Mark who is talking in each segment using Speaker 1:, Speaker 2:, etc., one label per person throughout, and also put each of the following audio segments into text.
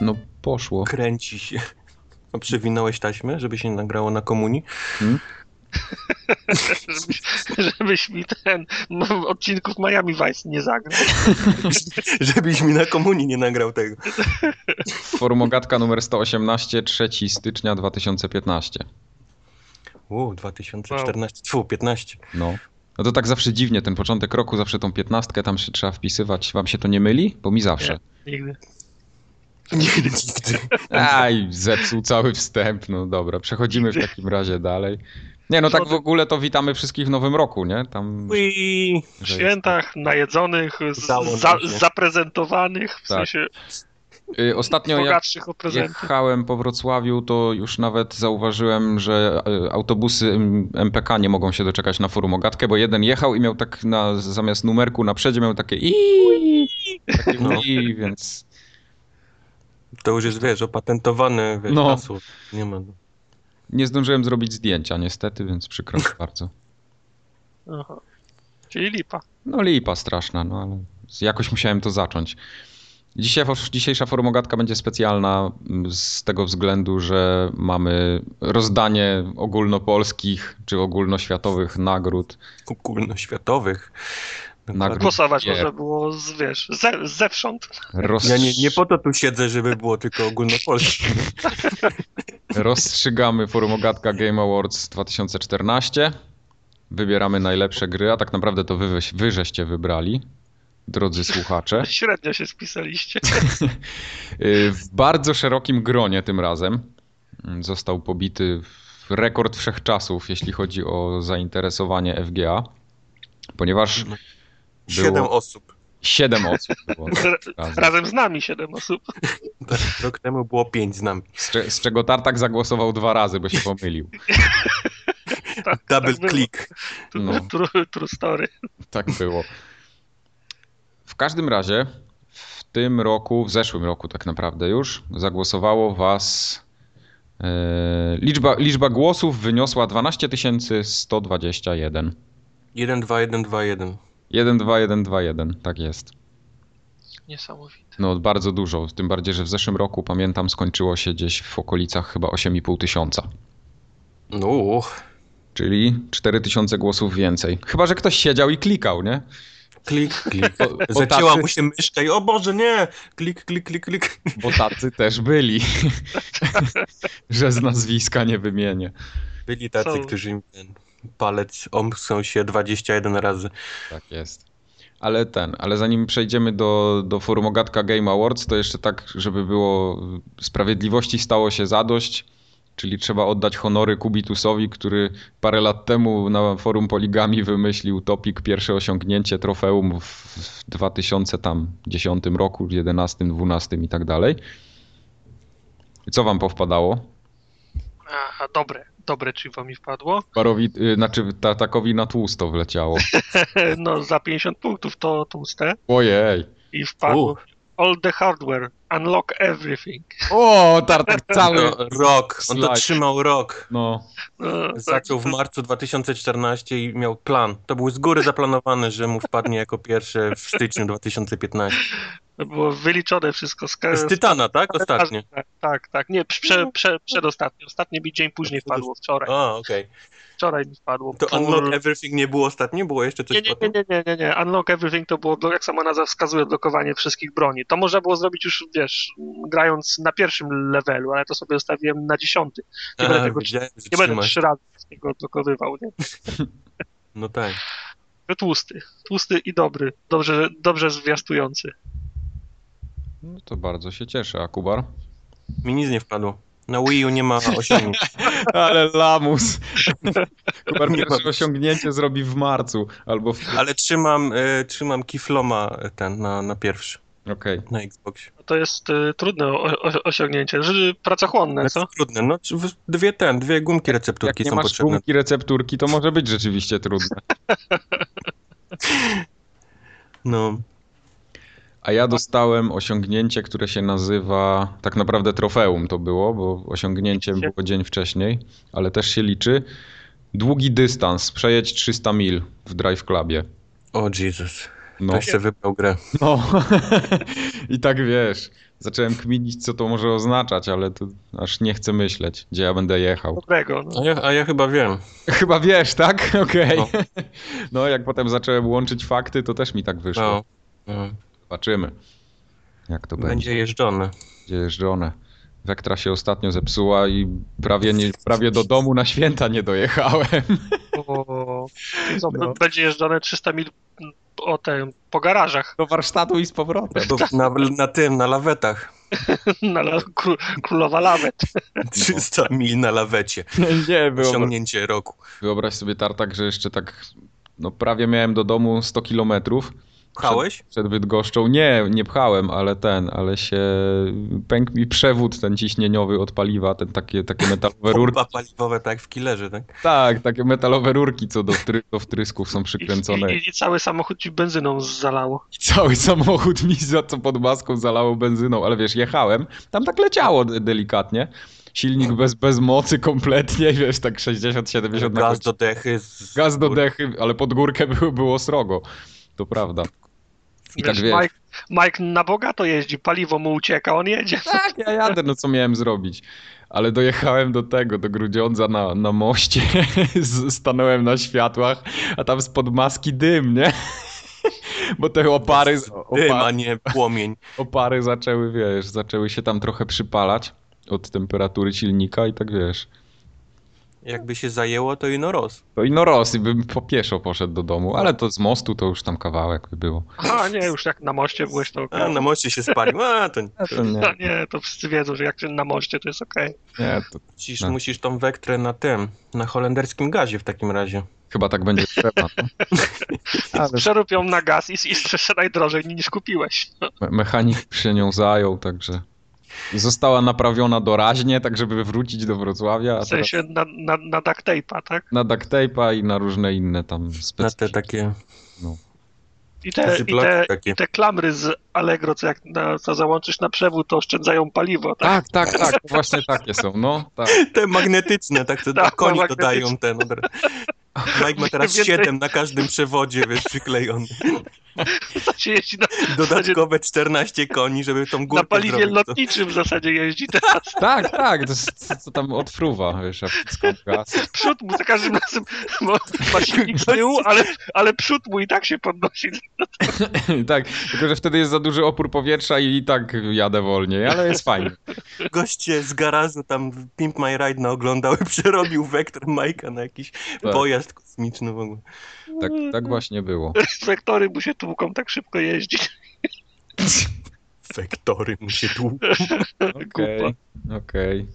Speaker 1: No, poszło.
Speaker 2: kręci się. A przewinąłeś taśmę, żeby się nie nagrało na komunii?
Speaker 3: żebyś, żebyś mi ten no, odcinków Miami Vice nie zagrał.
Speaker 2: Żebyś mi na komunii nie nagrał tego.
Speaker 1: Formogatka numer 118, 3 stycznia 2015.
Speaker 2: O, 2014, tfu, 15.
Speaker 1: No. No to tak zawsze dziwnie, ten początek roku, zawsze tą piętnastkę tam się trzeba wpisywać. Wam się to nie myli? Bo mi zawsze.
Speaker 3: Nigdy.
Speaker 2: Nie, nigdy.
Speaker 1: Aj, zepsuł cały wstęp. No dobra, przechodzimy w takim razie dalej. Nie, no tak w ogóle to witamy wszystkich w nowym roku, nie? Tam
Speaker 3: W
Speaker 1: że
Speaker 2: Ui.
Speaker 1: jest- tak.
Speaker 3: świętach, najedzonych, z,
Speaker 2: Udało
Speaker 3: za,
Speaker 2: nam się.
Speaker 3: zaprezentowanych, w
Speaker 1: Tak.
Speaker 3: sensie
Speaker 1: Y, Ostatnio jak
Speaker 3: bogatszych o prezenty.
Speaker 1: jechałem po Wrocławiu, to już nawet zauważyłem, że y, autobusy M- MPK nie mogą się doczekać na Formogatkę, bo jeden jechał i miał tak na, zamiast numerku na przedzie miał takie i, takie
Speaker 2: No.
Speaker 1: i więc
Speaker 2: To już jest, wiesz, opatentowane, wiesz,
Speaker 1: No.
Speaker 2: no. hasło. Nie ma.
Speaker 1: nie zdążyłem zrobić zdjęcia niestety, więc przykro mi bardzo.
Speaker 3: Aha. Czyli lipa.
Speaker 1: No lipa straszna, no ale z- jakoś musiałem to zacząć. Dzisiaj, dzisiejsza formogatka będzie specjalna mm, z tego względu, że mamy rozdanie ogólnopolskich czy ogólnoświatowych nagród.
Speaker 2: Ogólnoświatowych.
Speaker 1: Nagród.
Speaker 3: Głosować
Speaker 1: Nie.
Speaker 3: można było z, wiesz, ze, zewsząd.
Speaker 1: Roz...
Speaker 2: Ja nie, nie po to tu siedzę, żeby było tylko ogólnopolskie.
Speaker 1: Rozstrzygamy formogatka Game Awards 2014. Wybieramy najlepsze gry, a tak naprawdę to wy, weś- wy żeście wybrali, drodzy słuchacze.
Speaker 3: Średnio się spisaliście.
Speaker 1: Y, W bardzo szerokim gronie tym razem Mm, został pobity w- rekord wszechczasów, jeśli chodzi o zainteresowanie FGA, ponieważ
Speaker 2: No. Siedem
Speaker 1: było
Speaker 2: osób.
Speaker 1: 7 osób. Było
Speaker 3: Ra- Razem z nami siedem osób.
Speaker 2: Tak, Rok temu było pięć z nami.
Speaker 1: z, cze- z czego Tartak zagłosował dwa razy, bo się pomylił.
Speaker 2: Double
Speaker 3: tak było.
Speaker 2: click.
Speaker 3: True,
Speaker 1: No.
Speaker 3: true, true story.
Speaker 1: Tak było. W każdym razie w tym roku, w zeszłym roku tak naprawdę już, zagłosowało was. e, liczba, liczba głosów wyniosła 12 121.
Speaker 2: 1, 2, 1, 2, 1.
Speaker 1: 1-2-1-2-1, tak jest.
Speaker 3: Niesamowite.
Speaker 1: No bardzo dużo, tym bardziej, że w zeszłym roku, pamiętam, skończyło się gdzieś w okolicach chyba 8,5 tysiąca.
Speaker 2: No,
Speaker 1: Czyli 4 tysiące głosów więcej. Chyba, że ktoś siedział i klikał, nie?
Speaker 2: klik, klik.
Speaker 1: Bo, bo
Speaker 2: Zacięła
Speaker 1: tacy-
Speaker 2: mu się myszka i o Boże, nie! Klik, klik, klik, klik.
Speaker 1: Bo tacy też byli. że z nazwiska nie wymienię.
Speaker 2: Byli tacy,
Speaker 3: Są-
Speaker 2: którzy im ten palec omsą się 21 razy.
Speaker 1: Tak jest. Ale ten, ale zanim przejdziemy do, do Formogatka Game Awards, to jeszcze tak, żeby było sprawiedliwości stało się zadość, czyli trzeba oddać honory Kubitusowi, który parę lat temu na forum Poligami wymyślił topik pierwsze osiągnięcie trofeum w, w 2010 roku, 11, 12 i tak dalej. I co wam powpadało?
Speaker 3: Aha, dobre, dobre chivo mi wpadło.
Speaker 1: Barowi, y, znaczy Tartakowi na tłusto wleciało.
Speaker 3: No za 50 punktów to tłuste.
Speaker 1: Ojej.
Speaker 3: I
Speaker 2: U,
Speaker 3: wpadło All the hardware, unlock everything.
Speaker 1: O, Tartak cały.
Speaker 2: to rok, on to
Speaker 1: slajd.
Speaker 2: trzymał rok.
Speaker 1: No.
Speaker 3: No,
Speaker 2: Zaczął w marcu 2014 i miał plan. To był z góry zaplanowany, że mu wpadnie jako pierwszy w styczniu 2015.
Speaker 3: To było wyliczone wszystko. Z,
Speaker 2: Z Tytana, tak? Ostatnie.
Speaker 3: Tak, tak, tak. Nie, prze, prze, przedostatnie. Ostatnie mi dzień później wpadło, wczoraj.
Speaker 2: A, okej.
Speaker 3: Wczoraj mi wpadło.
Speaker 2: To
Speaker 3: Pur-
Speaker 2: Unlock Everything nie było ostatnie? Było jeszcze coś
Speaker 3: nie, nie,
Speaker 2: potem?
Speaker 3: nie, nie, nie, nie, nie. Unlock Everything to było, blo- jak sama nazwa wskazuje, blokowanie wszystkich broni. To można było zrobić już, wiesz, grając na pierwszym levelu, ale to sobie zostawiłem na dziesiąty. Nie
Speaker 2: A,
Speaker 3: będę tego
Speaker 2: widziałem, że
Speaker 3: Nie będę
Speaker 2: trzymasz.
Speaker 3: trzy razy wszystkiego odblokowywał, nie?
Speaker 2: No tak.
Speaker 3: To Tłusty. Tłusty i dobry. Dobrze, dobrze zwiastujący.
Speaker 1: No to bardzo się cieszę, a Kubar?
Speaker 2: Mi nic nie wpadło. Na Wii U nie ma osiągnięć.
Speaker 1: Ale lamus. Kubar
Speaker 2: Nie
Speaker 1: pierwsze
Speaker 2: ma-
Speaker 1: osiągnięcie zrobi w marcu albo w...
Speaker 2: Ale trzymam, e, trzymam Kifloma e, ten na, na pierwszy,
Speaker 1: Okej.
Speaker 2: na Xboxie.
Speaker 3: To jest y, trudne o, o, osiągnięcie. Ży- Pracochłonne, co?
Speaker 2: Znaczy, trudne, no czy w- dwie ten, dwie gumki
Speaker 1: Jak
Speaker 2: recepturki
Speaker 1: nie
Speaker 2: są
Speaker 1: masz
Speaker 2: potrzebne.
Speaker 1: gumki recepturki, to może być rzeczywiście trudne.
Speaker 2: No,
Speaker 1: A ja dostałem osiągnięcie, które się nazywa... Tak naprawdę trofeum to było, bo osiągnięciem było dzień wcześniej, ale też się liczy. Długi dystans, przejedź 300 mil w Drive Clubie.
Speaker 2: o Jesus.
Speaker 1: No.
Speaker 2: Ktoś sobie wybrał grę.
Speaker 1: No. I tak wiesz, zacząłem kminić, co to może oznaczać, ale to aż nie chcę myśleć, gdzie ja będę jechał.
Speaker 3: Dobrego. No.
Speaker 2: A ja, a ja chyba wiem.
Speaker 1: Chyba wiesz, tak? Okej.
Speaker 2: No.
Speaker 1: No, jak potem zacząłem łączyć fakty, to też mi tak wyszło.
Speaker 2: No. No.
Speaker 1: Zobaczymy, jak to będzie,
Speaker 2: Będzie jeżdżony.
Speaker 1: będzie jeżdżone. Wektra się ostatnio zepsuła i prawie, nie, prawie do domu na święta nie dojechałem.
Speaker 3: O, co,
Speaker 1: No.
Speaker 3: b- Będzie jeżdżone 300 mil m, o tym, po garażach
Speaker 1: Do warsztatu i z powrotem.
Speaker 2: Bo Na, na tym, na lawetach.
Speaker 3: na la, kró, królowa lawet.
Speaker 1: No.
Speaker 2: 300 mil na lawecie.
Speaker 1: Nie, wyobraź,
Speaker 2: Osiągnięcie roku.
Speaker 1: wyobraź sobie tartak, że jeszcze tak, no prawie miałem do domu 100 kilometrów.
Speaker 2: Pchałeś?
Speaker 1: przed Bydgoszczą. Nie, nie pchałem, ale ten, ale się pękł mi przewód ten ciśnieniowy od paliwa, ten takie, takie metalowe rurki.
Speaker 2: Pompa paliwowe, tak, w killerze, tak?
Speaker 1: Tak, takie metalowe rurki, co do, wtry, do wtrysków są
Speaker 3: I,
Speaker 1: przykręcone.
Speaker 3: i, I cały samochód ci benzyną zalało.
Speaker 1: I cały samochód mi za co pod maską zalało benzyną, ale wiesz, jechałem, tam tak leciało de- delikatnie. Silnik bez, bez mocy kompletnie, wiesz, tak 60-70 na
Speaker 2: Gaz
Speaker 1: godzinę.
Speaker 2: do dechy. Z...
Speaker 1: Gaz do dechy, ale pod górkę było, było srogo. To prawda. I tak wiesz.
Speaker 3: Mike, Mike na bogato jeździ, paliwo mu ucieka, on jedzie.
Speaker 1: Tak, ja jadę, no co miałem zrobić. Ale dojechałem do tego, do Grudziądza na, na moście, z- stanąłem na światłach, a tam spod maski dym, nie? Bo te opary,
Speaker 2: Dym, a
Speaker 1: opary,
Speaker 2: nie płomień.
Speaker 1: opary zaczęły, wiesz, zaczęły się tam trochę przypalać od temperatury silnika i tak wiesz.
Speaker 2: Jakby się zajęło, to ino roz.
Speaker 1: No i no roz, i bym po pieszo poszedł do domu, ale to z mostu to już tam kawałek by było.
Speaker 3: A nie, już jak na moście byłeś, to okej.
Speaker 2: A na moście się spalił. A, to
Speaker 1: No To nie,
Speaker 3: A nie, to wszyscy wiedzą, że jak się na moście, to jest okej.
Speaker 1: nie, to
Speaker 2: musisz,
Speaker 1: No.
Speaker 2: musisz tą wektrę na tym, na holenderskim gazie w takim razie.
Speaker 1: chyba tak będzie trzeba. No. Ale
Speaker 3: Przerób ją na gaz i, i sprzedaj drożej niż kupiłeś.
Speaker 1: Me- Mechanik się nią zajął, także. Została naprawiona doraźnie, tak żeby wrócić do Wrocławia, a
Speaker 3: W
Speaker 1: teraz
Speaker 3: sensie na, na, na duct tape'a, tak?
Speaker 1: na duct tape'a i na różne inne tam
Speaker 2: Na te
Speaker 1: specjalne.
Speaker 2: takie
Speaker 3: I te, i
Speaker 2: zyplaki
Speaker 3: te,
Speaker 2: takie.
Speaker 3: i te klamry z Allegro, co jak na, co załączysz na przewód, to oszczędzają paliwo, tak?
Speaker 1: Tak, tak, tak, to właśnie takie są, no. Tak.
Speaker 2: Te magnetyczne, tak, to
Speaker 3: Tak,
Speaker 2: tak, koni
Speaker 3: magnetyczne.
Speaker 2: dodają ten. od- Mike ma teraz
Speaker 3: Więcej.
Speaker 2: siedem na każdym przewodzie, wiesz, przyklejony.
Speaker 3: W sensie jeździ na,
Speaker 2: Dodatkowe 14 koni, żeby tą górkę
Speaker 3: na paliwie
Speaker 2: zrobić. To-
Speaker 3: lotniczym w zasadzie jeździ teraz.
Speaker 1: tak, tak, to jest, co, co tam odfruwa, wiesz, jak skąd gaz.
Speaker 3: Przód mu za każdym razem ma, ma silnik z tyłu, ale, ale przód mu i tak się podnosi.
Speaker 1: tak, tylko że wtedy jest za duży opór powietrza i, i tak jadę wolniej, ale jest fajnie.
Speaker 2: Goście z garażu tam Pimp My Ride na oglądał i przerobił wektor Majka na jakiś pojazd kosmiczny w ogóle.
Speaker 1: Tak, tak właśnie było.
Speaker 3: Wektory mu się tłuką, tak szybko jeździ.
Speaker 2: Wektory mu się tłuk.
Speaker 1: Okej,
Speaker 3: Kupa.
Speaker 1: okej.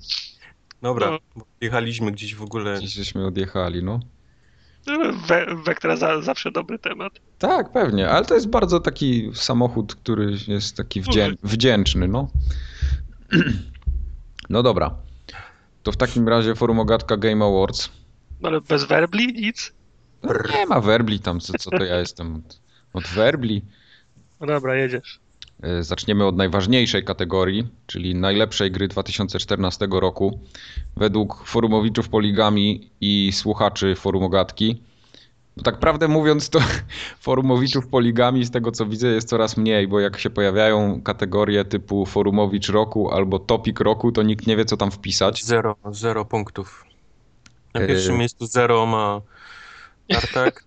Speaker 2: Dobra,
Speaker 3: No.
Speaker 2: bo jechaliśmy gdzieś w ogóle.
Speaker 1: Dziś żeśmy odjechali, no.
Speaker 3: no, We, wektora za, zawsze dobry temat.
Speaker 1: Tak, pewnie, ale to jest bardzo taki samochód, który jest taki wdzię- wdzięczny, no. No dobra. To w takim razie forum Ogatka Game Awards.
Speaker 3: No ale bez werbli nic.
Speaker 1: No, nie ma werbli tam, co, co to ja jestem od, od werbli.
Speaker 3: No dobra, jedziesz.
Speaker 1: E, Zaczniemy od najważniejszej kategorii, czyli najlepszej gry 2014 roku. Według forumowiczów Poligami i słuchaczy forumogatki. Bo tak prawdę mówiąc, to forumowiczów Poligami z tego co widzę jest coraz mniej, bo jak się pojawiają kategorie typu forumowicz roku albo topik roku, to nikt nie wie co tam wpisać.
Speaker 2: Zero, zero punktów. Na
Speaker 1: Yy.
Speaker 2: pierwszym miejscu zero ma Tartak.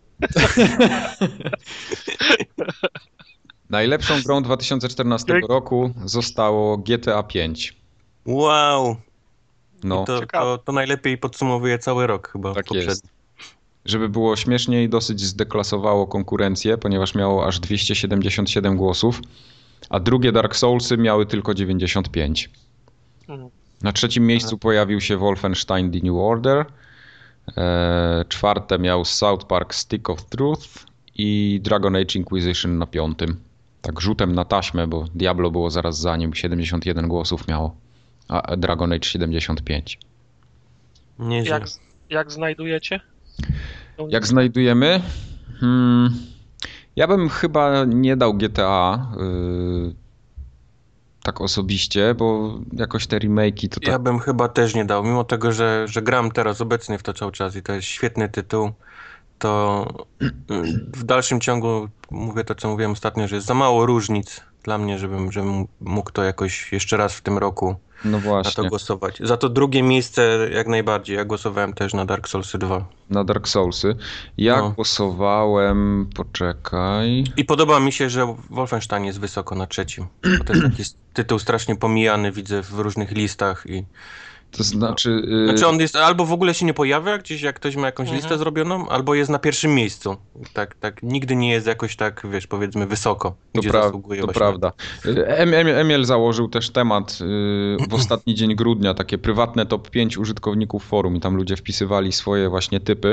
Speaker 1: Najlepszą grą 2014 roku zostało GTA V.
Speaker 2: Wow,
Speaker 1: No.
Speaker 2: to,
Speaker 3: Ciekawe.
Speaker 2: to, to najlepiej podsumowuje cały rok chyba.
Speaker 1: Tak
Speaker 2: poprzedni.
Speaker 1: jest. Żeby było śmieszniej, dosyć zdeklasowało konkurencję, ponieważ miało aż 277 głosów, a drugie Dark Soulsy miały tylko 95.
Speaker 3: Mhm.
Speaker 1: Na trzecim miejscu pojawił się Wolfenstein The New Order, e, czwarte miał South Park Stick of Truth i Dragon Age Inquisition na piątym. Tak rzutem na taśmę, bo Diablo było zaraz za nim, 71 głosów miało, a Dragon Age 75.
Speaker 2: Nieźle.
Speaker 3: Jak, jak znajdujecie?
Speaker 1: Jak znajdujemy? Hmm, ja bym chyba nie dał GTA y, tak osobiście, bo jakoś te remake'i to tak.
Speaker 2: Ja bym chyba też nie dał, mimo tego, że, że gram teraz obecnie w to cały czas i to jest świetny tytuł, to yy, w dalszym ciągu mówię to, co mówiłem ostatnio, że jest za mało różnic dla mnie, żebym, żebym mógł to jakoś jeszcze raz w tym roku
Speaker 1: No
Speaker 2: na to
Speaker 1: właśnie.
Speaker 2: głosować. Za to drugie miejsce jak najbardziej. Ja głosowałem też na Dark Souls 2.
Speaker 1: Na Dark Soulsy. Ja
Speaker 2: No.
Speaker 1: głosowałem. Poczekaj.
Speaker 2: I podoba mi się, że Wolfenstein jest wysoko na trzecim. Bo to jest taki s- tytuł strasznie pomijany, widzę w różnych listach. I...
Speaker 1: To znaczy. y,
Speaker 2: No. Znaczy on jest albo w ogóle się nie pojawia gdzieś, jak ktoś ma jakąś
Speaker 3: Mhm.
Speaker 2: listę zrobioną, albo jest na pierwszym miejscu. Tak, tak, nigdy nie jest jakoś tak, wiesz, powiedzmy wysoko,
Speaker 1: To,
Speaker 2: gdzie
Speaker 1: pra-
Speaker 2: zasługuje
Speaker 1: to
Speaker 2: właśnie.
Speaker 1: prawda. Em, em, Emil założył też temat y, w ostatni dzień grudnia, takie prywatne top 5 użytkowników forum i tam ludzie wpisywali swoje właśnie typy.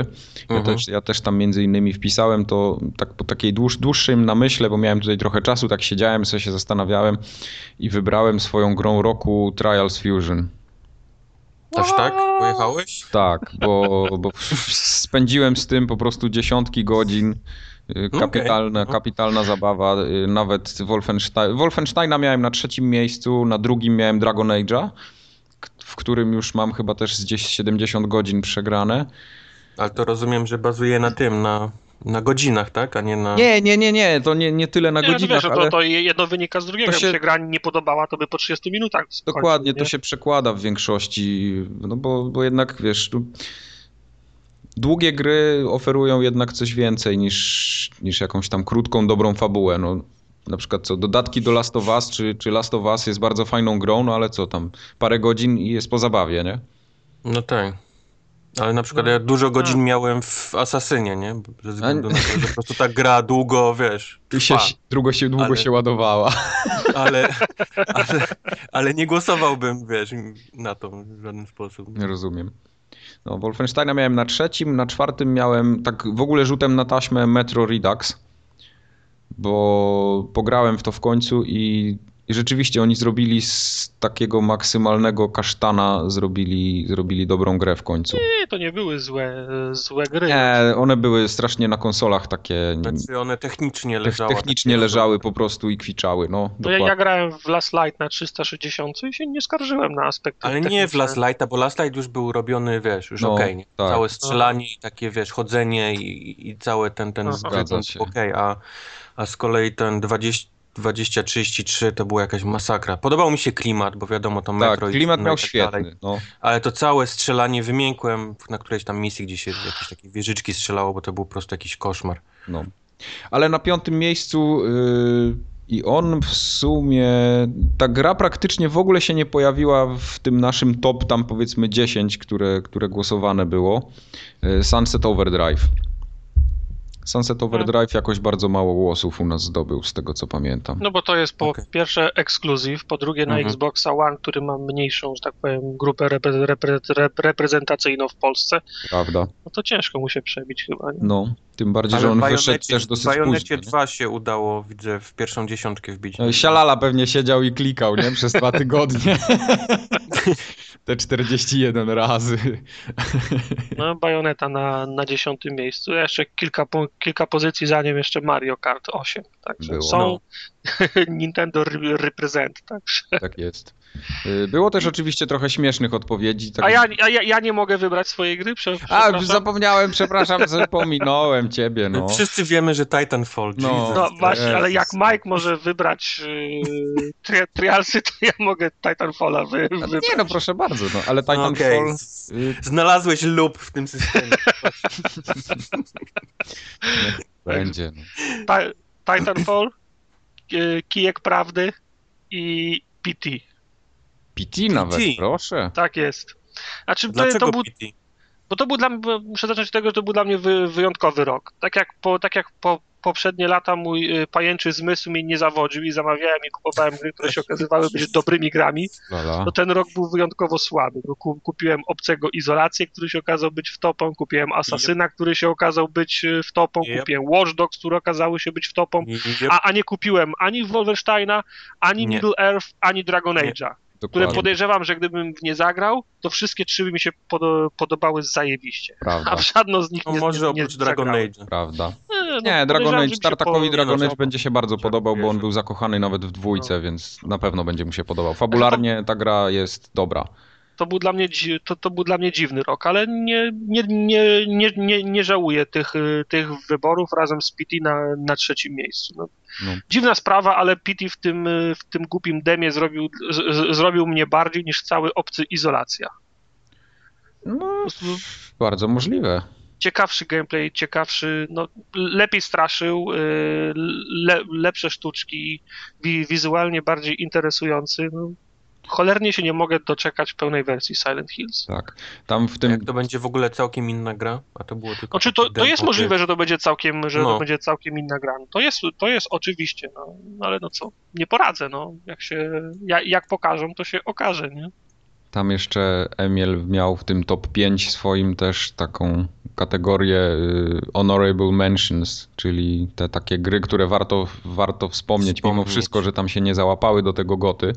Speaker 1: Ja,
Speaker 2: Mhm.
Speaker 1: też, ja też tam między innymi wpisałem to tak po takiej dłuż, dłuższym namyśle, bo miałem tutaj trochę czasu, tak siedziałem, sobie się zastanawiałem i wybrałem swoją grą roku Trials Fusion.
Speaker 2: Aż tak? Pojechałeś?
Speaker 1: Tak, bo, bo spędziłem z tym po prostu dziesiątki godzin. Y,
Speaker 2: No
Speaker 1: Kapitalna,
Speaker 2: okej, no.
Speaker 1: kapitalna zabawa. y, Nawet Wolfenstein, Wolfensteina miałem na trzecim miejscu, na drugim miałem Dragon Age'a, k- w którym już mam chyba też z gdzieś 70 godzin przegrane.
Speaker 2: Ale to rozumiem, że bazuje na tym, na, na godzinach, tak? A nie na...
Speaker 1: Nie, nie, nie, nie, to nie, nie tyle na
Speaker 3: Nie, no
Speaker 1: godzinach,
Speaker 3: wiesz,
Speaker 1: ale
Speaker 3: to, to jedno wynika z drugiego.
Speaker 1: To się-
Speaker 3: Jakby się gra nie podobała, to by po 30 minutach skończył,
Speaker 1: dokładnie
Speaker 3: nie?
Speaker 1: to się przekłada w większości, no bo, bo jednak wiesz, tu długie gry oferują jednak coś więcej niż, niż jakąś tam krótką, dobrą fabułę, no. Na przykład co, dodatki do Last of Us, czy, czy Last of Us jest bardzo fajną grą, no ale co tam, parę godzin i jest po zabawie, nie?
Speaker 2: No tak. Ale na przykład
Speaker 3: No.
Speaker 2: ja dużo godzin
Speaker 3: A.
Speaker 2: miałem w Asasynie, nie? Ze względu
Speaker 1: A-
Speaker 2: na to, że po prostu ta gra długo, wiesz,
Speaker 1: I się,
Speaker 2: trwa.
Speaker 1: długo się, długo
Speaker 2: ale-
Speaker 1: się ładowała.
Speaker 2: Ale, ale, ale nie głosowałbym, wiesz, na to w żaden sposób.
Speaker 1: Nie rozumiem. No, Wolfensteina miałem na trzecim, na czwartym miałem tak w ogóle rzutem na taśmę Metro Redux, bo pograłem w to w końcu i, i rzeczywiście oni zrobili z takiego maksymalnego kasztana, zrobili, zrobili dobrą grę w końcu.
Speaker 3: Nie, to nie były złe, złe gry.
Speaker 1: Nie, one były strasznie na konsolach takie
Speaker 2: Znaczy one technicznie
Speaker 1: te,
Speaker 2: leżały.
Speaker 1: technicznie
Speaker 2: takie-
Speaker 1: leżały po prostu i kwiczały, no
Speaker 3: No ja, ja
Speaker 1: dokładnie.
Speaker 3: grałem w Last Light na 360 i się nie skarżyłem na aspekty
Speaker 2: Ale nie w
Speaker 3: techniczne.
Speaker 2: Last Lighta, bo Last Light już był robiony, wiesz, już
Speaker 1: No,
Speaker 2: okej. nie?
Speaker 1: tak.
Speaker 2: Całe strzelanie i takie, wiesz, chodzenie i, i całe ten, ten
Speaker 3: Aha.
Speaker 2: zbyt
Speaker 1: Zgadza
Speaker 2: był
Speaker 1: się.
Speaker 2: okej, a, a z kolei ten 20... 2033 to była jakaś masakra. Podobał mi się klimat, bo wiadomo, to
Speaker 1: Tak,
Speaker 2: metro i
Speaker 1: klimat
Speaker 2: no i
Speaker 1: miał
Speaker 2: tak
Speaker 1: świetny, no.
Speaker 2: Ale to całe strzelanie wymiękłem na którejś tam misji, gdzie się jakieś takie wieżyczki strzelało, bo to był po prostu jakiś koszmar.
Speaker 1: No. Ale na piątym miejscu yy, i on w sumie. Ta gra praktycznie w ogóle się nie pojawiła w tym naszym top, tam powiedzmy 10, które, które głosowane było. Yy, Sunset Overdrive. Sunset Overdrive jakoś bardzo mało głosów u nas zdobył, z tego co pamiętam.
Speaker 3: No bo to jest po
Speaker 2: Okej.
Speaker 3: pierwsze ekskluzyw, po drugie na
Speaker 2: Mhm.
Speaker 3: Xboxa One, który ma mniejszą, że tak powiem, grupę repre- repre- repre- reprezentacyjną w Polsce,
Speaker 1: Prawda?
Speaker 3: no to ciężko mu się przebić chyba. Nie?
Speaker 1: No. Tym bardziej, że on wyszedł też dosyć późno.
Speaker 2: Bajonecie
Speaker 1: nie?
Speaker 2: 2 się udało, widzę, w pierwszą dziesiątkę wbić.
Speaker 1: No i Sialala pewnie siedział i klikał, nie? Przez dwa tygodnie. Te 41 razy.
Speaker 3: No, Bajoneta na, na dziesiątym miejscu, jeszcze kilka, po, kilka pozycji za nim jeszcze Mario Kart 8, także
Speaker 1: Było,
Speaker 3: są
Speaker 2: no.
Speaker 3: Nintendo re- reprezent, także.
Speaker 1: Tak jest. Y, Było też oczywiście trochę śmiesznych odpowiedzi. Tak...
Speaker 3: A, ja, a ja, ja nie mogę wybrać swojej gry, prze,
Speaker 1: A,
Speaker 3: przepraszam.
Speaker 1: zapomniałem, przepraszam, że pominąłem ciebie, no.
Speaker 2: Wszyscy wiemy, że Titanfall,
Speaker 1: No.
Speaker 2: Jesus.
Speaker 3: No
Speaker 1: Jezus.
Speaker 3: właśnie, ale jak Mike może wybrać yy, tri, trialsy, to ja mogę Titanfalla wy,
Speaker 1: A
Speaker 3: wybrać.
Speaker 1: Nie no, proszę bardzo, no, ale
Speaker 2: No
Speaker 1: Titanfall...
Speaker 2: okej,
Speaker 1: y,
Speaker 2: Znalazłeś lub w tym systemie.
Speaker 1: Będzie. No.
Speaker 3: Ta- Titanfall, e, Kijek Prawdy i PT.
Speaker 1: PT nawet,
Speaker 2: PT.
Speaker 1: proszę.
Speaker 3: Tak jest. Znaczy, to,
Speaker 2: Dlaczego
Speaker 3: to był,
Speaker 2: PT?
Speaker 3: bo to był dla mnie, bo muszę zacząć od tego, że to był dla mnie wy, wyjątkowy rok. Tak jak, po, tak jak po, poprzednie lata mój e, pajęczy zmysł mnie nie zawodził i zamawiałem i kupowałem gry, które się okazywały być dobrymi grami,
Speaker 1: Lala.
Speaker 3: to ten rok był wyjątkowo słaby. Bo ku- kupiłem Obcego Izolację, który się okazał być wtopą, kupiłem Asasyna, który się okazał być e, wtopą,
Speaker 2: Yep.
Speaker 3: kupiłem Watch Dogs, które okazały się być wtopą.
Speaker 2: Yep.
Speaker 3: A, a nie kupiłem ani Wolfensteina, ani
Speaker 2: Nie.
Speaker 3: Middle Earth, ani Dragon
Speaker 2: Nie.
Speaker 3: Age'a, które
Speaker 1: Dokładnie,
Speaker 3: podejrzewam, że gdybym w nie zagrał, to wszystkie trzy by mi się podo- podobały zajebiście. A
Speaker 1: prawda,
Speaker 3: w żadną z nich
Speaker 2: No
Speaker 3: nie
Speaker 2: może
Speaker 3: nie,
Speaker 2: oprócz Dragon
Speaker 3: zagrałem.
Speaker 2: Age.
Speaker 1: prawda.
Speaker 3: E, no,
Speaker 1: Nie, Dragon
Speaker 3: podejrzewam, że
Speaker 1: Age,
Speaker 3: mi się
Speaker 1: Tartakowi
Speaker 3: po-
Speaker 1: Dragon
Speaker 2: no,
Speaker 1: Age będzie się bardzo podobał, bo on
Speaker 2: wierzę.
Speaker 1: był
Speaker 3: No.
Speaker 1: zakochany nawet w dwójce, więc na pewno będzie mu się podobał. Fabularnie ta gra jest dobra.
Speaker 3: to był dla mnie, dzi- to, to był dla mnie dziwny rok, ale nie, nie, nie, nie, nie, nie żałuję tych, y, tych wyborów razem z PT na, na trzecim miejscu. No.
Speaker 1: No.
Speaker 3: Dziwna sprawa, ale PT w tym, y, w tym głupim demie zrobił, z, z, zrobił mnie bardziej niż cały obcy izolacja.
Speaker 1: No, bardzo możliwe.
Speaker 3: Ciekawszy gameplay, ciekawszy, no, lepiej straszył, y, le, lepsze sztuczki, wi, wizualnie bardziej interesujący. No. Cholernie się nie mogę doczekać pełnej wersji Silent Hills.
Speaker 1: Tak. Tam w
Speaker 2: Jak
Speaker 1: tym.
Speaker 2: to będzie w ogóle całkiem inna gra, a to było tylko...
Speaker 3: Znaczy to,
Speaker 2: taki
Speaker 3: to jest
Speaker 2: demo,
Speaker 3: możliwe, że to będzie całkiem, że
Speaker 2: No.
Speaker 3: to będzie całkiem inna gra. No To jest, to jest oczywiście, no, no ale no co, nie poradzę, no. Jak się, jak, jak pokażą, to się okaże, nie?
Speaker 1: Tam jeszcze Emil miał w tym top 5 swoim też taką kategorię y, honorable mentions, czyli te takie gry, które warto, warto wspomnieć, mimo
Speaker 2: Wspomnieć.
Speaker 1: wszystko, że tam się nie załapały do tego goty,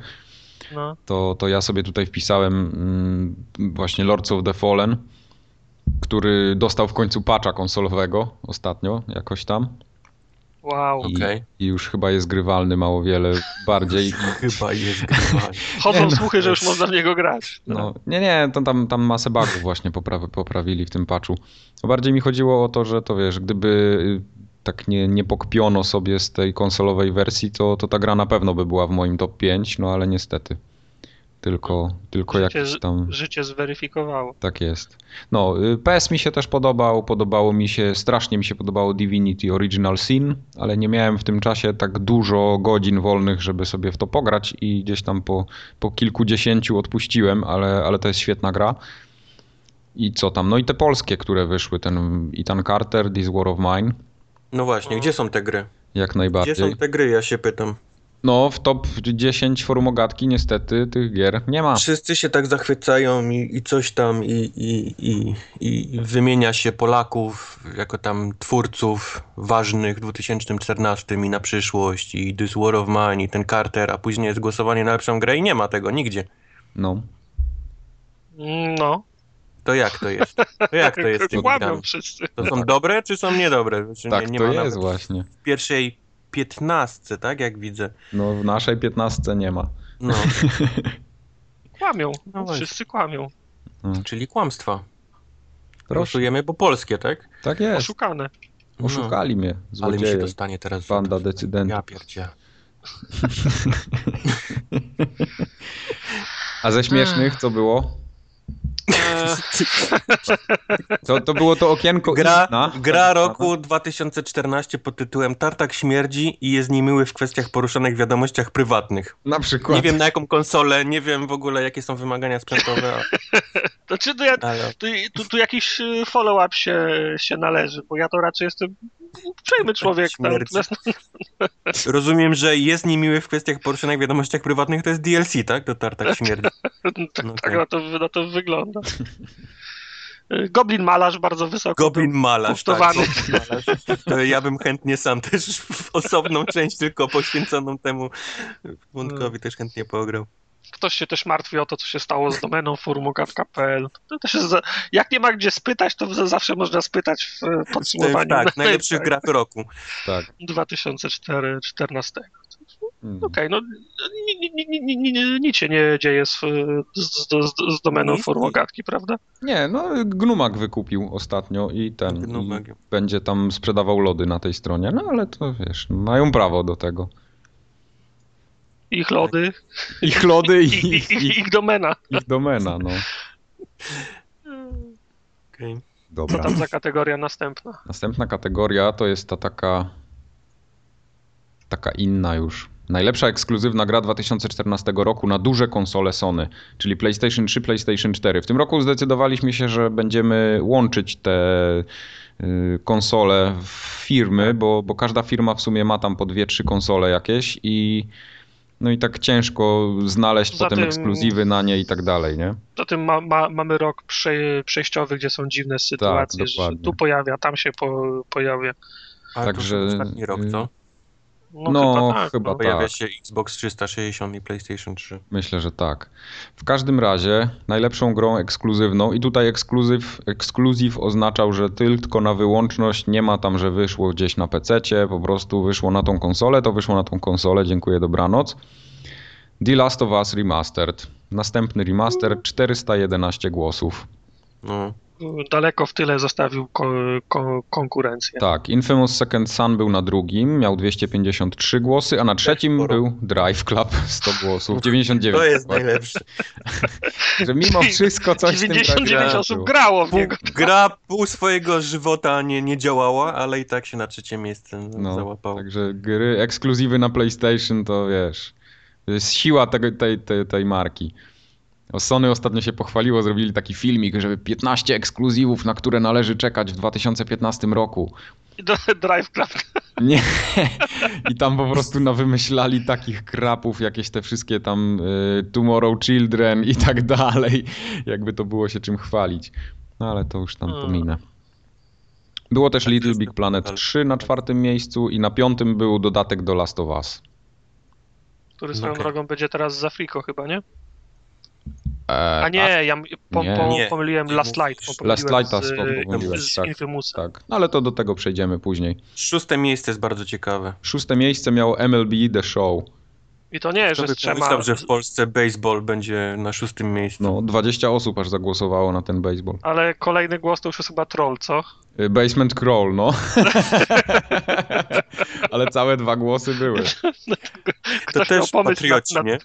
Speaker 3: No.
Speaker 1: to, to ja sobie tutaj wpisałem mm, właśnie Lords of the Fallen, który dostał w końcu patcha konsolowego ostatnio jakoś tam
Speaker 3: Wow.
Speaker 1: I-
Speaker 2: Okej.
Speaker 1: i już chyba jest grywalny mało wiele bardziej.
Speaker 2: Chyba jest grywa.
Speaker 3: Chodzą
Speaker 1: Nie, no.
Speaker 3: słuchy, że już można w niego grać.
Speaker 1: No, nie, nie, to tam, tam masę bugów właśnie poprawi, poprawili w tym patchu. No, Bardziej mi chodziło o to, że to wiesz, gdyby y, tak nie, nie pokpiono sobie z tej konsolowej wersji, to, to ta gra na pewno by była w moim top 5, no ale niestety. Tylko, tylko
Speaker 3: Życie
Speaker 1: jakiś
Speaker 3: z-
Speaker 1: tam...
Speaker 3: Życie zweryfikowało.
Speaker 1: Tak jest. No, y, PS mi się też podobał, podobało mi się, strasznie mi się podobało Divinity Original Sin, ale nie miałem w tym czasie tak dużo godzin wolnych, żeby sobie w to pograć i gdzieś tam po, po kilkudziesięciu odpuściłem, ale, ale to jest świetna gra. I co tam? No i te polskie, które wyszły, ten Ethan Carter, This War of Mine,
Speaker 2: No właśnie, gdzie są te gry?
Speaker 1: jak
Speaker 2: Gdzie
Speaker 1: najbardziej.
Speaker 2: są te gry, ja się pytam.
Speaker 1: No, w top 10 forumogatki niestety tych gier nie ma.
Speaker 2: Wszyscy się tak zachwycają i, i coś tam, i, i, i, i wymienia się Polaków jako tam twórców ważnych w 2014 i na przyszłość, i This War of Mine, i ten Carter, a później jest głosowanie na lepszą grę i nie ma tego nigdzie.
Speaker 1: No.
Speaker 3: No.
Speaker 2: To jak to jest? To jak to jest z tymi grami?
Speaker 3: Kłamią wszyscy.
Speaker 2: To są dobre, czy są niedobre? Znaczy,
Speaker 1: Tak,
Speaker 2: nie, nie
Speaker 1: to
Speaker 2: ma
Speaker 1: jest
Speaker 2: nawet
Speaker 1: właśnie.
Speaker 2: w pierwszej piętnastce, tak jak widzę.
Speaker 1: No, w naszej 15 nie ma.
Speaker 2: No,
Speaker 3: Kłamią.
Speaker 2: No właśnie.
Speaker 3: wszyscy kłamią.
Speaker 2: czyli kłamstwa.
Speaker 1: Proszę.
Speaker 2: Głosujemy po polskie, tak?
Speaker 1: Tak jest.
Speaker 3: Oszukane.
Speaker 2: No,
Speaker 1: Oszukali mnie,
Speaker 2: Ale mi się
Speaker 1: złodzieje,
Speaker 2: dostanie teraz. za to.
Speaker 1: banda decydentów.
Speaker 2: Ja pierdzie.
Speaker 1: A ze śmiesznych co było?
Speaker 3: E,
Speaker 1: To, to było to okienko
Speaker 2: Gra,
Speaker 1: inna.
Speaker 2: gra roku 2014 pod tytułem Tartak śmierdzi i jest niemiły w kwestiach poruszonych w wiadomościach prywatnych.
Speaker 1: Na przykład.
Speaker 2: Nie wiem na jaką konsolę, nie wiem w ogóle jakie są wymagania sprzętowe,
Speaker 3: to czy to znaczy, no ja,
Speaker 2: ale
Speaker 3: tu, tu, tu jakiś y, follow-up się, się należy, bo ja to raczej jestem uprzejmy człowiek. tak, no, tam-
Speaker 2: Tak, Śmierci. rozumiem, że jest niemiły w kwestiach poruszonych w wiadomościach prywatnych, to jest DLC, tak? Do Tartak śmierdzi.
Speaker 3: Tak,
Speaker 2: No
Speaker 3: tak
Speaker 2: tak.
Speaker 3: na, to, na to wygląda. E, Goblin malarz bardzo wysoko.
Speaker 2: Goblin malarz, tak.
Speaker 3: Kosztowany.
Speaker 2: Goblin malarz. To ja bym chętnie sam też w osobną część tylko poświęconą temu wątkowi też chętnie pograł.
Speaker 3: Ktoś się też martwi o to, co się stało z domeną furmogatka.pl. To też jest za... Jak nie ma gdzie spytać, to za- zawsze można spytać w podsumowaniu
Speaker 2: Tak, najlepszych grach roku.
Speaker 1: Tak.
Speaker 3: 2014.
Speaker 1: Mm.
Speaker 3: Okej, no ni- ni- ni- ni- ni- ni- nic się nie dzieje z, z, z, z domeną
Speaker 2: Nic.
Speaker 3: furmogatki, prawda?
Speaker 1: Nie, no Gnumak wykupił ostatnio i ten.
Speaker 2: Gnumak.
Speaker 1: I będzie tam sprzedawał lody na tej stronie, no ale to wiesz, mają prawo do tego.
Speaker 3: Ich lody
Speaker 1: Tak. Ich lody
Speaker 3: i, i, i, i ich domena.
Speaker 1: ich domena, no.
Speaker 2: Okej.
Speaker 3: Co
Speaker 1: Dobra.
Speaker 3: tam za kategoria następna?
Speaker 1: Następna kategoria to jest ta taka. Taka inna już. Najlepsza ekskluzywna gra 2014 roku na duże konsole Sony, czyli PlayStation 3, PlayStation 4. W tym roku zdecydowaliśmy się, że będziemy łączyć te y, konsole w firmy, bo, bo każda firma w sumie ma tam po dwie, trzy konsole jakieś i no i tak ciężko znaleźć
Speaker 3: Za
Speaker 1: potem
Speaker 3: tym-
Speaker 1: ekskluzywy na nie i tak dalej, nie?
Speaker 3: To tym ma, ma, mamy rok prze, przejściowy, gdzie są dziwne sytuacje, że
Speaker 1: Tak, dokładnie.
Speaker 3: tu pojawia, tam się po, pojawia.
Speaker 2: Ale
Speaker 1: Także,
Speaker 2: to już ostatni rok,
Speaker 1: y,
Speaker 2: co?
Speaker 3: No,
Speaker 1: No,
Speaker 3: chyba tak.
Speaker 1: chyba
Speaker 3: no.
Speaker 1: tak.
Speaker 2: Pojawia się Xbox 360 i PlayStation 3.
Speaker 1: Myślę, że tak. W każdym razie najlepszą grą ekskluzywną i tutaj ekskluzyw, ekskluzyw oznaczał, że tylko na wyłączność, nie ma tam, że wyszło gdzieś na PC, po prostu wyszło na tą konsolę, to wyszło na tą konsolę, dziękuję, dobranoc. The Last of Us Remastered. Następny remaster, 411 głosów.
Speaker 2: No.
Speaker 3: Daleko w tyle zostawił ko- ko- konkurencję.
Speaker 1: Tak, Infamous Second Son był na drugim, miał 253 głosy, a na trzecim
Speaker 2: sporo.
Speaker 1: był Drive Club, 100 głosów, 99.
Speaker 2: To jest
Speaker 1: dokładnie.
Speaker 2: najlepsze.
Speaker 1: Że mimo wszystko coś w tym tak Drive
Speaker 3: 99
Speaker 1: Clubie
Speaker 3: osób
Speaker 1: było.
Speaker 3: grało w
Speaker 2: Pół,
Speaker 3: niego.
Speaker 2: gra pół swojego żywota nie, nie działała, ale i tak się na trzecie miejsce no,
Speaker 1: No,
Speaker 2: załapało.
Speaker 1: także gry, ekskluzywy na PlayStation to wiesz, to jest siła tego, tej, tej, tej marki. O Sony ostatnio się pochwaliło, zrobili taki filmik, żeby 15 ekskluzywów, na które należy czekać w 2015 roku.
Speaker 3: Do- Drive Club.
Speaker 1: Nie. I tam po prostu nawymyślali takich krapów, jakieś te wszystkie tam y, Tomorrow Children i tak dalej. Jakby to było się czym chwalić. No ale to już tam
Speaker 3: Mm.
Speaker 1: pominę. Było też
Speaker 2: Hmm. Tak,
Speaker 1: Little
Speaker 2: jest
Speaker 1: Big
Speaker 2: to
Speaker 1: Planet
Speaker 2: nadal-
Speaker 1: 3 na czwartym miejscu i na piątym był dodatek do Last of Us.
Speaker 3: Który swoją
Speaker 1: No.
Speaker 2: Okej.
Speaker 3: drogą będzie teraz za Frico chyba, nie?
Speaker 1: E,
Speaker 3: A nie, ja m- po,
Speaker 1: Nie.
Speaker 3: Po,
Speaker 2: Nie.
Speaker 3: pomyliłem
Speaker 2: Nie
Speaker 3: Last Light.
Speaker 2: mówisz.
Speaker 1: Last
Speaker 3: pomyliłem
Speaker 1: Lighta
Speaker 3: z, y,
Speaker 1: pomyliłeś,
Speaker 3: z, z
Speaker 1: tak,
Speaker 3: Infamousa.
Speaker 1: Tak, no ale to do tego przejdziemy później.
Speaker 2: Szóste miejsce jest bardzo ciekawe.
Speaker 1: Szóste miejsce miało MLB The Show.
Speaker 3: I to nie,
Speaker 2: Kto
Speaker 3: że
Speaker 2: by
Speaker 3: z trzema...
Speaker 2: pomyślał, że w Polsce baseball będzie na szóstym miejscu?
Speaker 1: No, 20 osób aż zagłosowało na ten baseball.
Speaker 3: Ale kolejny głos to już jest chyba troll, co?
Speaker 1: Y, Basement Crawl, no. Ale całe dwa głosy były.
Speaker 2: to
Speaker 3: Ktoś miał
Speaker 2: też
Speaker 3: pomysł na,
Speaker 2: patrioci,
Speaker 3: na,
Speaker 2: nie?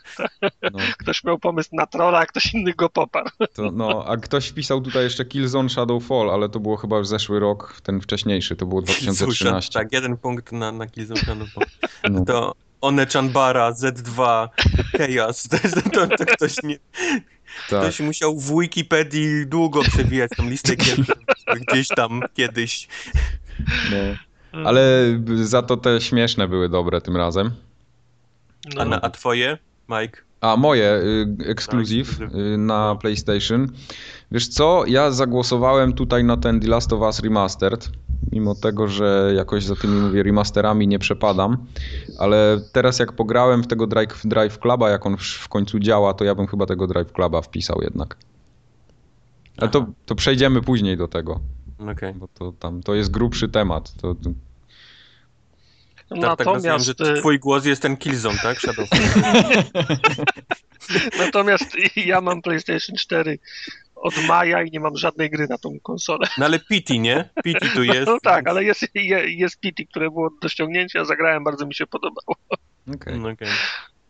Speaker 1: No,
Speaker 3: Ktoś miał pomysł na trolla, a ktoś inny go poparł.
Speaker 1: to, no, a ktoś wpisał tutaj jeszcze Killzone Shadowfall, ale to było chyba w zeszły rok, ten wcześniejszy, to było
Speaker 2: Słyszę,
Speaker 1: 2013.
Speaker 2: tak, jeden punkt na, na Killzone
Speaker 1: No.
Speaker 2: To One Chanbara, Z2, Chaos. To, jest- to, to ktoś, nie,
Speaker 1: Tak.
Speaker 2: ktoś musiał w Wikipedii długo przewijać tą listę gier, żeby gdzieś tam kiedyś. Hmm.
Speaker 1: No. Ale za to te śmieszne były dobre tym razem.
Speaker 3: No,
Speaker 2: A, na, a twoje, Mike?
Speaker 1: A moje y, ekskluzyw
Speaker 2: Tak,
Speaker 1: y, na PlayStation. Wiesz co, ja zagłosowałem tutaj na ten The Last of Us Remastered, mimo tego, że jakoś za tymi mówię remasterami nie przepadam, ale teraz jak pograłem w tego Drive, drive Cluba, jak on w, w końcu działa, to ja bym chyba tego Drive Cluba wpisał jednak. Ale to, to przejdziemy później do tego,
Speaker 2: Okej.
Speaker 1: bo to tam to jest grubszy temat. To, to,
Speaker 2: Tak, tak rozumiem,
Speaker 3: natomiast,
Speaker 2: że
Speaker 3: y,
Speaker 2: twój głos jest ten Killzone, tak? Shadow.
Speaker 3: natomiast ja mam PlayStation 4 od maja i nie mam żadnej gry na tą konsolę.
Speaker 2: No ale Pity, nie? Pity tu jest.
Speaker 3: No tak, ale jest, je- jest Pity, które było do ściągnięcia, zagrałem, bardzo mi się podobało.
Speaker 1: okej.
Speaker 2: No okej.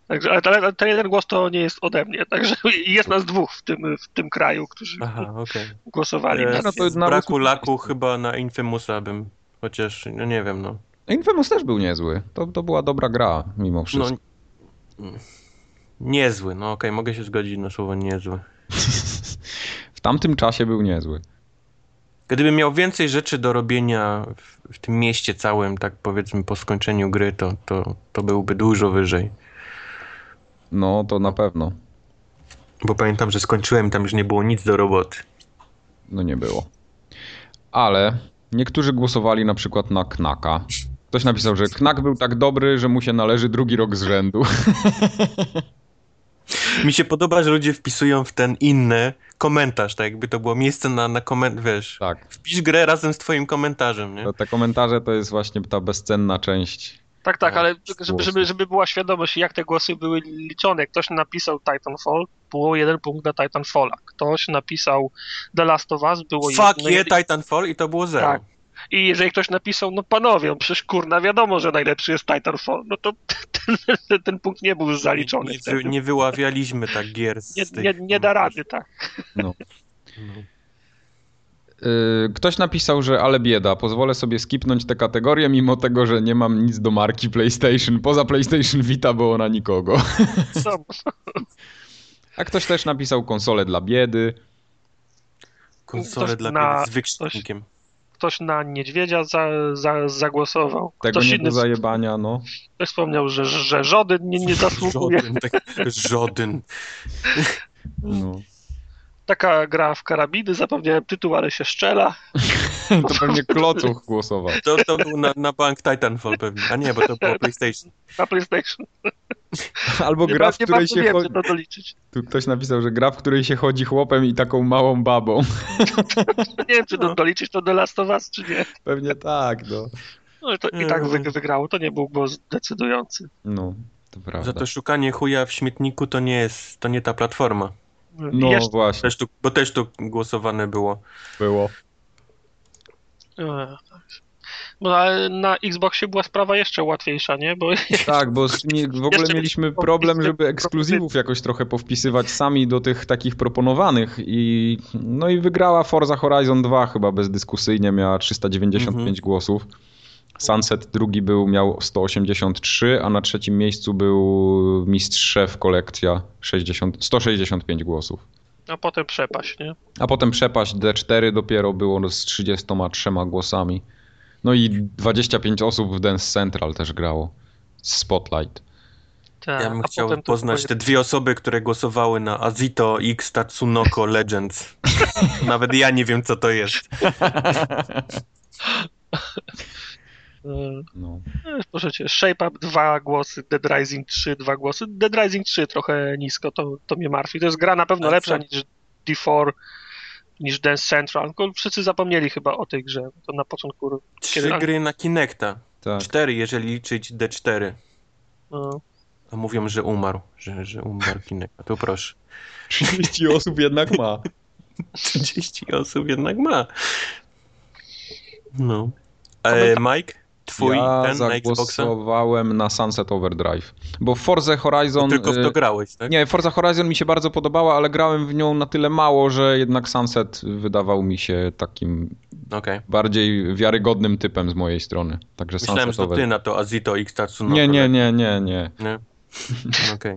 Speaker 3: Także, ale ten, ale ten jeden głos to nie jest ode mnie, także jest nas dwóch w tym, w tym kraju, którzy
Speaker 2: Aha, okej.
Speaker 3: głosowali.
Speaker 1: Jest.
Speaker 3: Na,
Speaker 1: no to
Speaker 2: Z
Speaker 1: na
Speaker 2: braku
Speaker 1: Rusu-
Speaker 2: laku chyba na Infamousa bym, chociaż, no nie wiem, no.
Speaker 1: Infamous też był niezły, to, to była dobra gra mimo wszystko.
Speaker 2: no mm, niezły, no okej, mogę się zgodzić na słowo niezły.
Speaker 1: W tamtym czasie był niezły.
Speaker 2: Gdybym miał więcej rzeczy do robienia w, w tym mieście całym, tak powiedzmy po skończeniu gry, to, to, to byłby dużo wyżej.
Speaker 1: No, to na pewno.
Speaker 2: Bo pamiętam, że skończyłem, tam już nie było nic do roboty.
Speaker 1: No nie było. Ale niektórzy głosowali na przykład na Knaka. Ktoś napisał, że Knak był tak dobry, że mu się należy drugi rok z rzędu.
Speaker 2: Mi się podoba, że ludzie wpisują w ten inny komentarz, tak jakby to było miejsce na, na komentarz, wiesz.
Speaker 1: Tak.
Speaker 2: Wpisz grę razem z twoim komentarzem, nie?
Speaker 1: Te- Te komentarze to jest właśnie ta bezcenna część.
Speaker 3: tak, tak,
Speaker 2: No,
Speaker 3: ale żeby, żeby,
Speaker 1: głosy.
Speaker 3: żeby była świadomość, jak te głosy były liczone. Ktoś napisał Titanfall, było jeden punkt na Titanfalla. Ktoś napisał The Last of Us, było
Speaker 2: Fuck
Speaker 3: jedno-
Speaker 2: yeah, Titanfall i to było zero.
Speaker 3: Tak. I jeżeli ktoś napisał, no panowie, no przecież kurna, wiadomo, że najlepszy jest Titanfall, no to ten, ten, ten punkt nie był zaliczony.
Speaker 2: Nie,
Speaker 3: wtedy.
Speaker 2: wy, nie wyławialiśmy tak gier z
Speaker 3: nie,
Speaker 2: tych
Speaker 3: nie, nie da
Speaker 2: komentarzy.
Speaker 3: rady, tak.
Speaker 2: No.
Speaker 1: Yy, Ktoś napisał, że ale bieda, pozwolę sobie skipnąć tę kategorię, mimo tego, że nie mam nic do marki PlayStation. Poza PlayStation Vita, bo ona nikogo.
Speaker 3: Co?
Speaker 1: A ktoś też napisał konsolę dla biedy.
Speaker 2: Konsole
Speaker 3: Ktoś
Speaker 2: dla
Speaker 3: na-
Speaker 2: biedy z wykrzyknikiem.
Speaker 3: Ktoś na niedźwiedzia za, za, zagłosował.
Speaker 1: Tego
Speaker 3: Ktoś
Speaker 1: nie
Speaker 3: inny
Speaker 1: do zajebania, no.
Speaker 3: ktoś wspomniał, że, że żody nie, nie zasługuje.
Speaker 2: Żodyn, tak, żodyn.
Speaker 1: no.
Speaker 3: Taka gra w karabiny, zapomniałem tytuł, ale się szczela.
Speaker 1: To pewnie klocuch głosował.
Speaker 2: To, to był na, na bank Titanfall pewnie. A nie, bo to
Speaker 3: Tak.
Speaker 2: było PlayStation.
Speaker 3: Na PlayStation.
Speaker 1: Albo
Speaker 3: Nie,
Speaker 1: gra,
Speaker 3: ba-
Speaker 1: w
Speaker 3: nie
Speaker 1: której
Speaker 3: bardzo
Speaker 1: się
Speaker 3: wiem,
Speaker 1: chodzi.
Speaker 3: czy to doliczyć.
Speaker 1: Tu ktoś napisał, że gra, w której się chodzi chłopem i taką małą babą.
Speaker 3: Nie wiem, czy to
Speaker 2: No.
Speaker 3: doliczyć to The Last of Us, czy nie.
Speaker 1: Pewnie tak, no.
Speaker 3: No, to i tak wy, wygrało, to nie był głos decydujący.
Speaker 1: no. To prawda.
Speaker 2: Za to szukanie chuja w śmietniku to nie jest, to nie ta platforma.
Speaker 1: No
Speaker 3: Jeszcze,
Speaker 1: właśnie,
Speaker 2: Też tu, bo też tu głosowane było.
Speaker 1: było.
Speaker 3: e, tak. Bo na, na Xboxie była sprawa jeszcze łatwiejsza, nie? Bo
Speaker 1: Tak, bo z- nie, w ogóle
Speaker 3: Jeszcze
Speaker 1: mieliśmy
Speaker 3: powpisy-
Speaker 1: problem, żeby ekskluzywów jakoś trochę powpisywać sami do tych takich proponowanych i no i wygrała Forza Horizon 2 chyba bezdyskusyjnie, miała 395
Speaker 3: Mhm.
Speaker 1: głosów. Sunset drugi był, miał 183, a na trzecim miejscu był Mistrz Szef Kolekcja 60, 165 głosów.
Speaker 3: a potem przepaść, nie?
Speaker 1: A potem przepaść D4 dopiero było z 33 głosami. No i 25 osób w Dance Central też grało. Spotlight.
Speaker 3: Tak,
Speaker 2: Ja bym
Speaker 3: a
Speaker 2: chciał
Speaker 3: potem to
Speaker 2: poznać
Speaker 3: twoje-
Speaker 2: te dwie osoby, które głosowały na Azito X Tatsunoko Legends. Nawet ja nie wiem, co to jest.
Speaker 3: e,
Speaker 1: No.
Speaker 3: Możecie, Shape Up 2 głosy, Dead Rising 3 2 głosy. Dead Rising 3 trochę nisko, to, to mnie martwi. To jest gra na pewno
Speaker 2: Ale
Speaker 3: lepsza
Speaker 2: co?
Speaker 3: niż D4, niż Dance Central. Tylko wszyscy zapomnieli chyba o tej grze. To na początku.
Speaker 2: Trzy
Speaker 3: Kiedy-
Speaker 2: gry na Kinecta.
Speaker 1: Tak.
Speaker 2: Cztery, jeżeli liczyć D4.
Speaker 3: No,
Speaker 2: To mówią, że umarł, że, że umarł Kinect. A tu proszę.
Speaker 1: 30 osób jednak ma.
Speaker 2: 30 osób jednak ma. No. E,
Speaker 3: Komentarz.
Speaker 2: Mike, twój
Speaker 1: tak. ja
Speaker 2: ten na Xboxa?
Speaker 1: zagłosowałem na Sunset Overdrive, bo w Forza Horizon...
Speaker 2: Tylko w to
Speaker 1: y,
Speaker 2: grałeś, tak?
Speaker 1: Nie, Forza Horizon mi się bardzo podobała, ale grałem w nią na tyle mało, że jednak Sunset wydawał mi się takim
Speaker 2: Okej.
Speaker 1: bardziej wiarygodnym typem z mojej strony. Także
Speaker 2: Myślałem,
Speaker 1: Sunset
Speaker 2: że to ty
Speaker 1: Overdrive.
Speaker 2: na to Azito X tak Tatsunoko.
Speaker 1: Nie, nie, nie, nie, nie.
Speaker 2: nie. Okej.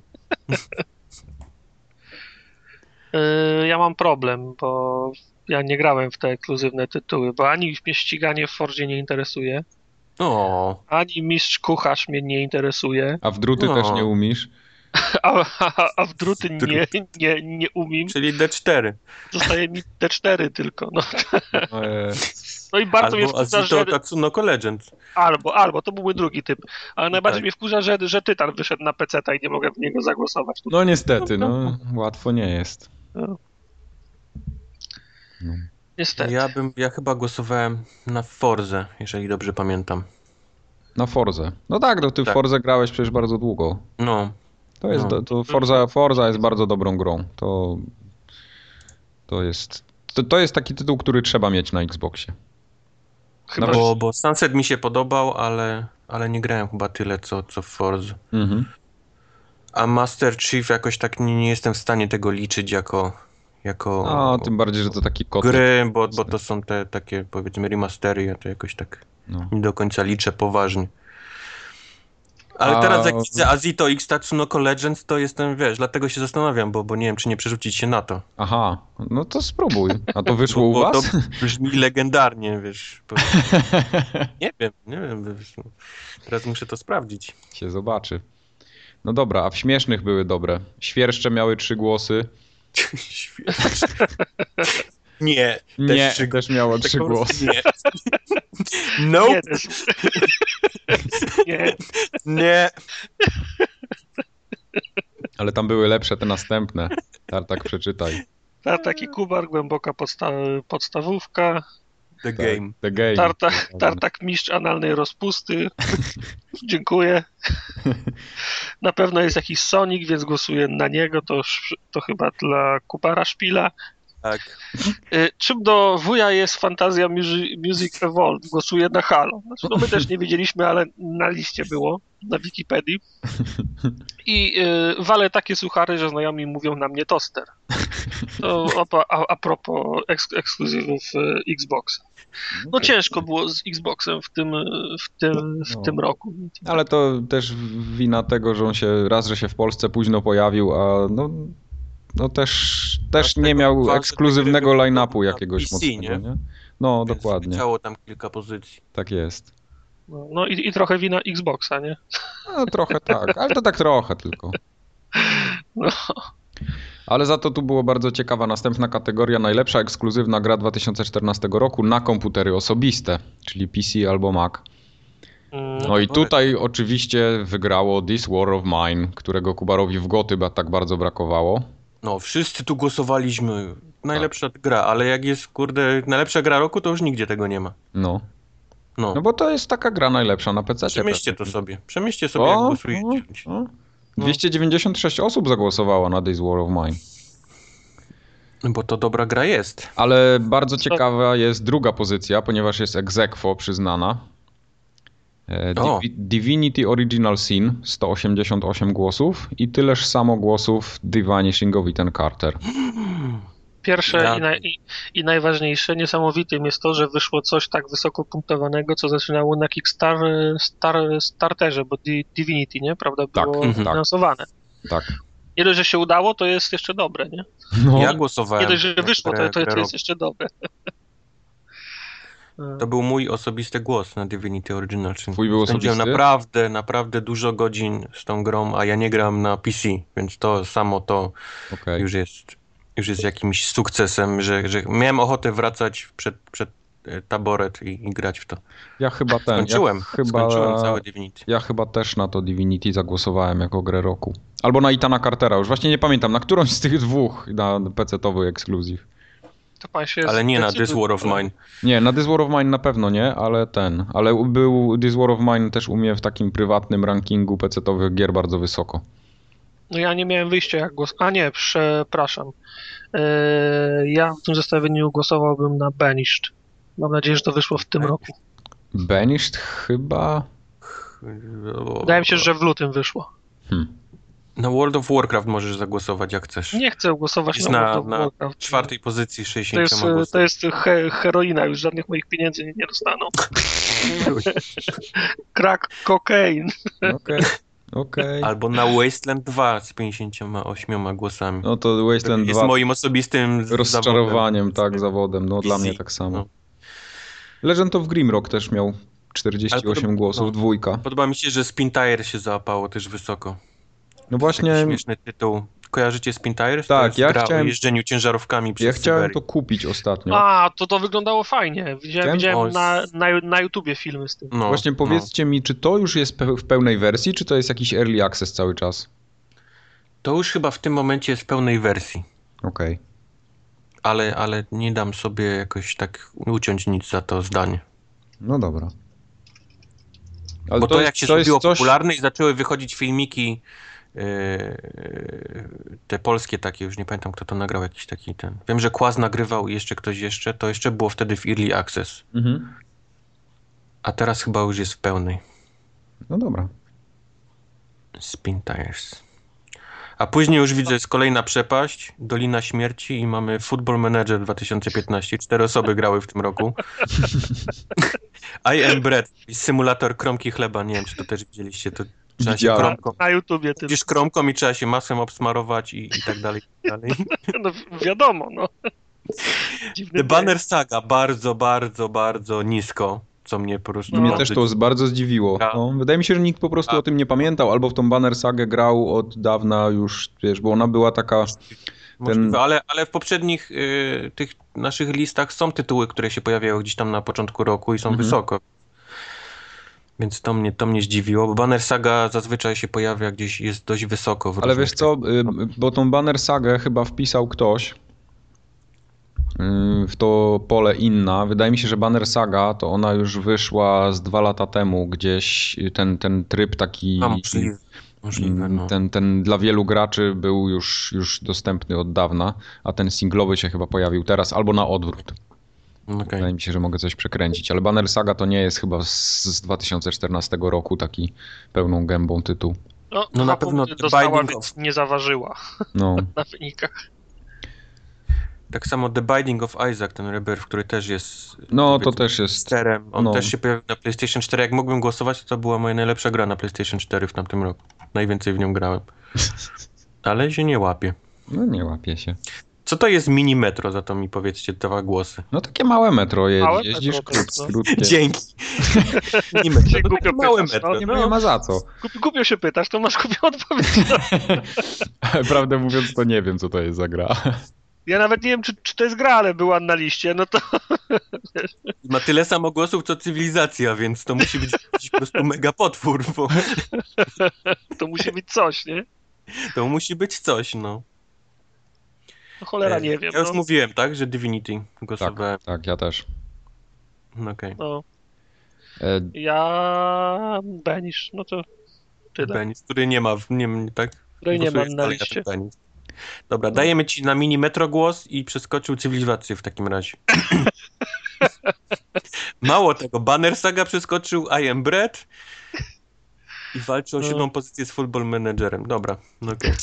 Speaker 3: Yy, ja mam problem, bo ja nie grałem w te ekskluzywne tytuły, bo ani mnie ściganie w Fordzie nie interesuje,
Speaker 2: O,
Speaker 3: ani mistrz kucharz mnie nie interesuje,
Speaker 1: A w druty
Speaker 2: No.
Speaker 1: też nie umisz?
Speaker 3: a, a, a w druty nie, nie, nie umiem.
Speaker 2: czyli D4.
Speaker 3: Zostaje mi T4 tylko. No,
Speaker 1: E,
Speaker 3: no i bardzo mnie
Speaker 2: Albo
Speaker 3: wkurza, że...
Speaker 2: Azito Tatsunoko Legend.
Speaker 3: Albo, albo, to byłby drugi typ. Ale najbardziej
Speaker 2: Tak.
Speaker 3: mnie wkurza, że, że Tytan wyszedł na PC i nie mogę w niego zagłosować.
Speaker 1: No niestety, no łatwo nie jest.
Speaker 3: No.
Speaker 1: No.
Speaker 3: Niestety.
Speaker 2: Ja bym, ja chyba głosowałem na Forzę, jeżeli dobrze pamiętam.
Speaker 1: Na Forze. No tak, no ty w
Speaker 2: Tak.
Speaker 1: Forze grałeś przecież bardzo długo.
Speaker 2: No,
Speaker 1: To jest,
Speaker 2: No.
Speaker 1: do- to Forza, Forza jest bardzo dobrą grą. To, to jest, to, to jest taki tytuł, który trzeba mieć na Xboxie.
Speaker 3: Chyba,
Speaker 1: no
Speaker 3: że-
Speaker 2: bo, bo Sunset mi się podobał, ale, ale nie grałem chyba tyle, co, co w Forze.
Speaker 1: Mhm.
Speaker 2: A Master Chief jakoś tak nie, nie jestem w stanie tego liczyć jako, jako
Speaker 1: A No, tym bardziej, że to taki kot.
Speaker 2: gry, bo, bo to są te takie powiedzmy remastery, ja to jakoś tak
Speaker 1: No.
Speaker 2: nie do końca liczę poważnie. Ale
Speaker 1: A-
Speaker 2: teraz jak widzę Azito X Tatsunoko Legends, to jestem, wiesz, dlatego się zastanawiam, bo, bo nie wiem, czy nie przerzucić się na to.
Speaker 1: Aha, no to spróbuj. A to wyszło
Speaker 2: No Bo-
Speaker 1: u
Speaker 2: bo
Speaker 1: was?
Speaker 2: To brzmi legendarnie, wiesz. Po... Nie wiem, nie wiem. Wiesz. no. Teraz muszę to sprawdzić.
Speaker 1: się zobaczy. No dobra, a w śmiesznych były dobre. Świerszcze miały trzy głosy.
Speaker 2: nie,
Speaker 1: Nie,
Speaker 2: trzy-
Speaker 1: też miało
Speaker 2: tak
Speaker 1: trzy
Speaker 2: po
Speaker 1: głosy.
Speaker 2: prostu Nie. Nope,
Speaker 3: Nie, to jest- nie,
Speaker 2: nie.
Speaker 1: Ale tam były lepsze te następne. Tartak, przeczytaj.
Speaker 3: Tartak i Kubar, głęboka podsta- podstawówka,
Speaker 2: The
Speaker 1: Tak,
Speaker 2: game.
Speaker 1: The game.
Speaker 3: tartak, tartak mistrz analnej rozpusty. Dziękuję. Na pewno jest jakiś Sonic, więc głosuję na niego, to, sz- to chyba dla Kubara Szpila.
Speaker 2: Tak.
Speaker 3: Y, Czym do wuja jest fantazja Musi- Music Evolved? Głosuje na Halo. Znaczy, no my też nie wiedzieliśmy, ale na liście było, na Wikipedii. I y, walę takie suchary, że znajomi mówią na mnie toster. To opa, a, a propos eks, ekskluzywów y, Xbox. No
Speaker 1: Okej.
Speaker 3: ciężko było z Xboxem w tym, y, w tym, w
Speaker 1: No.
Speaker 3: tym roku.
Speaker 1: Ale to też wina tego, że on się raz, że się w Polsce późno pojawił, a no, no też, też nie
Speaker 2: Dlatego
Speaker 1: miał
Speaker 2: ważne,
Speaker 1: ekskluzywnego
Speaker 2: żeby
Speaker 1: line-upu
Speaker 2: na
Speaker 1: jakiegoś
Speaker 2: PC, nie?
Speaker 1: mocnego, nie? No,
Speaker 2: Więc
Speaker 1: dokładnie,
Speaker 2: Ciało tam kilka pozycji.
Speaker 1: tak jest.
Speaker 3: No, no i, i trochę wina Xboxa, nie?
Speaker 1: No, trochę tak, ale to tak trochę tylko.
Speaker 3: No.
Speaker 1: Ale za to tu było bardzo ciekawa następna kategoria, najlepsza ekskluzywna gra 2014 roku na komputery osobiste, czyli PC albo Mac.
Speaker 3: Mm,
Speaker 1: No i tutaj oczywiście wygrało This War of Mine, którego Kubarowi w goty ba- tak bardzo brakowało.
Speaker 2: No, wszyscy tu głosowaliśmy. Najlepsza
Speaker 1: Tak.
Speaker 2: gra, ale jak jest, kurde, najlepsza gra roku, to już nigdzie tego nie ma.
Speaker 1: No.
Speaker 2: No.
Speaker 1: No bo to jest taka gra najlepsza na PC.
Speaker 2: Przemyślcie to sobie. Przemyślcie sobie, jak
Speaker 1: O,
Speaker 2: głosujecie.
Speaker 1: o, o. 296 osób zagłosowało na Days War of Mine.
Speaker 2: No Bo to dobra gra jest.
Speaker 1: Ale
Speaker 2: Tak.
Speaker 1: bardzo ciekawa jest druga pozycja, ponieważ jest ex aequo przyznana. E,
Speaker 2: O.
Speaker 1: Divi- Divinity Original Sin 188 głosów i tyleż samo głosów The Vanishing of Ethan Carter.
Speaker 3: Pierwsze
Speaker 2: Ja-
Speaker 3: i, naj, i, i najważniejsze, niesamowitym jest to, że wyszło coś tak wysoko punktowanego, co zaczynało na Kickstarter, star, starterze, bo Di- Divinity, nie? Prawda,
Speaker 1: Tak,
Speaker 3: było
Speaker 2: mhm.
Speaker 3: finansowane.
Speaker 1: Tak.
Speaker 3: Nie dość, że się udało, to jest jeszcze dobre, nie?
Speaker 1: No,
Speaker 2: Ja głosowałem.
Speaker 3: Nie dość, że
Speaker 2: na
Speaker 3: wyszło,
Speaker 2: grę-
Speaker 3: to, to,
Speaker 2: grę
Speaker 3: to
Speaker 2: roku.
Speaker 3: jest jeszcze dobre.
Speaker 2: To był mój osobisty głos na Divinity Original. Sin.
Speaker 1: Twój był
Speaker 2: Spędziłem
Speaker 1: osobisty?
Speaker 2: naprawdę, naprawdę dużo godzin z tą grą, a ja nie gram na PC, więc to samo to
Speaker 1: okej.
Speaker 2: już jest, już jest jakimś sukcesem, że, że miałem ochotę wracać przed, przed e, taboret i, i grać w to.
Speaker 1: Tak, Ja chyba ten.
Speaker 2: Skończyłem,
Speaker 1: Ja chyba,
Speaker 2: skończyłem całe Divinity.
Speaker 1: ja chyba też na to Divinity zagłosowałem jako grę roku. Albo na Itana Cartera, już właśnie nie pamiętam, na którąś z tych dwóch na PC-towy ekskluzyw.
Speaker 3: To pan się
Speaker 2: Ale nie na
Speaker 3: zdecyduje.
Speaker 2: This War of Mine.
Speaker 1: Nie, na This War of Mine na pewno nie, ale ten. Ale był This War of Mine też u mnie w takim prywatnym rankingu PC-towych gier bardzo wysoko.
Speaker 3: No ja nie miałem wyjścia jak głos. A nie, przepraszam. Eee, ja w tym zestawieniu głosowałbym na Banished. Mam nadzieję, że to wyszło w tym
Speaker 2: Tak,
Speaker 3: roku.
Speaker 1: Banished chyba.
Speaker 3: Wydaje mi się, że w lutym wyszło.
Speaker 1: Hmm.
Speaker 2: Na World of Warcraft możesz zagłosować jak chcesz.
Speaker 3: Nie chcę głosować
Speaker 2: Jest
Speaker 3: na,
Speaker 2: na-
Speaker 3: World of
Speaker 2: na
Speaker 3: Warcraft.
Speaker 2: W czwartej pozycji
Speaker 3: to
Speaker 2: 60
Speaker 3: jest,
Speaker 2: głosów.
Speaker 3: to jest he, heroina, już żadnych moich pieniędzy nie, nie dostaną. Crack cocaine.
Speaker 1: Okej, okej.
Speaker 2: Albo na Wasteland 2 z 58 głosami.
Speaker 1: No to Wasteland
Speaker 2: jest
Speaker 1: 2
Speaker 2: moim osobistym z-
Speaker 1: rozczarowaniem,
Speaker 2: zawodem.
Speaker 1: tak, zawodem. No dla
Speaker 2: Easy.
Speaker 1: mnie tak samo.
Speaker 2: No.
Speaker 1: Legend of Grimrock też miał
Speaker 2: Ale
Speaker 1: 48
Speaker 2: podobno-
Speaker 1: głosów,
Speaker 2: no.
Speaker 1: dwójka.
Speaker 2: Podoba mi się, że Spin Tire się załapało też wysoko.
Speaker 1: No
Speaker 2: Taki
Speaker 1: właśnie,
Speaker 2: śmieszny tytuł. Kojarzycie Spin Tire?
Speaker 1: Tak,
Speaker 2: to jest
Speaker 1: ja
Speaker 2: gra
Speaker 1: chciałem-
Speaker 2: o jeżdżeniu ciężarówkami przez
Speaker 1: ja chciałem to
Speaker 2: Syberię.
Speaker 1: kupić ostatnio.
Speaker 3: A, to to wyglądało fajnie. Widziałem,
Speaker 1: No. Ten?
Speaker 2: O,
Speaker 3: widziałem
Speaker 2: jest-
Speaker 3: na, na, na YouTubie filmy z tym.
Speaker 2: No,
Speaker 1: Właśnie powiedzcie mi, czy to już jest pe- w pełnej wersji, czy to jest jakiś early access cały czas?
Speaker 2: No. To już chyba w tym momencie jest w pełnej wersji.
Speaker 1: Okej.
Speaker 2: Ale, ale nie dam sobie jakoś tak uciąć nic za to zdanie.
Speaker 1: No dobra. Ale
Speaker 2: Bo to, jak się zrobiło
Speaker 1: coś,
Speaker 2: popularne i zaczęły wychodzić filmiki yy, yy, te polskie takie, już nie pamiętam kto to nagrał, jakiś taki ten. Wiem, że Kłaz nagrywał i jeszcze ktoś jeszcze, to jeszcze było wtedy w Early Access,
Speaker 1: Mhm.
Speaker 2: a teraz chyba już jest w pełnej.
Speaker 1: No dobra.
Speaker 2: Spin Tires. A później już widzę, jest kolejna przepaść, Dolina Śmierci i mamy Football Manager 2015. Cztery osoby grały w tym roku. I Am Bread, symulator kromki chleba, nie wiem czy to też widzieliście, to trzeba się
Speaker 1: Widziałem.
Speaker 2: kromką
Speaker 3: Na YouTubie tym.
Speaker 2: Widzisz kromką i trzeba się masłem obsmarować i, i tak dalej. I tak dalej.
Speaker 3: No, wiadomo, no. Dziwny
Speaker 2: The
Speaker 3: projekt.
Speaker 2: Banner Saga bardzo, bardzo, bardzo nisko, co mnie po prostu...
Speaker 3: No.
Speaker 1: Mnie też to z- bardzo zdziwiło.
Speaker 2: Ja.
Speaker 1: No, wydaje mi się, że nikt po prostu
Speaker 2: Ja.
Speaker 1: o tym nie pamiętał, albo w tą Banner Sagę grał od dawna już, wiesz, bo ona była taka...
Speaker 2: Możliwe,
Speaker 1: ten-
Speaker 2: ale, ale w poprzednich y, tych naszych listach są tytuły, które się pojawiają gdzieś tam na początku roku i są
Speaker 1: Mhm.
Speaker 2: wysoko. Więc to mnie, to mnie zdziwiło, bo Banner Saga zazwyczaj się pojawia gdzieś, jest dość wysoko. W
Speaker 1: Ale
Speaker 2: różnych
Speaker 1: wiesz co, y, bo tą Banner Sagę chyba wpisał ktoś y, w to pole inna. Wydaje mi się, że Banner Saga to ona już wyszła z dwa lata temu gdzieś, y, ten, ten tryb taki... y,
Speaker 2: A,
Speaker 1: Mm,
Speaker 2: możliwe, możliwe no.
Speaker 1: Ten, ten dla wielu graczy był już, już dostępny od dawna, a ten singlowy się chyba pojawił teraz, albo na odwrót.
Speaker 2: Okej.
Speaker 1: Wydaje mi się, że mogę coś przekręcić, ale Banner Saga to nie jest chyba z, z 2014 roku taki pełną gębą tytuł.
Speaker 3: No,
Speaker 2: No,
Speaker 3: dwa
Speaker 2: na pewno
Speaker 3: punkty
Speaker 2: The
Speaker 3: dostała,
Speaker 2: Binding
Speaker 3: więc nie zaważyła
Speaker 1: No,
Speaker 3: na wynikach.
Speaker 2: Tak samo The Binding of Isaac, ten rebirth, który też jest
Speaker 1: no to
Speaker 2: powiedzmy,
Speaker 1: też jest.
Speaker 2: Sterem. On
Speaker 1: No.
Speaker 2: też się pojawił na PlayStation 4. Jak mógłbym głosować, to była moja najlepsza gra na PlayStation 4 w tamtym roku. Najwięcej w nią grałem. Ale się nie łapie.
Speaker 1: No nie łapie się.
Speaker 2: Co to jest mini metro? Za to mi powiedzcie dwa głosy.
Speaker 1: No takie małe metro je,
Speaker 3: Małe
Speaker 1: jeździsz,
Speaker 3: metro to jest,
Speaker 1: krót,
Speaker 3: no.
Speaker 1: krótkie.
Speaker 2: Dzięki. mini metro.
Speaker 3: Się
Speaker 2: No,
Speaker 3: głupio
Speaker 2: takie małe
Speaker 3: pytasz,
Speaker 2: metro.
Speaker 3: no.
Speaker 1: Nie
Speaker 2: No.
Speaker 1: ma za co.
Speaker 3: Gup- Głupio się pytasz, to masz głupią odpowiedź. No.
Speaker 1: Prawdę mówiąc, to nie wiem, co to jest za gra.
Speaker 3: Ja nawet nie wiem, czy, czy to jest gra, ale była na liście, no to
Speaker 2: Ma tyle samo głosów, co cywilizacja, więc to musi być jakiś po prostu mega potwór, bo
Speaker 3: To musi być coś, nie?
Speaker 2: to musi być coś, no.
Speaker 3: No cholera, nie wiem.
Speaker 2: Ja już
Speaker 3: no.
Speaker 2: mówiłem, tak, że Divinity głosowałem.
Speaker 1: Tak, ja też.
Speaker 2: Okej.
Speaker 3: No,
Speaker 1: E,
Speaker 3: ja... Benisz, no to... Tyle.
Speaker 2: Benis, który nie ma, w- nie, nie- tak?
Speaker 3: Której nie
Speaker 2: Głosujesz
Speaker 3: mam na
Speaker 2: dalej ten
Speaker 3: liście.
Speaker 2: Benis. Dobra, dajemy ci na mini metro głos i przeskoczył cywilizację w takim razie. Mało tego, Banner Saga przeskoczył I Am Bread i walczy o
Speaker 3: No.
Speaker 2: siódmą pozycję z Football Managerem. Dobra, no okej.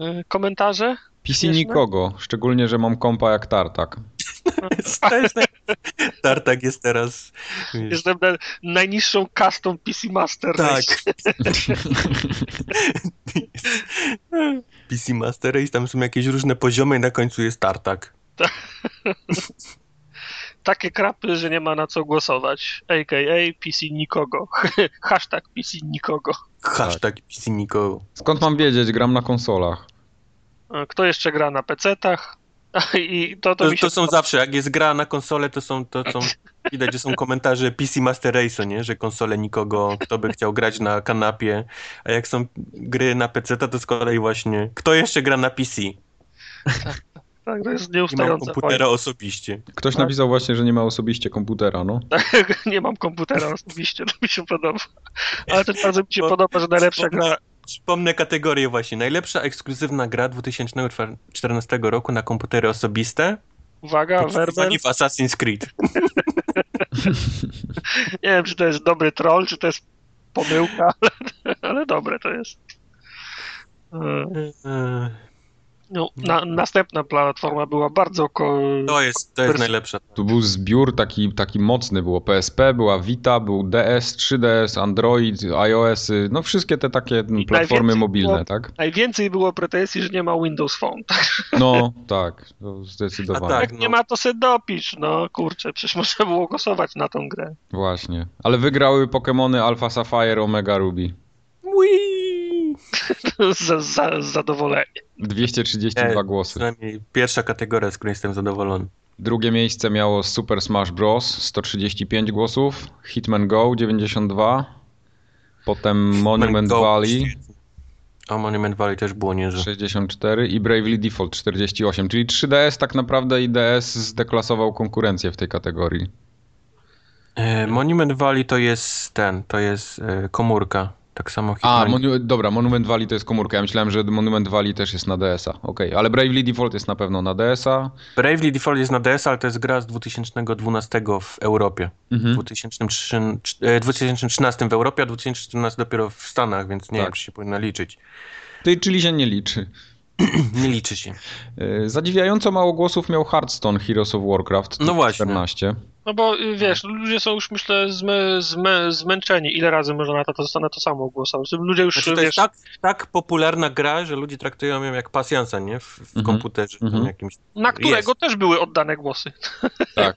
Speaker 3: Y, Komentarze?
Speaker 1: PC
Speaker 3: Śmieszne?
Speaker 1: nikogo, szczególnie, że mam kompa jak tartak.
Speaker 2: To jest tak- Tartak jest teraz... wiesz,
Speaker 3: Jestem na, najniższą kastą PC Master.
Speaker 2: Tak. PC Master Race, tam są jakieś różne poziomy i na końcu jest tartak.
Speaker 3: Takie krapy, że nie ma na co głosować. AKA PC nikogo. Hashtag PC nikogo.
Speaker 2: Hashtag PC nikogo.
Speaker 1: Skąd mam wiedzieć, gram na konsolach.
Speaker 3: Y, Kto jeszcze gra na PC-tach? I to, to,
Speaker 2: To,
Speaker 3: mi się
Speaker 2: to są zawsze, jak jest gra na konsolę, to są, to są widać, że są komentarze PC Master Race, nie? że konsole nikogo, kto by chciał grać na kanapie, a jak są gry na PC, to z kolei właśnie, kto jeszcze gra na PC? Nie
Speaker 3: Tak, to jest
Speaker 2: ma
Speaker 3: nieustająca
Speaker 2: komputera osobiście.
Speaker 1: Ktoś
Speaker 3: Tak.
Speaker 1: napisał właśnie, że nie ma osobiście komputera, no.
Speaker 3: wojna. Nie mam komputera osobiście, to mi się podoba. Ale też bardzo mi się
Speaker 2: Bo-
Speaker 3: podoba, że najlepsza gra
Speaker 2: Przypomnę, przypomnę kategorię właśnie, najlepsza ekskluzywna gra 2014 roku na komputery osobiste,
Speaker 3: Uwaga, werbel.
Speaker 2: Ani w Assassin's Creed.
Speaker 3: Nie wiem, czy to jest dobry troll, czy to jest pomyłka, ale, ale dobre to jest. E,
Speaker 2: Eee,
Speaker 3: No, na, następna platforma była bardzo ko...
Speaker 2: To jest, to jest
Speaker 3: Pers-
Speaker 2: najlepsze.
Speaker 1: Tu był zbiór taki, taki mocny, było PSP, była Vita, był DS, 3DS, Android, iOS, no wszystkie te takie m,
Speaker 3: najwięcej
Speaker 1: platformy mobilne,
Speaker 3: było-
Speaker 1: tak?
Speaker 3: Najwięcej było pretensji, że nie ma Windows Phone. Tak,
Speaker 1: No, tak, to
Speaker 2: A
Speaker 1: zdecydowanie.
Speaker 2: tak,
Speaker 3: jak
Speaker 2: no.
Speaker 3: nie ma, to se dopisz. No kurczę, przecież można było głosować na tą grę.
Speaker 1: Właśnie. Ale wygrały Pokémony Alpha Sapphire, Omega Ruby.
Speaker 2: Ui!
Speaker 3: za, za, z zadowoleniem.
Speaker 1: 232
Speaker 2: Ej,
Speaker 1: głosy.
Speaker 2: Przynajmniej pierwsza kategoria, z której jestem zadowolony.
Speaker 1: Drugie miejsce miało Super Smash Bros. 135 głosów, Hitman Go 92, potem Monument
Speaker 2: Go-
Speaker 1: Valley
Speaker 2: A Monument Valley też było niezłe.
Speaker 1: 64 i Bravely Default 48, czyli 3DS tak naprawdę i DS zdeklasował konkurencję w tej kategorii.
Speaker 2: E, Monument Valley to jest ten, to jest e, komórka. Tak samo
Speaker 1: A,
Speaker 2: Hitman.
Speaker 1: Monu- dobra, Monument Valley to jest komórka, ja myślałem, że Monument Valley też jest na DS-a, okej, ale Bravely Default jest na pewno na DS-a.
Speaker 2: Bravely Default jest na DS, ale to jest gra z 2012 w Europie. W
Speaker 1: Mhm.
Speaker 2: 2003, e, 2013 w Europie, a 2014 dopiero w Stanach, więc nie
Speaker 1: Tak.
Speaker 2: wiem, czy się powinno liczyć.
Speaker 1: Ty, czyli się nie liczy.
Speaker 2: nie liczy się.
Speaker 1: Yy, Zadziwiająco mało głosów miał Hearthstone Heroes of Warcraft
Speaker 2: No właśnie.
Speaker 1: 14.
Speaker 3: No bo y, wiesz, ludzie są już myślę zmę, zmę, zmęczeni. Ile razy można na to, to, na to samo głosować? Ludzie już,
Speaker 2: Znaczy, to
Speaker 3: wiesz,
Speaker 2: jest tak, tak popularna gra, że ludzie traktują ją jak pasjansa, nie? W, w
Speaker 1: Mhm.
Speaker 2: komputerze tam
Speaker 1: Mhm.
Speaker 2: jakimś.
Speaker 3: na którego
Speaker 2: Jest.
Speaker 3: też były oddane głosy.
Speaker 1: Tak.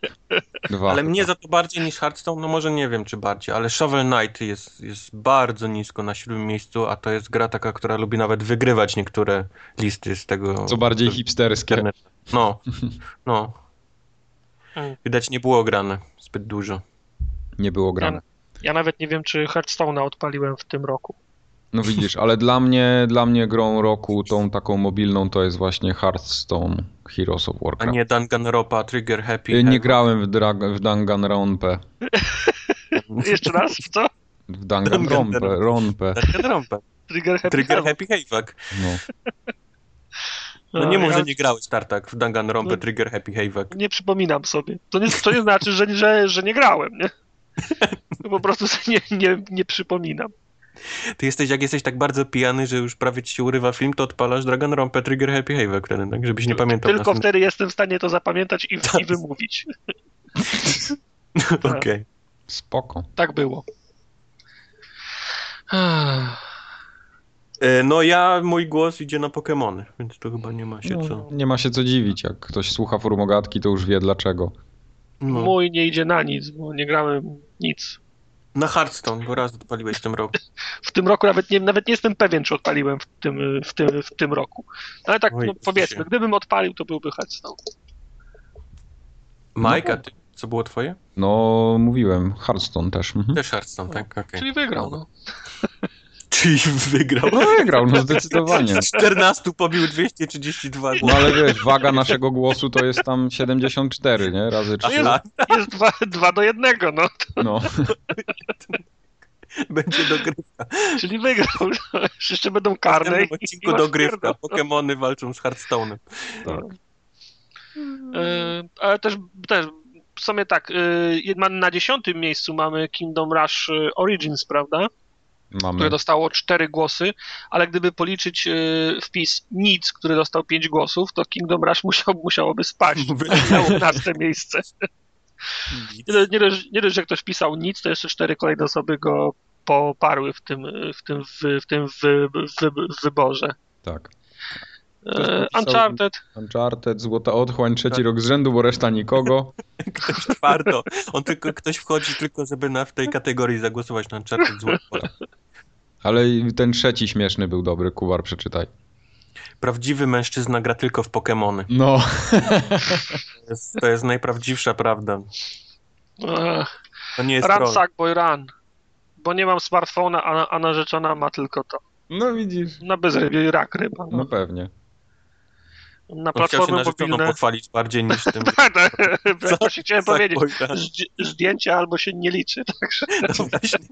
Speaker 1: Dwa.
Speaker 2: Ale mnie za to bardziej niż Hearthstone, no może nie wiem czy bardziej, ale Shovel Knight jest, jest bardzo nisko na siódmym miejscu, a to jest gra taka, która lubi nawet wygrywać niektóre listy z tego.
Speaker 1: Co bardziej
Speaker 2: z
Speaker 1: hipsterskie.
Speaker 2: internetu. No, no.
Speaker 3: Mm.
Speaker 2: Widać nie było grane zbyt dużo.
Speaker 1: Nie było grane.
Speaker 3: Ja nawet nie wiem, czy Hearthstone'a odpaliłem w tym roku.
Speaker 1: No widzisz, ale dla mnie, dla mnie grą roku, tą taką mobilną, to jest właśnie Hearthstone Heroes of
Speaker 2: A
Speaker 1: Warcraft. E,
Speaker 2: nie Danganronpa, Trigger Happy.
Speaker 1: Y, nie,
Speaker 2: Heaven.
Speaker 1: grałem w, drag- w Danganronpe.
Speaker 3: Jeszcze raz, w co?
Speaker 1: W Danganronpe,
Speaker 2: Danganronpe.
Speaker 1: Ronpe.
Speaker 2: Danganronpa.
Speaker 3: Trigger Happy
Speaker 2: Trigger
Speaker 3: Heaven.
Speaker 2: Happy Hayfuck.
Speaker 1: No.
Speaker 2: No nie mów,
Speaker 3: ja
Speaker 2: że nie grałeś, Tartak, w Danganronpa,
Speaker 3: No.
Speaker 2: Trigger Happy Hayfuck.
Speaker 3: nie przypominam sobie. To nie, to nie znaczy, że, że, że nie grałem, nie? No Po prostu sobie nie, nie, nie przypominam.
Speaker 2: Ty jesteś, jak jesteś tak bardzo pijany, że już prawie ci się urywa film, to odpalasz Dragon Rompe Trigger Happy Haven wtedy, tak? Żebyś nie Tak. pamiętał.
Speaker 3: Tylko wtedy jestem w stanie to zapamiętać i, i wymówić.
Speaker 2: Okej.
Speaker 1: Spoko.
Speaker 3: Tak było.
Speaker 2: E, No ja, mój głos idzie na Pokemony, więc to chyba nie ma się
Speaker 1: No,
Speaker 2: co.
Speaker 1: nie ma się co dziwić. Jak ktoś słucha formogatki, to już wie dlaczego.
Speaker 2: No.
Speaker 3: Mój nie idzie na nic, bo nie grałem nic.
Speaker 2: Na Hearthstone, bo raz odpaliłeś w tym roku.
Speaker 3: W tym roku nawet nie, nawet nie jestem pewien, czy odpaliłem w tym, w tym, w tym roku. Ale tak
Speaker 2: Oj,
Speaker 3: no,
Speaker 2: się.
Speaker 3: powiedzmy, gdybym odpalił, to byłby Hearthstone.
Speaker 2: Mike, a ty, co było twoje?
Speaker 1: No, mówiłem, Hearthstone też. Mhm.
Speaker 2: Też Hearthstone, tak, okej.
Speaker 3: Czyli wygrał, no.
Speaker 2: Czyli wygrał.
Speaker 1: No wygrał, no zdecydowanie.
Speaker 2: 14 pobił 232
Speaker 1: No
Speaker 2: głosy.
Speaker 1: ale wiesz, waga naszego głosu to jest tam 74, nie? Razy 3.
Speaker 2: Aha.
Speaker 3: Jest 2 do 1, no.
Speaker 1: No.
Speaker 2: Będzie dogrywka.
Speaker 3: Czyli wygrał. no, Jeszcze będą karne.
Speaker 2: W
Speaker 3: i-
Speaker 2: tym
Speaker 3: i
Speaker 2: odcinku
Speaker 3: masz
Speaker 2: dogrywka.
Speaker 3: pierdol.
Speaker 2: Pokemony walczą z Hearthstone'em.
Speaker 3: E, Ale też, też w sumie tak, e, jedna- na dziesiątym miejscu mamy Kingdom Rush e, Origins, prawda?
Speaker 1: Mamy.
Speaker 2: Mhm.
Speaker 3: Które dostało cztery głosy, ale gdyby policzyć e, wpis nic, który dostał pięć głosów, to Kingdom Rush musiał, musiałoby spaść na 15 miejsce. Nie, dość- nie, dość- nie dość, że ktoś pisał nic, to jeszcze cztery kolejne osoby go poparły w tym, w tym, w, w tym wy, wy, wyborze.
Speaker 1: Tak.
Speaker 3: E,
Speaker 1: Ktoś napisał-
Speaker 3: Uncharted,
Speaker 1: Uncharted, Złota Otchłań, trzeci rok z rzędu, bo reszta nikogo.
Speaker 2: Ktoś twardo. On tylko, ktoś wchodzi tylko, żeby na, w tej kategorii zagłosować na Uncharted Złoto.
Speaker 1: Ale i ten trzeci śmieszny był dobry, Kubar, przeczytaj.
Speaker 2: Prawdziwy mężczyzna gra tylko w Pokemony.
Speaker 1: No,
Speaker 2: To jest, to jest najprawdziwsza prawda.
Speaker 3: e,
Speaker 2: To nie jest
Speaker 3: Run
Speaker 2: troll.
Speaker 3: Sackboy Run, bo nie mam smartfona, a, a narzeczona ma tylko to.
Speaker 1: no widzisz.
Speaker 3: Na bezrybie i rak ryba.
Speaker 1: No
Speaker 3: No.
Speaker 1: pewnie.
Speaker 3: Na
Speaker 2: No. On chciał się
Speaker 3: platformy
Speaker 2: narzeczoną
Speaker 3: mobilne.
Speaker 2: pochwalić bardziej niż tym.
Speaker 3: Tak, tak, właśnie chciałem
Speaker 2: Sackboy
Speaker 3: powiedzieć.
Speaker 2: Run.
Speaker 3: Zdj- Zdjęcia albo się nie liczy. Także
Speaker 2: No właśnie.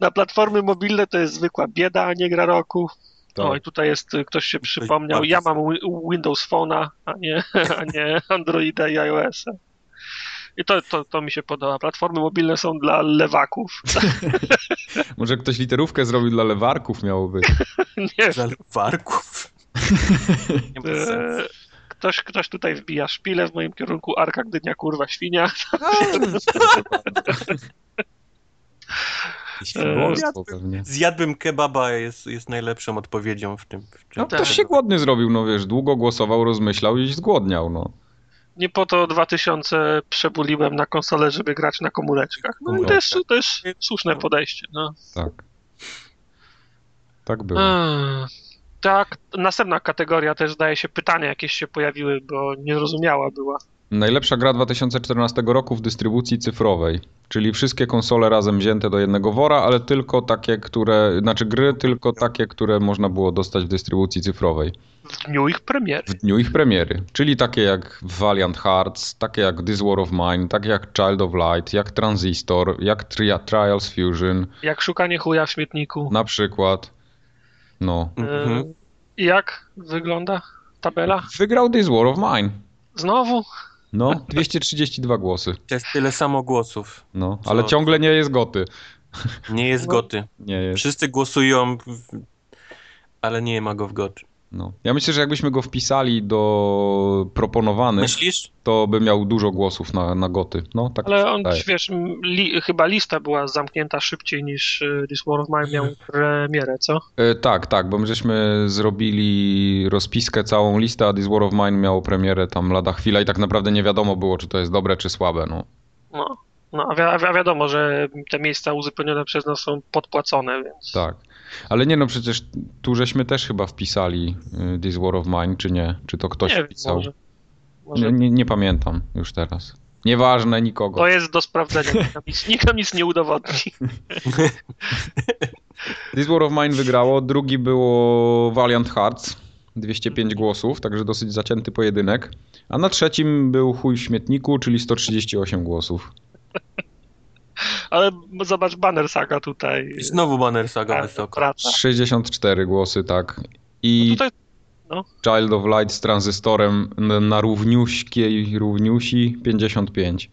Speaker 3: na platformy mobilne to jest zwykła bieda, a nie gra roku.
Speaker 1: To.
Speaker 3: O, i tutaj jest, y, ktoś się przypomniał,
Speaker 2: bardzo
Speaker 3: ja mam Wi- Windows Phone'a, a nie, a nie Androida i iOS-a. I to, to, to mi się podoba. Platformy mobilne są dla lewaków.
Speaker 1: Może ktoś literówkę zrobił dla lewarków miałoby.
Speaker 3: Nie,
Speaker 2: Żal warków. Nie ma sensu.
Speaker 3: e, ktoś, ktoś tutaj wbija szpilę w moim kierunku, Arka Gdynia, kurwa, świnia. E,
Speaker 1: Świństwo
Speaker 3: No
Speaker 1: pewnie.
Speaker 2: Zjadłbym kebaba jest, jest najlepszą odpowiedzią w tym. W
Speaker 1: No
Speaker 2: tym.
Speaker 3: Tak.
Speaker 1: ktoś się głodny zrobił, no wiesz, długo głosował, rozmyślał i zgłodniał, no.
Speaker 3: Nie po to 2000 przebuliłem na konsolę, żeby grać na komóreczkach. No i to jest, to jest słuszne podejście. No.
Speaker 1: Tak. Tak
Speaker 3: E,
Speaker 1: było.
Speaker 3: Ech, Tak, następna kategoria też zdaje się pytania jakieś się pojawiły, bo niezrozumiała była.
Speaker 1: Najlepsza gra 2014 roku w dystrybucji cyfrowej, czyli wszystkie konsole razem wzięte do jednego wora, ale tylko takie, które, znaczy gry tylko takie, które można było dostać w dystrybucji cyfrowej
Speaker 3: W dniu ich premiery.
Speaker 1: w dniu ich premiery, czyli takie jak Valiant Hearts, takie jak This War of Mine, takie jak Child of Light, jak Transistor, jak Tri- Trials Fusion
Speaker 3: Jak szukanie chuja w śmietniku.
Speaker 1: na przykład. No.
Speaker 2: Mhm.
Speaker 3: E, Jak wygląda tabela?
Speaker 1: Wygrał This War of Mine.
Speaker 3: Znowu?
Speaker 1: No, 232 głosy.
Speaker 2: To jest tyle samo głosów.
Speaker 1: No, ale
Speaker 2: Co?
Speaker 1: ciągle nie jest goty.
Speaker 2: Nie jest
Speaker 3: No.
Speaker 2: goty.
Speaker 1: Nie jest.
Speaker 2: Wszyscy głosują, w... ale nie ma go w goty.
Speaker 1: No. Ja myślę, że jakbyśmy go wpisali do proponowanych,
Speaker 2: Myślisz?
Speaker 1: to by miał dużo głosów na, na goty. No, tak mi
Speaker 3: Ale
Speaker 1: się
Speaker 3: on,
Speaker 1: wydaje.
Speaker 3: wiesz, m, li, chyba lista była zamknięta szybciej niż e, This War of Mine miał
Speaker 1: Mhm.
Speaker 3: premierę, co?
Speaker 1: E, tak, tak, bo my żeśmy zrobili rozpiskę, całą listę, a This War of Mine miało premierę tam lada chwila i tak naprawdę nie wiadomo było, czy to jest dobre, czy słabe. No.
Speaker 3: No. No, a, wi- a wi- a wiadomo, że te miejsca uzupełnione przez nas są podpłacone, więc.
Speaker 1: Tak. Ale nie no, przecież tu żeśmy też chyba wpisali y, This War of Mine, czy nie? Czy to ktoś
Speaker 3: nie,
Speaker 1: wpisał?
Speaker 3: może, może
Speaker 1: Nie, nie, nie pamiętam już teraz. Nieważne, nikogo.
Speaker 3: To jest do sprawdzenia. Nikt nam nic, nikt nam nic nie udowodni.
Speaker 1: This War of Mine wygrało, drugi było Valiant Hearts, 205 głosów, także dosyć zacięty pojedynek. A na trzecim był Chuj w śmietniku, czyli 138 głosów.
Speaker 3: Ale zobacz, Banner Saga tutaj.
Speaker 2: I znowu banner saga
Speaker 3: Ta-
Speaker 2: wysoko.
Speaker 3: Praca. No
Speaker 1: 64 głosy, tak. I
Speaker 3: Tutaj
Speaker 1: Child of Light z transystorem n- na równiuśkiej równiusi 55.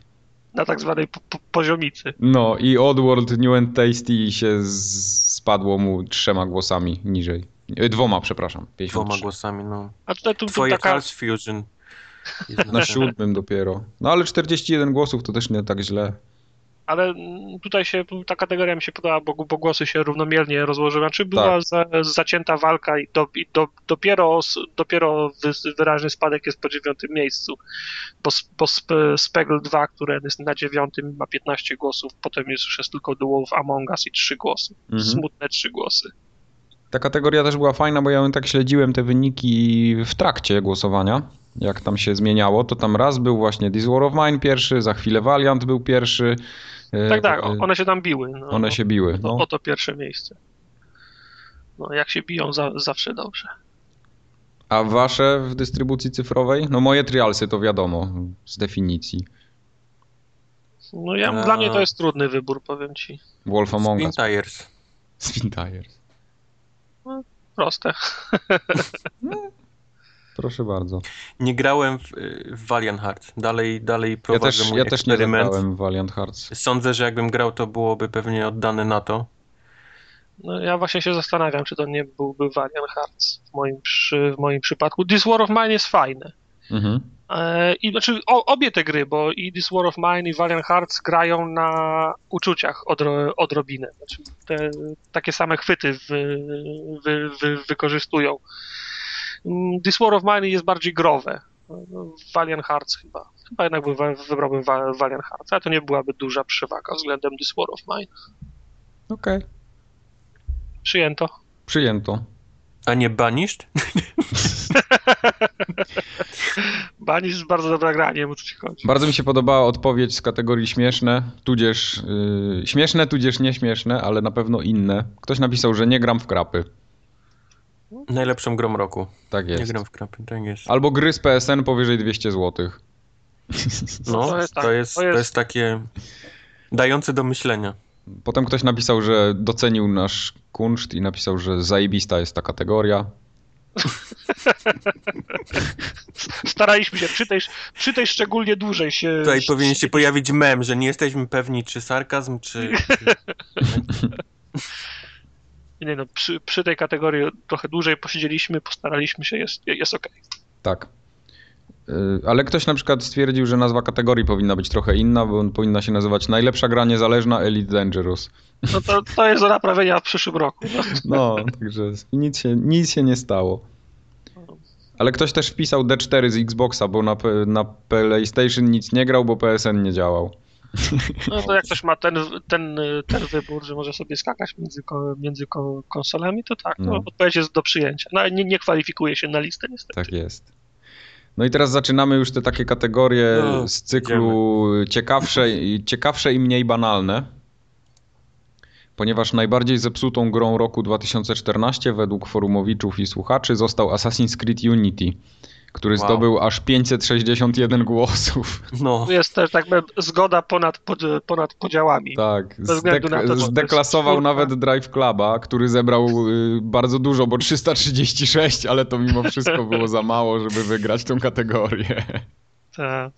Speaker 3: na tak zwanej po- po- poziomicy.
Speaker 1: No i Oddworld New and Tasty się z- spadło mu trzema głosami niżej. E, Dwoma, przepraszam. 53.
Speaker 2: Dwoma głosami, no.
Speaker 3: A tutaj tu, tu
Speaker 2: Twoje
Speaker 3: taka. Znaczy,
Speaker 2: Hearts Fusion. jest
Speaker 1: Na siódmym dopiero. No ale 41 głosów to też nie tak źle.
Speaker 3: Ale mm, tutaj się ta kategoria mi się podoba, bo, bo głosy się równomiernie rozłożyły. Znaczy
Speaker 1: Tak.
Speaker 3: była za, zacięta walka i, do, i do, dopiero, s- dopiero wy, wyraźny spadek jest po dziewiątym miejscu. Bo, s- bo sp, Spegel 2, które jest na dziewiątym, ma 15 głosów, potem jest już jest tylko The Wolf Among Us i 3 głosy.
Speaker 1: Mhm.
Speaker 3: Smutne 3 głosy.
Speaker 1: Ta kategoria też była fajna, bo ja ją tak śledziłem te wyniki w trakcie głosowania, jak tam się zmieniało, to tam raz był właśnie This War of Mine pierwszy, za chwilę Valiant był pierwszy. E,
Speaker 3: Tak, tak,
Speaker 1: e,
Speaker 3: o- one się tam biły. No.
Speaker 1: one się biły.
Speaker 3: No.
Speaker 1: No.
Speaker 3: Oto pierwsze miejsce. No, jak się biją, za, zawsze dobrze.
Speaker 1: A wasze w dystrybucji cyfrowej? No moje trialsy to wiadomo z definicji.
Speaker 3: No ja, dla mnie to jest trudny wybór, powiem ci.
Speaker 1: Wolf Among
Speaker 2: Spin
Speaker 1: Us.
Speaker 2: Tires.
Speaker 1: Spin Tires.
Speaker 3: Proste.
Speaker 1: Proszę bardzo.
Speaker 2: Nie grałem w, y, w Valiant Hearts. Dalej, dalej
Speaker 1: Ja
Speaker 2: prowadzę
Speaker 1: też,
Speaker 2: mój
Speaker 1: ja też nie
Speaker 2: eksperyment.
Speaker 1: zagrałem w Valiant Hearts.
Speaker 2: Sądzę, że jakbym grał, to byłoby pewnie oddane na to.
Speaker 3: No, ja właśnie się zastanawiam, czy to nie byłby Valiant Hearts w moim, przy, w moim przypadku. This War of Mine jest fajne.
Speaker 1: Mhm.
Speaker 3: E, I, znaczy o, obie te gry, bo i This War of Mine i Valiant Hearts grają na uczuciach odro, odrobinę. Znaczy te, takie same chwyty wy, wy, wy, wykorzystują. Mm, This War of Mine jest bardziej growe. No, Valiant Hearts chyba. Chyba jednak by, wybrałbym Va- Valiant Hearts, ale to nie byłaby duża przewaga względem This War of Mine.
Speaker 1: Okej.
Speaker 3: Przyjęto.
Speaker 1: Przyjęto.
Speaker 2: A nie Banished?
Speaker 3: Banis jest bardzo dobra gra, nie wiem o co ci chodzi.
Speaker 1: Bardzo mi się podobała odpowiedź z kategorii śmieszne, tudzież yy, śmieszne, tudzież nieśmieszne, ale na pewno inne. Ktoś napisał, że nie gram w krapy.
Speaker 2: Najlepszą grą roku.
Speaker 1: Tak
Speaker 2: Nie
Speaker 1: jest.
Speaker 2: gram w krapy, tak jest.
Speaker 1: Albo gry z PSN powyżej 200 zł.
Speaker 2: No,
Speaker 3: to jest
Speaker 2: to jest,
Speaker 3: tak,
Speaker 2: to jest,
Speaker 3: to jest-
Speaker 2: takie dające do myślenia.
Speaker 1: Potem ktoś napisał, że docenił nasz kunszt i napisał, że zajebista jest ta kategoria.
Speaker 3: Staraliśmy się, przy tej, przy tej szczególnie dłużej się...
Speaker 2: Tutaj powinien się pojawić mem, że nie jesteśmy pewni, czy sarkazm, czy... czy-
Speaker 3: Nie no, przy, przy tej kategorii trochę dłużej posiedzieliśmy, postaraliśmy się, jest, jest okej.
Speaker 1: Tak. Yy, Ale ktoś na przykład stwierdził, że nazwa kategorii powinna być trochę inna, bo on powinna się nazywać Najlepsza gra niezależna Elite Dangerous.
Speaker 3: No to, to jest do naprawienia w przyszłym roku. No.
Speaker 1: No, także nic się, nic się nie stało.
Speaker 3: No,
Speaker 1: Ale ktoś też wpisał D4 z Xboxa, bo na, P- na PlayStation nic nie grał, bo PSN nie działał.
Speaker 3: no to jak ktoś ma ten, ten, ten wybór, że może sobie skakać między, ko- między ko- konsolami, to tak, no,
Speaker 1: No.
Speaker 3: odpowiedź jest do przyjęcia. No ale nie, nie kwalifikuje się na listę niestety.
Speaker 1: Tak jest. No i teraz zaczynamy już te takie kategorie
Speaker 2: No,
Speaker 1: z cyklu ciekawsze, i- ciekawsze i mniej banalne. Ponieważ najbardziej zepsutą grą roku 2014 według forumowiczów i słuchaczy został Assassin's Creed Unity, który
Speaker 2: Wow.
Speaker 1: zdobył aż 561 głosów.
Speaker 2: No,
Speaker 3: Tu jest też tak jakby zgoda ponad, pod, ponad podziałami.
Speaker 1: Tak,
Speaker 3: Bez względu
Speaker 1: zdek-
Speaker 3: na to, czy to jest
Speaker 1: zdeklasował
Speaker 3: czwórka.
Speaker 1: nawet Drive Cluba, który zebrał y, bardzo dużo, bo 336, ale to mimo wszystko było za mało, żeby wygrać tą kategorię.
Speaker 3: Tak.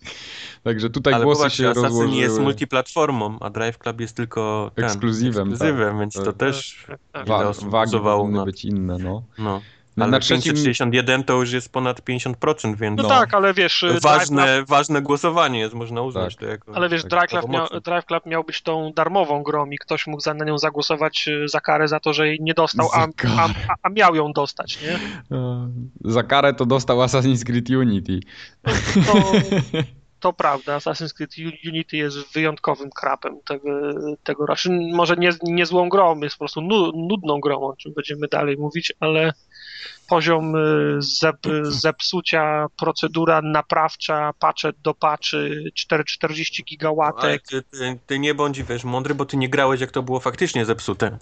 Speaker 1: Także tutaj
Speaker 2: ale
Speaker 1: Tak, głosy
Speaker 2: popatrzcie,
Speaker 1: się
Speaker 2: Assassin
Speaker 1: rozłożyły.
Speaker 2: jest multiplatformą, a Drive Club jest tylko ten,
Speaker 1: Ekskluzywem, tak.
Speaker 2: ekskluzywem więc to
Speaker 1: Tak.
Speaker 2: też...
Speaker 3: Tak.
Speaker 2: Wa- ile
Speaker 1: Wa-
Speaker 2: osób
Speaker 1: wagi
Speaker 2: głosowało
Speaker 1: powinny
Speaker 2: na-
Speaker 1: być inne, no.
Speaker 2: No.
Speaker 1: Na,
Speaker 2: Ale
Speaker 1: na trzecim,
Speaker 2: 561 to już jest ponad 50%, więc...
Speaker 3: No, tak, ale wiesz,
Speaker 2: Ważne, ważne głosowanie jest, można uznać to jako...
Speaker 3: Ale wiesz,
Speaker 1: Tak,
Speaker 3: Drive Club,
Speaker 2: to
Speaker 3: miał,
Speaker 2: mocno.
Speaker 3: Drive Club miał być tą darmową grą i ktoś mógł za, na nią zagłosować e, za karę za to, że jej nie dostał, a,
Speaker 1: Za karę.
Speaker 3: a, a, a miał ją dostać, nie?
Speaker 1: e, za karę to dostał Assassin's Creed Unity.
Speaker 3: To, to prawda, Assassin's Creed U- Unity jest wyjątkowym krapem tego, tego znaczy, może nie, nie złą grą, jest po prostu nu, nudną grą, o czym będziemy dalej mówić, ale poziom e, zep, zepsucia, procedura naprawcza, patchet do patchy, 4, 40
Speaker 2: Ale
Speaker 3: gigałatek,
Speaker 2: ty, ty, ty nie bądź, wiesz, mądry, bo ty nie grałeś, jak to było faktycznie zepsute.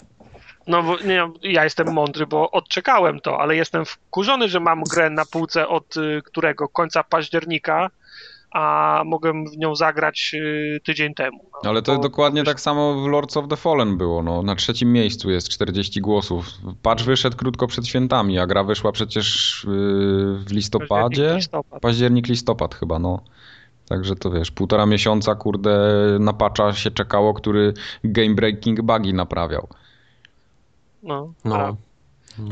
Speaker 3: No bo- nie, no, ja jestem mądry, bo odczekałem to, ale jestem wkurzony, że mam grę na półce od y, którego końca października, a mogłem w nią zagrać y, tydzień temu. No,
Speaker 1: Ale to
Speaker 3: bo-
Speaker 1: dokładnie tak samo w Lords of the Fallen było, no. Na trzecim miejscu jest 40 głosów. Patch wyszedł krótko przed świętami, a gra wyszła przecież yy, w listopadzie.
Speaker 3: Listopad.
Speaker 1: Październik, listopad chyba, no. Także to wiesz, półtora miesiąca, kurde, na patcha się czekało, który game breaking bugi naprawiał.
Speaker 3: No,
Speaker 2: No.
Speaker 3: no.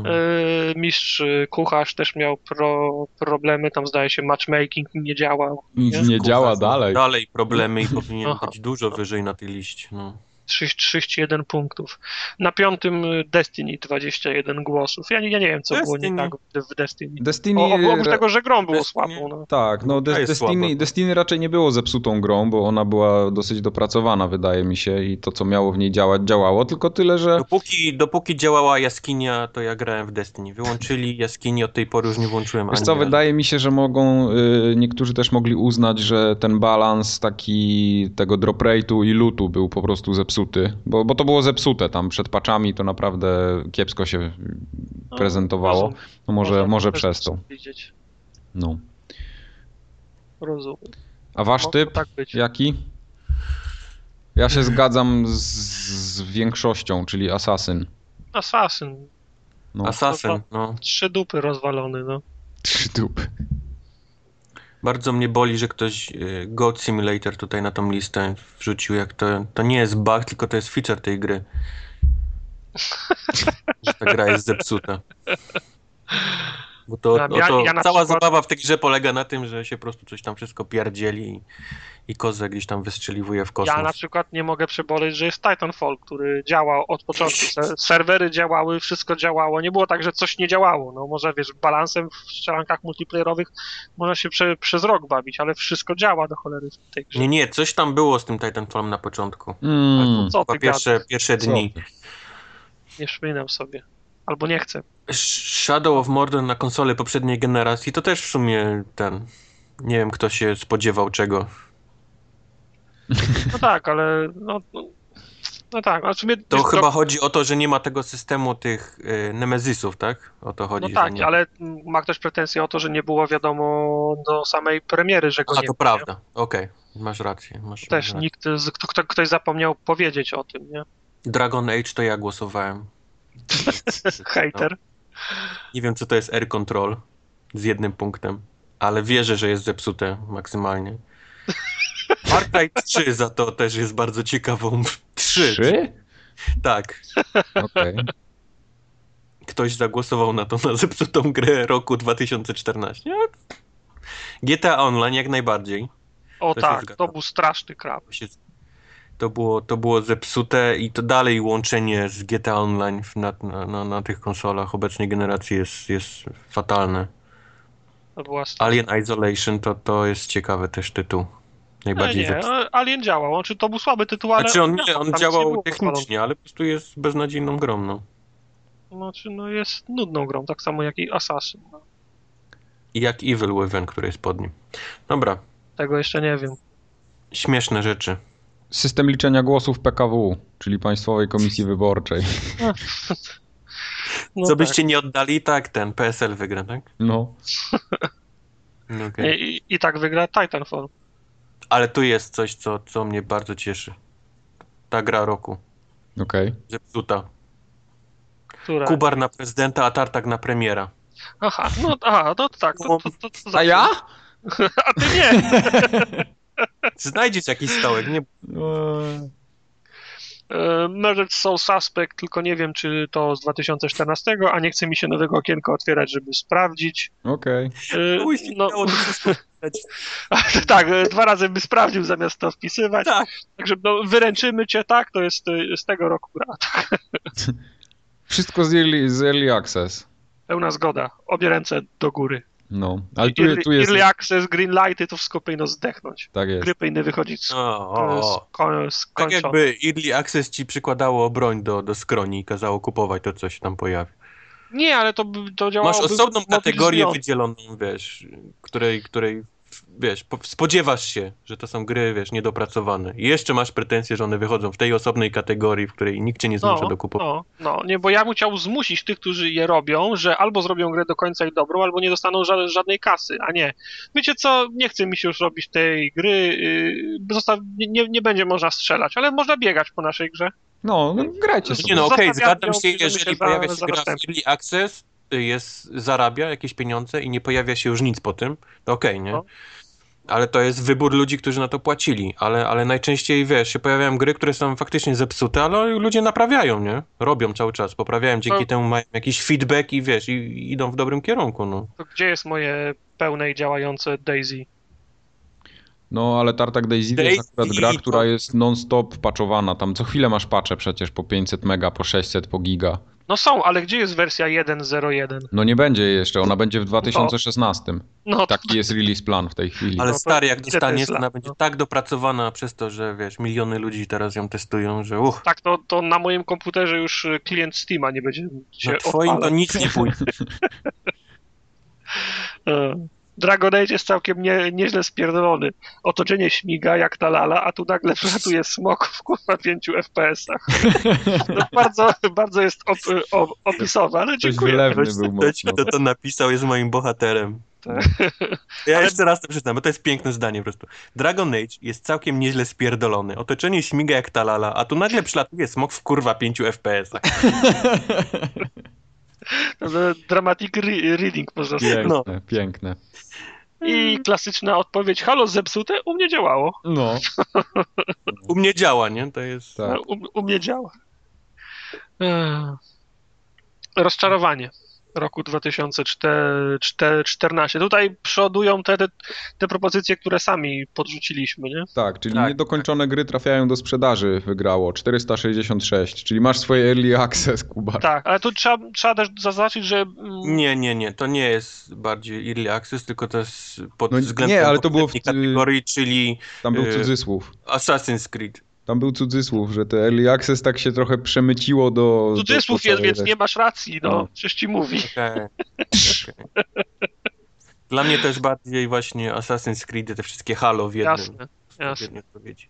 Speaker 2: no.
Speaker 3: Y, mistrz y, kucharz też miał pro, problemy, tam zdaje się matchmaking nie działał.
Speaker 1: Nic nie działa dalej.
Speaker 2: Dalej problemy i powinien
Speaker 3: Aha.
Speaker 2: być dużo wyżej na tej liście. No.
Speaker 3: Trzy- 31 punktów. Na piątym y, Destiny 21 głosów. Ja, nie- ja nie wiem, co było nie
Speaker 2: Destiny.
Speaker 3: tak w- w Destiny.
Speaker 1: Destiny...
Speaker 3: O, oprócz
Speaker 1: re-
Speaker 3: tego, że grą było
Speaker 2: Destiny-
Speaker 3: słabą. No.
Speaker 1: Tak, no
Speaker 2: Gra
Speaker 1: Des-
Speaker 2: jest słaba.
Speaker 1: Destiny, Destiny raczej nie było zepsutą grą, bo ona była dosyć dopracowana, wydaje mi się, i to, co miało w niej działać, działało, tylko tyle, że
Speaker 2: Dopóki, dopóki działała jaskinia, to ja grałem w Destiny. Wyłączyli jaskinię, od tej pory już nie włączyłem
Speaker 1: Wiesz
Speaker 2: ani
Speaker 1: co,
Speaker 2: razu.
Speaker 1: wydaje mi się, że mogą, y, niektórzy też mogli uznać, że ten balans taki tego drop rate'u i lootu był po prostu zepsuty, bo, bo to było zepsute tam przed patchami, to naprawdę kiepsko się
Speaker 3: No,
Speaker 1: prezentowało.
Speaker 3: rozumiem,
Speaker 1: No może, może
Speaker 3: też
Speaker 1: przez to.
Speaker 3: Widzieć.
Speaker 1: No.
Speaker 3: Rozumiem.
Speaker 1: A wasz
Speaker 3: Mogło
Speaker 1: typ
Speaker 3: Tak być.
Speaker 1: jaki? Ja się zgadzam z, z większością, czyli Assassin.
Speaker 3: Assassin.
Speaker 1: No.
Speaker 2: Assassin, no.
Speaker 3: Trzy dupy rozwalony, no.
Speaker 1: Trzy dupy.
Speaker 2: Bardzo mnie boli, że ktoś y, God Simulator tutaj na tą listę wrzucił, jak to, to nie jest bug, tylko to jest feature tej gry. że ta gra jest zepsuta. Bo to,
Speaker 3: Ja-
Speaker 2: o to
Speaker 3: ja na
Speaker 2: cała
Speaker 3: przykład-
Speaker 2: zabawa w tej grze polega na tym, że się po prostu coś tam wszystko pierdzieli i, i kozę gdzieś tam wystrzeliwuje w kosmos.
Speaker 3: Ja na przykład nie mogę przeboleć, że jest Titanfall, który działa od początku. Se- Serwery działały, wszystko działało. Nie było tak, że coś nie działało. No może wiesz, balansem w strzelankach multiplayerowych można się prze, przez rok bawić, ale wszystko działa do cholery w tej grze. Tak,
Speaker 2: Nie, nie, coś tam było z tym Titanfallem na początku.
Speaker 1: Mm.
Speaker 3: no Co
Speaker 2: Chyba
Speaker 3: ty
Speaker 2: pierwsze,
Speaker 3: gadasz?
Speaker 2: pierwsze dni.
Speaker 1: Co?
Speaker 3: Nie przypominam sobie. Albo nie chcę.
Speaker 2: Shadow of Mordor na konsole poprzedniej generacji to też w sumie ten. Nie wiem, kto się spodziewał czego.
Speaker 3: No tak, ale no, no, no tak, ale w sumie
Speaker 2: To
Speaker 3: wiesz,
Speaker 2: chyba chodzi o to, że nie ma tego systemu tych y, Nemezisów, tak? O to chodzi.
Speaker 3: No
Speaker 2: że
Speaker 3: tak,
Speaker 2: nie.
Speaker 3: ale mm, ma ktoś pretensje o to, że nie było wiadomo do samej premiery, że go
Speaker 2: A
Speaker 3: nie
Speaker 2: to
Speaker 3: ma,
Speaker 2: prawda. Okej, masz rację. Masz,
Speaker 3: nie? Też
Speaker 2: masz
Speaker 3: nikt, z- kto, kto, ktoś zapomniał powiedzieć o tym, nie?
Speaker 2: rację. Dragon Age to ja głosowałem.
Speaker 3: Hater.
Speaker 2: Nie wiem, co to jest Air Control z jednym punktem, ale wierzę, że jest zepsute maksymalnie. Far Cry 3 za to też jest bardzo ciekawą. 3?
Speaker 1: Trzy?
Speaker 2: Tak.
Speaker 1: Okej.
Speaker 2: ktoś zagłosował na tą na zepsutą grę roku 2014. Ja- GTA Online jak najbardziej.
Speaker 3: O
Speaker 2: No, To się
Speaker 3: tak,
Speaker 2: zgadza.
Speaker 3: to był straszny krab.
Speaker 2: To się- To było, to było zepsute i to dalej łączenie z GTA Online w- na, na, na, na tych konsolach obecnej generacji jest, jest fatalne.
Speaker 3: To była straszna.
Speaker 2: Alien Isolation to, to jest ciekawy też tytuł. Najbardziej
Speaker 3: nie,
Speaker 2: zepsuty.
Speaker 3: e, Alien działał, znaczy to był słaby tytuł, ale...
Speaker 2: Znaczy on,
Speaker 3: działał,
Speaker 2: nie, on
Speaker 3: tam nic nie
Speaker 2: działał
Speaker 3: było
Speaker 2: technicznie, ale po prostu jest beznadziejną grą. No.
Speaker 3: chwalone. Znaczy no jest nudną grą, tak samo jak i Assassin. No,
Speaker 2: I jak Evil Within, który jest pod nim. Dobra,
Speaker 3: Tego jeszcze nie wiem.
Speaker 2: śmieszne rzeczy.
Speaker 1: System liczenia głosów PKW, czyli Państwowej Komisji Wyborczej.
Speaker 3: No
Speaker 2: Co
Speaker 3: tak.
Speaker 2: byście nie oddali, tak ten PSL wygra, tak?
Speaker 1: No.
Speaker 2: No okej.
Speaker 3: I, i, I tak wygra Titanfall.
Speaker 2: Ale tu jest coś, co, co mnie bardzo cieszy. Ta gra roku.
Speaker 1: Okej.
Speaker 2: Zepsuta.
Speaker 3: Która...
Speaker 2: Kubar na prezydenta, a Tartak na premiera.
Speaker 3: Aha, no aha, no tak, to, to, to, to
Speaker 1: A
Speaker 3: zawsze-
Speaker 1: ja?
Speaker 3: A ty nie!
Speaker 2: Znajdziesz jakiś stołek, nie?
Speaker 1: No,
Speaker 3: E, Murdered Soul Suspect, tylko nie wiem, czy to z 2014, a nie chce mi się nowego okienka otwierać, żeby sprawdzić.
Speaker 1: Okej.
Speaker 3: E,
Speaker 2: Chuj się
Speaker 3: No,
Speaker 2: dało, to wszystko wpisać.
Speaker 3: tak, e, dwa razy by sprawdził zamiast to wpisywać.
Speaker 2: Tak.
Speaker 3: Także no, wyręczymy cię, tak, to jest e, z tego roku gra.
Speaker 1: Wszystko z early, z early Access.
Speaker 3: Pełna zgoda, obie ręce do góry.
Speaker 1: No. Ale tu,
Speaker 3: Early,
Speaker 1: tu jest...
Speaker 3: early access, green lighty, to wszystko powinno zdechnąć.
Speaker 1: Tak jest.
Speaker 3: Gry powinny wychodzić z,
Speaker 2: O, o,
Speaker 3: z,
Speaker 2: o.
Speaker 3: ko-
Speaker 2: Tak
Speaker 3: skończone.
Speaker 2: jakby Early Access ci przykładało broń do, do skroni i kazało kupować to, co się tam pojawi.
Speaker 3: Nie, ale to, by- to działało
Speaker 2: Masz osobną kategorię wydzieloną, wiesz, której, której wiesz, po- spodziewasz się, że to są gry, wiesz, niedopracowane. I jeszcze masz pretensje, że one wychodzą w tej osobnej kategorii, w której nikt cię nie zmusza do kupowania.
Speaker 3: No, no, nie, bo ja bym chciał zmusić tych, którzy je robią, że albo zrobią grę do końca i dobrą, albo nie dostaną ża- żadnej kasy, a nie. Wiecie co, nie chce mi się już robić tej gry, yy, zostaw, nie- nie, nie będzie można strzelać, ale można biegać po naszej grze.
Speaker 1: No, no grajcie
Speaker 2: Nie
Speaker 1: sobie.
Speaker 2: no, okej,
Speaker 3: Zostawiam
Speaker 2: zgadzam
Speaker 3: ją,
Speaker 2: się,
Speaker 3: bierzemy
Speaker 2: jeżeli
Speaker 3: się za-
Speaker 2: pojawia się
Speaker 3: za
Speaker 2: gra w
Speaker 3: następny.
Speaker 2: Early Access, y, jest, zarabia jakieś pieniądze i nie pojawia się już nic po tym, to okej, nie?
Speaker 3: No.
Speaker 2: Ale to jest wybór ludzi, którzy na to płacili, ale, ale najczęściej, wiesz, się pojawiają gry, które są faktycznie zepsute, ale ludzie naprawiają, nie? Robią cały czas, poprawiają, dzięki
Speaker 3: No.
Speaker 2: temu mają jakiś feedback i wiesz, i, i idą w dobrym kierunku, no.
Speaker 3: To gdzie jest moje pełne i działające Daisy?
Speaker 1: No, ale Tartak Daisy to
Speaker 2: Daisy
Speaker 1: jest akurat gra,
Speaker 2: to-
Speaker 1: która jest non-stop patchowana. Tam co chwilę masz patche przecież po 500 mega, po 600, po giga.
Speaker 3: No są, ale gdzie jest wersja 1.01?
Speaker 1: No nie będzie jej jeszcze, ona będzie w 2016.
Speaker 3: No, tak.
Speaker 1: Taki jest release plan w tej chwili.
Speaker 2: Ale
Speaker 3: No to
Speaker 2: stary, jak
Speaker 3: gdzie to
Speaker 2: dostaniesz,
Speaker 3: jest
Speaker 2: to ona
Speaker 3: lat,
Speaker 2: będzie
Speaker 3: no?
Speaker 2: tak dopracowana przez to, że wiesz, miliony ludzi teraz ją testują, że uch,
Speaker 3: tak to, to na moim komputerze już y, klient Steama nie będzie się
Speaker 2: na twoim to
Speaker 3: odpalać.
Speaker 2: nic nie pójdzie.
Speaker 3: E, Dragon Age jest całkiem nie, nieźle spierdolony. Otoczenie śmiga jak ta lala, a tu nagle przelatuje smok w kurwa 5 FPS-ach. No, bardzo, bardzo jest op, op, opisowe, ale
Speaker 1: Coś
Speaker 3: dziękuję.
Speaker 1: wylewny
Speaker 2: Ktoś,
Speaker 1: był
Speaker 2: ktoś
Speaker 1: mocno.
Speaker 2: kto to napisał jest moim bohaterem.
Speaker 3: Tak.
Speaker 2: Ja jeszcze raz to przeczytam, bo to jest piękne zdanie po prostu. Dragon Age jest całkiem nieźle spierdolony. Otoczenie śmiga jak talala, a tu nagle przylatuje smok w kurwa 5 FPS-ach.
Speaker 3: E, Dramatic re- reading można sobie.
Speaker 2: No.
Speaker 1: Piękne, piękne.
Speaker 3: I klasyczna odpowiedź, halo zepsute, u mnie działało.
Speaker 1: No,
Speaker 2: U mnie działa, nie? To jest...
Speaker 1: tak.
Speaker 3: No, U, u mnie działa. Ech. Rozczarowanie roku 2014. Tutaj przodują te, te, te propozycje, które sami podrzuciliśmy, nie?
Speaker 1: Tak, czyli
Speaker 2: Tak,
Speaker 1: niedokończone gry trafiają do sprzedaży, wygrało 466, czyli masz swoje early access, Kuba.
Speaker 3: Tak, ale tu trzeba, trzeba też zaznaczyć, że... mm,
Speaker 2: Nie, nie, nie, to nie jest bardziej Early Access, tylko to jest pod
Speaker 1: No
Speaker 2: względem
Speaker 1: nie, ale to było w-
Speaker 2: poprzedniej kategorii, czyli
Speaker 1: Tam był
Speaker 2: Yy.
Speaker 1: cudzysłów.
Speaker 2: Assassin's Creed.
Speaker 1: Tam był cudzysłów, że te early access tak się trochę przemyciło do...
Speaker 3: Cudzysłów
Speaker 1: do
Speaker 3: jest,
Speaker 1: całej
Speaker 3: więc
Speaker 1: reszty.
Speaker 3: nie masz racji, no.
Speaker 1: No.
Speaker 3: Przecież ci mówi.
Speaker 2: Okej. E, okej. Dla mnie też bardziej właśnie Assassin's Creed, te wszystkie Halo w jednym.
Speaker 3: Jasne,
Speaker 2: W
Speaker 3: jasne.
Speaker 2: jednej odpowiedzi.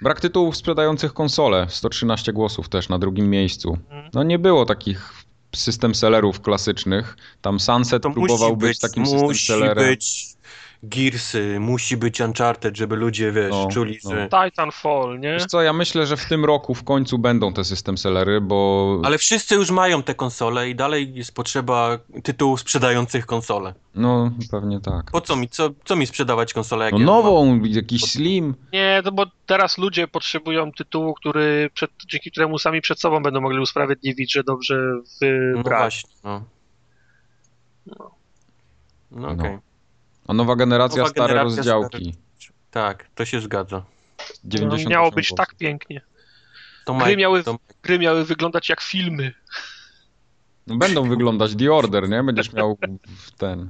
Speaker 1: Brak tytułów sprzedających konsole, 113 głosów też na drugim miejscu.
Speaker 3: Mhm.
Speaker 1: No nie było takich system sellerów klasycznych. Tam Sunset
Speaker 2: To
Speaker 1: próbował
Speaker 2: musi
Speaker 1: być,
Speaker 2: być,
Speaker 1: takim system
Speaker 2: musi
Speaker 1: sellerem.
Speaker 2: być Gearsy, musi być Uncharted, żeby ludzie, wiesz,
Speaker 1: No,
Speaker 2: czuli,
Speaker 1: no.
Speaker 2: że...
Speaker 3: Titanfall, nie?
Speaker 1: Wiesz co, ja myślę, że w tym roku w końcu będą te system sellery, bo
Speaker 2: Ale wszyscy już mają te konsole i dalej jest potrzeba tytułów sprzedających konsole.
Speaker 1: no pewnie tak.
Speaker 2: Po co mi, co, co mi sprzedawać konsolę, jak
Speaker 1: No
Speaker 2: ja
Speaker 1: nową, jakiś slim.
Speaker 3: Nie, no bo teraz ludzie potrzebują tytułu, który przed, dzięki któremu sami przed sobą będą mogli usprawiedliwić, że dobrze
Speaker 2: No
Speaker 3: wybrać.
Speaker 2: właśnie, no. No,
Speaker 1: No.
Speaker 2: okej.
Speaker 1: A nowa generacja,
Speaker 2: Nowa
Speaker 1: stare
Speaker 2: generacja,
Speaker 1: rozdziałki.
Speaker 2: Tak, to się zgadza.
Speaker 3: No,
Speaker 1: 90
Speaker 3: miało być tak pięknie.
Speaker 2: To
Speaker 3: Gry miały-
Speaker 2: to-
Speaker 3: Gry miały wyglądać jak filmy.
Speaker 1: No, będą wyglądać The Order, nie? Będziesz miał w ten...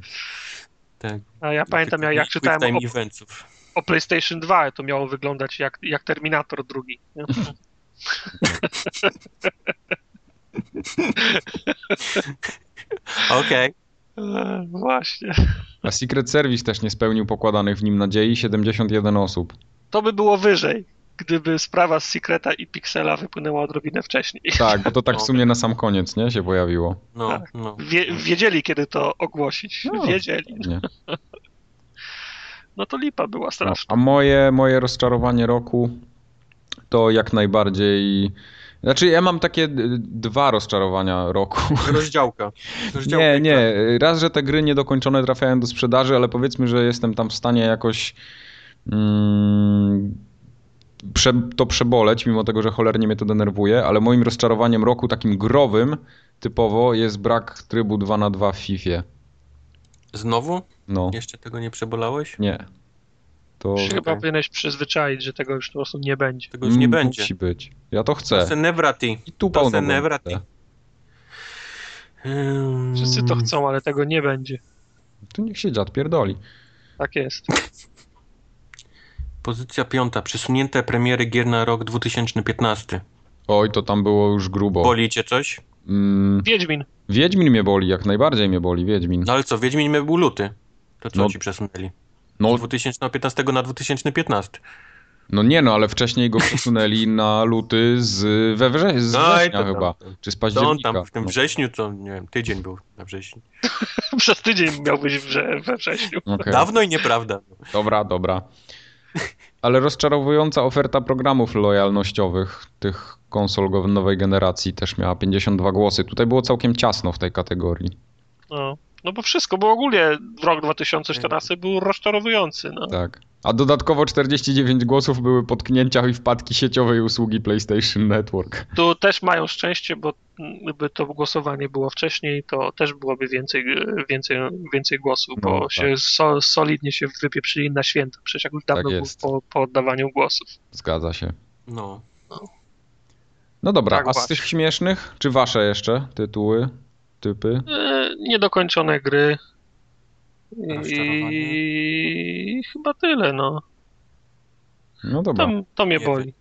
Speaker 2: tak,
Speaker 3: A ja pamiętam, jak, jak
Speaker 2: quick
Speaker 3: czytałem
Speaker 2: time
Speaker 3: o,
Speaker 2: eventów.
Speaker 3: o PlayStation 2, to miało wyglądać jak, jak Terminator drugi. nie?
Speaker 2: Okej.
Speaker 3: Eee, Właśnie.
Speaker 1: A Secret Service też nie spełnił pokładanych w nim nadziei, 71 osób.
Speaker 3: To by było wyżej, gdyby sprawa z Secreta i Pixela wypłynęła odrobinę wcześniej.
Speaker 1: Tak, bo to tak w
Speaker 2: No.
Speaker 1: sumie na sam koniec, nie? Się pojawiło.
Speaker 2: No,
Speaker 3: Tak.
Speaker 2: no.
Speaker 3: Wie, wiedzieli, kiedy to ogłosić.
Speaker 1: No.
Speaker 3: Wiedzieli.
Speaker 1: Nie.
Speaker 3: No to lipa była
Speaker 1: No,
Speaker 3: straszna.
Speaker 1: a moje, moje rozczarowanie roku to jak najbardziej... Znaczy ja mam takie y, dwa rozczarowania roku.
Speaker 2: Rozdziałka. Rozdziałka
Speaker 1: Nie,
Speaker 2: i
Speaker 1: nie. Raz, że te gry niedokończone trafiają do sprzedaży, ale powiedzmy, że jestem tam w stanie jakoś mm, prze, to przeboleć, mimo tego, że cholernie mnie to denerwuje, ale moim rozczarowaniem roku takim growym typowo jest brak trybu 2 na 2 w FIFA.
Speaker 2: tak. Znowu?
Speaker 1: No,
Speaker 2: Jeszcze tego nie przebolałeś?
Speaker 1: nie. No, To
Speaker 3: Się Chyba
Speaker 2: okej.
Speaker 3: powinieneś przyzwyczaić, że tego już po prostu nie będzie.
Speaker 2: Tego
Speaker 1: Mm,
Speaker 2: już nie będzie.
Speaker 1: musi być. Ja to chcę.
Speaker 2: Senevrati.
Speaker 1: I tu pełno.
Speaker 2: Senevrati.
Speaker 3: Wszyscy
Speaker 1: Mm.
Speaker 3: to chcą, ale tego nie będzie.
Speaker 1: Tu niech się dziad pierdoli.
Speaker 3: Tak jest.
Speaker 2: Pozycja piąta. Przesunięte premiery gier na rok 2015.
Speaker 1: Oj, to tam było już grubo.
Speaker 2: Boli cię coś?
Speaker 1: Mm,
Speaker 3: Wiedźmin.
Speaker 1: Wiedźmin mnie boli, jak najbardziej mnie boli, Wiedźmin.
Speaker 2: No ale co, Wiedźmin był luty. To co
Speaker 1: No.
Speaker 2: ci przesunęli?
Speaker 1: No
Speaker 2: Z 2015 na 2015.
Speaker 1: No nie no, ale wcześniej go przesunęli na luty z, we wrze- z
Speaker 2: No i
Speaker 1: września
Speaker 2: to tam-
Speaker 1: chyba, czy z
Speaker 2: To on
Speaker 1: października.
Speaker 2: tam w tym
Speaker 1: no.
Speaker 2: wrześniu, to nie wiem, tydzień był na wrześniu.
Speaker 3: Przez tydzień miał być wrze- we wrześniu.
Speaker 1: No. Okej,
Speaker 2: no Dawno i nieprawda.
Speaker 1: Dobra, dobra. Ale rozczarowująca oferta programów lojalnościowych tych konsol go- nowej generacji też miała 52 głosy. Tutaj było całkiem ciasno w tej kategorii.
Speaker 3: No. no bo wszystko, bo ogólnie rok 2014 był rozczarowujący. No.
Speaker 1: Tak. A dodatkowo 49 głosów były potknięcia i wpadki sieciowej usługi PlayStation Network.
Speaker 3: Tu też mają szczęście, bo gdyby to głosowanie było wcześniej, to też byłoby więcej, więcej, więcej głosów,
Speaker 1: No,
Speaker 3: bo
Speaker 1: tak.
Speaker 3: się so, solidnie się wypieprzyli na święta. Przecież jak już dawno
Speaker 1: Tak
Speaker 3: był
Speaker 1: jest.
Speaker 3: po, po oddawaniu głosów.
Speaker 1: Zgadza się.
Speaker 2: No.
Speaker 1: No dobra,
Speaker 3: Tak
Speaker 1: a z
Speaker 3: właśnie.
Speaker 1: tych śmiesznych? Czy wasze jeszcze tytuły, typy?
Speaker 3: E, niedokończone gry. I
Speaker 2: Rozczarowanie.
Speaker 3: chyba tyle, no.
Speaker 1: No dobra.
Speaker 3: To, to mnie
Speaker 2: Nie
Speaker 3: boli.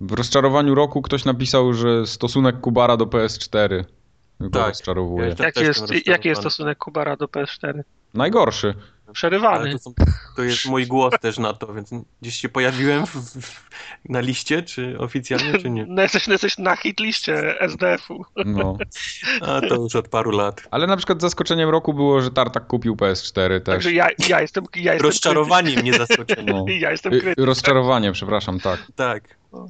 Speaker 1: W rozczarowaniu roku ktoś napisał, że stosunek Kubara do PS4 go
Speaker 2: Tak.
Speaker 1: rozczarowuje.
Speaker 2: Ja-
Speaker 3: Jaki
Speaker 2: też
Speaker 3: jest,
Speaker 2: jestem
Speaker 3: jaki jest
Speaker 2: rozczarowany.
Speaker 3: stosunek Kubara do PS4?
Speaker 1: Najgorszy.
Speaker 3: przerywany.
Speaker 2: Ale to, są, to jest mój głos też na to, więc gdzieś się pojawiłem w, w, na liście, czy oficjalnie, czy nie.
Speaker 3: No jesteś, no jesteś na hitliście SDF-u.
Speaker 1: No.
Speaker 2: A to już od paru lat.
Speaker 1: Ale na przykład zaskoczeniem roku było, że Tartak kupił PS4 też.
Speaker 3: Także ja, ja jestem, ja jestem
Speaker 2: Rozczarowanie mnie zaskoczyło.
Speaker 1: No.
Speaker 3: kryty- Ja jestem
Speaker 1: Y,
Speaker 3: kryty.
Speaker 1: Rozczarowanie, przepraszam, tak.
Speaker 2: Tak.
Speaker 1: No.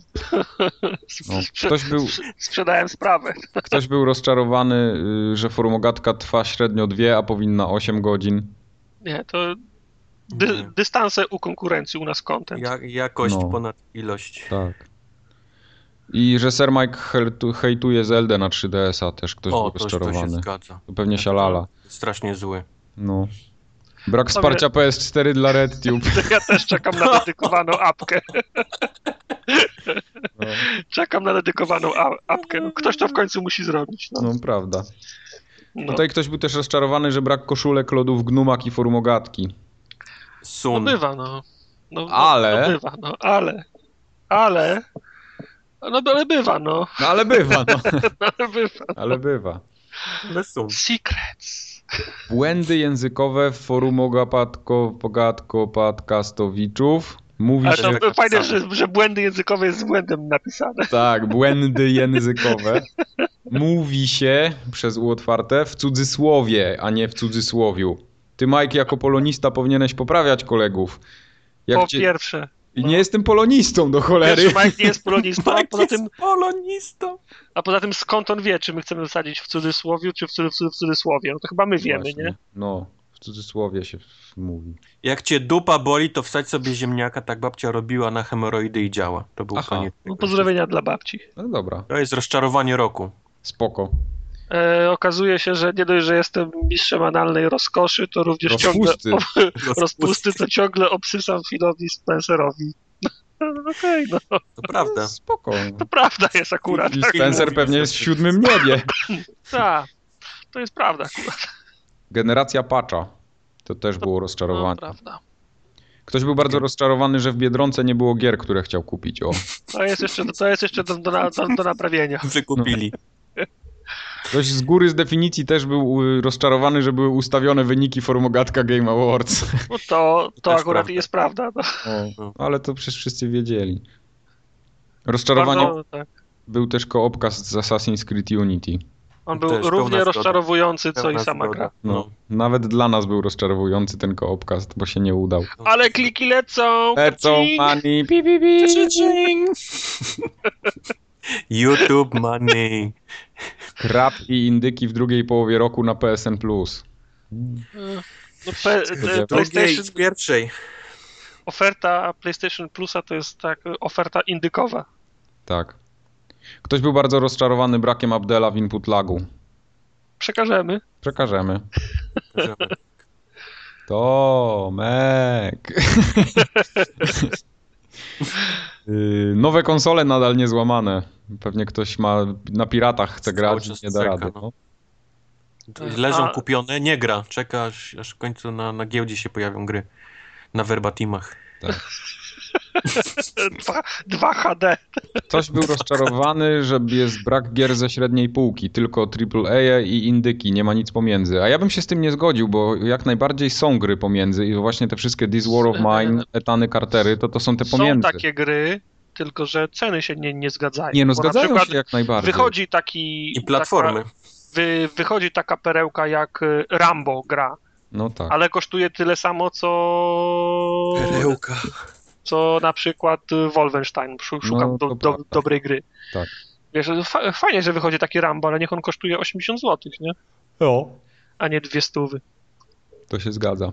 Speaker 3: Sprze-
Speaker 1: Ktoś był-
Speaker 3: sprze- Sprzedałem sprawę.
Speaker 1: Ktoś był rozczarowany, y, że formogatka trwa średnio dwie, a powinna 8 godzin.
Speaker 3: Nie, to dy,
Speaker 2: Nie.
Speaker 3: dystanse u konkurencji, u nas content.
Speaker 2: Ja, jakość
Speaker 1: No.
Speaker 2: ponad ilość.
Speaker 1: Tak. I że Sir Mike hejtu- hejtuje Zeldę na 3DS-a, też ktoś
Speaker 2: O,
Speaker 1: był
Speaker 2: to, to się
Speaker 1: rozczarowany.
Speaker 2: zgadza.
Speaker 1: To pewnie sialala.
Speaker 2: Strasznie zły.
Speaker 1: No. Brak
Speaker 3: Dobra.
Speaker 1: wsparcia PS4 dla RedTube.
Speaker 3: Ja też czekam na dedykowaną apkę.
Speaker 1: No.
Speaker 3: Czekam na dedykowaną a- apkę. No, ktoś to w końcu musi zrobić. No.
Speaker 1: No, prawda.
Speaker 3: No.
Speaker 1: Tutaj ktoś był też rozczarowany, że brak koszulek, lodów, gnumak i formogatki.
Speaker 2: Sun.
Speaker 3: No bywa, no. no no,
Speaker 1: Ale-
Speaker 3: No bywa, no, ale. Ale. No ale bywa, no.
Speaker 1: No ale bywa, no.
Speaker 3: Ale bywa.
Speaker 1: Ale bywa.
Speaker 2: Ale sun.
Speaker 3: Secrets.
Speaker 1: Błędy językowe w forum Ogatko, Pogatko, Podcastowiczów. Mówi
Speaker 3: Ale
Speaker 1: się...
Speaker 3: to
Speaker 2: tak
Speaker 3: fajne,
Speaker 2: samo.
Speaker 3: że, że błędy językowe jest z błędem napisane.
Speaker 1: Tak, błędy językowe. Mówi się przez U otwarte w cudzysłowie, a nie w cudzysłowiu. Ty, Mike, jako polonista powinieneś poprawiać kolegów.
Speaker 3: po
Speaker 1: Jak cię...
Speaker 3: pierwsze.
Speaker 1: I Nie jestem polonistą, do
Speaker 3: Pierwszy
Speaker 1: cholery.
Speaker 3: Mike nie jest polonistą, a
Speaker 2: Tak
Speaker 3: poza,
Speaker 2: jest
Speaker 3: tym,
Speaker 2: polonistą.
Speaker 3: a poza tym skąd on wie, czy my chcemy wsadzić w cudzysłowiu, czy w, cudz, w cudzysłowie. No to chyba my wiemy,
Speaker 1: Właśnie.
Speaker 3: nie?
Speaker 1: No, w cudzysłowie się w- mówi.
Speaker 2: Jak cię dupa boli, to wsadź sobie ziemniaka, tak babcia robiła na hemoroidy i działa. To był
Speaker 1: Aha.
Speaker 2: koniec.
Speaker 3: No, pozdrowienia dla babci.
Speaker 1: No dobra,
Speaker 2: To jest rozczarowanie roku.
Speaker 1: spoko.
Speaker 3: E, okazuje się, że nie dość, że jestem mistrzem analnej rozkoszy, to również
Speaker 1: Rozpusty.
Speaker 3: ciągle ob, rozpusty, to ciągle obsysam Philowi Spencerowi. No, Okej, no
Speaker 2: To prawda.
Speaker 1: Spoko.
Speaker 3: to prawda jest akurat.
Speaker 1: Phil
Speaker 3: Tak,
Speaker 1: Spencer
Speaker 2: mówi,
Speaker 1: pewnie
Speaker 2: że
Speaker 1: jest w
Speaker 2: to-
Speaker 1: siódmym niebie.
Speaker 3: tak, to jest prawda akurat.
Speaker 1: Generacja Pacza. To też było
Speaker 3: No,
Speaker 1: rozczarowanie.
Speaker 3: prawda.
Speaker 1: Ktoś był bardzo rozczarowany, że w Biedronce nie było gier, które chciał kupić. O.
Speaker 3: To jest jeszcze, to jest jeszcze do, do, na- do, do naprawienia.
Speaker 2: Wykupili.
Speaker 1: Ktoś z góry z definicji też był y, rozczarowany, że były ustawione wyniki formogatka Game Awards.
Speaker 3: No to, to
Speaker 2: To jest
Speaker 3: akurat
Speaker 2: prawda.
Speaker 3: jest prawda. No,
Speaker 1: No, Ale to przecież wszyscy wiedzieli. Rozczarowanie
Speaker 3: bardzo, tak.
Speaker 1: był też koopka z z Assassin's Creed Unity.
Speaker 3: On
Speaker 2: To
Speaker 3: był
Speaker 2: jest pełna
Speaker 3: równie
Speaker 2: zgoda.
Speaker 3: rozczarowujący, co i
Speaker 2: Pełna
Speaker 3: sama
Speaker 2: zgoda.
Speaker 3: gra.
Speaker 1: No.
Speaker 2: No.
Speaker 1: Nawet dla nas był rozczarowujący ten koopcast, bo się nie udał.
Speaker 2: No.
Speaker 3: Ale kliki lecą!
Speaker 1: Lecą
Speaker 3: kacing!
Speaker 1: money, pi, pi, pi.
Speaker 2: YouTube money.
Speaker 1: Krab i indyki w drugiej połowie roku na PSN+. Plus.
Speaker 3: No, pe,
Speaker 1: Drugiej.
Speaker 3: e, PlayStation,
Speaker 2: pierwszej.
Speaker 3: oferta PlayStation Plusa to jest tak e, oferta indykowa.
Speaker 1: Tak. Ktoś był bardzo rozczarowany brakiem Abdela w input lagu.
Speaker 3: Przekażemy.
Speaker 1: Przekażemy. Tomek. Yy, Nowe konsole nadal niezłamane. Pewnie ktoś ma na piratach chce grać,
Speaker 2: Cały czas
Speaker 1: nie da
Speaker 2: czeka,
Speaker 1: rady.
Speaker 2: no.
Speaker 1: No.
Speaker 2: Leżą
Speaker 3: A-
Speaker 2: kupione, nie gra. Czeka aż, aż w końcu na, na giełdzie się pojawią gry. Na verbatimach.
Speaker 3: E, Dwa, dwa HD.
Speaker 1: Ktoś był rozczarowany, że jest brak gier ze średniej półki, tylko AAA i indyki, nie ma nic pomiędzy. A ja bym się z tym nie zgodził, bo jak najbardziej są gry pomiędzy i właśnie te wszystkie This War of Mine, Etany Cartery, to to są te
Speaker 3: Są
Speaker 1: pomiędzy.
Speaker 3: takie gry, tylko że ceny się nie, nie zgadzają.
Speaker 1: Nie no,
Speaker 3: Bo na
Speaker 1: zgadzają
Speaker 3: przykład
Speaker 1: się jak najbardziej.
Speaker 3: Wychodzi taki.
Speaker 2: I platformy.
Speaker 3: Taka, wy, wychodzi taka perełka jak e, Rambo gra,
Speaker 1: No tak.
Speaker 3: ale kosztuje tyle samo co. co na przykład y, Wolfenstein. Szu- Szukam
Speaker 1: No, to
Speaker 3: do, do,
Speaker 1: prawda.
Speaker 3: dobrej gry.
Speaker 1: Tak.
Speaker 3: Wiesz, fa- fajnie, że wychodzi taki Rambo, ale niech on kosztuje 80 zł, nie?
Speaker 1: No.
Speaker 3: A nie dwie stówy.
Speaker 1: To się zgadza.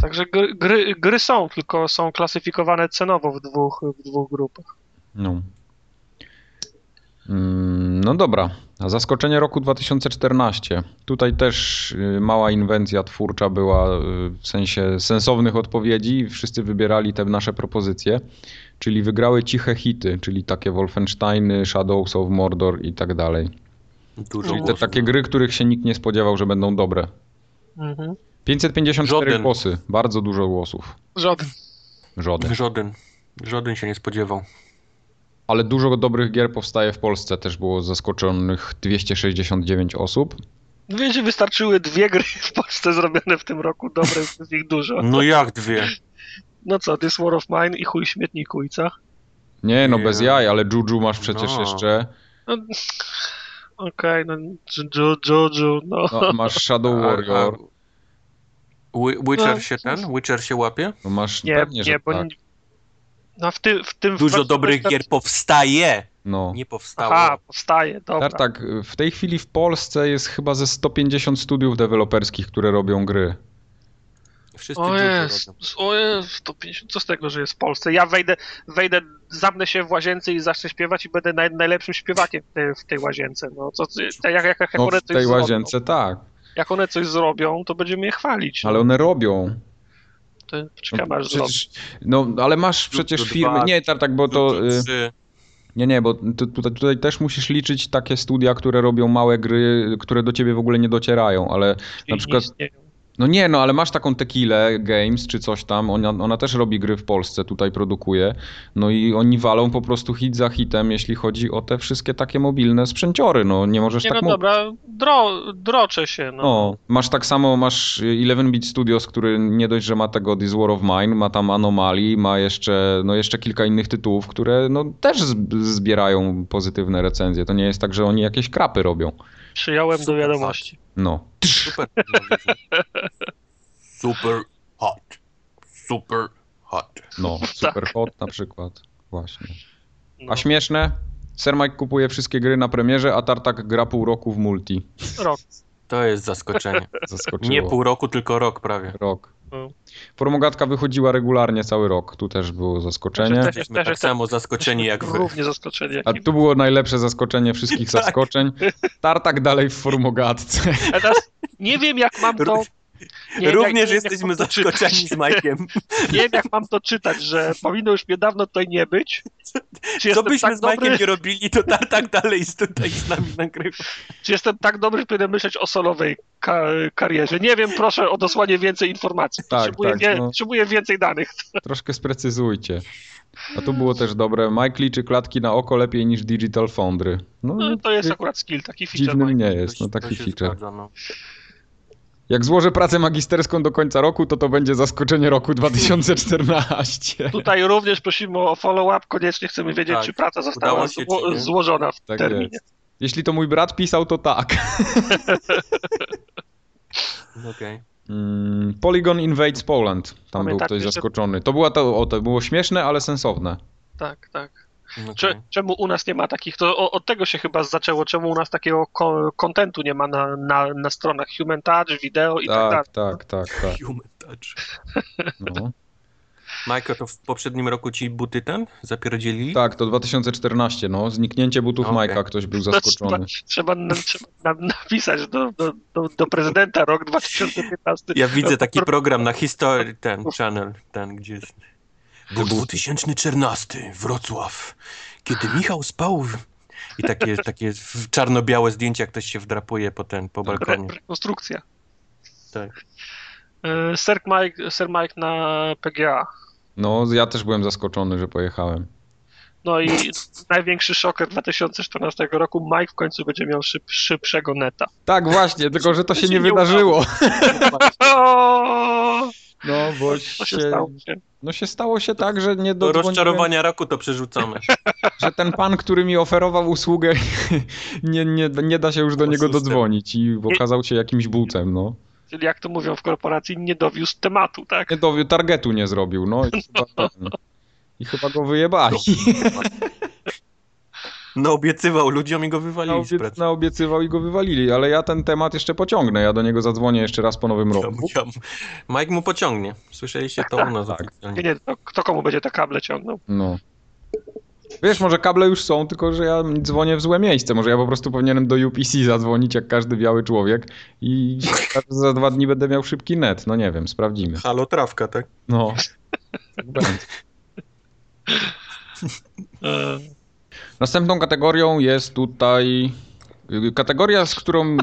Speaker 3: Także gry, gry, gry są, tylko są klasyfikowane cenowo w dwóch, w dwóch grupach.
Speaker 1: No. Mm, No dobra, a zaskoczenie roku 2014. Tutaj też y, mała inwencja twórcza była y, w sensie sensownych odpowiedzi. Wszyscy wybierali te nasze propozycje, czyli wygrały ciche hity, czyli takie Wolfensteiny, Shadows of Mordor i tak dalej.
Speaker 2: Dużo
Speaker 1: Czyli te
Speaker 2: było.
Speaker 1: takie gry, których się nikt nie spodziewał, że będą dobre.
Speaker 3: Mhm.
Speaker 1: 554
Speaker 2: Żaden.
Speaker 1: głosy, bardzo dużo głosów.
Speaker 3: Żaden.
Speaker 1: Żaden.
Speaker 2: Żaden. Żaden się nie spodziewał.
Speaker 1: Ale dużo dobrych gier powstaje w Polsce, też było zaskoczonych 269 osób.
Speaker 3: Wiecie, no wystarczyły dwie gry w Polsce zrobione w tym roku, dobre, jest ich dużo.
Speaker 2: No jak dwie?
Speaker 3: No co, This War of Mine i chuj w śmietniku i co?
Speaker 1: Nie, no bez
Speaker 2: Nie.
Speaker 1: jaj, ale Juju masz przecież
Speaker 2: No.
Speaker 1: jeszcze.
Speaker 3: No, Okej, no Jojo, Jojo, no.
Speaker 1: No, masz Shadow Warrior.
Speaker 2: A, a Wi- Witcher
Speaker 3: No.
Speaker 2: się ten? Witcher się łapie?
Speaker 1: No masz
Speaker 3: Nie,
Speaker 1: pewnie, że
Speaker 3: nie, bo
Speaker 1: tak.
Speaker 3: nie- no w, ty, w tym...
Speaker 2: Dużo
Speaker 3: w
Speaker 2: dobrych gier powstaje!
Speaker 1: No.
Speaker 2: Nie powstało.
Speaker 3: Aha, powstaje, dobra.
Speaker 1: Tak, tak. W tej chwili w Polsce jest chyba ze 150 studiów deweloperskich, które robią gry. No,
Speaker 2: Wszyscy
Speaker 3: O
Speaker 2: Juju
Speaker 3: jest,
Speaker 2: robią.
Speaker 3: o jest, to 50, co z tego, że jest w Polsce? Ja wejdę, wejdę, zamknę się w łazience i zacznę śpiewać i będę naj, najlepszym śpiewakiem w, tej- w tej łazience. No, co, co- jak, jak, jak,
Speaker 1: No,
Speaker 3: one
Speaker 1: w
Speaker 3: coś
Speaker 1: tej
Speaker 3: zrobią,
Speaker 1: łazience tak,
Speaker 3: jak one coś zrobią, to będziemy je chwalić. no.
Speaker 1: ale one robią.
Speaker 3: To
Speaker 1: No,
Speaker 3: czekam aż zrobią.
Speaker 1: przecież, no ale masz przecież
Speaker 2: Juju
Speaker 1: firmy.
Speaker 2: dwa,
Speaker 1: Nie, tak, bo to.
Speaker 2: Juju
Speaker 1: y,
Speaker 2: trzy.
Speaker 1: Nie, nie, bo tu- tutaj, tutaj też musisz liczyć takie studia, które robią małe gry, które do ciebie w ogóle nie docierają, ale na przykład. No nie, no ale masz taką Tequilę Games czy coś tam, ona, ona też robi gry w Polsce, tutaj produkuje. No i oni walą po prostu hit za hitem, jeśli chodzi o te wszystkie takie mobilne sprzęciory, no nie możesz
Speaker 3: Nie
Speaker 1: tak
Speaker 3: no
Speaker 1: mówić.
Speaker 3: dobra, dro, droczę się, no.
Speaker 1: No, masz tak samo, masz 11-bit Studios, który nie dość, że ma tego This War of Mine, ma tam Anomalii, ma jeszcze, no jeszcze kilka innych tytułów, które no też zb- zbierają pozytywne recenzje. To nie jest tak, że oni jakieś krapy robią.
Speaker 3: Przyjąłem do
Speaker 2: Super
Speaker 3: wiadomości.
Speaker 1: No.
Speaker 2: Super. Super hot. Super hot.
Speaker 1: No,
Speaker 3: Tak.
Speaker 1: Superhot na przykład. Właśnie.
Speaker 3: No,
Speaker 1: A śmieszne? Ser Mike kupuje wszystkie gry na premierze, a Tartak gra pół roku w multi.
Speaker 3: rok.
Speaker 2: To jest zaskoczenie.
Speaker 1: Zaskoczyło.
Speaker 2: Nie pół roku, tylko rok prawie.
Speaker 1: Rok.
Speaker 3: No.
Speaker 1: Formogatka wychodziła regularnie cały rok. Tu też było zaskoczenie.
Speaker 3: Znaczy,
Speaker 2: Jesteśmy tak
Speaker 3: Też-
Speaker 2: samo zaskoczeni jak wy.
Speaker 3: Równie zaskoczenie jak
Speaker 1: A
Speaker 3: i-
Speaker 1: tu było najlepsze zaskoczenie wszystkich
Speaker 2: Tak.
Speaker 1: zaskoczeń. Tartak dalej w formogatce.
Speaker 3: A teraz nie wiem jak mam to... Nie, wiem, jak- nie
Speaker 2: Również
Speaker 3: wiem, jak
Speaker 2: jesteśmy
Speaker 3: mam to czytać.
Speaker 2: zaskoczeni z Majkiem.
Speaker 3: Nie wiem, jak mam to czytać, że powinno już mnie dawno tutaj nie być. Czy
Speaker 2: Co
Speaker 3: jestem,
Speaker 2: byśmy
Speaker 3: tak
Speaker 2: z Majkiem
Speaker 3: dobry,
Speaker 2: nie robili, to tak dalej jest tutaj z nami nagrywa.
Speaker 3: czy jestem tak dobry, że powinienem myśleć o solowej ka- karierze? Nie wiem, proszę o dosłanie więcej informacji.
Speaker 1: Tak,
Speaker 3: potrzebuję,
Speaker 1: tak,
Speaker 3: wie-
Speaker 1: no.
Speaker 3: potrzebuję więcej danych.
Speaker 1: Troszkę sprecyzujcie. A tu było też dobre. Mike liczy klatki na oko lepiej niż Digital Foundry. No,
Speaker 3: No, to jest akurat skill, taki feature.
Speaker 1: dziwnym nie
Speaker 2: To
Speaker 1: jest.
Speaker 2: się-
Speaker 1: No
Speaker 2: to
Speaker 1: taki
Speaker 2: się
Speaker 1: feature.
Speaker 2: zgadza, no.
Speaker 1: Jak złożę pracę magisterską do końca roku, to to będzie zaskoczenie roku 2014.
Speaker 3: Tutaj również prosimy o follow-up, koniecznie chcemy wiedzieć,
Speaker 2: Tak.
Speaker 3: czy praca
Speaker 2: Udało
Speaker 3: została
Speaker 2: się,
Speaker 3: zło-
Speaker 2: czy nie?
Speaker 3: złożona w
Speaker 1: Tak
Speaker 3: terminie.
Speaker 1: jest. Jeśli to mój brat pisał, to tak.
Speaker 2: Okej.
Speaker 1: Mm, Polygon Invades Poland. Tam był
Speaker 3: Pamiętacie,
Speaker 1: ktoś
Speaker 3: że-
Speaker 1: zaskoczony. To, była to, o, to było śmieszne, ale sensowne.
Speaker 3: Tak, tak. Cze-
Speaker 2: Okej.
Speaker 3: Czemu u nas nie ma takich, to o- od tego się chyba zaczęło, czemu u nas takiego ko- kontentu nie ma na, na, na stronach Human Touch, wideo i tak, dalej.
Speaker 1: Tak, tak, tak, tak.
Speaker 2: Human touch.
Speaker 1: No.
Speaker 2: Majko, to w poprzednim roku ci buty ten zapierdzielili?
Speaker 1: Tak, to 2014, no. Zniknięcie butów
Speaker 2: Okej.
Speaker 1: Majka, ktoś był
Speaker 3: To Trzeba,
Speaker 1: zaskoczony.
Speaker 3: trzeba, na, trzeba na, napisać do, do, do, do prezydenta rok 2015.
Speaker 2: Ja widzę taki program na historii, ten channel, ten gdzie jest. Był 2014, Wrocław, kiedy Michał spał. w- I takie, takie w- czarno-białe zdjęcia, jak ktoś się wdrapuje po, ten, po balkonie.
Speaker 3: Re, rekonstrukcja.
Speaker 2: Tak.
Speaker 3: E, Sir Mike, Sir Mike na PGA.
Speaker 1: No, ja też byłem zaskoczony, że pojechałem.
Speaker 3: No i największy szoker 2014 roku, Mike w końcu będzie miał szyb, szybszego neta.
Speaker 1: Tak, właśnie, tylko że to się
Speaker 3: się
Speaker 1: nie
Speaker 3: nie
Speaker 1: wydarzyło.
Speaker 3: O,
Speaker 1: No, bo
Speaker 3: co się
Speaker 1: się,
Speaker 3: stało?
Speaker 1: no się stało się tak, że nie
Speaker 2: Do
Speaker 1: dodzwoniłem,
Speaker 2: rozczarowania roku to przerzucamy.
Speaker 1: że ten pan, który mi oferował usługę, nie, nie, nie da się już do niego
Speaker 2: Oszustem.
Speaker 1: dodzwonić i okazał się jakimś bucem, no.
Speaker 3: Czyli jak to mówią w korporacji, nie dowiózł tematu, tak?
Speaker 1: Nie do, targetu nie zrobił, no. I chyba, ten, i chyba go wyjebali.
Speaker 2: No obiecywał ludziom i go wywalili z
Speaker 1: Naobiec,
Speaker 2: pracy.
Speaker 1: naobiecywał i go wywalili, ale ja ten temat jeszcze pociągnę, ja do niego zadzwonię jeszcze raz po nowym
Speaker 2: Ja
Speaker 1: roku.
Speaker 2: mu- ja mu- No, Mike mu pociągnie. Słyszeliście to u nas
Speaker 1: tak.
Speaker 3: Nie,
Speaker 2: oficjalnie.
Speaker 3: nie, to kto komu będzie te kable ciągnął?
Speaker 1: No. Wiesz, może kable już są, tylko że ja dzwonię w złe miejsce. Może ja po prostu powinienem do UPC zadzwonić jak każdy biały człowiek i za dwa dni będę miał szybki net. No nie wiem, sprawdzimy.
Speaker 2: Halo, trawka, tak?
Speaker 1: No. Tak będzie.
Speaker 3: E,
Speaker 1: Następną kategorią jest tutaj y, kategoria, z którą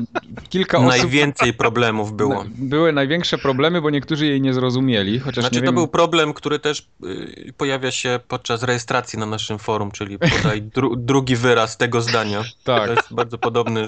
Speaker 1: kilka osób
Speaker 2: Najwięcej problemów było.
Speaker 1: były największe problemy, bo niektórzy jej nie zrozumieli, chociaż
Speaker 2: Znaczy,
Speaker 1: nie
Speaker 2: to
Speaker 1: wiem...
Speaker 2: był problem, który też y, pojawia się podczas rejestracji na naszym forum, czyli tutaj dru, drugi wyraz tego zdania.
Speaker 1: Tak.
Speaker 2: To jest bardzo podobny.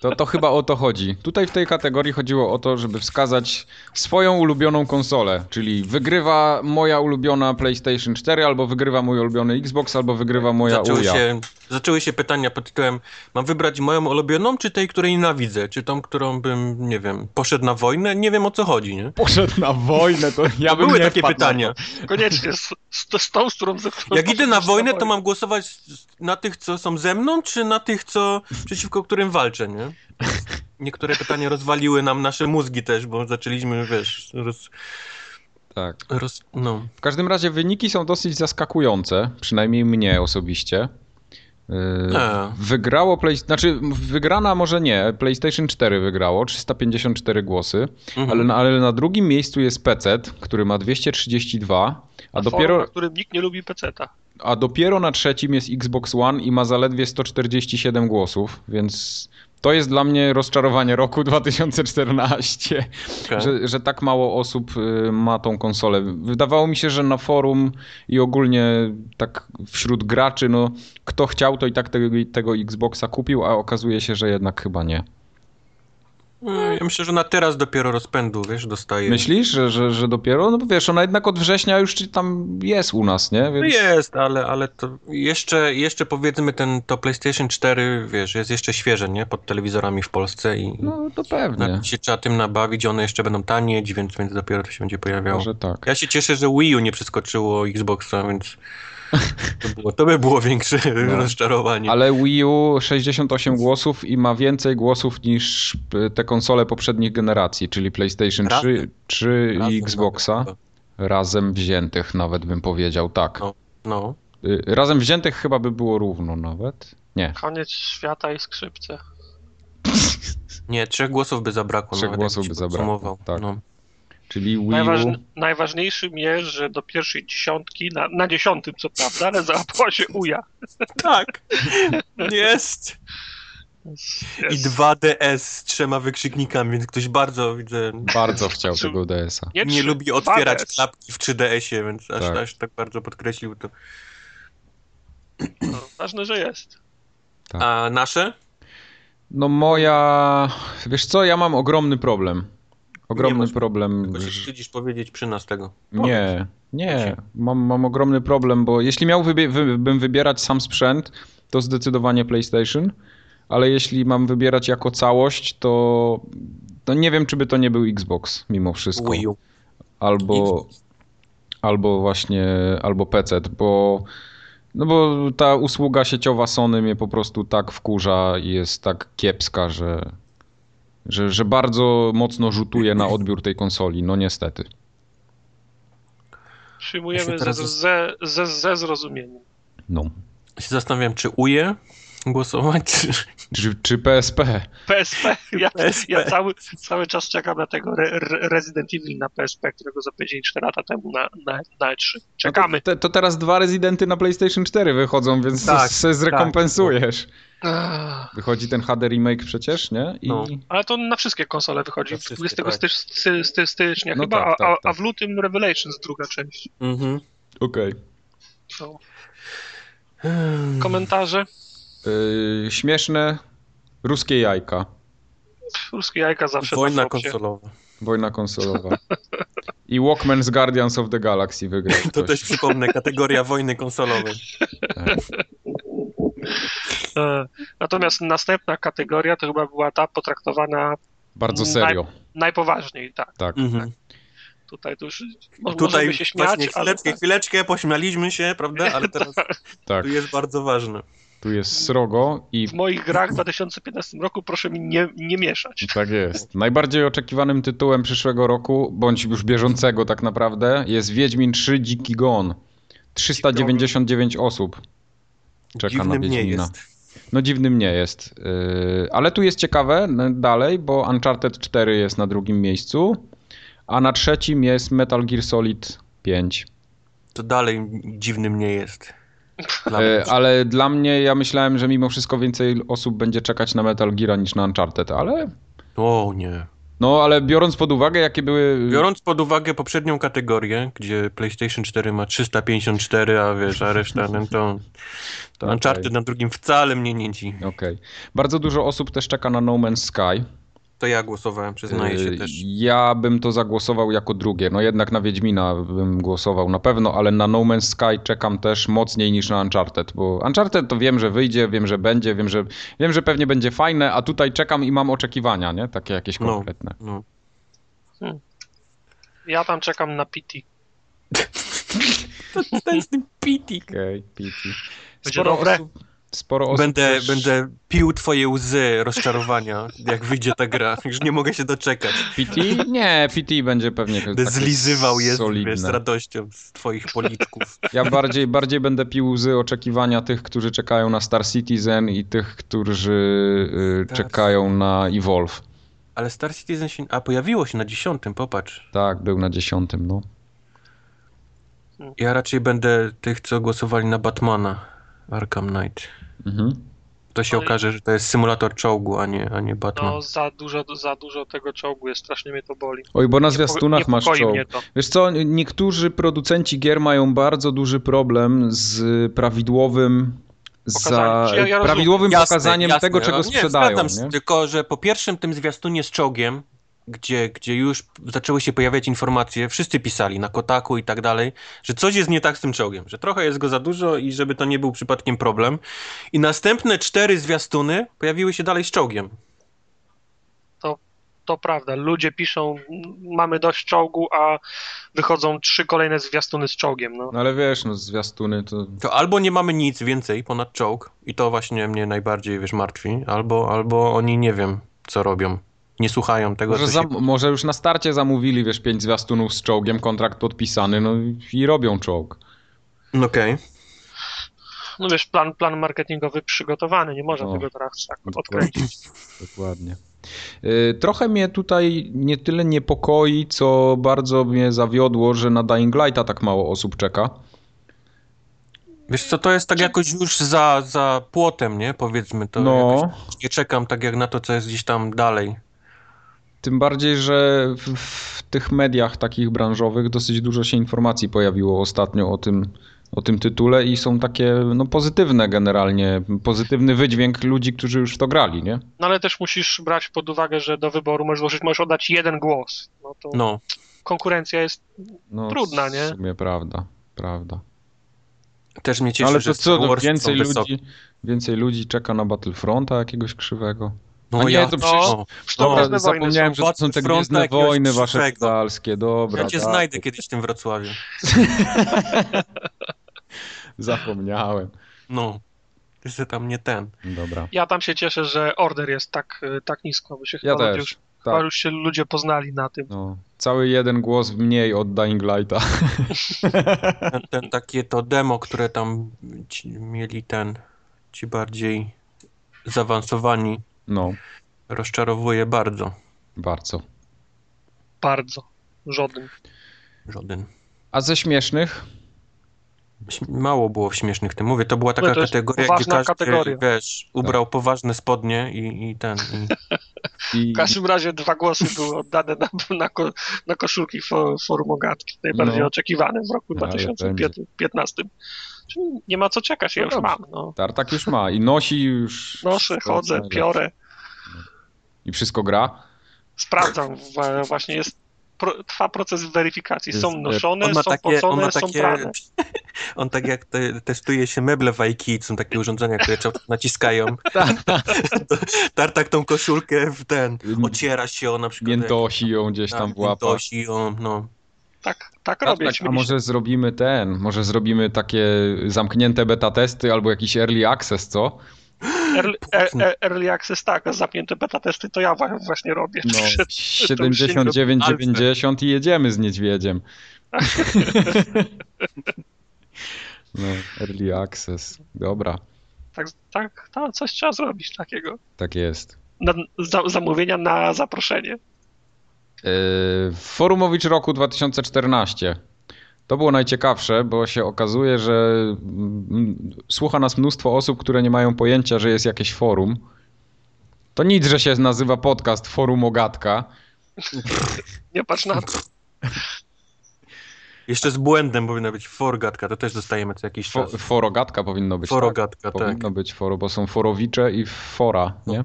Speaker 1: To, to chyba o to chodzi. Tutaj w tej kategorii chodziło o to, żeby wskazać swoją ulubioną konsolę, czyli wygrywa moja ulubiona PlayStation 4, albo wygrywa mój ulubiony Xbox, albo wygrywa moja
Speaker 2: Zaczęły
Speaker 1: Uja.
Speaker 2: się, zaczęły się pytania pod tytułem: Mam wybrać moją ulubioną, czy tej, której nienawidzę? Czy tą, którą bym, nie wiem, poszedł na wojnę? Nie wiem o co chodzi, nie?
Speaker 1: Poszedł na wojnę, to ja bym
Speaker 2: Były
Speaker 1: nie
Speaker 2: takie
Speaker 1: wpadł na to.
Speaker 2: pytania.
Speaker 3: Koniecznie, z, z, z tą, z którą... ze którą-
Speaker 2: Jak idę na wojnę, to mam głosować z- na tych, co są ze mną, czy na tych, co przeciwko którym walczę, nie? Niektóre pytania rozwaliły nam nasze mózgi też, bo zaczęliśmy, wiesz, roz,
Speaker 1: Tak.
Speaker 2: roz, no.
Speaker 1: W każdym razie wyniki są dosyć zaskakujące, przynajmniej mnie osobiście. Yy,
Speaker 2: E.
Speaker 1: Wygrało, play, znaczy wygrana może nie, PlayStation 4 wygrało, 354 głosy,
Speaker 2: Mhm.
Speaker 1: ale, no, na- ale na drugim miejscu jest PC, który ma 232, a
Speaker 3: Forum,
Speaker 1: dopiero,
Speaker 3: na którym nikt nie lubi peceta.
Speaker 1: a dopiero na trzecim jest Xbox One i ma zaledwie 147 głosów, więc to jest dla mnie rozczarowanie roku 2014
Speaker 2: Okej.
Speaker 1: że, że tak mało osób y, ma tą konsolę. Wydawało mi się, że na forum i ogólnie tak wśród graczy, no kto chciał, to i tak tego, tego Xboxa kupił, a okazuje się, że jednak chyba nie.
Speaker 2: No, Ja myślę, że na teraz dopiero rozpędu, wiesz, dostaję.
Speaker 1: Myślisz, że, że, że dopiero? No bo wiesz, ona jednak od września już czy tam jest u nas, nie?
Speaker 2: No
Speaker 1: Więc
Speaker 2: jest, ale, ale to jeszcze, jeszcze powiedzmy ten, to PlayStation 4, wiesz, jest jeszcze świeże, nie? Pod telewizorami w Polsce i
Speaker 1: no to pewnie.
Speaker 2: na, się trzeba tym nabawić, one jeszcze będą tanieć, więc, więc dopiero to się będzie pojawiało.
Speaker 1: Może tak.
Speaker 2: Ja się cieszę, że Wii U nie przeskoczyło Xboxa, więc to, było, to by było większe
Speaker 1: No.
Speaker 2: rozczarowanie.
Speaker 1: Ale Wii U 68 głosów i ma więcej głosów niż y, te konsole poprzednich generacji, czyli PlayStation 3,
Speaker 2: Razem.
Speaker 1: 3
Speaker 2: Razem
Speaker 1: i Xboxa.
Speaker 2: nawet
Speaker 1: Razem wziętych nawet bym powiedział, tak.
Speaker 2: No. chyba. No.
Speaker 1: Y, Razem wziętych chyba by było równo nawet. Nie,
Speaker 3: Koniec świata i skrzypce.
Speaker 2: Nie, trzech głosów by zabrakło.
Speaker 1: Trzech
Speaker 2: nawet,
Speaker 1: głosów by
Speaker 2: jakby się
Speaker 1: zabrakło,
Speaker 2: podsumował.
Speaker 1: tak.
Speaker 2: No.
Speaker 1: czyli Wii U.
Speaker 3: Najważn... Najważniejszym jest, że do pierwszej dziesiątki, na, na dziesiątym co prawda, ale załapała się uja.
Speaker 2: Tak, jest. I
Speaker 3: Jest.
Speaker 2: 2DS z trzema wykrzyknikami, więc ktoś bardzo, widzę,
Speaker 1: Bardzo chciał
Speaker 3: Czy-
Speaker 1: tego DS-a.
Speaker 2: nie,
Speaker 3: trzy,
Speaker 2: lubi otwierać
Speaker 3: dwa S.
Speaker 2: klapki w 3DS-ie, więc aż
Speaker 1: Tak.
Speaker 2: tak. aż tak bardzo podkreślił to.
Speaker 3: No, ważne, że jest.
Speaker 1: Tak.
Speaker 2: A nasze?
Speaker 1: No moja... Wiesz co, ja mam ogromny problem. Ogromny
Speaker 2: masz-
Speaker 1: problem.
Speaker 2: Tylko się
Speaker 1: że-
Speaker 2: wstydzisz powiedzieć przy nas tego.
Speaker 1: Nie, nie.
Speaker 2: Właśnie.
Speaker 1: Mam, mam ogromny problem, bo jeśli miałbym wybie- wy- bym wybierać sam sprzęt, to zdecydowanie PlayStation, ale jeśli mam wybierać jako całość, to, to nie wiem, czy by to nie był Xbox mimo wszystko.
Speaker 2: Wii U.
Speaker 1: albo, albo właśnie, albo PC, bo no bo ta usługa sieciowa Sony mnie po prostu tak wkurza i jest tak kiepska, że, że, że bardzo mocno rzutuje na odbiór tej konsoli, no niestety.
Speaker 3: Przyjmujemy
Speaker 2: Ja się teraz
Speaker 3: ze,
Speaker 2: zas-
Speaker 3: ze, ze, ze zrozumieniem.
Speaker 1: No.
Speaker 2: Się zastanawiam, czy uje głosować, czy...
Speaker 1: Czy, czy PSP?
Speaker 3: PSP. Ja,
Speaker 2: PSP.
Speaker 3: ja cały, cały czas czekam na tego re, re, Resident Evil na PSP, którego zapowiedzieli 4 lata temu na, na, na E3. Czekamy.
Speaker 1: No to, te, to teraz dwa rezydenty na PlayStation 4 wychodzą, więc
Speaker 2: Tak,
Speaker 1: se zrekompensujesz.
Speaker 3: Ah,
Speaker 1: Wychodzi ten HD remake przecież, nie? I
Speaker 2: No.
Speaker 3: Ale to na wszystkie konsole wychodzi.
Speaker 2: Na
Speaker 3: W
Speaker 2: wszystkie,
Speaker 3: 20
Speaker 2: tak.
Speaker 3: styż- sty- sty- stycznia
Speaker 1: No
Speaker 3: chyba,
Speaker 1: tak,
Speaker 3: a-
Speaker 1: tak,
Speaker 3: a, a
Speaker 1: tak.
Speaker 3: w lutym Revelations druga część.
Speaker 2: Mhm.
Speaker 1: okej.
Speaker 3: No. Komentarze.
Speaker 1: Yy, śmieszne ruskie jajka.
Speaker 3: Ruskie jajka zawsze
Speaker 2: Wojna
Speaker 3: na flopsie.
Speaker 2: konsolowa.
Speaker 1: Wojna konsolowa. I Walkman z Guardians of the Galaxy wygrał.
Speaker 2: To
Speaker 1: ktoś.
Speaker 2: też przypomnę, kategoria wojny konsolowej.
Speaker 1: Tak.
Speaker 3: E, Natomiast następna kategoria to chyba była ta potraktowana
Speaker 1: Bardzo serio,
Speaker 3: najpoważniej, tak.
Speaker 1: tak.
Speaker 2: Mhm.
Speaker 3: Tutaj to już mo-
Speaker 2: Tutaj
Speaker 3: możemy się śmiać,
Speaker 2: właśnie
Speaker 3: ale
Speaker 2: chwileczkę, chwileczkę, pośmialiśmy się, prawda? Ale teraz
Speaker 1: tak.
Speaker 2: tu jest bardzo ważne.
Speaker 1: Tu jest srogo i
Speaker 3: w moich grach w 2015 roku proszę mi nie, nie mieszać.
Speaker 1: tak jest. Najbardziej oczekiwanym tytułem przyszłego roku, bądź już bieżącego tak naprawdę, jest Wiedźmin 3 Dziki Gon. 399 osób czeka na
Speaker 2: Dziwnym nie
Speaker 1: Wiedźmina.
Speaker 2: jest.
Speaker 1: No dziwnym nie jest. Yy, Ale tu jest ciekawe n- dalej, bo Uncharted 4 jest na drugim miejscu, a na trzecim jest Metal Gear Solid 5.
Speaker 2: To dalej dziwnym nie jest. Dla
Speaker 1: E,
Speaker 2: mnie.
Speaker 1: ale dla mnie, ja myślałem, że mimo wszystko więcej osób będzie czekać na Metal Gear niż na Uncharted, ale
Speaker 2: O nie.
Speaker 1: No, ale biorąc pod uwagę, jakie były...
Speaker 2: Biorąc pod uwagę poprzednią kategorię, gdzie PlayStation 4 ma 354, a wiesz, a reszta, no to, to
Speaker 1: Okej.
Speaker 2: Uncharted na drugim wcale mnie nie dziwi.
Speaker 1: Okej. Bardzo dużo osób też czeka na No Man's Sky.
Speaker 2: To ja głosowałem, przyznaję
Speaker 1: Yy,
Speaker 2: się też.
Speaker 1: Ja bym to zagłosował jako drugie. No jednak na Wiedźmina bym głosował na pewno, ale na No Man's Sky czekam też mocniej niż na Uncharted, bo Uncharted to wiem, że wyjdzie, wiem, że będzie, wiem, że wiem, że pewnie będzie fajne, a tutaj czekam i mam oczekiwania, nie? Takie jakieś
Speaker 2: No.
Speaker 1: konkretne.
Speaker 2: No.
Speaker 3: Ja tam czekam na PT.
Speaker 2: To jest ten pitik.
Speaker 1: Okej, pity.
Speaker 3: Będzie dobre.
Speaker 1: Osób, sporo osób
Speaker 2: Będę,
Speaker 1: też...
Speaker 2: będę pił twoje łzy rozczarowania, jak wyjdzie ta gra. Już nie mogę się doczekać.
Speaker 1: PT? Nie, PT będzie pewnie
Speaker 2: Będę
Speaker 1: takie
Speaker 2: zlizywał je wiesz, z
Speaker 1: solidne.
Speaker 2: radością z twoich policzków.
Speaker 1: Ja bardziej, bardziej będę pił łzy oczekiwania tych, którzy czekają na Star Citizen i tych, którzy y,
Speaker 2: Star
Speaker 1: czekają na Evolve.
Speaker 2: Ale Star Citizen się... A, pojawiło się na dziesiątym, popatrz.
Speaker 1: Tak, był na dziesiątym, no.
Speaker 2: Ja raczej będę tych, co głosowali na Batmana Arkham Knight.
Speaker 1: Mhm.
Speaker 2: To się
Speaker 3: Oj.
Speaker 2: okaże, że to jest symulator czołgu, a nie, a nie Batman.
Speaker 3: No za dużo, za dużo tego czołgu jest, strasznie mnie to boli.
Speaker 1: Oj, bo na zwiastunach masz
Speaker 3: Niepokoi
Speaker 1: czołg.
Speaker 3: mnie to.
Speaker 1: Wiesz co, niektórzy producenci gier mają bardzo duży problem z prawidłowym
Speaker 3: Pokazaniem.
Speaker 1: za
Speaker 3: Czy ja- ja rozumiem.
Speaker 1: prawidłowym pokazaniem tego, czego
Speaker 2: no,
Speaker 1: sprzedają.
Speaker 2: zgadzam się,
Speaker 1: Nie?
Speaker 2: Tylko, że po pierwszym tym zwiastunie z czołgiem, gdzie, gdzie już zaczęły się pojawiać informacje, wszyscy pisali na Kotaku i tak dalej, że coś jest nie tak z tym czołgiem, że trochę jest go za dużo i żeby to nie był przypadkiem problem. I następne cztery zwiastuny pojawiły się dalej z czołgiem.
Speaker 3: To prawda, ludzie piszą, "M, mamy dość czołgu, a wychodzą trzy kolejne zwiastuny z czołgiem. No.
Speaker 1: No ale wiesz, no zwiastuny to...
Speaker 2: To albo nie mamy nic więcej ponad czołg i to właśnie mnie najbardziej, wiesz, martwi, albo, albo oni nie wiem, co robią. Nie słuchają tego,
Speaker 1: Może,
Speaker 2: co
Speaker 1: za,
Speaker 2: się...
Speaker 1: może już na starcie zamówili, wiesz, pięć zwiastunów z czołgiem, kontrakt podpisany, no i- i robią czołg.
Speaker 2: No Okej.
Speaker 3: no wiesz, plan, plan marketingowy przygotowany, nie można
Speaker 1: No.
Speaker 3: tego teraz tak odkręcić.
Speaker 1: Dokładnie. Dokładnie. Y, Trochę mnie tutaj nie tyle niepokoi, co bardzo mnie zawiodło, że na Dying Lighta tak mało osób czeka.
Speaker 2: Wiesz co, to jest tak jakoś już za, za płotem, nie? Powiedzmy to.
Speaker 1: no,
Speaker 2: Jakoś nie czekam tak jak na to, co jest gdzieś tam dalej.
Speaker 1: tym bardziej, że w, w tych mediach takich branżowych dosyć dużo się informacji pojawiło ostatnio o tym, o tym tytule i są takie no, pozytywne generalnie, pozytywny wydźwięk ludzi, którzy już w to grali, nie?
Speaker 3: No ale też musisz brać pod uwagę, że do wyboru możesz złożyć, możesz oddać jeden głos. No to
Speaker 2: No.
Speaker 3: konkurencja jest.
Speaker 1: No,
Speaker 3: Trudna, nie?
Speaker 1: W sumie prawda, prawda.
Speaker 2: Też mnie cieszy,
Speaker 1: Ale
Speaker 2: że
Speaker 1: to co,
Speaker 2: Star
Speaker 1: no,
Speaker 2: Wars
Speaker 1: więcej,
Speaker 2: są wysokie.
Speaker 1: ludzi, więcej ludzi czeka na Battlefronta jakiegoś krzywego.
Speaker 2: No
Speaker 1: A nie,
Speaker 2: ja,
Speaker 1: to przecież-
Speaker 2: no,
Speaker 3: To
Speaker 1: Dobra,
Speaker 3: Gwiezdne Wojny
Speaker 1: zapomniałem, że to są te
Speaker 2: Battlefronta
Speaker 1: Gwiezdne
Speaker 2: jakiegoś
Speaker 1: Wojny wasze
Speaker 2: krzywego.
Speaker 1: pedalskie, dobra.
Speaker 2: ja cię
Speaker 1: tak,
Speaker 2: znajdę kiedyś w tym Wrocławiu.
Speaker 1: Zapomniałem.
Speaker 2: No. Ty se tam nie ten.
Speaker 1: Dobra.
Speaker 3: Ja tam się cieszę, że order jest tak, y, tak nisko, bo się
Speaker 1: Ja
Speaker 3: chyba, ludzie
Speaker 1: też,
Speaker 3: już,
Speaker 1: tak.
Speaker 3: chyba już się ludzie poznali na tym.
Speaker 1: No. Cały jeden głos mniej od Dying Lighta.
Speaker 2: ten, ten takie to demo, które tam ci, mieli ten, ci bardziej zaawansowani,
Speaker 1: No,
Speaker 2: rozczarowuje bardzo.
Speaker 1: bardzo.
Speaker 3: Bardzo. Żaden.
Speaker 2: Żaden.
Speaker 1: A ze śmiesznych?
Speaker 2: Śm- Mało było w śmiesznych tym. Mówię, to była taka
Speaker 3: No to jest
Speaker 2: kategoria, gdzie
Speaker 3: poważna
Speaker 2: każdy,
Speaker 3: kategoria.
Speaker 2: wiesz, ubrał
Speaker 1: Tak.
Speaker 2: poważne spodnie i, i ten. I...
Speaker 1: I...
Speaker 3: W każdym razie dwa głosy były oddane na, na, ko, na koszulki fo, forum ogatki, najbardziej
Speaker 1: No.
Speaker 3: oczekiwane w roku
Speaker 1: Ale
Speaker 3: 2015. Czyli nie ma co czekać, ja
Speaker 1: No
Speaker 3: już
Speaker 1: dobrze.
Speaker 3: mam. No.
Speaker 1: Tartak już ma i nosi już...
Speaker 3: Noszę, chodzę, piorę,
Speaker 1: I wszystko gra?
Speaker 3: sprawdzam. Wa- Właśnie jest, pro, trwa proces weryfikacji.
Speaker 1: Jest,
Speaker 3: Są
Speaker 1: e,
Speaker 3: noszone, No, są pocone, są prane.
Speaker 2: on tak jak te, testuje się meble w IKEA, są takie urządzenia, które trzeba naciskają.
Speaker 3: Tak.
Speaker 2: To Tartak tą koszulkę w ten, ociera się o na przykład.
Speaker 1: Miętosi ją gdzieś tam w łapach.
Speaker 2: Miętosi ją, no.
Speaker 3: Tak, tak
Speaker 1: Tak,
Speaker 3: robię.
Speaker 1: tak, a
Speaker 3: śmieliście.
Speaker 1: może zrobimy ten, może zrobimy takie zamknięte beta testy albo jakiś early access, co?
Speaker 3: Early, e- e- early access, tak, a zamknięte beta testy to ja wa- właśnie robię.
Speaker 1: No,
Speaker 3: Przed-
Speaker 1: 79,90 i jedziemy z niedźwiedziem. No, early access. Dobra,
Speaker 3: tak, tak, tak, coś trzeba zrobić takiego.
Speaker 1: tak jest.
Speaker 3: Na, za, zamówienia na zaproszenie.
Speaker 1: Yy, Forumowicz roku 2014. To było najciekawsze, bo się okazuje, że mm, słucha nas mnóstwo osób, które nie mają pojęcia, że jest jakieś forum. To nic, że się nazywa podcast Forum Ogatka.
Speaker 3: Nie patrz na to.
Speaker 2: Jeszcze z błędem powinna być forgatka, to też dostajemy co jakiś
Speaker 1: Fo,
Speaker 2: czas.
Speaker 1: forogatka powinno być.
Speaker 2: Tak. Forogatka,
Speaker 1: tak?
Speaker 2: tak.
Speaker 1: Powinno być foro, bo są forowicze i fora, nie?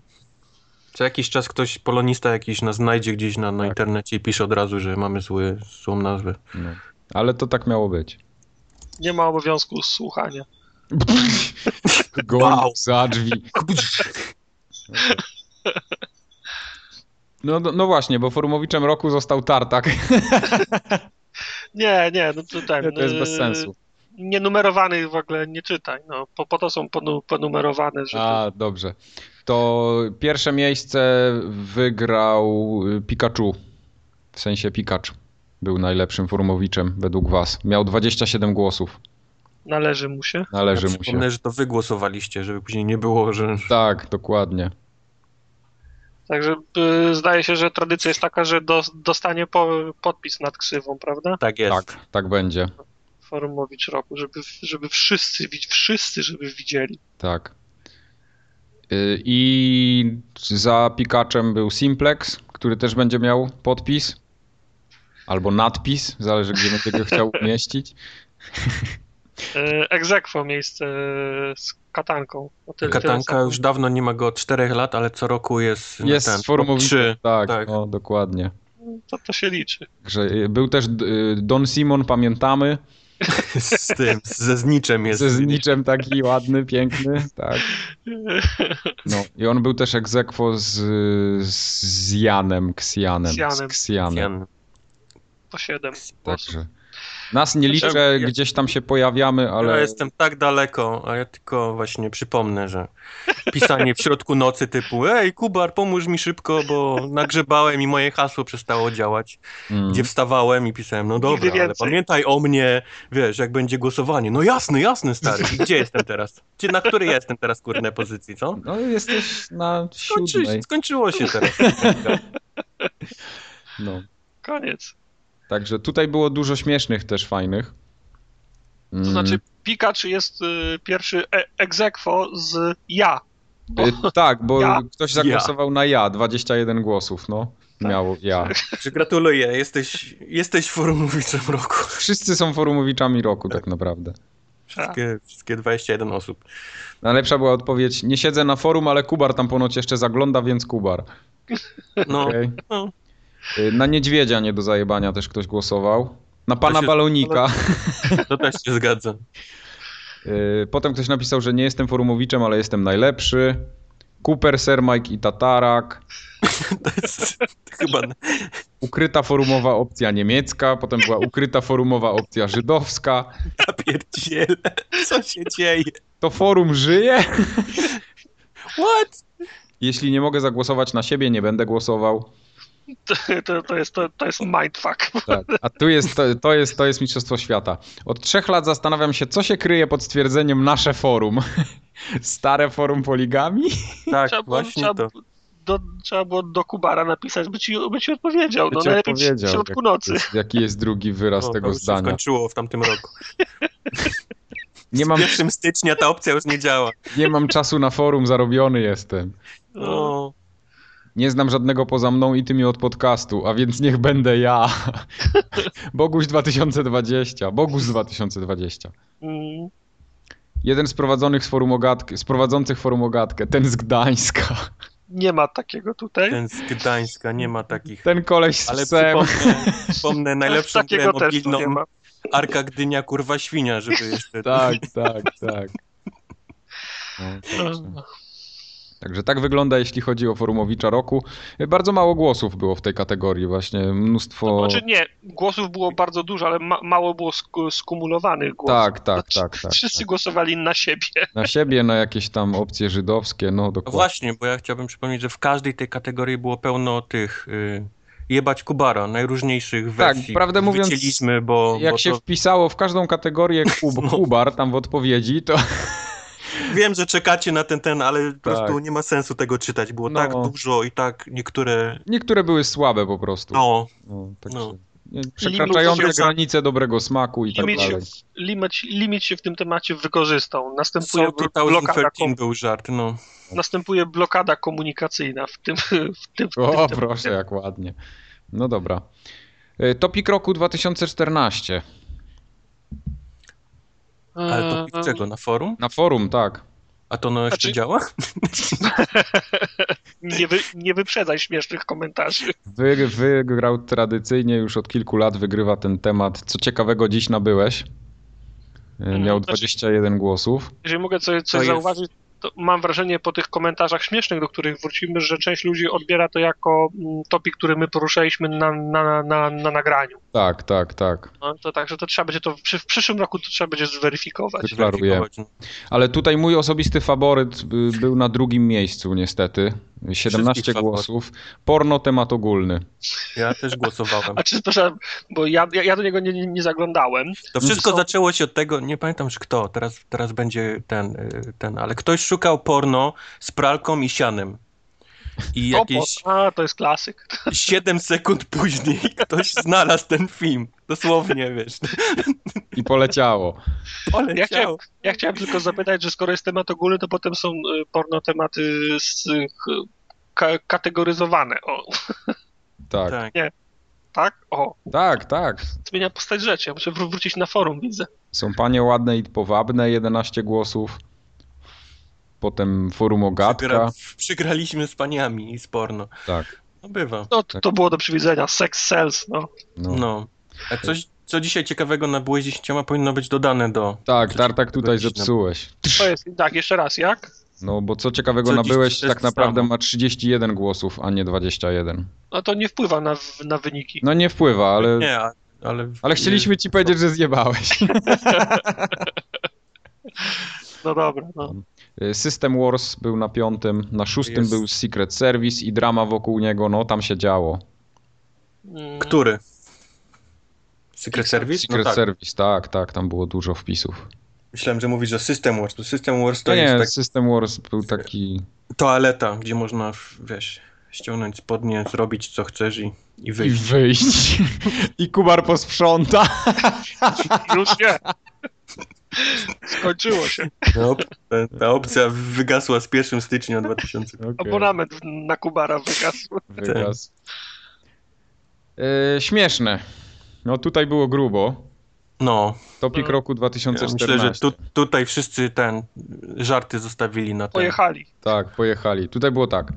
Speaker 2: Co jakiś czas ktoś, polonista jakiś nas znajdzie gdzieś na, na
Speaker 1: Tak.
Speaker 2: internecie i pisze od razu, że mamy zły, złą nazwę.
Speaker 1: No. Ale to tak miało być.
Speaker 3: Nie ma obowiązku słuchania.
Speaker 1: Goń
Speaker 2: Wow.
Speaker 1: za drzwi. No, no, no właśnie, bo forumowiczem roku został Tartak.
Speaker 3: Nie, nie, no to ten,
Speaker 1: To jest bez
Speaker 3: y,
Speaker 1: sensu.
Speaker 3: Nienumerowanych w ogóle nie czytaj. No, po, po to są ponu, ponumerowane, że
Speaker 1: A, dobrze. To pierwsze miejsce wygrał y, Pikachu. W sensie Pikachu był najlepszym forumowiczem według was. Miał 27 głosów.
Speaker 3: należy mu się.
Speaker 1: Należy
Speaker 2: ja
Speaker 1: Tak, mu się.
Speaker 2: przypomnę, że to wy głosowaliście, żeby później nie było, że...
Speaker 1: Tak, dokładnie.
Speaker 3: Także y, zdaje się, że tradycja jest taka, że do, dostanie po, podpis nad ksywą, prawda?
Speaker 2: Tak jest.
Speaker 1: Tak, tak będzie.
Speaker 3: Forumowicz roku, żeby, żeby wszyscy, wi- wszyscy, żeby widzieli.
Speaker 1: Tak. Y, I za Pikaczem był Simplex, który też będzie miał podpis. Albo nadpis, zależy gdzie będzie go chciał umieścić.
Speaker 3: Y, Egzekwo miejsce y, z katanką. O tyle-
Speaker 2: Katanka
Speaker 3: tyle
Speaker 2: już dawno nie ma go od 4 lat, ale co roku jest... no, ten,
Speaker 1: Jest formowiczem.
Speaker 2: trzy.
Speaker 1: Tak,
Speaker 2: tak.
Speaker 1: No, dokładnie.
Speaker 3: samo. To, to się liczy.
Speaker 1: Że był też y, Don Simon, pamiętamy,
Speaker 2: Z tym, ze zniczem jest.
Speaker 1: ze zniczem taki ładny, piękny, tak.
Speaker 3: Y,
Speaker 1: No. I on był też ex aequo z, z Janem, Ksianem.
Speaker 3: Z Janem.
Speaker 1: Z Ksianem.
Speaker 2: Jan.
Speaker 3: Po 7.
Speaker 1: Także. Nas nie liczę,
Speaker 2: Ja-
Speaker 1: gdzieś tam się pojawiamy, ale...
Speaker 2: Ja jestem tak daleko, a ja tylko właśnie przypomnę, że pisanie w środku nocy typu ej Kubar, pomóż mi szybko, bo nagrzebałem i moje hasło przestało działać.
Speaker 1: Mm.
Speaker 2: Gdzie wstawałem i pisałem, no dobra, ale
Speaker 3: więcej.
Speaker 2: pamiętaj o mnie, wiesz, jak będzie głosowanie. No jasny, jasny stary. I gdzie jestem teraz? Gdzie, na której jestem teraz, kurde, pozycji, co?
Speaker 1: No jesteś na siódmej.
Speaker 2: Skończy, skończyło się teraz.
Speaker 1: No.
Speaker 3: Koniec.
Speaker 1: Także tutaj było dużo śmiesznych też fajnych. Mm,
Speaker 3: To
Speaker 1: Mhm.
Speaker 3: znaczy Pikachu jest y, pierwszy e- egzekwo z ja. bo-
Speaker 1: tak, bo
Speaker 3: Ja.
Speaker 1: ktoś zagłosował na ja, 21 głosów, no. Miało ja.
Speaker 2: Tak. Gratuluję, jesteś, jesteś forumowiczem roku.
Speaker 1: Wszyscy są forumowiczami roku tak naprawdę.
Speaker 3: Tak.
Speaker 2: Wszystkie, wszystkie 21 osób.
Speaker 1: Najlepsza była odpowiedź, nie siedzę na forum, ale Kubar tam ponoć jeszcze zagląda, więc Kubar.
Speaker 2: No,
Speaker 1: Okej.
Speaker 2: no.
Speaker 1: Y, Na niedźwiedzia nie do zajebania też ktoś głosował. Na pana
Speaker 2: To się-
Speaker 1: balonika.
Speaker 2: to też się zgadzam.
Speaker 1: Y, Potem ktoś napisał, że nie jestem forumowiczem, ale jestem najlepszy. Cooper, Ser Mike i Tatarak.
Speaker 2: To jest chyba
Speaker 1: Ukryta forumowa opcja niemiecka, potem była ukryta forumowa opcja żydowska.
Speaker 2: napierdziel. Co się dzieje?
Speaker 1: To forum żyje?
Speaker 2: What?
Speaker 1: Jeśli nie mogę zagłosować na siebie, nie będę głosował.
Speaker 3: To, to, to, jest, to, to jest mindfuck.
Speaker 1: Tak. A tu jest, to, to jest, to jest Mistrzostwo Świata. Od trzech lat zastanawiam się, co się kryje pod stwierdzeniem nasze forum. Stare forum poligami?
Speaker 2: Tak,
Speaker 3: Trzeba było,
Speaker 2: właśnie
Speaker 3: trzeba,
Speaker 2: to.
Speaker 3: Do, trzeba było do Kubara napisać, by ci, by ci odpowiedział. No,
Speaker 1: Cię
Speaker 3: najlepiej
Speaker 1: odpowiedział,
Speaker 3: w środku
Speaker 1: jak-
Speaker 3: nocy.
Speaker 1: Jaki jest drugi wyraz
Speaker 2: O, to
Speaker 1: tego
Speaker 2: już No, się
Speaker 1: zdania?
Speaker 2: skończyło w tamtym roku.
Speaker 1: Nie mam,
Speaker 2: 1 stycznia ta opcja już nie działa.
Speaker 1: nie mam czasu na forum, zarobiony jestem.
Speaker 3: No,
Speaker 2: No,
Speaker 1: Nie znam żadnego poza mną i tymi od podcastu, a więc niech będę ja. Boguś 2020, Boguś 2020.
Speaker 3: mm,
Speaker 1: Jeden z prowadzonych z forum ogatki, z prowadzących forum ogatkę, ten z Gdańska.
Speaker 3: nie ma takiego tutaj.
Speaker 2: ten z Gdańska, nie ma takich.
Speaker 1: Ten koleś z
Speaker 2: Ale
Speaker 1: psem.
Speaker 2: przypomnę, przypomnę najlepszą grę
Speaker 3: takiego też tu
Speaker 2: mobilną
Speaker 3: nie ma.
Speaker 2: Arka Gdynia, kurwa świnia, żeby jeszcze...
Speaker 1: Tak, tak, tak. No,
Speaker 3: No,
Speaker 1: Także tak wygląda, jeśli chodzi o forumowicza roku. Bardzo mało głosów było w tej kategorii, właśnie
Speaker 2: No,
Speaker 1: mnóstwo.
Speaker 3: Znaczy nie, głosów było bardzo dużo, ale ma, mało było sk- skumulowanych głosów.
Speaker 1: Tak, tak,
Speaker 3: Znaczy,
Speaker 1: tak, tak.
Speaker 3: Wszyscy głosowali na siebie.
Speaker 1: Na siebie, na jakieś tam opcje żydowskie, no
Speaker 2: No
Speaker 1: dokładnie.
Speaker 2: Właśnie, bo ja chciałbym przypomnieć, że w każdej tej kategorii było pełno tych... Y... Jebać Kubara, najróżniejszych
Speaker 1: Tak,
Speaker 2: wersji.
Speaker 1: prawdę mówiąc,
Speaker 2: Wycięliśmy, bo,
Speaker 1: Jak
Speaker 2: bo
Speaker 1: się
Speaker 2: to...
Speaker 1: wpisało w każdą kategorię kub,
Speaker 2: No.
Speaker 1: Kubar tam w odpowiedzi, to
Speaker 2: Wiem, że czekacie na ten, ten, ale po
Speaker 1: Tak.
Speaker 2: prostu nie ma sensu tego czytać. Było
Speaker 1: No.
Speaker 2: tak dużo i tak niektóre.
Speaker 1: niektóre były słabe po prostu.
Speaker 2: No,
Speaker 1: No, także
Speaker 2: No.
Speaker 1: nie- Przekraczające
Speaker 2: Limit-
Speaker 1: granice dobrego smaku i tak
Speaker 3: Limit-
Speaker 1: dalej.
Speaker 3: Limit, limit się w tym temacie wykorzystał. Następuje,
Speaker 2: Soul
Speaker 3: bl- blokada,
Speaker 2: 2013
Speaker 3: kom-
Speaker 2: był żart, no.
Speaker 3: następuje blokada Tak. komunikacyjna w tym, w tym, w tym
Speaker 1: O,
Speaker 3: temacie.
Speaker 1: proszę, jak ładnie. No dobra. E, Topik roku 2014.
Speaker 2: Ale to pik czego, na forum?
Speaker 1: Na forum, tak.
Speaker 2: A to ono jeszcze
Speaker 3: Mhm. Znaczy-
Speaker 2: działa?
Speaker 3: Nie, wy, nie wyprzedzaj śmiesznych komentarzy.
Speaker 1: Wy, wygrał tradycyjnie już od kilku lat, wygrywa ten temat. Co ciekawego dziś nabyłeś? E, Miał
Speaker 3: znaczy-
Speaker 1: 21 głosów.
Speaker 3: Jeżeli mogę coś,
Speaker 2: To
Speaker 3: coś
Speaker 2: jest-
Speaker 3: zauważyć, to mam wrażenie po tych komentarzach śmiesznych, do których wrócimy, że część ludzi odbiera to jako mm, topik, który my poruszaliśmy na, na, na, na nagraniu.
Speaker 1: Tak, tak, tak.
Speaker 3: No, to także to trzeba będzie to przy, w przyszłym roku to trzeba będzie zweryfikować.
Speaker 1: Deklaruję.
Speaker 2: no.
Speaker 1: Ale tutaj mój osobisty faworyt y, był na drugim miejscu, niestety. 17
Speaker 2: Wszystkich
Speaker 1: głosów. Porno temat ogólny.
Speaker 2: Ja też głosowałem.
Speaker 3: A czy przepraszam, bo ja, ja, ja do niego nie, nie, nie zaglądałem.
Speaker 2: To wszystko
Speaker 3: Są-
Speaker 2: zaczęło się od tego, nie pamiętam już kto, teraz, teraz będzie ten, y, ten, ale ktoś szukał porno z pralką i sianem. I jakieś
Speaker 3: Opos, a to jest klasyk.
Speaker 2: 7 sekund później ktoś znalazł ten film. Dosłownie, wiesz.
Speaker 1: I poleciało.
Speaker 3: Ja
Speaker 2: Poleciał.
Speaker 3: chciałem, ja chciałem tylko zapytać, że skoro jest temat ogólny, to potem są y, porno tematy z, y, ka- kategoryzowane. O,
Speaker 1: Tak, tak,
Speaker 2: Tak.
Speaker 3: tak? O,
Speaker 1: tak.
Speaker 3: zmienia postać rzeczy. Ja muszę wró- wrócić na forum, widzę.
Speaker 1: Są panie ładne i powabne, 11 głosów. Potem forum ogatka.
Speaker 2: Przygra, przygraliśmy z paniami i z porno.
Speaker 1: Tak.
Speaker 2: No bywa.
Speaker 3: No, to,
Speaker 1: Tak.
Speaker 3: to było do przewidzenia. Sex sells, no.
Speaker 1: No.
Speaker 2: No. A coś, co dzisiaj ciekawego nabyłeś 10 powinno być dodane do...
Speaker 1: Tak, tartak tutaj
Speaker 2: Godzina.
Speaker 1: zepsułeś.
Speaker 3: To jest, tak, jeszcze raz, jak?
Speaker 1: No bo co ciekawego
Speaker 2: Co dziś
Speaker 1: nabyłeś,
Speaker 2: to jest
Speaker 1: tak naprawdę
Speaker 2: samo.
Speaker 1: ma 31 głosów, a nie 21.
Speaker 3: No to nie wpływa na, w- na wyniki.
Speaker 1: No nie wpływa, ale,
Speaker 2: Nie, a- ale...
Speaker 1: ale chcieliśmy ci powiedzieć, że zjebałeś.
Speaker 3: No dobra, no.
Speaker 1: Y, System Wars był na piątym, na szóstym
Speaker 2: Jest.
Speaker 1: był Secret Service i drama wokół niego, no tam się działo.
Speaker 3: Mm,
Speaker 2: Który? Secret Service?
Speaker 1: Secret
Speaker 2: no tak.
Speaker 1: Service, tak, tak, tam było dużo wpisów.
Speaker 2: Myślałem, że mówisz, że System Wars. Bo System Wars to
Speaker 1: To nie,
Speaker 2: jest tak
Speaker 1: System Wars był taki,
Speaker 2: toaleta, gdzie można, wiesz, ściągnąć spodnie, zrobić co chcesz i, i
Speaker 1: i
Speaker 2: wyjść.
Speaker 1: wyjść, i Kubar posprząta.
Speaker 3: Mm, Już nie. Skończyło się.
Speaker 2: No, ta, ta opcja wygasła z 1 stycznia 2000.
Speaker 1: Okej,
Speaker 3: Abonament w- na Kubara wygasł.
Speaker 1: wyraz. E, śmieszne. No tutaj było grubo.
Speaker 2: No,
Speaker 1: Topik
Speaker 3: Mm.
Speaker 1: roku
Speaker 2: ja
Speaker 1: 2014.
Speaker 2: myślę, że tu, tutaj wszyscy ten żarty zostawili na ten.
Speaker 3: Pojechali.
Speaker 1: Tak, pojechali. Tutaj było tak.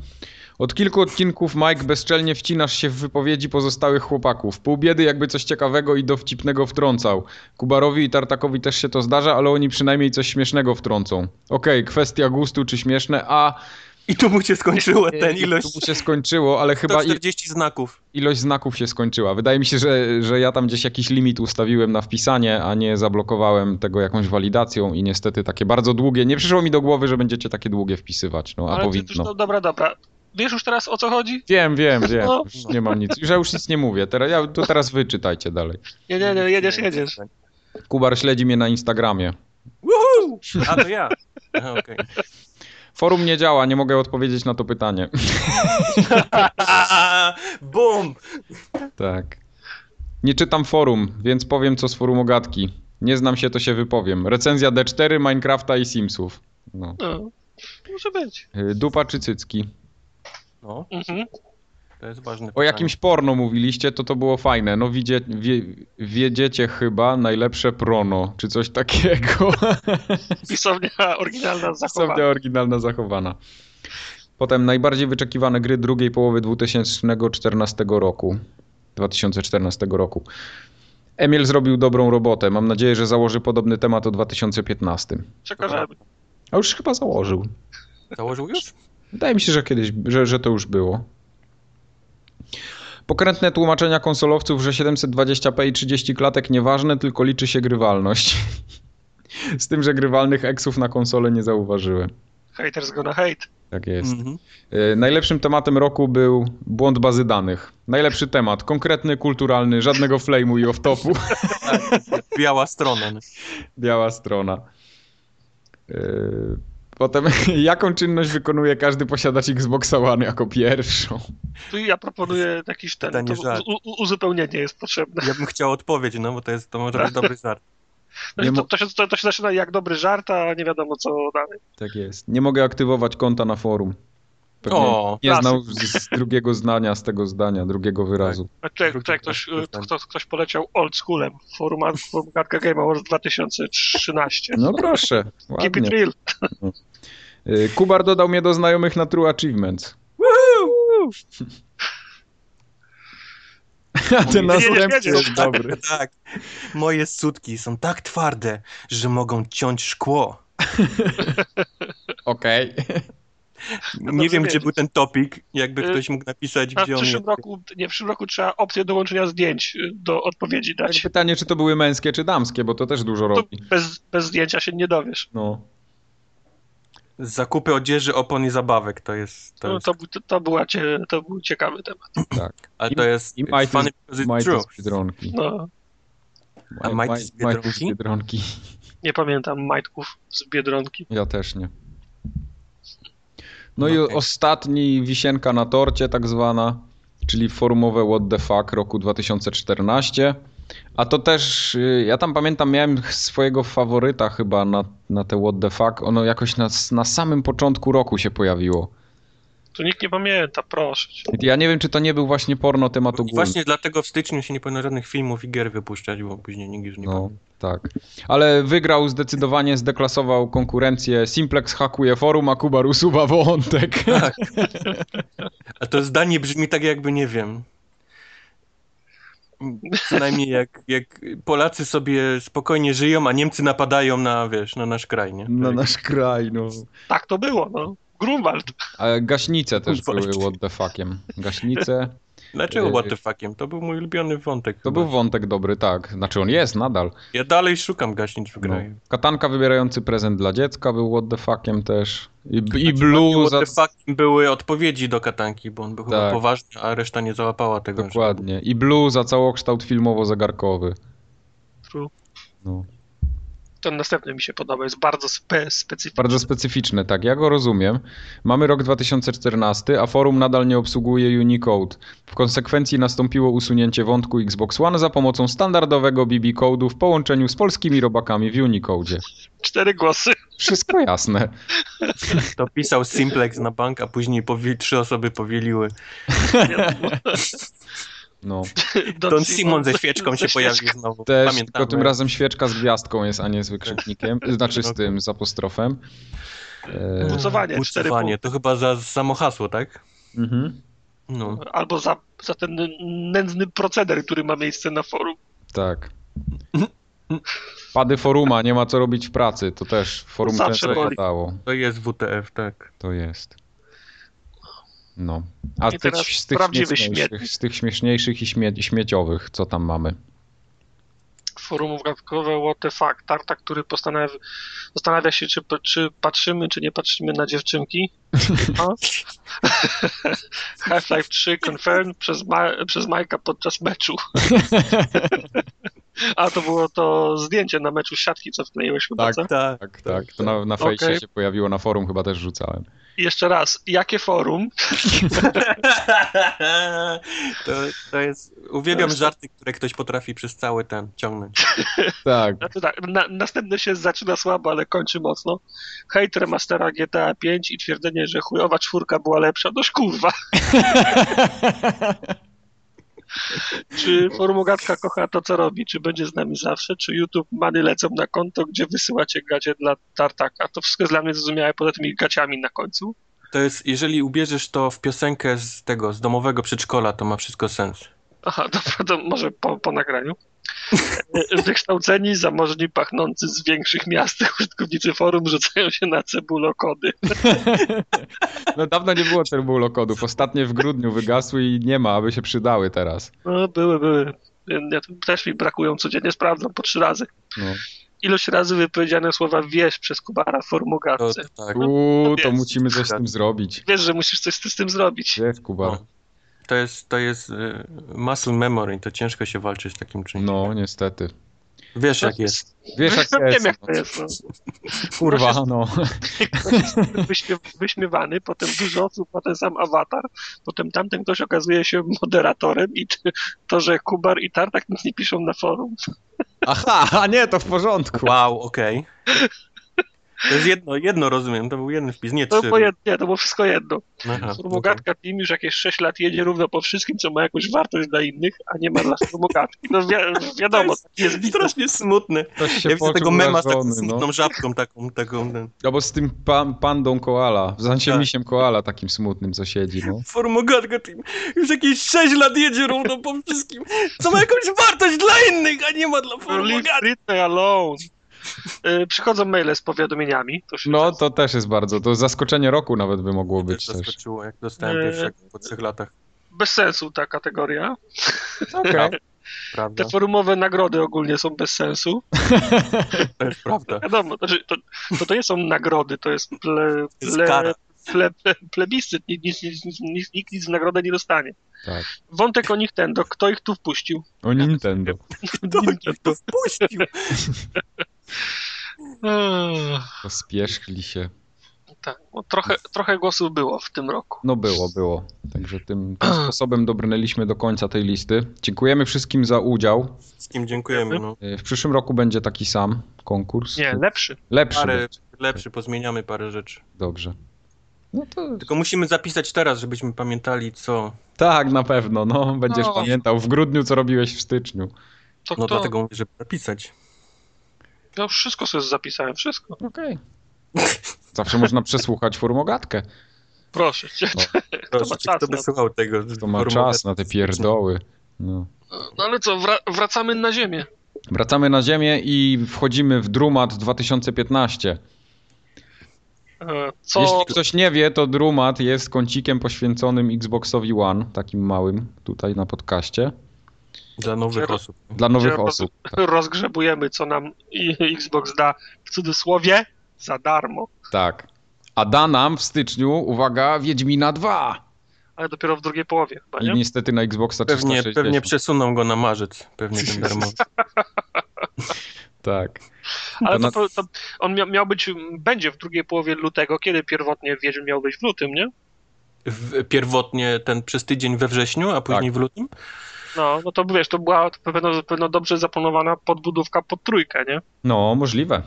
Speaker 1: Od kilku odcinków Mike bezczelnie wcinasz się w wypowiedzi pozostałych chłopaków. Pół biedy jakby coś ciekawego i dowcipnego wtrącał. Kubarowi i Tartakowi też się to zdarza, ale oni przynajmniej coś śmiesznego wtrącą. Okej, kwestia gustu czy śmieszne, a
Speaker 2: I tu mu się skończyła ten ilość.
Speaker 1: tu się skończyło, ale chyba i-
Speaker 2: 140 znaków.
Speaker 1: ilość znaków się skończyła. Wydaje mi się, że, że ja tam gdzieś jakiś limit ustawiłem na wpisanie, a nie zablokowałem tego jakąś walidacją i niestety takie bardzo długie. Nie przyszło mi do głowy, że będziecie takie długie wpisywać, no a
Speaker 3: Ale ty,
Speaker 1: powinno.
Speaker 3: już, no, dobra, dobra. Wiesz już teraz o co chodzi?
Speaker 1: Wiem, wiem, wiem.
Speaker 3: No.
Speaker 1: Już nie mam nic. Już ja już nic nie mówię. Teraz, ja, to teraz wyczytajcie dalej.
Speaker 3: Nie, nie, nie, jedziesz, jedziesz.
Speaker 1: Kubar śledzi mnie na Instagramie.
Speaker 2: Woohoo! A to ja. Aha, okej.
Speaker 1: Forum nie działa, nie mogę odpowiedzieć na to pytanie.
Speaker 2: A, Bum!
Speaker 1: Tak. Nie czytam forum, więc powiem co z forum ogatki. Nie znam się, to się wypowiem. Recenzja D4, Minecrafta i Simsów. No.
Speaker 3: No. Może być.
Speaker 1: Y, Dupa czy cycki?
Speaker 2: No,
Speaker 3: Mhm.
Speaker 2: to jest ważne.
Speaker 1: O
Speaker 2: pytanie.
Speaker 1: jakimś porno mówiliście, to to było fajne. No widzie, wie, wiedziecie chyba najlepsze prono, czy coś takiego.
Speaker 3: Pisownia oryginalna zachowana.
Speaker 1: Osobnia oryginalna zachowana. Potem najbardziej wyczekiwane gry drugiej połowy 2014 roku. 2014 roku. Emil zrobił dobrą robotę. Mam nadzieję, że założy podobny temat o 2015.
Speaker 3: Przekażemy.
Speaker 1: A już chyba założył.
Speaker 2: Założył już?
Speaker 1: Wydaje mi się, że kiedyś, że, że to już było. Pokrętne tłumaczenia konsolowców, że 720p i 30 klatek nieważne, tylko liczy się grywalność. Z tym, że grywalnych eksów na konsolę nie zauważyłem.
Speaker 3: Haters gonna hate.
Speaker 1: Tak jest.
Speaker 2: Mhm.
Speaker 1: E, Najlepszym tematem roku był błąd bazy danych. Najlepszy temat, konkretny, kulturalny, żadnego flame'u i off-topu.
Speaker 2: Biała strona. no.
Speaker 1: Biała strona. E, Potem, jaką czynność wykonuje każdy posiadacz Xbox One jako pierwszą?
Speaker 3: Tu ja proponuję jakiś ten,
Speaker 2: Pytanie
Speaker 3: to
Speaker 2: żart.
Speaker 3: u, u, uzupełnienie jest potrzebne.
Speaker 2: Ja bym chciał odpowiedź, no bo to jest to może być dobry żart.
Speaker 1: Nie
Speaker 3: To,
Speaker 1: mo-
Speaker 3: to, się, to, to się zaczyna jak dobry żart, a nie wiadomo co dalej.
Speaker 1: Tak jest. Nie mogę aktywować konta na forum. Pewnie
Speaker 2: O,
Speaker 1: nie
Speaker 3: klasyk.
Speaker 1: znał z, z drugiego zdania, z tego zdania, drugiego wyrazu.
Speaker 3: A Tutaj,
Speaker 2: Drugi
Speaker 3: tutaj ktoś,
Speaker 2: raz
Speaker 3: e,
Speaker 2: pytań.
Speaker 3: kto, ktoś poleciał old schoolem. Forma- Formatka Game Awards 2013.
Speaker 1: No proszę,
Speaker 3: Keep it
Speaker 1: ładnie.
Speaker 3: real.
Speaker 1: Y, Kubar dodał mnie do znajomych na True Achievements. A ten
Speaker 3: Jedziesz,
Speaker 1: następny
Speaker 3: jedziesz.
Speaker 1: jest dobry.
Speaker 2: Tak. Moje sutki są tak twarde, że mogą ciąć szkło.
Speaker 1: Okej.
Speaker 2: Nie wiem, gdzie
Speaker 3: No wiedzieć.
Speaker 2: był ten topik, jakby
Speaker 3: Y,
Speaker 2: ktoś mógł napisać,
Speaker 3: A w
Speaker 2: gdzie on
Speaker 3: przyszłym
Speaker 2: jest.
Speaker 3: roku, nie, w przyszłym roku trzeba opcję dołączenia zdjęć y, do odpowiedzi
Speaker 2: Tak.
Speaker 3: dać.
Speaker 1: Pytanie, czy to były męskie, czy damskie, bo to też dużo
Speaker 3: To
Speaker 1: robi.
Speaker 3: bez, bez zdjęcia się nie dowiesz.
Speaker 1: No.
Speaker 2: Zakupy odzieży, opon i zabawek, to jest... To
Speaker 3: No To,
Speaker 2: jest
Speaker 3: to, był- to, to, była, cie- to był ciekawy temat.
Speaker 2: ale to jest
Speaker 1: i might
Speaker 2: funny
Speaker 1: is-
Speaker 2: because it's
Speaker 1: Majty
Speaker 2: true.
Speaker 1: z Biedronki.
Speaker 3: No,
Speaker 2: A
Speaker 1: Maj-
Speaker 2: Majty
Speaker 1: Maj-
Speaker 2: z
Speaker 1: Majty z
Speaker 2: Biedronki?
Speaker 1: Biedronki.
Speaker 3: nie pamiętam majtków z Biedronki.
Speaker 1: Ja też nie. No i
Speaker 2: Okej.
Speaker 1: ostatni wisienka na torcie, tak zwana, czyli forumowe What the Fuck roku 2014. A to też, y, ja tam pamiętam, miałem swojego faworyta chyba na, na te What the Fuck. Ono jakoś na, na samym początku roku się pojawiło.
Speaker 3: Tu nikt nie pamięta, proszę. cię.
Speaker 1: Ja nie wiem, czy to nie był właśnie porno tematu
Speaker 2: I
Speaker 1: główny.
Speaker 2: właśnie dlatego w styczniu się nie powinno żadnych filmów i gier wypuszczać, bo później nikt już nie
Speaker 1: No,
Speaker 2: pamięta.
Speaker 1: tak. Ale wygrał zdecydowanie, zdeklasował konkurencję. Simplex hakuje forum, a Kubar usuwa wątek.
Speaker 2: Tak. A to zdanie brzmi tak jakby, nie wiem... Co najmniej jak, jak Polacy sobie spokojnie żyją, a Niemcy napadają na, wiesz, na nasz kraj, nie?
Speaker 1: Na
Speaker 2: Tak.
Speaker 1: nasz kraj, no.
Speaker 3: Tak to było, no. Grunwald.
Speaker 1: A gaśnice też
Speaker 2: Kurwa,
Speaker 1: były
Speaker 2: ty.
Speaker 1: what the fuckiem. Gaśnice.
Speaker 2: Dlaczego
Speaker 1: Yy.
Speaker 2: what the fuckiem? To był mój ulubiony wątek.
Speaker 1: To
Speaker 2: chyba.
Speaker 1: był wątek dobry, tak. Znaczy on jest nadal.
Speaker 2: Ja dalej szukam gaśnic w
Speaker 1: No.
Speaker 2: graju.
Speaker 1: Katanka wybierający prezent dla dziecka był what the fuckiem też. I, i
Speaker 2: Znaczy, dla mnie
Speaker 1: blue za...
Speaker 2: What the fucking były odpowiedzi do katanki, bo on był chyba
Speaker 1: Tak.
Speaker 2: poważny, a reszta nie załapała tego. że-
Speaker 1: Dokładnie. I blue za całokształt filmowo-zegarkowy.
Speaker 3: True.
Speaker 1: No.
Speaker 3: Ten następny mi się podoba, jest bardzo spe, specyficzny.
Speaker 1: Bardzo specyficzne, tak, ja go rozumiem. Mamy rok 2014, a forum nadal nie obsługuje Unicode. W konsekwencji nastąpiło usunięcie wątku Xbox One za pomocą standardowego BB kodu w połączeniu z polskimi robakami w Unicode.
Speaker 3: Cztery głosy.
Speaker 1: Wszystko jasne.
Speaker 2: To pisał Simplex na bank, a później powi- trzy osoby powieliły.
Speaker 1: No.
Speaker 3: Don,
Speaker 2: Don Simon ze świeczką się
Speaker 3: Ze
Speaker 2: pojawił
Speaker 3: świeczką.
Speaker 2: znowu.
Speaker 1: Też,
Speaker 2: Pamiętamy.
Speaker 1: tylko tym razem świeczka z gwiazdką jest, a nie z wykrzyknikiem. Znaczy z tym, z apostrofem. E,
Speaker 3: Bucowanie, cztery
Speaker 2: Bucowanie. To chyba za samo hasło, tak?
Speaker 1: mhm,
Speaker 2: No.
Speaker 3: Albo za, za ten nędzny proceder, który ma miejsce na forum.
Speaker 1: tak. Pady foruma, nie ma co robić w pracy. To też forum
Speaker 3: Zawsze
Speaker 1: często
Speaker 3: boli.
Speaker 1: padało.
Speaker 2: To jest WTF, tak.
Speaker 1: To jest. No. A
Speaker 3: I
Speaker 1: z tych,
Speaker 3: teraz
Speaker 1: z, tych
Speaker 3: prawdziwy
Speaker 1: śmieszniejszych,
Speaker 3: śmietnik.
Speaker 1: z tych śmieszniejszych i śmie śmieciowych, co tam mamy?
Speaker 3: Forum gadkowe what the fuck. Tarta, który postanawia, zastanawia się, czy, czy patrzymy, czy nie patrzymy na dziewczynki. A? Half-Life 3 confirmed przez, Ma- przez Majka podczas meczu. A to było to zdjęcie na meczu siatki, co wkleiłeś chyba,
Speaker 1: Tak.
Speaker 3: co?
Speaker 2: Tak.
Speaker 1: Tak, tak. To na, na
Speaker 3: Okej.
Speaker 1: fejsie się pojawiło, na forum chyba też rzucałem.
Speaker 3: I jeszcze raz, jakie forum?
Speaker 2: to, to jest... Uwielbiam
Speaker 3: To jest-
Speaker 2: żarty, które ktoś potrafi przez cały ten ciągnąć.
Speaker 1: Tak.
Speaker 3: Znaczy tak, na, następny się zaczyna słabo, ale kończy mocno. Hejt remastera GTA 5 i twierdzenie, że chujowa czwórka była lepsza. Noż kurwa. Czy Formogatka kocha to, co robi? Czy będzie z nami zawsze? Czy YouTube many lecą na konto, gdzie wysyłacie gacie dla Tartaka? To wszystko jest dla mnie zrozumiałe poza tymi gaciami na końcu.
Speaker 2: To jest, jeżeli ubierzesz to w piosenkę z tego, z domowego przedszkola, to ma wszystko sens.
Speaker 3: Aha, dobra, to może po, po nagraniu. E, Wykształceni, zamożni, pachnący z większych miast użytkownicy forum rzucają się na cebulokody.
Speaker 1: No dawno nie było termulokodów. Ostatnie w grudniu wygasły i nie ma, aby się przydały teraz.
Speaker 3: No, były, były. Ja tu też mi brakują codziennie, sprawdzam po trzy razy.
Speaker 1: No.
Speaker 3: Ilość razy wypowiedziane słowa wiesz przez Kubara w
Speaker 2: To,
Speaker 3: formogatce.
Speaker 2: tak.
Speaker 1: Uuu,
Speaker 3: to
Speaker 1: to
Speaker 3: jest-
Speaker 1: musimy coś z tym zrobić.
Speaker 3: Wiesz, że musisz coś z z tym zrobić.
Speaker 1: Wiesz, Kubar.
Speaker 2: No. to jest, to jest y, muscle memory, to ciężko się walczy z takim czymś.
Speaker 1: No, niestety.
Speaker 2: Wiesz jak
Speaker 3: To
Speaker 2: jest.
Speaker 1: Wiesz, jak to
Speaker 3: Wiem,
Speaker 1: jest.
Speaker 3: jak
Speaker 1: no.
Speaker 3: to jest. No.
Speaker 1: Kurwa, no.
Speaker 3: Wyśmie- wyśmiewany, potem dużo osób, potem sam awatar, potem tamten ktoś okazuje się moderatorem i t- to, że Kubar i Tartak nic nie piszą na forum.
Speaker 1: Aha, a nie, to w porządku.
Speaker 2: Wow, okej. To jest jedno, jedno rozumiem, to był jeden wpis, nie
Speaker 3: To
Speaker 2: trzy.
Speaker 3: było, jed... nie, to było wszystko jedno.
Speaker 2: Aha, no
Speaker 3: Formogatka PIM już jakieś 6 lat jedzie równo po wszystkim, co ma jakąś wartość dla innych, a nie ma dla formogatki. No wi-
Speaker 2: To
Speaker 3: wiadomo,
Speaker 2: jest,
Speaker 3: taki jest biznes.
Speaker 2: strasznie smutne.
Speaker 1: Ktoś się
Speaker 2: Ja widzę
Speaker 1: poczuł
Speaker 2: tego mema z taką
Speaker 1: urażony,
Speaker 2: smutną
Speaker 1: no.
Speaker 2: żabką, taką, taką, ten.
Speaker 1: Albo z tym pan, pandą koala, w sensie
Speaker 2: Tak.
Speaker 1: misiem koala takim smutnym, co siedzi, no.
Speaker 2: Formogatka Team już jakieś 6 lat jedzie równo po wszystkim, co ma jakąś wartość dla innych, a nie ma dla
Speaker 3: Leave
Speaker 2: formogatki.
Speaker 3: Britney alone. Y, Przychodzą maile z powiadomieniami. To się
Speaker 1: No, to też jest bardzo, to zaskoczenie roku nawet by mogło
Speaker 2: Też
Speaker 1: być też.
Speaker 2: zaskoczyło, jak dostałem
Speaker 3: Nie.
Speaker 2: pierwszego po trzech latach,
Speaker 3: Bez sensu ta kategoria.
Speaker 1: Okej.
Speaker 2: Tak. prawda?
Speaker 3: Te forumowe nagrody ogólnie są bez sensu.
Speaker 2: To jest prawda.
Speaker 3: Wiadomo, to, znaczy, to, to, to nie są nagrody, to jest ple,
Speaker 2: To jest
Speaker 3: ple,
Speaker 2: kara.
Speaker 3: ple, ple, plebiscyt. Nic, nic, nic, nic, nic, nikt nic w nagrodę nie dostanie.
Speaker 1: Tak.
Speaker 3: Wątek o Nintendo. Kto ich tu wpuścił?
Speaker 1: O Nintendo.
Speaker 2: Kto ich Tak, to wpuścił?
Speaker 3: Eee,
Speaker 1: Pospieszli się.
Speaker 3: tak, no, trochę, trochę głosów było w tym roku.
Speaker 1: No było, było. Także tym, tym sposobem dobrnęliśmy do końca tej listy. Dziękujemy wszystkim za udział.
Speaker 2: Wszystkim dziękujemy, no.
Speaker 1: Y, W przyszłym roku będzie taki sam konkurs.
Speaker 3: Nie, lepszy.
Speaker 1: Lepszy.
Speaker 2: Parę
Speaker 1: będzie.
Speaker 2: lepszy, pozmieniamy parę rzeczy.
Speaker 1: Dobrze. No to
Speaker 2: Tylko musimy zapisać teraz, żebyśmy pamiętali co.
Speaker 1: tak, na pewno. No, będziesz
Speaker 3: No.
Speaker 1: pamiętał w grudniu, co robiłeś w styczniu.
Speaker 3: To,
Speaker 2: No
Speaker 3: to,
Speaker 2: dlatego mówię, żeby zapisać.
Speaker 3: Ja wszystko sobie zapisałem, wszystko.
Speaker 1: Okej. Zawsze można przesłuchać furmogatkę.
Speaker 3: Proszę cię.
Speaker 2: No. Proszę,
Speaker 3: czas no?
Speaker 2: kto by
Speaker 3: na-
Speaker 2: słuchał tego?
Speaker 1: To ma czas na te pierdoły. No.
Speaker 3: No ale co, wra- wracamy na ziemię.
Speaker 1: Wracamy na ziemię i wchodzimy w Drumat 2015.
Speaker 3: E, Co...
Speaker 1: Jeśli ktoś nie wie, to Drumat jest kącikiem poświęconym Xboxowi One, takim małym tutaj na podcaście,
Speaker 2: Dla nowych
Speaker 3: Gdzie-
Speaker 2: osób.
Speaker 1: dla nowych
Speaker 3: Gdzie
Speaker 1: osób. Tak,
Speaker 3: rozgrzebujemy, co nam i- Xbox da w cudzysłowie za darmo,
Speaker 1: tak. A da nam w styczniu, uwaga, Wiedźmina 2!
Speaker 3: ale dopiero w drugiej połowie chyba,
Speaker 1: I
Speaker 3: No nie?
Speaker 1: niestety na Xboxa
Speaker 2: Pewnie,
Speaker 1: 360.
Speaker 2: pewnie przesuną go na marzec. Pewnie ten darmowy.
Speaker 1: Tak.
Speaker 3: Ale
Speaker 1: to
Speaker 3: to, to, on miał, miał być, będzie w drugiej połowie lutego, kiedy pierwotnie Wiedźm miał być w lutym, nie?
Speaker 2: w, pierwotnie ten przez tydzień we wrześniu, a później w lutym.
Speaker 3: No, no to wiesz, to była to pewno, pewno dobrze zaplanowana podbudówka pod trójkę, nie?
Speaker 1: No, możliwe.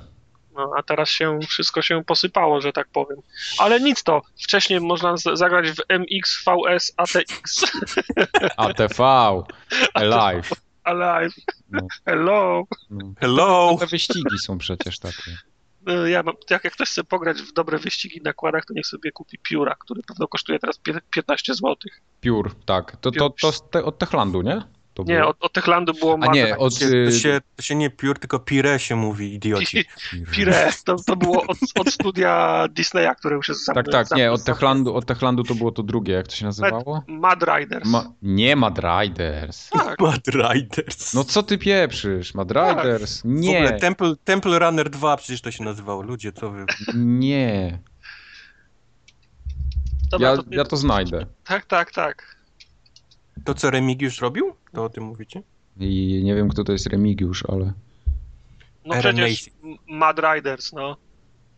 Speaker 3: No, a teraz się wszystko się posypało, że tak powiem. Ale nic to, wcześniej można z- zagrać w MX, VS, ATX,
Speaker 1: ATV, live.
Speaker 3: Alive,
Speaker 1: No.
Speaker 3: hello.
Speaker 1: No.
Speaker 2: Hello!
Speaker 1: Te wyścigi są przecież takie.
Speaker 3: No, Ja mam, jak jak ktoś chce pograć w dobre wyścigi na kładach, to niech sobie kupi pióra, który pewno kosztuje teraz pie- 15 zł.
Speaker 1: Piór, tak. To, to, to z te, od Techlandu, nie? To
Speaker 3: Nie,
Speaker 1: było?
Speaker 3: od, od Techlandu było
Speaker 1: A
Speaker 3: Mad
Speaker 1: nie,
Speaker 3: Max.
Speaker 1: od...
Speaker 2: To
Speaker 1: y,
Speaker 2: się, to się nie piór, tylko pire się mówi, idioci.
Speaker 3: Pire, to, to było od, od studia Disneya, które już jest
Speaker 1: Tak,
Speaker 3: zamknięte.
Speaker 1: tak, nie, od Techlandu, od Techlandu to było to drugie, jak to się nazywało?
Speaker 3: Mad Riders.
Speaker 1: Ma... Nie Mad Riders.
Speaker 3: Tak,
Speaker 2: Mad Riders.
Speaker 1: No co ty pieprzysz? Mad
Speaker 3: Tak.
Speaker 1: Riders?
Speaker 2: w ogóle
Speaker 1: Nie,
Speaker 2: Temple, Temple Runner 2 przecież to się nazywało. Ludzie, co wy...
Speaker 1: nie.
Speaker 3: dobra,
Speaker 1: Ja,
Speaker 3: to ty-
Speaker 1: ja to znajdę.
Speaker 3: tak, tak, tak.
Speaker 2: To, co Remigiusz robił? To o tym mówicie?
Speaker 1: I nie wiem, kto to jest Remigiusz, ale...
Speaker 3: No
Speaker 2: Iron
Speaker 3: przecież Mad Riders, no.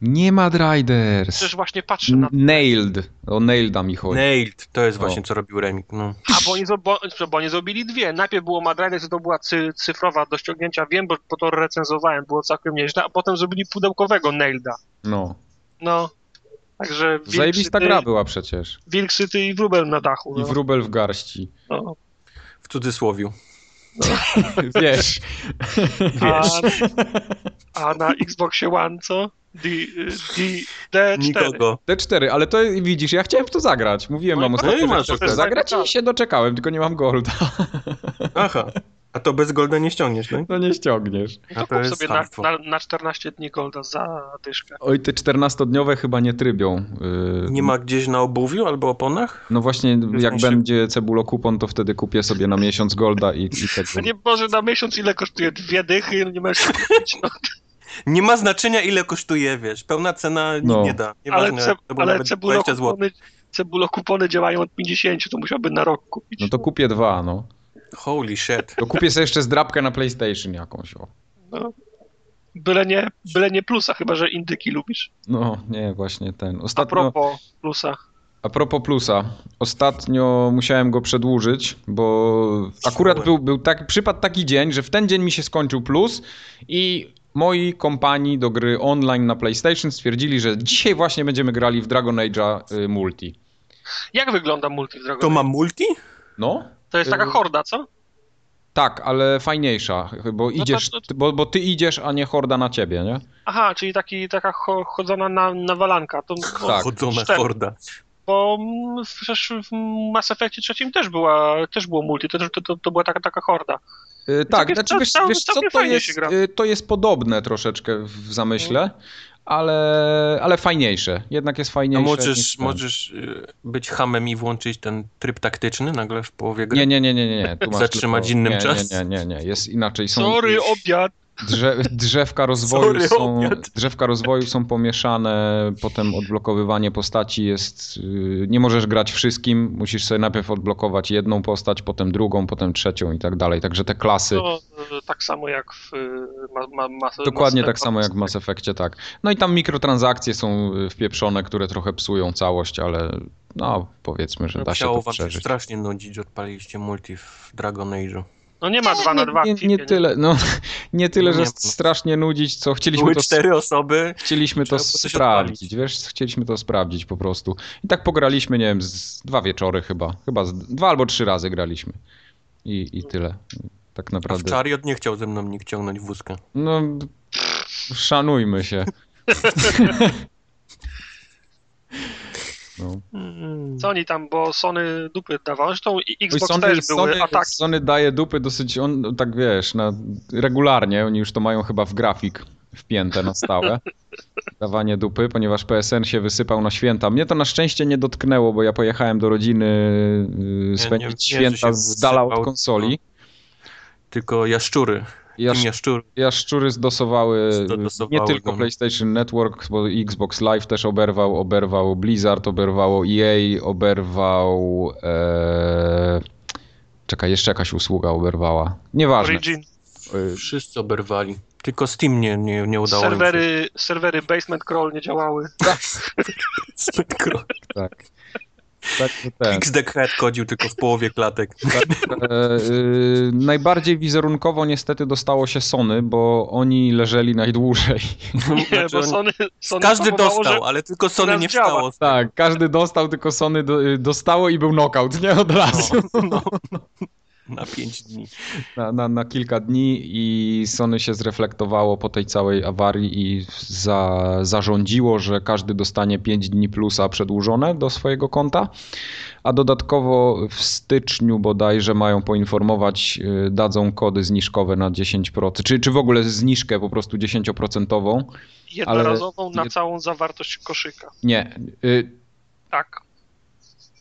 Speaker 1: Nie Mad Riders!
Speaker 3: Przecież właśnie patrzę na...
Speaker 1: Nailed. O Nailda mi chodzi.
Speaker 2: Nailed, to jest
Speaker 1: O.
Speaker 2: właśnie, co robił Remig. No.
Speaker 3: A, bo oni, zo- bo, bo oni zrobili dwie. Najpierw było Mad Riders, to była cy, cyfrowa do ściągnięcia, wiem, bo, bo to recenzowałem, było całkiem nieźle, a potem zrobili pudełkowego Nailda.
Speaker 1: No.
Speaker 3: No, także wilk
Speaker 1: Zajebista
Speaker 3: syty-
Speaker 1: gra była przecież.
Speaker 3: Wilk syty i wróbel na dachu.
Speaker 1: I
Speaker 3: No.
Speaker 1: wróbel w garści.
Speaker 3: No.
Speaker 2: W cudzysłowiu.
Speaker 1: Wiesz.
Speaker 3: A,
Speaker 2: Wiesz,
Speaker 3: a na Xboxie One co? D, D, D4.
Speaker 2: nikogo.
Speaker 1: T4, ale to widzisz, ja chciałem w to zagrać. Mówiłem
Speaker 3: No
Speaker 1: wam
Speaker 3: i
Speaker 1: ostatnio, że
Speaker 2: masz
Speaker 1: chcę w to
Speaker 2: okazję.
Speaker 1: zagrać i się doczekałem, tylko nie mam golda.
Speaker 2: Aha. A to bez Golda nie ściągniesz, no?
Speaker 1: No nie ściągniesz.
Speaker 3: No
Speaker 2: A
Speaker 3: to
Speaker 2: to
Speaker 3: kup
Speaker 2: jest
Speaker 3: sobie na,
Speaker 2: hartwo.
Speaker 3: na, na 14 dni golda za dyszkę.
Speaker 1: Oj, te 14-dniowe chyba nie trybią. Yy,
Speaker 2: Nie ma gdzieś na obuwiu albo oponach?
Speaker 1: No właśnie, jak
Speaker 2: sensie-
Speaker 1: będzie cebulo kupon, to wtedy kupię sobie na miesiąc golda i, i
Speaker 3: No
Speaker 1: tego.
Speaker 3: nie Boże, na miesiąc ile kosztuje? Dwie dychy? No nie masz
Speaker 2: Nie ma znaczenia, ile kosztuje, wiesz. Pełna cena nic
Speaker 1: No.
Speaker 2: nie da. Nieważne,
Speaker 3: Ale, ce,
Speaker 2: to było
Speaker 3: ale
Speaker 2: nawet
Speaker 3: cebulo,
Speaker 2: 20 zł.
Speaker 3: kupony, cebulo kupony działają od 50, to musiałby na rok kupić.
Speaker 1: No to kupię dwa, no.
Speaker 2: Holy shit.
Speaker 1: To kupię sobie jeszcze zdrabkę na PlayStation jakąś, o.
Speaker 3: Byle, nie, byle nie plusa, chyba że indyki lubisz.
Speaker 1: No, nie, właśnie ten.
Speaker 3: A
Speaker 1: Ostatnio,
Speaker 3: propos plusa.
Speaker 1: a propos plusa, ostatnio musiałem go przedłużyć, bo akurat był, był tak, przypadł taki dzień, że w ten dzień mi się skończył plus i moi kompani do gry online na PlayStation stwierdzili, że dzisiaj właśnie będziemy grali w Dragon Age'a y, multi.
Speaker 3: Jak wygląda multi w Dragon
Speaker 2: To
Speaker 3: Age?
Speaker 2: ma multi?
Speaker 1: No?
Speaker 3: To jest taka
Speaker 1: y-
Speaker 3: horda, co?
Speaker 1: Tak, ale fajniejsza, bo
Speaker 3: No to-
Speaker 1: idziesz,
Speaker 3: to-
Speaker 1: ty- Bo, bo ty idziesz, a nie horda na ciebie, nie?
Speaker 3: Aha, czyli taki, taka cho- chodzona na, nawalanka. To, bo,
Speaker 1: Tak.
Speaker 2: Chodzona
Speaker 3: cztery.
Speaker 2: horda.
Speaker 3: bo mm, przecież w Mass Effectie trzecim też, była, też było multi, to, to, to, to była taka, taka horda.
Speaker 1: Y, Tak,
Speaker 3: Całkiem-
Speaker 1: znaczy wiesz,
Speaker 3: całkiem-
Speaker 1: wiesz co,
Speaker 3: całkiem
Speaker 1: to
Speaker 3: fajnie
Speaker 1: jest,
Speaker 3: się gra. Mhm.
Speaker 1: y, to jest podobne troszeczkę w zamyśle, ale, ale fajniejsze, jednak jest
Speaker 2: A
Speaker 1: fajniejsze. niż
Speaker 2: możesz,
Speaker 1: ten.
Speaker 2: możesz y, być hamem i włączyć ten tryb taktyczny nagle w połowie gry?
Speaker 1: Nie, nie, nie, nie, nie, nie. Tu masz
Speaker 2: Zatrzymać
Speaker 1: tylko...
Speaker 2: innym
Speaker 1: nie,
Speaker 2: czas?
Speaker 1: Nie, nie, nie, nie, jest inaczej. Są
Speaker 3: Sorry, obiad.
Speaker 1: drze... drzewka rozwoju
Speaker 2: Sorry,
Speaker 1: są...
Speaker 2: obiad.
Speaker 1: Drzewka rozwoju są pomieszane, potem odblokowywanie postaci jest... y, Nie możesz grać wszystkim, musisz sobie najpierw odblokować jedną postać, potem drugą, potem trzecią i tak dalej, także te
Speaker 2: No,
Speaker 1: klasy...
Speaker 3: To, e, tak samo jak w e, ma, ma, Mass-
Speaker 1: Dokładnie
Speaker 3: Mass
Speaker 1: tak samo jak w
Speaker 3: Effectie.
Speaker 1: Mass Effectie, tak. No i tam mikrotransakcje są y, wpieprzone, które trochę psują całość, ale no powiedzmy, że
Speaker 2: No,
Speaker 1: da się
Speaker 2: Musiało
Speaker 1: to
Speaker 2: wam się
Speaker 1: przeżyć.
Speaker 2: strasznie nudzić, że odpaliście multi w Dragon Age'u.
Speaker 3: No nie ma 2 na 2
Speaker 1: nie, nie, nie tyle, no, nie tyle, że
Speaker 2: Nie.
Speaker 1: strasznie nudzić, co chcieliśmy
Speaker 2: Były
Speaker 1: to,
Speaker 2: cztery osoby,
Speaker 1: chcieliśmy to
Speaker 2: Trzeba było coś
Speaker 1: sprawdzić, wiesz, chcieliśmy to sprawdzić po prostu. I tak pograliśmy, nie wiem, z dwa wieczory chyba, chyba z dwa albo trzy razy graliśmy i, i tyle. Tak
Speaker 2: a w
Speaker 1: naprawdę,
Speaker 2: Chariot nie chciał ze mną nikt ciągnąć wózka.
Speaker 1: no szanujmy się. No.
Speaker 3: Co oni tam, bo Sony dupy dawały. Zresztą i
Speaker 1: Oj,
Speaker 3: Xbox też były
Speaker 1: Sony,
Speaker 3: ataki.
Speaker 1: Sony daje dupy dosyć, on, tak wiesz, na, regularnie, oni już to mają chyba w grafik wpięte na stałe, dawanie dupy, ponieważ PSN się wysypał na święta. Mnie to na szczęście nie dotknęło, bo ja pojechałem do rodziny y,
Speaker 2: nie
Speaker 1: spędzić
Speaker 2: wiem, że
Speaker 1: święta
Speaker 2: się
Speaker 1: z dala od
Speaker 2: wysypał,
Speaker 1: konsoli.
Speaker 2: Tylko jaszczury,
Speaker 1: Ja,
Speaker 2: tym jaszczur.
Speaker 1: jaszczury zdosowały
Speaker 2: Zdosowały
Speaker 1: nie tylko
Speaker 2: go.
Speaker 1: PlayStation Network, bo Xbox Live też oberwał, oberwał Blizzard, oberwało EA, oberwał... E... Czekaj, jeszcze jakaś usługa oberwała. Nieważne.
Speaker 3: Origin,
Speaker 1: Y,
Speaker 2: Wszyscy oberwali. Tylko Steam nie, nie, nie udało im
Speaker 3: serwery, serwery Basement Crawl nie działały.
Speaker 2: się. Tylko
Speaker 1: Tak. Tak, że ten.
Speaker 2: XDK chodził tylko w połowie klatek.
Speaker 1: E, y, najbardziej wizerunkowo niestety dostało się Sony, bo oni leżeli najdłużej.
Speaker 3: Nie,
Speaker 2: Znaczy
Speaker 3: bo
Speaker 2: oni-
Speaker 3: Sony, Sony
Speaker 2: Każdy
Speaker 3: próbowało,
Speaker 2: dostał,
Speaker 3: że-
Speaker 2: ale tylko Sony
Speaker 3: teraz
Speaker 2: nie
Speaker 3: działa.
Speaker 2: wstało.
Speaker 1: Tak, każdy dostał, tylko Sony do, y, dostało i był knockout, nie od razu.
Speaker 2: no, Na 5 dni.
Speaker 1: Na, na, na kilka dni i Sony się zreflektowało po tej całej awarii i za, zarządziło, że każdy dostanie 5 dni plusa przedłużone do swojego konta. A dodatkowo w styczniu bodajże mają poinformować, y, dadzą kody zniżkowe na 10%, czy, czy w ogóle zniżkę po prostu 10%.
Speaker 3: jednorazową na
Speaker 1: jed-
Speaker 3: całą zawartość koszyka.
Speaker 1: Nie, y,
Speaker 3: Tak.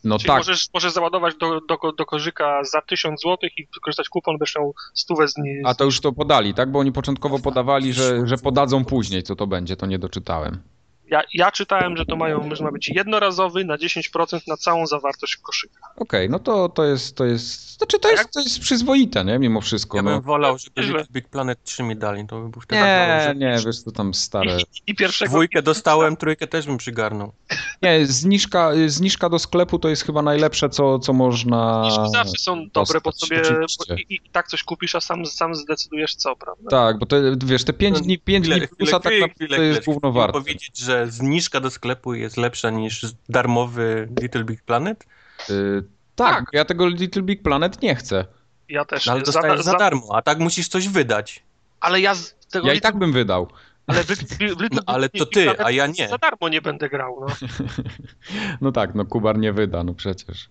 Speaker 1: no
Speaker 3: Czyli
Speaker 1: tak,
Speaker 3: możesz, możesz załadować do, do, do koszyka za 1000 zł i wykorzystać kupon, będziesz miał stówę z niej.
Speaker 1: a to już to podali, tak? Bo oni początkowo podawali, że, że podadzą później, co to będzie, to nie doczytałem.
Speaker 3: Ja, ja czytałem, że to mają, że ma być jednorazowy na 10% na całą zawartość koszyka.
Speaker 1: Okej, no to, to jest, to jest, znaczy to jest,
Speaker 3: Jak-
Speaker 1: to jest przyzwoite, nie, mimo wszystko,
Speaker 2: Ja
Speaker 1: no.
Speaker 2: bym wolał, żeby
Speaker 3: Źle.
Speaker 2: Big, Big Planet 3 mi dali, to by był wtedy
Speaker 1: Nie, nie, wiesz, to tam stare.
Speaker 3: I, i pierwszego
Speaker 2: Dwójkę dostałem, trójkę też bym przygarnął.
Speaker 1: Nie, zniżka, y, zniżka do sklepu to jest chyba najlepsze, co, co można...
Speaker 3: niż zawsze są dobre, bo
Speaker 2: znaczy
Speaker 1: dostać,
Speaker 3: sobie
Speaker 1: oczywiście.
Speaker 3: bo i, i tak coś kupisz, a sam, sam zdecydujesz co, prawda?
Speaker 1: Tak, bo te, wiesz, te
Speaker 3: No,
Speaker 1: 5 dni, 5 dni plusa tak naprawdę to jest główno
Speaker 2: Chciałem
Speaker 1: warte.
Speaker 2: powiedzieć, że zniżka do sklepu jest lepsza niż darmowy Little Big Planet,
Speaker 1: Y, tak, ja tego Little Big Planet nie chcę.
Speaker 3: Ja też.
Speaker 2: no ale
Speaker 3: nie.
Speaker 2: dostajesz za, darmo, a tak musisz coś wydać.
Speaker 3: ale ja z tego
Speaker 1: Ja
Speaker 3: nie-
Speaker 1: i tak bym wydał.
Speaker 3: ale wy, wy, wy,
Speaker 2: No, ale to
Speaker 3: i- i
Speaker 2: ty,
Speaker 3: nawet
Speaker 2: a ja nie.
Speaker 3: Za darmo nie będę grał, no.
Speaker 1: No tak, no Kubar nie wyda, no przecież.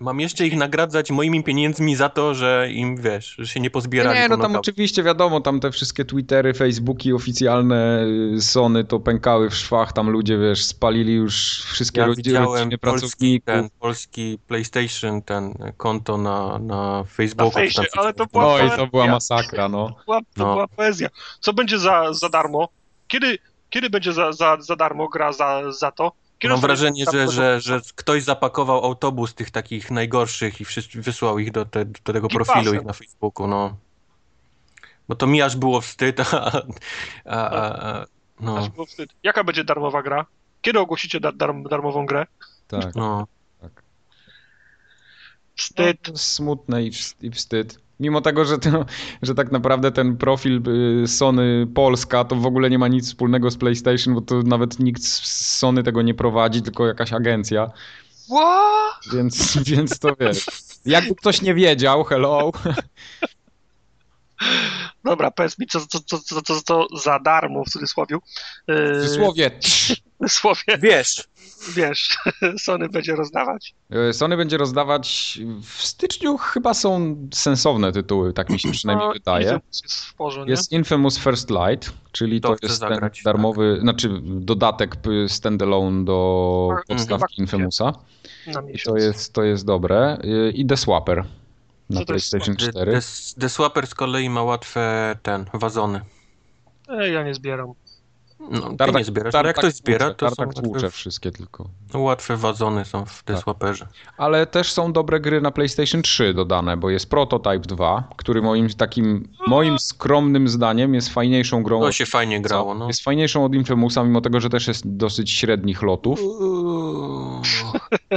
Speaker 2: Mam jeszcze ich nagradzać moimi pieniędzmi za to, że im, wiesz, że się nie pozbierali.
Speaker 1: Nie, no
Speaker 2: po
Speaker 1: tam
Speaker 2: nocach.
Speaker 1: oczywiście wiadomo, tam te wszystkie Twittery, Facebooki oficjalne y, Sony to pękały w szwach, tam ludzie, wiesz, spalili już wszystkie
Speaker 2: Ja
Speaker 1: rodziny,
Speaker 2: widziałem
Speaker 1: rodziny
Speaker 2: polski,
Speaker 1: pracowników.
Speaker 2: ten, polski PlayStation, ten e, konto na, na Facebooku.
Speaker 3: Na fejsie,
Speaker 2: czy tam
Speaker 3: ale to
Speaker 2: Facebooku.
Speaker 1: No i to
Speaker 3: poezja.
Speaker 1: była masakra, no.
Speaker 3: była, to
Speaker 2: No.
Speaker 3: była poezja. Co będzie za, za darmo? Kiedy, kiedy będzie za, za, za darmo gra za, za to? Kiedy
Speaker 2: Mam
Speaker 3: dostaniesz
Speaker 2: wrażenie,
Speaker 3: za-
Speaker 2: że, że, że ktoś zapakował autobus tych takich najgorszych i wszyscy- wysłał ich do, te, do tego
Speaker 3: I
Speaker 2: profilu
Speaker 3: pasem.
Speaker 2: ich na Facebooku, no. Bo to mi aż było wstyd, a, a, a, a
Speaker 3: aż
Speaker 2: no,
Speaker 3: było wstyd. Jaka będzie darmowa gra? Kiedy ogłosicie da, darm, darmową grę?
Speaker 1: Tak.
Speaker 2: no.
Speaker 3: Wstyd.
Speaker 1: Smutne i wst- i wstyd. Mimo tego, że, to, że tak naprawdę ten profil y, Sony Polska to w ogóle nie ma nic wspólnego z PlayStation, bo to nawet nikt z Sony tego nie prowadzi, tylko jakaś agencja.
Speaker 3: What?
Speaker 1: Więc, więc to wiesz. Jakby ktoś nie wiedział, hello.
Speaker 3: Dobra, powiedz mi, co, co, co, co, co, co za darmo w cudzysłowie.
Speaker 1: W
Speaker 3: Y,
Speaker 1: cudzysłowie.
Speaker 3: słowie,
Speaker 2: Wiesz,
Speaker 3: wiesz, Sony będzie rozdawać.
Speaker 1: Y, Sony będzie rozdawać w styczniu, chyba są sensowne tytuły, tak mi się przynajmniej
Speaker 3: No,
Speaker 1: wydaje.
Speaker 3: Infamous Jest w porządku, nie?
Speaker 1: Jest Infamous First Light, czyli
Speaker 2: To
Speaker 1: to,
Speaker 2: chcę
Speaker 1: jest
Speaker 2: zagrać, tak.
Speaker 1: ten darmowy, znaczy dodatek p- standalone do
Speaker 3: Mhm.
Speaker 1: podstawki Infamousa.
Speaker 2: Tak.
Speaker 3: na
Speaker 1: I
Speaker 3: miesiąc.
Speaker 1: to jest, to jest dobre. Y, I The Swapper na
Speaker 3: Co to jest
Speaker 1: PlayStation
Speaker 2: The,
Speaker 1: 4.
Speaker 2: The- The Swapper z kolei ma łatwe ten, wazony.
Speaker 3: Ej, ja nie zbieram.
Speaker 2: No, ty
Speaker 1: Tartak-
Speaker 2: nie zbierasz, ale
Speaker 1: tartak
Speaker 2: jak ktoś zbiera,
Speaker 1: tłucze,
Speaker 2: to są
Speaker 1: tartak
Speaker 2: łatwe, no,
Speaker 1: tłucze wszystkie tylko.
Speaker 2: łatwe wazony są w The
Speaker 1: Tak.
Speaker 2: Swapperze.
Speaker 1: Ale też są dobre gry na PlayStation 3 dodane, bo jest Prototype 2, który moim takim, moim skromnym zdaniem jest fajniejszą grą.
Speaker 2: Mhm. To
Speaker 1: od-
Speaker 2: się fajnie grało, no.
Speaker 1: Jest fajniejszą od Infamousa, mimo tego, że też jest dosyć średnich lotów.
Speaker 2: Uuu,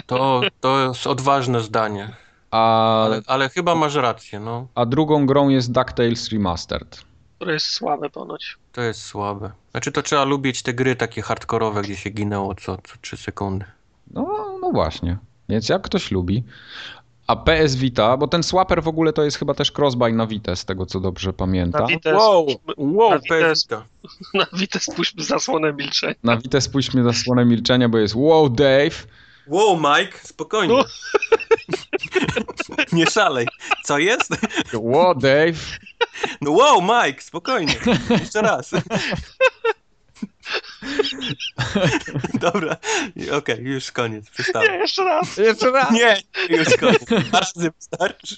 Speaker 2: To, to jest odważne zdanie,
Speaker 1: A,
Speaker 2: ale, ale chyba masz rację, no.
Speaker 1: a drugą grą jest DuckTales Remastered.
Speaker 3: Które jest słabe ponoć.
Speaker 2: To jest słabe. Znaczy to trzeba lubić te gry takie hardkorowe, gdzie się ginęło co, co 3 sekundy.
Speaker 1: No, no właśnie. Więc jak ktoś lubi. A PS Vita, bo ten Swapper w ogóle to jest chyba też crossbuy na Vita, z tego co dobrze
Speaker 3: Na
Speaker 1: pamiętam.
Speaker 3: Vita jest- na
Speaker 2: Tak? wow,
Speaker 3: Vita jest- Na Witę spójrzmy zasłonę milczenia.
Speaker 1: Na Vita spójrzmy na słone milczenia, bo jest wow Dave.
Speaker 2: Wow, Mike, spokojnie.
Speaker 3: No.
Speaker 2: Nie szalej. Co jest?
Speaker 1: Wow Dave.
Speaker 2: No wow, Mike, spokojnie. Jeszcze raz. Dobra, okej, już koniec, przestałem.
Speaker 3: Nie, jeszcze raz.
Speaker 1: Jeszcze raz.
Speaker 2: Nie, już koniec. Bardzo starczy.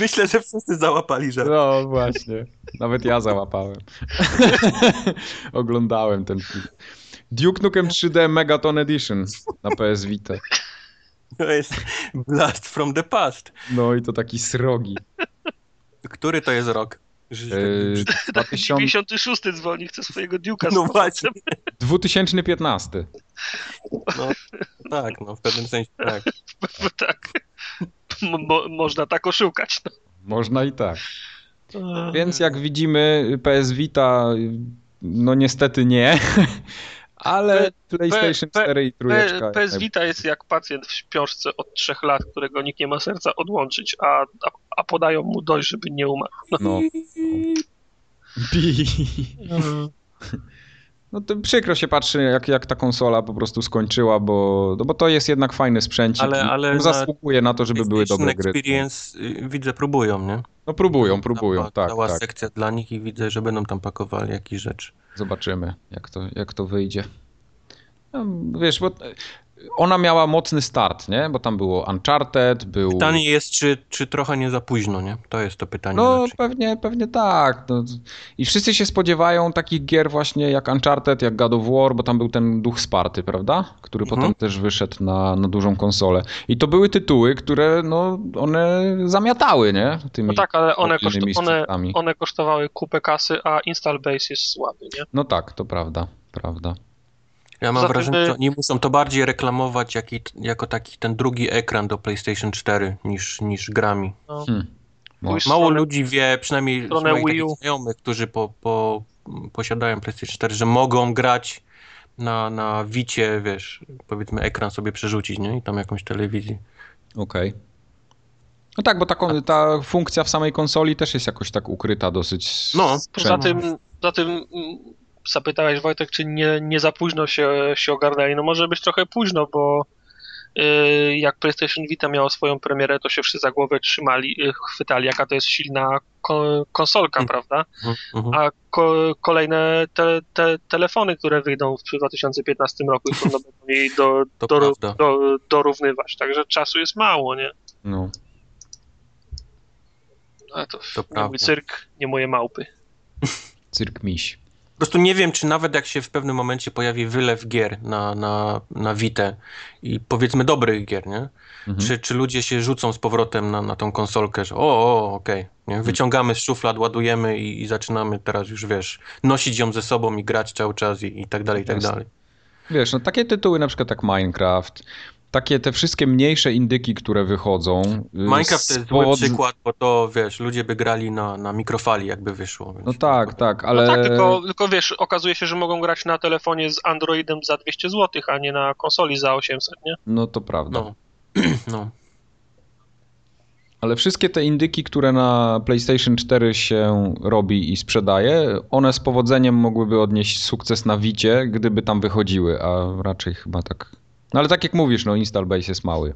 Speaker 2: Myślę, że wszyscy załapali, że...
Speaker 1: No właśnie. Nawet ja załapałem. Oglądałem ten film. Duke Nukem 3D Megaton Edition na PS Vita.
Speaker 2: To jest Blast from the Past.
Speaker 1: No i to taki srogi.
Speaker 2: Który to jest rok? Że-
Speaker 1: Yy, 2000,
Speaker 3: 56 dzwoni, chce swojego Duke'a
Speaker 2: No
Speaker 3: z
Speaker 2: właśnie,
Speaker 1: 2015.
Speaker 2: no, tak, no, w pewnym sensie tak.
Speaker 3: powrotem, tak. Mo- mo- można tak oszukać.
Speaker 1: Można i tak.
Speaker 3: No.
Speaker 1: Więc jak widzimy, PS Vita, no niestety nie, ale PlayStation
Speaker 3: P-
Speaker 1: 4 i
Speaker 3: P-
Speaker 1: trójeczka.
Speaker 3: PS Vita jest jak pacjent w śpiączce od trzech lat, którego nikt nie ma serca odłączyć, a, a, a podają mu dość, żeby nie umarł.
Speaker 1: No. Pi. No to przykro się patrzy, jak, jak ta konsola po prostu skończyła, bo, no bo to jest jednak fajny sprzęcik.
Speaker 2: Ale-
Speaker 1: i no
Speaker 2: ale na-
Speaker 1: zasługuje na to, żeby były dobre gry.
Speaker 2: Experience, y, widzę, próbują, nie?
Speaker 1: No próbują, próbują,
Speaker 2: Tam
Speaker 1: tak,
Speaker 2: Cała
Speaker 1: tak.
Speaker 2: sekcja dla nich i widzę, że będą tam pakowali jakieś rzeczy.
Speaker 1: Zobaczymy, jak to, jak to wyjdzie. No, wiesz, bo ona miała mocny start, nie? Bo tam było Uncharted, był...
Speaker 2: Pytanie jest, czy, czy trochę nie za późno, nie? To jest to pytanie.
Speaker 1: No
Speaker 2: raczej.
Speaker 1: pewnie, pewnie tak. No. I wszyscy się spodziewają takich gier właśnie jak Uncharted, jak God of War, bo tam był ten duch Sparty, prawda? Który
Speaker 2: Mhm.
Speaker 1: potem też wyszedł na, na dużą konsolę. I to były tytuły, które no, one zamiatały, nie? Tymi
Speaker 3: No tak, ale one, kosztu,
Speaker 1: mobilnymi
Speaker 3: one,
Speaker 1: sprzętami.
Speaker 3: one kosztowały kupę kasy, a install base jest słaby, nie?
Speaker 1: No tak, to prawda, prawda.
Speaker 2: Ja mam
Speaker 3: Zatem,
Speaker 2: wrażenie,
Speaker 3: y-
Speaker 2: że oni muszą to bardziej reklamować jaki, jako taki ten drugi ekran do PlayStation 4 niż, niż grami.
Speaker 1: Hmm. No.
Speaker 3: Pójść
Speaker 2: Mało
Speaker 3: stronę-
Speaker 2: ludzi wie, przynajmniej z
Speaker 3: stronę
Speaker 2: moich
Speaker 3: Wii
Speaker 2: takich
Speaker 3: U.
Speaker 2: znajomych, którzy po, po, m, posiadają PlayStation 4, że mogą grać na, na wicie, wiesz, powiedzmy ekran sobie przerzucić, nie? I tam jakąś telewizję.
Speaker 1: Okej. No tak, bo ta, kon- ta funkcja w samej konsoli też jest jakoś tak ukryta dosyć.
Speaker 2: No,
Speaker 1: sprzętem.
Speaker 3: Poza tym, za tym mm, zapytałeś Wojtek, czy nie, nie za późno się, się ogarnęli. No może być trochę późno, bo y, jak PlayStation Vita miało swoją premierę, to się wszyscy za głowę trzymali, y, chwytali, jaka to jest silna ko- konsolka,
Speaker 2: Mhm.
Speaker 3: prawda?
Speaker 2: Mhm, mhm.
Speaker 3: A ko- kolejne te, te, telefony, które wyjdą w 2015 roku, już będą mieli do,
Speaker 2: To
Speaker 3: do,
Speaker 2: prawda.
Speaker 3: do, dorównywać. Także czasu jest mało, nie?
Speaker 1: No.
Speaker 3: A to,
Speaker 2: To
Speaker 3: nie mój
Speaker 2: prawda.
Speaker 3: cyrk, nie moje małpy.
Speaker 1: Cyrk miś.
Speaker 2: Po prostu nie wiem, czy nawet jak się w pewnym momencie pojawi wylew gier na, na, na Witę i powiedzmy dobrych gier, nie?
Speaker 1: Mhm.
Speaker 2: Czy, czy ludzie się rzucą z powrotem na, na tą konsolkę, że o, o okej,
Speaker 1: Mhm.
Speaker 2: nie? wyciągamy z szuflad, ładujemy i, i zaczynamy teraz już, wiesz, nosić ją ze sobą i grać cały czas i, i tak dalej, i tak
Speaker 1: Jasne.
Speaker 2: dalej.
Speaker 1: Wiesz, no takie tytuły na przykład jak Minecraft, takie te wszystkie mniejsze indyki, które wychodzą. y,
Speaker 2: Minecraft to jest zły
Speaker 1: spowod-
Speaker 2: przykład, bo to wiesz, ludzie by grali na, na mikrofali, jakby wyszło. Więc
Speaker 1: No tak, tak, ale.
Speaker 3: No tak, tylko, tylko wiesz, okazuje się, że mogą grać na telefonie z Androidem za 200 zł, a nie na konsoli za 800, nie?
Speaker 1: No to prawda.
Speaker 2: No. no.
Speaker 1: Ale wszystkie te indyki, które na PlayStation 4 się robi i sprzedaje, one z powodzeniem mogłyby odnieść sukces na Wicie, gdyby tam wychodziły, a raczej chyba tak. No ale tak jak mówisz, no install base jest mały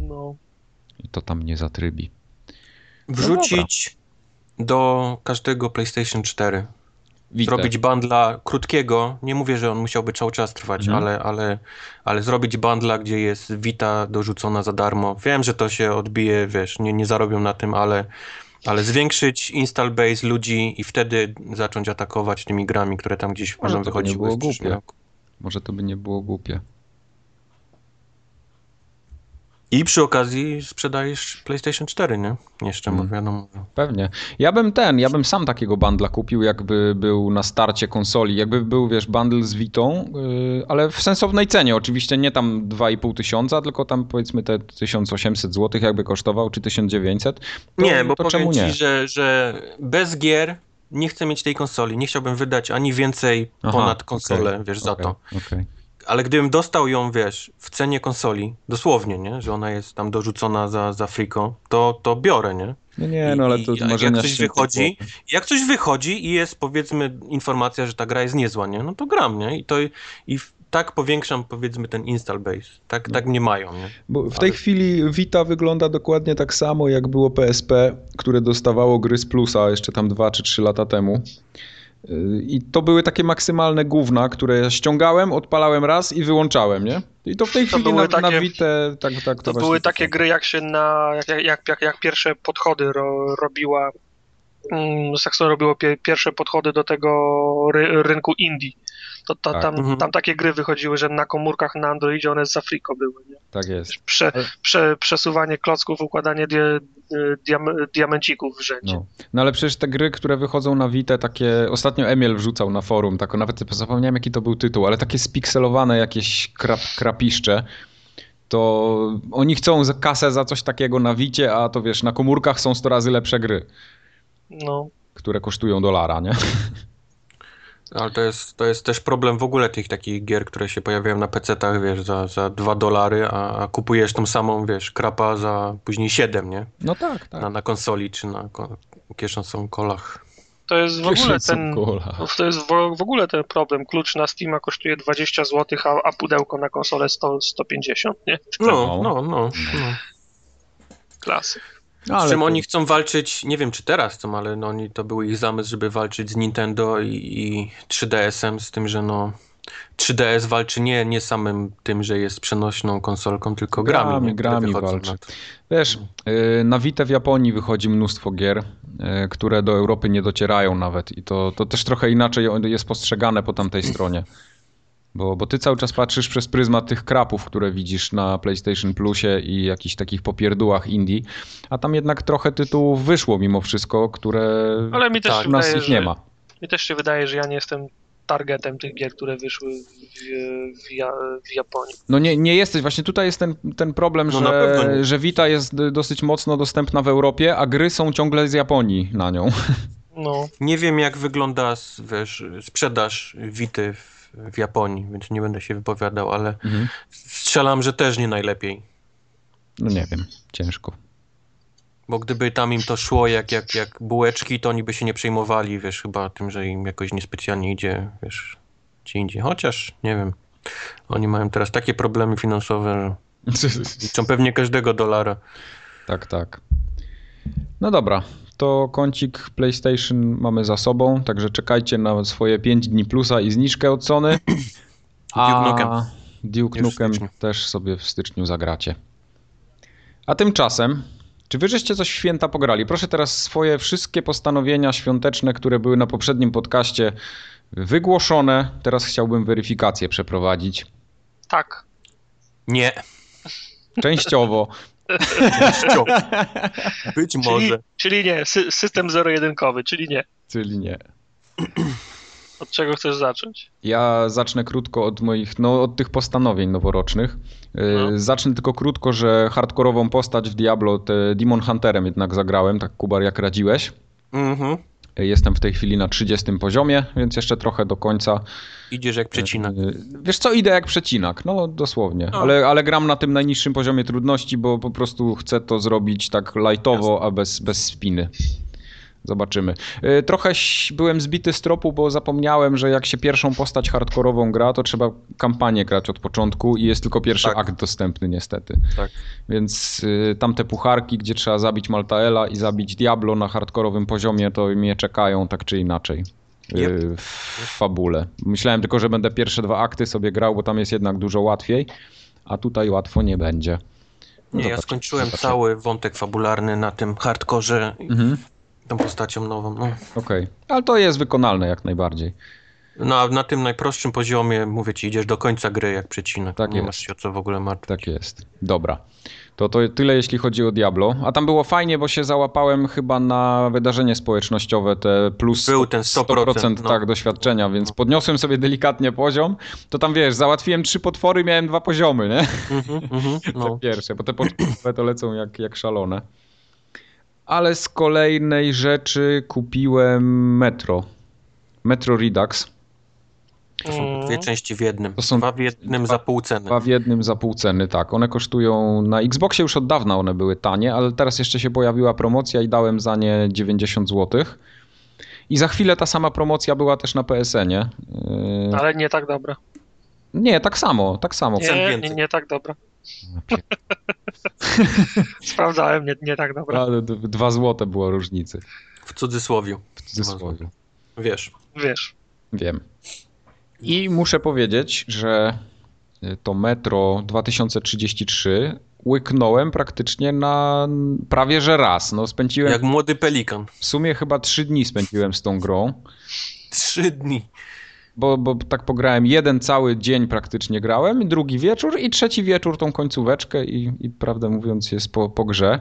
Speaker 3: No.
Speaker 1: i to tam nie zatrybi.
Speaker 2: Wrzucić do każdego PlayStation 4.
Speaker 1: Wite.
Speaker 2: Zrobić bundla krótkiego. Nie mówię, że on musiałby cały czas trwać,
Speaker 1: Mhm.
Speaker 2: ale, ale, ale zrobić bundla, gdzie jest Vita dorzucona za darmo. Wiem, że to się odbije, wiesz, nie, nie zarobią na tym, ale, ale zwiększyć install base ludzi i wtedy zacząć atakować tymi grami, które tam gdzieś
Speaker 1: Może
Speaker 2: będą
Speaker 1: to by nie
Speaker 2: wychodziły. no.
Speaker 1: było
Speaker 2: w przyszłym
Speaker 1: głupie.
Speaker 2: roku.
Speaker 1: Może to by nie było głupie.
Speaker 2: I przy okazji sprzedajesz PlayStation 4, nie? Jeszcze,
Speaker 1: Mhm.
Speaker 2: bo wiadomo. że-
Speaker 1: Pewnie. Ja bym ten, ja bym sam takiego bundla kupił, jakby był na starcie konsoli. Jakby był, wiesz, bundle z Witą, yy, ale w sensownej cenie. Oczywiście nie tam 2,5 tysiąca, tylko tam powiedzmy te 1800 zł jakby kosztował, czy 1900. To,
Speaker 2: nie, bo
Speaker 1: to
Speaker 2: powiem
Speaker 1: czemu
Speaker 2: ci,
Speaker 1: nie?
Speaker 2: Że, że bez gier nie chcę mieć tej konsoli. Nie chciałbym wydać ani więcej
Speaker 1: Aha,
Speaker 2: ponad
Speaker 1: okej,
Speaker 2: konsolę, wiesz, za
Speaker 1: Okej,
Speaker 2: to.
Speaker 1: okej.
Speaker 2: Ale gdybym dostał ją, wiesz, w cenie konsoli, dosłownie, nie? Że ona jest tam dorzucona za, za friko, to, to biorę, nie?
Speaker 1: No nie, no ale to
Speaker 2: I- i- jak
Speaker 1: marzenia
Speaker 2: coś
Speaker 1: święte
Speaker 2: wychodzi,
Speaker 1: głowy.
Speaker 2: Jak coś wychodzi i jest, powiedzmy, informacja, że ta gra jest niezła, nie? No to gram, nie? I to i w, tak powiększam, powiedzmy, ten install base. Tak, tak mnie mają, nie?
Speaker 1: Bo w tej
Speaker 2: Ale-
Speaker 1: chwili Vita wygląda dokładnie tak samo, jak było PSP, które dostawało gry z plusa jeszcze tam 2 czy 3 lata temu. Yy, I to były takie maksymalne gówna, które ja ściągałem, odpalałem raz i wyłączałem, nie? I to w tej
Speaker 3: To
Speaker 1: chwili
Speaker 3: były
Speaker 1: na, na
Speaker 3: takie-
Speaker 1: Vitę tak, tak
Speaker 3: To
Speaker 1: właśnie
Speaker 3: były takie
Speaker 1: wygląda.
Speaker 3: gry, jak się na. jak, jak, jak, jak, jak pierwsze podchody ro, robiła. Mm, Saxon robiło pie, pierwsze podchody do tego ry, rynku Indii. To, to,
Speaker 1: Tak.
Speaker 3: tam,
Speaker 2: Mhm.
Speaker 3: tam takie gry wychodziły, że na komórkach na Androidzie one z Afriko były. Nie?
Speaker 1: Tak jest.
Speaker 3: Prze,
Speaker 1: Ale-
Speaker 3: prze, przesuwanie klocków, układanie dia, diam, diamencików w rzędzie.
Speaker 1: No. no ale przecież te gry, które wychodzą na Witę, takie. Ostatnio Emil wrzucał na forum, tak, nawet zapomniałem jaki to był tytuł, ale takie spikselowane jakieś krap, krapiszcze. To oni chcą za kasę za coś takiego na Wicie, a to wiesz, na komórkach są 100 razy lepsze gry,
Speaker 3: No.
Speaker 1: które kosztują dolara, nie?
Speaker 2: Ale to jest, to jest też problem w ogóle tych takich gier, które się pojawiają na PC-tach, wiesz, za, za 2 dolary, a, a kupujesz tą samą, wiesz, krapa za później 7, nie?
Speaker 1: No tak, tak.
Speaker 2: Na, na konsoli czy na ko- kieszącą kolach.
Speaker 3: To jest w ogóle ten.
Speaker 1: Kola.
Speaker 3: No To jest w, w ogóle ten problem. Klucz na Steama kosztuje 20 zł, a, a pudełko na konsolę 100, 150, nie?
Speaker 2: No, no, no. no.
Speaker 3: Klasy.
Speaker 2: Z
Speaker 1: Hmm. Ale
Speaker 2: czym
Speaker 1: to-
Speaker 2: oni chcą walczyć, nie wiem czy teraz to, ale no, oni, to był ich zamysł, żeby walczyć z Nintendo i, i 3DS-em, z tym, że no 3DS walczy nie, nie samym tym, że jest przenośną konsolką, tylko grami.
Speaker 1: Grami,
Speaker 2: nie, które
Speaker 1: grami
Speaker 2: wychodzą
Speaker 1: walczy.
Speaker 2: na to.
Speaker 1: Wiesz, y, na Witę w Japonii wychodzi mnóstwo gier, y, które do Europy nie docierają nawet i to, to też trochę inaczej jest postrzegane po tamtej stronie. Bo, bo ty cały czas patrzysz przez pryzmat tych krapów, które widzisz na PlayStation Plusie i jakichś takich popierdułach indie, a tam jednak trochę tytułów wyszło mimo wszystko, które
Speaker 3: Ale mi też
Speaker 2: Tak,
Speaker 3: się
Speaker 1: u nas
Speaker 3: wydaje,
Speaker 1: ich nie
Speaker 3: że,
Speaker 1: ma.
Speaker 3: Mi też się wydaje, że ja nie jestem targetem tych gier, które wyszły w, w, Ja- w Japonii.
Speaker 1: No nie, nie jesteś, właśnie tutaj jest ten, ten problem,
Speaker 2: No na pewno
Speaker 1: że,
Speaker 2: nie.
Speaker 1: że Vita jest y, dosyć mocno dostępna w Europie, a gry są ciągle z Japonii na nią.
Speaker 3: No,
Speaker 2: Nie wiem, jak wygląda s- wiesz, sprzedaż Wity w, w Japonii, więc nie będę się wypowiadał, ale strzelam, że też nie najlepiej.
Speaker 1: No nie wiem, ciężko.
Speaker 2: Bo gdyby tam im to szło jak, jak, jak bułeczki, to oni by się nie przejmowali, wiesz, chyba tym, że im jakoś niespecjalnie idzie, wiesz, gdzie indziej. Chociaż, nie wiem, oni mają teraz takie problemy finansowe, że liczą pewnie każdego dolara.
Speaker 1: tak, tak. No dobra, to kącik PlayStation mamy za sobą, także czekajcie na swoje 5 dni plusa i zniżkę od Sony.
Speaker 2: Duke Nukem.
Speaker 1: Duke
Speaker 2: Już w
Speaker 1: Nukem
Speaker 2: styczniu.
Speaker 1: też sobie w styczniu zagracie. A tymczasem, czy wy żeście coś w święta pograli? Proszę teraz swoje wszystkie postanowienia świąteczne, które były na poprzednim podcaście wygłoszone. Teraz chciałbym weryfikację przeprowadzić.
Speaker 3: tak.
Speaker 2: Nie,
Speaker 1: Częściowo.
Speaker 2: Cio. być
Speaker 3: Czyli,
Speaker 2: może.
Speaker 3: czyli nie, sy, system zero-jedynkowy, czyli nie.
Speaker 1: Czyli nie.
Speaker 3: Od czego chcesz zacząć?
Speaker 1: Ja zacznę krótko od moich, no od tych postanowień noworocznych. Yy,
Speaker 3: No.
Speaker 1: Zacznę tylko krótko, że hardkorową postać w Diablo, te Demon Hunterem jednak zagrałem, tak Kubar jak radziłeś.
Speaker 2: Mhm.
Speaker 1: Yy, Jestem w tej chwili na 30 poziomie, więc jeszcze trochę do końca.
Speaker 2: Idziesz jak przecinak.
Speaker 1: Yy, Wiesz co, idę jak przecinak, no dosłownie.
Speaker 2: No.
Speaker 1: Ale, ale gram na tym najniższym poziomie trudności, bo po prostu chcę to zrobić tak lightowo, a bez, bez spiny. Zobaczymy. Yy, Trochę ś- byłem zbity z tropu, bo zapomniałem, że jak się pierwszą postać hardkorową gra, to trzeba kampanię grać od początku i jest tylko pierwszy
Speaker 2: Tak.
Speaker 1: akt dostępny niestety.
Speaker 2: Tak.
Speaker 1: Więc y, tamte pucharki, gdzie trzeba zabić Maltaela i zabić Diablo na hardkorowym poziomie, to mnie czekają tak czy inaczej. y,
Speaker 2: Yep.
Speaker 1: W fabule. Myślałem tylko, że będę pierwsze dwa akty sobie grał, bo tam jest jednak dużo łatwiej, a tutaj łatwo nie będzie.
Speaker 2: Nie, ja
Speaker 1: Zobacz,
Speaker 2: skończyłem
Speaker 1: zobacz.
Speaker 2: cały wątek fabularny na tym hardkorze,
Speaker 1: Mhm,
Speaker 2: tą postacią nową. No.
Speaker 1: Okej, ale to jest wykonalne jak najbardziej.
Speaker 2: No a na tym najprostszym poziomie, mówię ci, idziesz do końca gry jak przecinek.
Speaker 1: Tak
Speaker 2: nie
Speaker 1: jest.
Speaker 2: masz się o co w ogóle martwić.
Speaker 1: Tak jest. Dobra. To, to tyle jeśli chodzi o Diablo. A tam było fajnie, bo się załapałem chyba na wydarzenie społecznościowe, te plus
Speaker 2: Był ten 100%, no.
Speaker 1: tak, doświadczenia, więc podniosłem sobie delikatnie poziom. To tam wiesz, załatwiłem trzy potwory, miałem dwa poziomy, nie?
Speaker 2: Mhm, mhm,
Speaker 1: Te
Speaker 2: no.
Speaker 1: pierwsze, bo te początkowe to lecą jak, jak szalone. Ale z kolejnej rzeczy kupiłem Metro. Metro Redux.
Speaker 2: To są
Speaker 3: Mhm. Mm,
Speaker 2: dwie części w jednym.
Speaker 1: To są
Speaker 2: Dwa w jednym
Speaker 1: dwa-
Speaker 2: za pół ceny.
Speaker 1: Dwa w jednym za pół ceny, tak. One kosztują na Xboxie już od dawna one były tanie, ale teraz jeszcze się pojawiła promocja i dałem za nie 90 zł. I za chwilę ta sama promocja była też na PSN-ie. Yy,
Speaker 3: Ale nie tak dobra.
Speaker 1: Nie, tak samo, tak samo.
Speaker 2: Cen
Speaker 3: Nie, nie,
Speaker 2: więcej.
Speaker 3: nie tak dobra. Sprawdzałem, nie, nie tak dobra.
Speaker 1: Ale d- Dwa złote było różnicy.
Speaker 2: W cudzysłowie.
Speaker 1: W cudzysłowie.
Speaker 2: Wiesz.
Speaker 3: Wiesz.
Speaker 1: Wiem. I muszę powiedzieć, że y, to Metro 2033 łyknąłem praktycznie na prawie że raz. No spędziłem
Speaker 2: Jak młody pelikan.
Speaker 1: W sumie chyba trzy dni spędziłem z tą grą,
Speaker 2: Trzy dni.
Speaker 1: bo, bo tak pograłem jeden cały dzień praktycznie grałem, drugi wieczór i trzeci wieczór tą końcóweczkę i, i prawdę mówiąc jest po, po grze.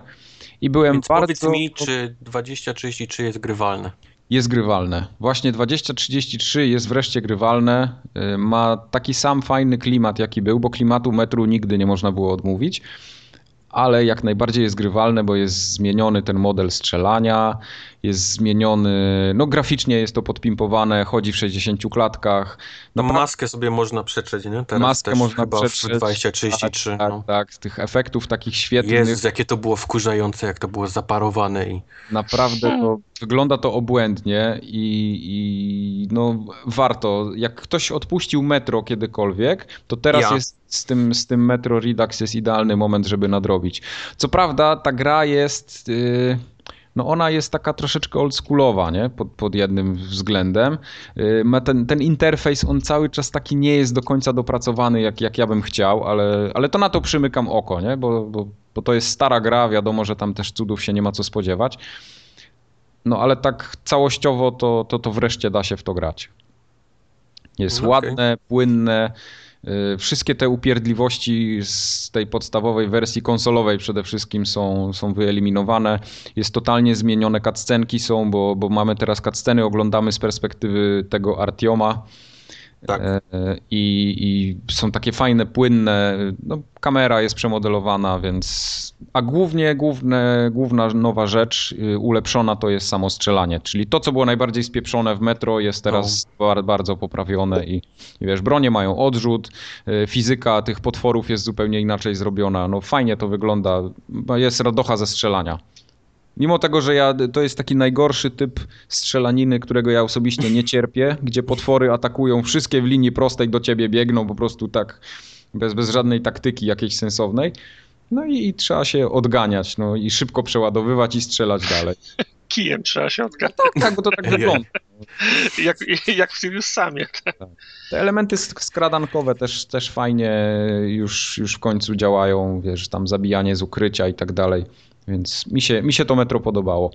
Speaker 1: I byłem
Speaker 2: Więc powiedz
Speaker 1: bardzo...
Speaker 2: mi, czy 2033 jest grywalne.
Speaker 1: Jest grywalne. Właśnie 2033 jest wreszcie grywalne. Y, Ma taki sam fajny klimat, jaki był, bo klimatu metru nigdy nie można było odmówić. Ale jak najbardziej jest grywalne, bo jest zmieniony ten model strzelania, jest zmieniony. No, graficznie jest to podpimpowane, chodzi w 60 klatkach.
Speaker 2: No
Speaker 1: Naprawdę-
Speaker 2: maskę sobie można przetrzeć, nie? Teraz
Speaker 1: Maskę
Speaker 2: też
Speaker 1: można
Speaker 2: chyba
Speaker 1: przetrzeć,
Speaker 2: w 2033.
Speaker 1: Tak,
Speaker 2: no.
Speaker 1: tak, z tych efektów takich świetnych.
Speaker 2: Jezus, jakie to było wkurzające, jak to było zaparowane i
Speaker 1: Naprawdę to, wygląda to obłędnie i, i no, warto. Jak ktoś odpuścił metro kiedykolwiek, to teraz
Speaker 2: Ja.
Speaker 1: jest z tym, z tym metro Redux jest idealny moment, żeby nadrobić. Co prawda ta gra jest... Yy, no ona jest taka troszeczkę oldschoolowa, nie? Pod, pod jednym względem. Yy, Ma ten, ten interfejs, on cały czas taki nie jest do końca dopracowany, jak, jak ja bym chciał, ale, ale to na to przymykam oko, nie? Bo, bo, bo to jest stara gra, wiadomo, że tam też cudów się nie ma co spodziewać. No ale tak całościowo to, to, to wreszcie da się w to grać. Jest
Speaker 2: No, okej.
Speaker 1: ładne, płynne. y, Wszystkie te upierdliwości z tej podstawowej wersji konsolowej przede wszystkim są, są wyeliminowane. Jest totalnie zmienione, cutscenki są, bo, bo mamy teraz cutsceny, oglądamy z perspektywy tego Artioma.
Speaker 2: tak.
Speaker 1: E, I, I są takie fajne, płynne. No, kamera jest przemodelowana, więc. A głównie główne, główna nowa rzecz y, ulepszona to jest samo strzelanie. Czyli to, co było najbardziej spieprzone w metro, jest teraz bar- bardzo poprawione i, i wiesz, bronie mają odrzut, y, fizyka tych potworów jest zupełnie inaczej zrobiona. No fajnie to wygląda. Jest radocha ze strzelania. Mimo tego, że ja, to jest taki najgorszy typ strzelaniny, którego ja osobiście nie cierpię, gdzie potwory atakują wszystkie w linii prostej do ciebie biegną po prostu tak bez, bez żadnej taktyki jakiejś sensownej. No i, i trzeba się odganiać, no i szybko przeładowywać i strzelać dalej.
Speaker 3: Kijem trzeba się odgadać.
Speaker 1: Tak, bo to tak wygląda.
Speaker 3: Jak, jak w Sirius samie.
Speaker 1: Te elementy sk- skradankowe też, też fajnie już, już w końcu działają, wiesz, tam zabijanie z ukrycia i tak dalej, więc mi się, mi się to metro podobało.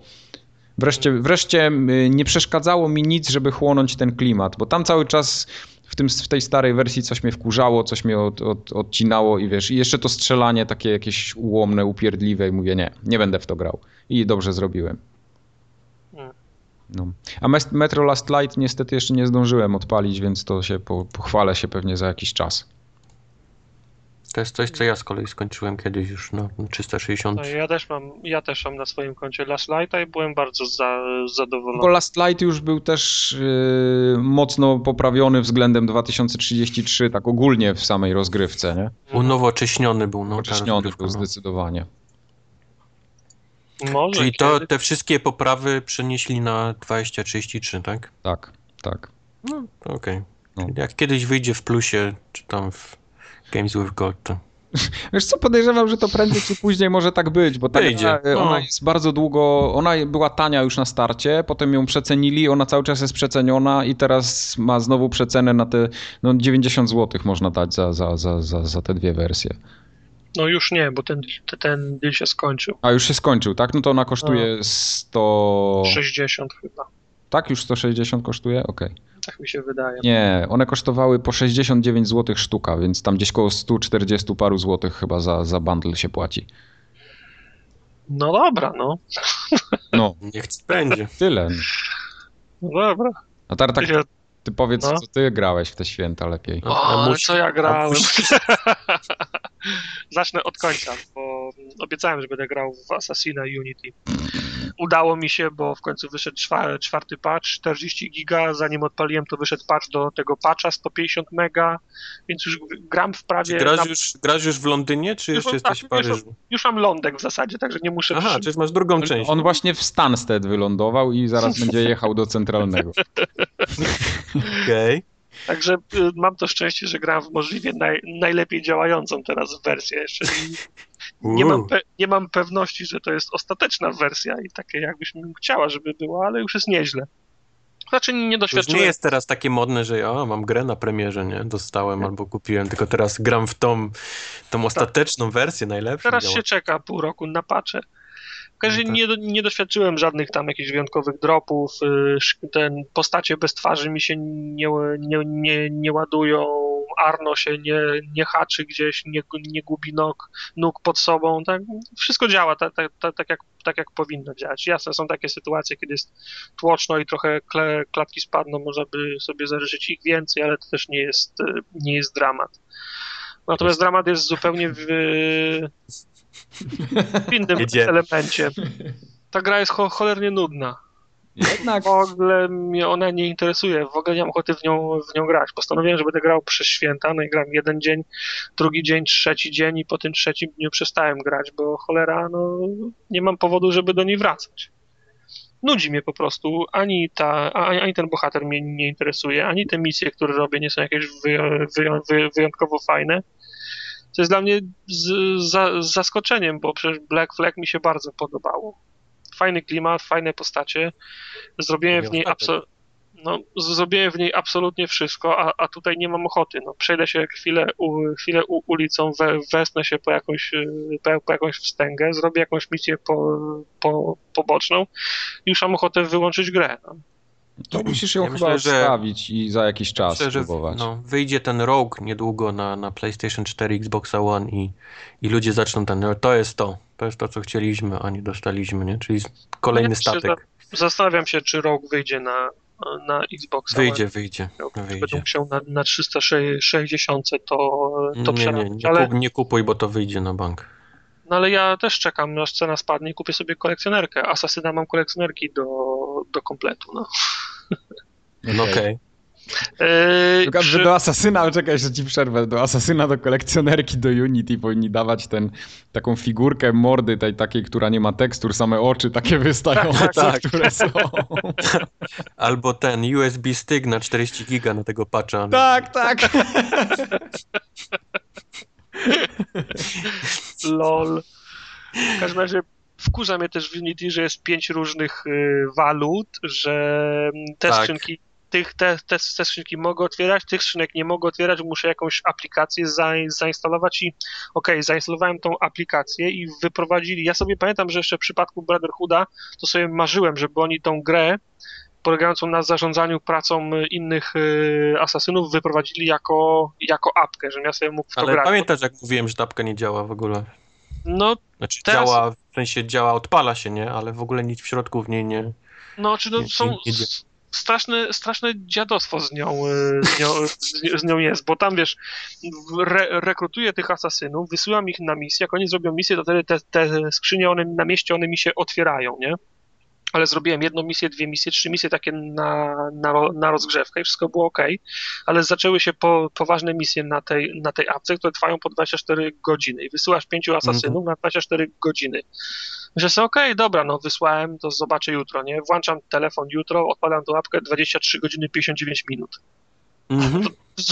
Speaker 1: Wreszcie, wreszcie y, nie przeszkadzało mi nic, żeby chłonąć ten klimat, bo tam cały czas w, tym, w tej starej wersji coś mnie wkurzało, coś mnie od, od, odcinało i wiesz, i jeszcze to strzelanie takie jakieś ułomne, upierdliwe i mówię nie, nie będę w to grał i dobrze zrobiłem. No. A Mes- Metro Last Light niestety jeszcze nie zdążyłem odpalić, więc to się po, pochwalę się pewnie za jakiś czas.
Speaker 2: To jest coś, co ja z kolei skończyłem kiedyś już na 360.
Speaker 3: No, ja też mam, ja też mam na swoim koncie Last Lighta i byłem bardzo za,
Speaker 1: Tylko
Speaker 3: zadowolony.
Speaker 1: Last Light już był też yy, mocno poprawiony względem 2033, tak ogólnie w samej rozgrywce, nie?
Speaker 2: Unowocześniony był, no. ta
Speaker 1: Ocześniony
Speaker 2: rozgrywka,
Speaker 1: był
Speaker 2: no.
Speaker 1: zdecydowanie.
Speaker 3: Może
Speaker 2: Czyli to,
Speaker 3: kiedyś.
Speaker 2: te wszystkie poprawy przenieśli na 2033, tak?
Speaker 1: Tak, tak.
Speaker 2: No, to okej.
Speaker 1: No.
Speaker 2: Jak kiedyś wyjdzie w plusie, czy tam w Games with Gold, to...
Speaker 1: Wiesz co, podejrzewam, że to prędzej czy później może tak być, bo ta
Speaker 2: Wyjdzie,
Speaker 1: gra, y,
Speaker 2: no.
Speaker 1: ona jest bardzo długo, ona je- była tania już na starcie, potem ją przecenili, ona cały czas jest przeceniona i teraz ma znowu przecenę na te, no 90 zł można dać za, za, za, za, za te dwie wersje.
Speaker 3: No już nie, bo ten, te- ten deal się skończył.
Speaker 1: A już się skończył, tak? No to ona kosztuje 100...
Speaker 3: 60 chyba,
Speaker 1: Tak? Już 160 kosztuje? Okej.
Speaker 3: tak mi się wydaje.
Speaker 1: Nie, one kosztowały po 69 zł sztuka, więc tam gdzieś koło 140 paru złotych chyba za, za bundle się płaci.
Speaker 3: No dobra, no.
Speaker 1: No,
Speaker 2: Niech będzie.
Speaker 1: tyle.
Speaker 3: no dobra.
Speaker 1: A
Speaker 2: Tak,
Speaker 1: Tartak,
Speaker 3: Ja-
Speaker 1: ty powiedz,
Speaker 3: No.
Speaker 1: co ty grałeś w te święta lepiej.
Speaker 2: A- a
Speaker 3: O, ale
Speaker 2: musi-
Speaker 3: co ja grałem.
Speaker 2: musisz.
Speaker 3: Zacznę od końca, bo obiecałem, że będę grał w Assassina Unity. Udało mi się, bo w końcu wyszedł czwa- czwarty patch, 40 giga, zanim odpaliłem to wyszedł patch do tego patcha 150 mega, więc już g- gram w
Speaker 2: Czy
Speaker 3: prawie, na...
Speaker 2: grasz już, grasz już w Londynie, czy jeszcze
Speaker 3: tak,
Speaker 2: jesteś w
Speaker 3: już-
Speaker 2: Paryżu?
Speaker 3: już mam lądek w zasadzie, także nie muszę
Speaker 2: Aha,
Speaker 3: przy-
Speaker 2: czyli masz drugą część.
Speaker 1: On właśnie w Stansted wylądował i zaraz będzie jechał do centralnego.
Speaker 2: Okej.
Speaker 3: Także y, mam to szczęście, że gram w możliwie naj, najlepiej działającą teraz wersję. Jeszcze nie, mam
Speaker 2: Uuu.
Speaker 3: pe, nie mam pewności, że to jest ostateczna wersja i takie jakbyś mi chciała, żeby była, ale już jest nieźle. Znaczy nie
Speaker 2: To już nie
Speaker 3: doświadczyłem.
Speaker 2: jest teraz takie modne, że ja mam grę na premierze, nie? Dostałem albo kupiłem, tylko teraz gram w tą, tą ostateczną wersję najlepszą.
Speaker 3: Teraz
Speaker 2: tak działa.
Speaker 3: się czeka pół roku na pacze. W każdym razie
Speaker 2: No tak.
Speaker 3: nie, do- nie doświadczyłem żadnych tam jakichś wyjątkowych dropów. y, sz- Ten postacie bez twarzy mi się nie, nie, nie, nie ładują. Arno się nie, nie haczy gdzieś, nie, nie gubi nóg, nóg pod sobą. Tak, wszystko działa tak, tak, tak, tak, jak, tak, jak powinno działać. Jasne, są takie sytuacje, kiedy jest tłoczno i trochę kle, klatki spadną, można by sobie zażyczyć ich więcej, ale to też nie jest, y, nie jest dramat. Natomiast dramat jest zupełnie w, w innym
Speaker 2: Jedzie.
Speaker 3: elemencie. Ta gra jest cho- cholernie nudna.
Speaker 1: Jednak
Speaker 3: W ogóle mnie ona nie interesuje, w ogóle nie mam ochoty w nią, w nią grać. Postanowiłem, że będę grał przez święta, no i gram jeden dzień, drugi dzień, trzeci dzień i po tym trzecim dniu przestałem grać, bo cholera, no nie mam powodu, żeby do niej wracać. Nudzi mnie po prostu, ani, ta, ani, ani ten bohater mnie nie interesuje, ani te misje, które robię, nie są jakieś wyjo- wyjo- wy, wyjątkowo fajne. To jest dla mnie z, za, z zaskoczeniem, bo przecież Black Flag mi się bardzo podobało. Fajny klimat, fajne postacie. Zrobiłem w niej,
Speaker 2: Ostatek.
Speaker 3: abso- no, z- zrobiłem w niej absolutnie wszystko, a, a tutaj nie mam ochoty. No, przejdę się chwilę, u, chwilę u, ulicą, we, wesnę się po jakąś, y, po, po jakąś wstęgę, zrobię jakąś misję po, po, poboczną i już mam ochotę wyłączyć grę. No.
Speaker 1: to musisz ją
Speaker 2: Ja
Speaker 1: chyba
Speaker 2: myślę, że-
Speaker 1: odstawić i za jakiś czas
Speaker 2: Myślę, że w-
Speaker 1: spróbować.
Speaker 2: no, wyjdzie ten Rogue niedługo na, na PlayStation 4, Xbox One i, i ludzie zaczną ten, no, to jest to, to jest to, co chcieliśmy, a nie dostaliśmy, nie? Czyli kolejny
Speaker 3: Ja się
Speaker 2: statek.
Speaker 3: Zastanawiam się, czy Rogue wyjdzie na, na Xboxa.
Speaker 2: Wyjdzie, wyjdzie,
Speaker 3: Czy
Speaker 2: wyjdzie.
Speaker 3: będą musiał na, na 360 to, to
Speaker 2: Nie, nie,
Speaker 3: przerabić,
Speaker 2: nie,
Speaker 3: ale,
Speaker 2: kup, nie kupuj, bo to wyjdzie na bank.
Speaker 3: no ale ja też czekam, aż cena spadnie i kupię sobie kolekcjonerkę. Asasyna mam kolekcjonerki do, do kompletu. No.
Speaker 2: No okej.
Speaker 3: Yy,
Speaker 1: Tylko, że
Speaker 3: przy-
Speaker 1: do Asasyna, czekaj, że ci przerwę, do Asasyna, do kolekcjonerki, do Unity powinni dawać ten, taką figurkę mordy tej takiej, która nie ma tekstur, same oczy takie wystające,
Speaker 2: Tak, tak.
Speaker 1: które są.
Speaker 2: Albo ten USB stick na 40 giga na tego patcha.
Speaker 1: tak, tak.
Speaker 3: Lol. W każdym razie wkurza mnie też w Unity, że jest pięć różnych y, walut, że mm, te
Speaker 2: Tak.
Speaker 3: skrzynki tych, te, te, te skrzynki mogę otwierać, tych skrzynek nie mogę otwierać, muszę jakąś aplikację zain- zainstalować i okej, zainstalowałem tą aplikację i wyprowadzili. Ja sobie pamiętam, że jeszcze w przypadku Brotherhooda to sobie marzyłem, żeby oni tą grę polegającą na zarządzaniu pracą y, innych y, asasynów wyprowadzili jako, jako apkę, żebym ja sobie mógł w to
Speaker 2: Ale
Speaker 3: grać.
Speaker 2: pamiętasz, jak mówiłem, że tapka nie działa w ogóle.
Speaker 3: No
Speaker 2: Znaczy
Speaker 3: Teraz-
Speaker 2: działa, w sensie działa, odpala się, nie? Ale w ogóle nic w środku w niej nie,
Speaker 3: No, czy no,
Speaker 2: Nie-
Speaker 3: są
Speaker 2: nie- nie-
Speaker 3: s- straszne, straszne dziadostwo z nią, y, z nią, z ni- z nią jest, bo tam wiesz, w- re, rekrutuje tych asasynów, wysyłam ich na misję, jak oni zrobią misję, to wtedy te, te skrzynie one, na mieście one mi się otwierają, nie? Ale zrobiłem jedną misję, dwie misje, trzy misje takie na, na, ro- na rozgrzewkę i wszystko było ok, ale zaczęły się po, poważne misje na tej, na tej apce, które trwają po 24 godziny i wysyłasz pięciu asasynów na 24 godziny że sobie, okej, dobra, no wysłałem, to zobaczę jutro, nie? Włączam telefon jutro, odpalam tą łapkę 23 godziny 59 minut.
Speaker 2: Mhm.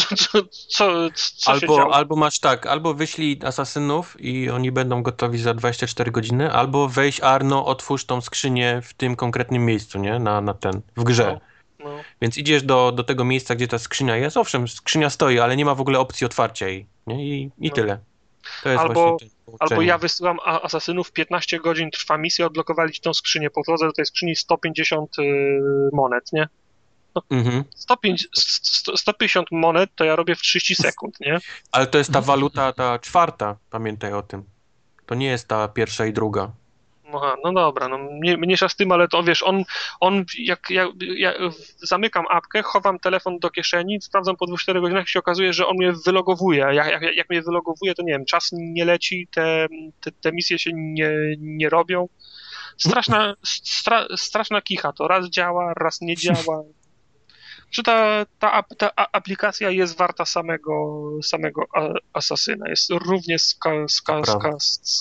Speaker 3: Co, co, co, co się
Speaker 2: Albo,
Speaker 3: działo?
Speaker 2: albo masz tak, albo wyślij asasynów i oni będą gotowi za 24 godziny, albo wejdź Arno, otwórz tą skrzynię w tym konkretnym miejscu, nie? Na, na ten, w grze.
Speaker 3: No,
Speaker 2: Więc idziesz do, do tego miejsca, gdzie ta skrzynia jest. Owszem, skrzynia stoi, ale nie ma w ogóle opcji otwarcia jej. Nie? I, i
Speaker 3: No.
Speaker 2: tyle. To jest
Speaker 3: Albo-
Speaker 2: właśnie ten
Speaker 3: albo
Speaker 2: pouczenie.
Speaker 3: ja wysyłam a- asasynów, 15 godzin trwa misja, odblokowali ci tą skrzynię, po drodze do tej skrzyni 150 y, monet, nie?
Speaker 2: Mhm.
Speaker 3: 105, sto- 150 monet to ja robię w 30 sekund, nie?
Speaker 2: Ale to jest ta waluta, ta czwarta, pamiętaj o tym. To nie jest ta pierwsza i druga.
Speaker 3: Aha, no dobra, no mnie- mniejsza z tym, ale to wiesz, on, on jak ja, ja zamykam apkę, chowam telefon do kieszeni, sprawdzam po 2-4 godzinach i się okazuje, że on mnie wylogowuje. Jak, jak, jak mnie wylogowuje, to nie wiem, czas nie leci, te, te, te misje się nie, nie robią. Straszna, stra, straszna kicha to. Raz działa, raz nie działa. Czy ta, ta, ap- ta a- aplikacja jest warta samego, samego a- asasyna? Jest równie ska, ska,
Speaker 2: To
Speaker 3: ska,
Speaker 2: prawda.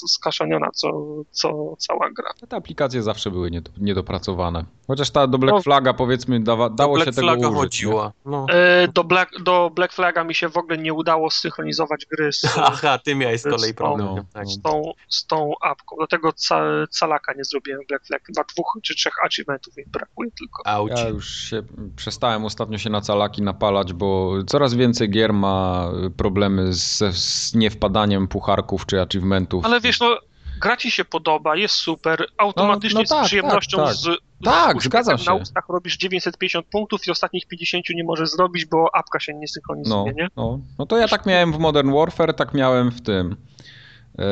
Speaker 3: skaszaniona, co, co cała gra.
Speaker 1: Te aplikacje zawsze były nied- niedopracowane. Chociaż ta do Black
Speaker 3: No.
Speaker 1: Flaga powiedzmy dawa, dało
Speaker 2: Black
Speaker 1: się tego
Speaker 2: Flaga
Speaker 1: użyć. nie?
Speaker 2: chodziła. No.
Speaker 3: E, Do Black, do Black Flaga mi się w ogóle nie udało synchronizować gry z,
Speaker 2: Aha, ty miałeś z kolei problem.
Speaker 1: No.
Speaker 2: Tak.
Speaker 3: z, tą, z tą apką. Dlatego ca, calaka nie zrobiłem w Black Flag. Chyba dwóch czy trzech achievementów mi brakuje tylko.
Speaker 2: Auć.
Speaker 1: Ja już się przestałem ostatnio się na calaki napalać, bo coraz więcej gier ma problemy z, z niewpadaniem pucharków czy achievementów.
Speaker 3: Ale wiesz, no gra ci się podoba, jest super, automatycznie
Speaker 1: No, no tak,
Speaker 3: z przyjemnością
Speaker 1: tak, tak.
Speaker 3: z z
Speaker 1: Tak,
Speaker 3: uśmiechem
Speaker 1: zgadzam się.
Speaker 3: Na ustach robisz 950 punktów i ostatnich 50 nie możesz zrobić, bo apka się nie synchronizuje,
Speaker 1: No,
Speaker 3: nie?
Speaker 1: no. no to ja tak miałem w Modern Warfare, tak miałem w tym. Yy,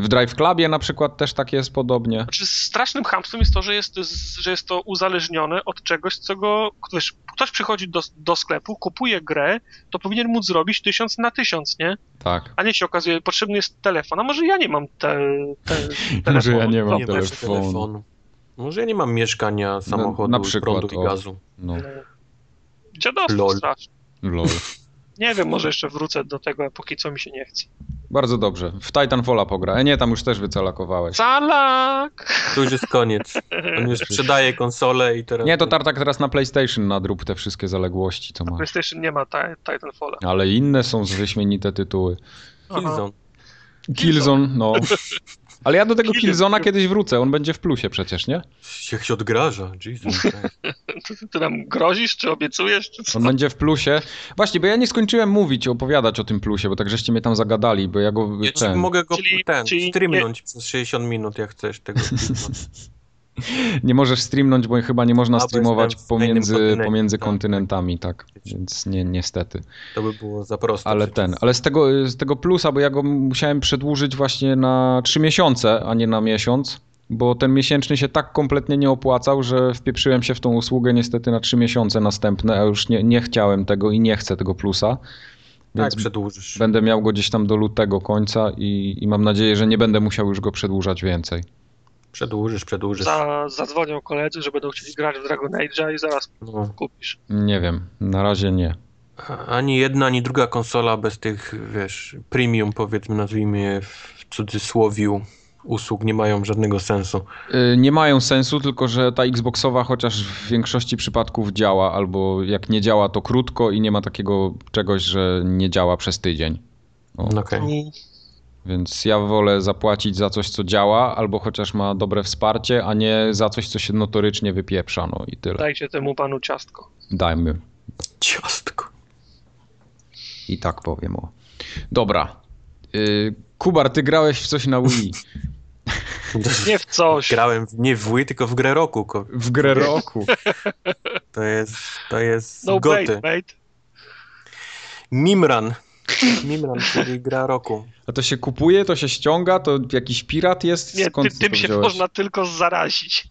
Speaker 1: W Drive Clubie na przykład też tak jest podobnie.
Speaker 3: Znaczy, strasznym chamstwem jest to, że jest, że jest to uzależnione od czegoś, co go. Wiesz, ktoś przychodzi do, do sklepu, kupuje grę, to powinien móc zrobić tysiąc na tysiąc, nie?
Speaker 1: Tak.
Speaker 3: A nie się okazuje, potrzebny jest telefon. A może ja nie mam te, te, telefonu.
Speaker 1: Może ja nie mam
Speaker 3: No,
Speaker 2: Nie masz
Speaker 1: telefonu.
Speaker 2: telefonu. Może ja nie mam mieszkania, samochodu,
Speaker 1: na przykład,
Speaker 2: prądu
Speaker 1: o.
Speaker 2: i gazu.
Speaker 1: No,
Speaker 3: Dziadostwo
Speaker 2: Lol.
Speaker 3: straszne.
Speaker 1: lol.
Speaker 3: Nie wiem, może jeszcze wrócę do tego, póki co mi się nie chce.
Speaker 1: Bardzo dobrze. W Titanfalla pogra. E nie, tam już też wycalakowałeś.
Speaker 3: Calak!
Speaker 2: To już jest koniec. On już sprzedaje konsolę i teraz...
Speaker 1: Nie, to Tartak teraz na PlayStation nadrób te wszystkie zaległości, co masz.
Speaker 3: PlayStation nie ma ta, Titanfalla.
Speaker 1: Ale inne są wyśmienite tytuły.
Speaker 3: Aha.
Speaker 2: Killzone.
Speaker 1: Killzone, no. Ale ja do tego
Speaker 3: Killzone.
Speaker 1: Killzona kiedyś wrócę, on będzie w plusie przecież, nie?
Speaker 2: Jak się odgraża, tak. Jesus.
Speaker 1: Mm.
Speaker 3: Ty, ty nam grozisz, czy obiecujesz, czy co?
Speaker 1: On będzie w plusie. Właśnie, bo ja nie skończyłem mówić, opowiadać o tym plusie, bo tak żeście mnie tam zagadali, bo ja go
Speaker 2: Ja ci
Speaker 1: ten...
Speaker 2: mogę go
Speaker 3: Czyli-
Speaker 2: ten,
Speaker 3: czyli nie-
Speaker 2: streamnąć przez 60 minut, jak chcesz tego filmu.
Speaker 1: Nie możesz streamnąć, bo chyba nie
Speaker 2: A,
Speaker 1: można
Speaker 2: bo
Speaker 1: streamować
Speaker 2: jestem w innym
Speaker 1: pomiędzy,
Speaker 2: kontynencie,
Speaker 1: pomiędzy
Speaker 2: tak.
Speaker 1: kontynentami, tak. Więc nie, niestety.
Speaker 2: To by było za proste.
Speaker 1: Ale
Speaker 2: przecież.
Speaker 1: ten, ale z tego, z tego plusa, bo ja go musiałem przedłużyć właśnie na 3 miesiące, a nie na miesiąc, bo ten miesięczny się tak kompletnie nie opłacał, że wpieprzyłem się w tą usługę niestety na 3 miesiące następne, a już nie, nie chciałem tego i nie chcę tego plusa.
Speaker 2: Tak,
Speaker 1: Więc
Speaker 2: przedłużysz.
Speaker 1: będę miał go gdzieś tam do lutego końca i, i mam nadzieję, że nie będę musiał już go przedłużać więcej.
Speaker 2: Przedłużysz, przedłużysz.
Speaker 3: Za, zadzwonią koledzy, że będą chcieli grać w Dragon Age'a i zaraz
Speaker 2: No.
Speaker 3: kupisz.
Speaker 1: Nie wiem, na razie nie.
Speaker 2: A- Ani jedna, ani druga konsola bez tych, wiesz, premium, powiedzmy, nazwijmy je w cudzysłowiu, usług nie mają żadnego sensu.
Speaker 1: Y, Nie mają sensu, tylko że ta Xboxowa chociaż w większości przypadków działa, albo jak nie działa, to krótko i nie ma takiego czegoś, że nie działa przez tydzień. O,
Speaker 2: Okej.
Speaker 1: Więc ja wolę zapłacić za coś, co działa, albo chociaż ma dobre wsparcie, a nie za coś, co się notorycznie wypieprza. No i tyle.
Speaker 3: Dajcie temu panu ciastko.
Speaker 1: Dajmy.
Speaker 2: Ciastko.
Speaker 1: I tak powiem. O. Dobra. Y, Kubar, ty grałeś w coś na Wii.
Speaker 3: Nie w coś.
Speaker 2: Grałem w, nie w Wii, tylko w grę roku. ko-
Speaker 1: W grę roku.
Speaker 2: To jest, to jest
Speaker 3: No
Speaker 2: goty.
Speaker 3: bait, mate.
Speaker 2: Mimran. Mimran, czyli gra roku.
Speaker 1: A to się kupuje, to się ściąga, to jakiś pirat jest?
Speaker 3: Nie,
Speaker 1: Skąd
Speaker 3: ty,
Speaker 1: ty
Speaker 3: tym
Speaker 1: to
Speaker 3: się
Speaker 1: wziąłeś?
Speaker 3: można tylko zarazić.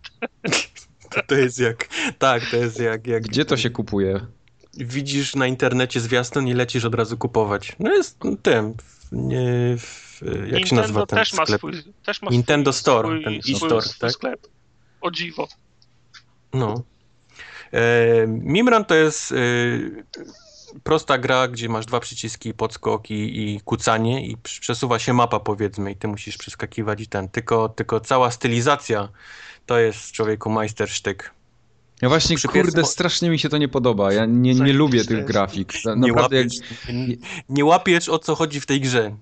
Speaker 2: To jest jak, tak, to jest jak... jak
Speaker 1: Gdzie to się kupuje?
Speaker 2: Widzisz na internecie zwiastun i lecisz od razu kupować. No jest tym, nie, w, jak się nazywa
Speaker 3: Nintendo
Speaker 2: ten
Speaker 3: też ma
Speaker 2: sklep?
Speaker 3: swój, też ma
Speaker 2: Nintendo
Speaker 3: swój,
Speaker 2: Store,
Speaker 3: swój,
Speaker 2: ten
Speaker 3: swój,
Speaker 2: e-store,
Speaker 3: swój
Speaker 2: tak?
Speaker 3: sklep. O dziwo.
Speaker 2: No. E, Mimran to jest e, prosta gra, gdzie masz dwa przyciski, podskok i, i kucanie i przy- przesuwa się mapa powiedzmy i ty musisz przeskakiwać i ten. Tylko, tylko cała stylizacja to jest człowieku majstersztyk.
Speaker 1: Ja właśnie,
Speaker 2: Przypies-
Speaker 1: kurde, strasznie mi się to nie podoba. Ja nie, nie
Speaker 3: Zajebiste
Speaker 1: lubię
Speaker 3: jest.
Speaker 1: tych grafik. Na-
Speaker 2: Nie
Speaker 1: Naprawdę jak...
Speaker 2: łapiesz, nie, nie łapiesz o co chodzi w tej grze.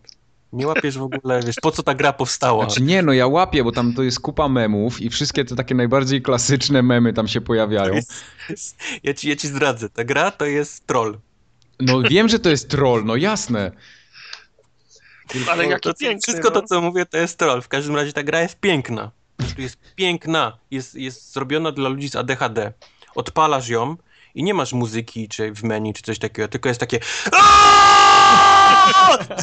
Speaker 2: Nie łapiesz w ogóle, wiesz, po co ta gra powstała.
Speaker 1: Znaczy nie, no ja łapię, bo tam to jest kupa memów i wszystkie te takie najbardziej klasyczne memy tam się pojawiają.
Speaker 2: Ja ci, ja ci zdradzę, ta gra to jest troll.
Speaker 1: No wiem, że to jest troll, no jasne.
Speaker 3: Ale
Speaker 2: No,
Speaker 3: jaki
Speaker 2: to, co-
Speaker 3: piękny,
Speaker 2: Wszystko
Speaker 3: no.
Speaker 2: to, co mówię, to jest troll. W każdym razie ta gra jest piękna. Tu Jest piękna. Jest, jest zrobiona dla ludzi z ADHD. Odpalasz ją i nie masz muzyki, czy w menu, czy coś takiego, tylko jest takie "Aaaa!"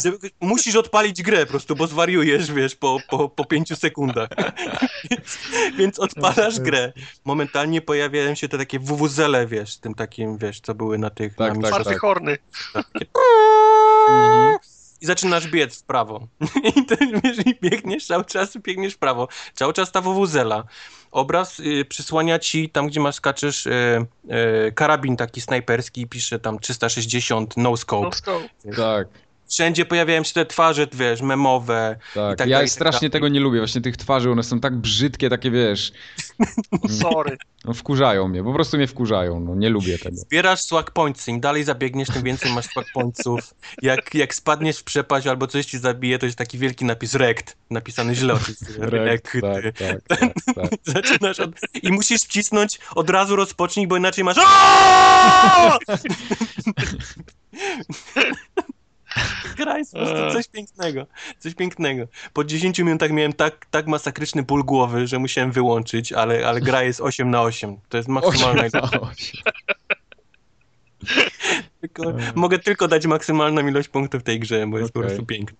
Speaker 2: Żeby- Musisz odpalić grę po prostu, bo zwariujesz, wiesz, po, po, po pięciu sekundach. Więc- Więc odpalasz grę. Momentalnie pojawiają się te takie WWZ-le, wiesz, z tym takim, wiesz, co były na tych...
Speaker 1: Tak,
Speaker 2: na
Speaker 1: tak.
Speaker 3: Twardy horny.
Speaker 1: Mhm.
Speaker 2: i zaczynasz biec w prawo. I ty wiesz, i biegniesz cały czas, biegniesz w prawo. Cały czas ta wowuzela. Obraz y, przysłania ci tam, gdzie masz skaczesz, y, y, karabin taki snajperski i pisze tam 360 no
Speaker 3: No,
Speaker 2: scope.
Speaker 3: sko-
Speaker 1: Tak,
Speaker 2: Wszędzie pojawiają się te twarze, wiesz, memowe.
Speaker 1: tak.
Speaker 2: tak
Speaker 1: ja
Speaker 2: dalej, i tak
Speaker 1: strasznie
Speaker 2: dalej.
Speaker 1: tego nie lubię, właśnie tych twarzy, one są tak brzydkie, takie wiesz,
Speaker 3: sorry.
Speaker 1: no, wkurzają mnie, po prostu mnie wkurzają, no nie lubię tego.
Speaker 2: Zbierasz swag points, im dalej zabiegniesz, tym więcej masz swag pointsów. Jak, jak spadniesz w przepaść albo coś ci zabije, to jest taki wielki napis rekt, napisany źle oczywiście.
Speaker 1: Rekt, tak, tak, tak, tak.
Speaker 2: Zaczynasz od... i musisz wcisnąć od razu rozpocznij, bo inaczej masz. Aaaa! Gra jest po prostu coś pięknego. Coś pięknego. Po 10 minutach miałem tak, tak masakryczny ból głowy, że musiałem wyłączyć, ale, ale gra jest 8 na 8. To jest maksymalne. Tylko, mogę tylko dać maksymalną ilość punktów tej grze, bo jest po
Speaker 1: Okej.
Speaker 2: prostu piękna.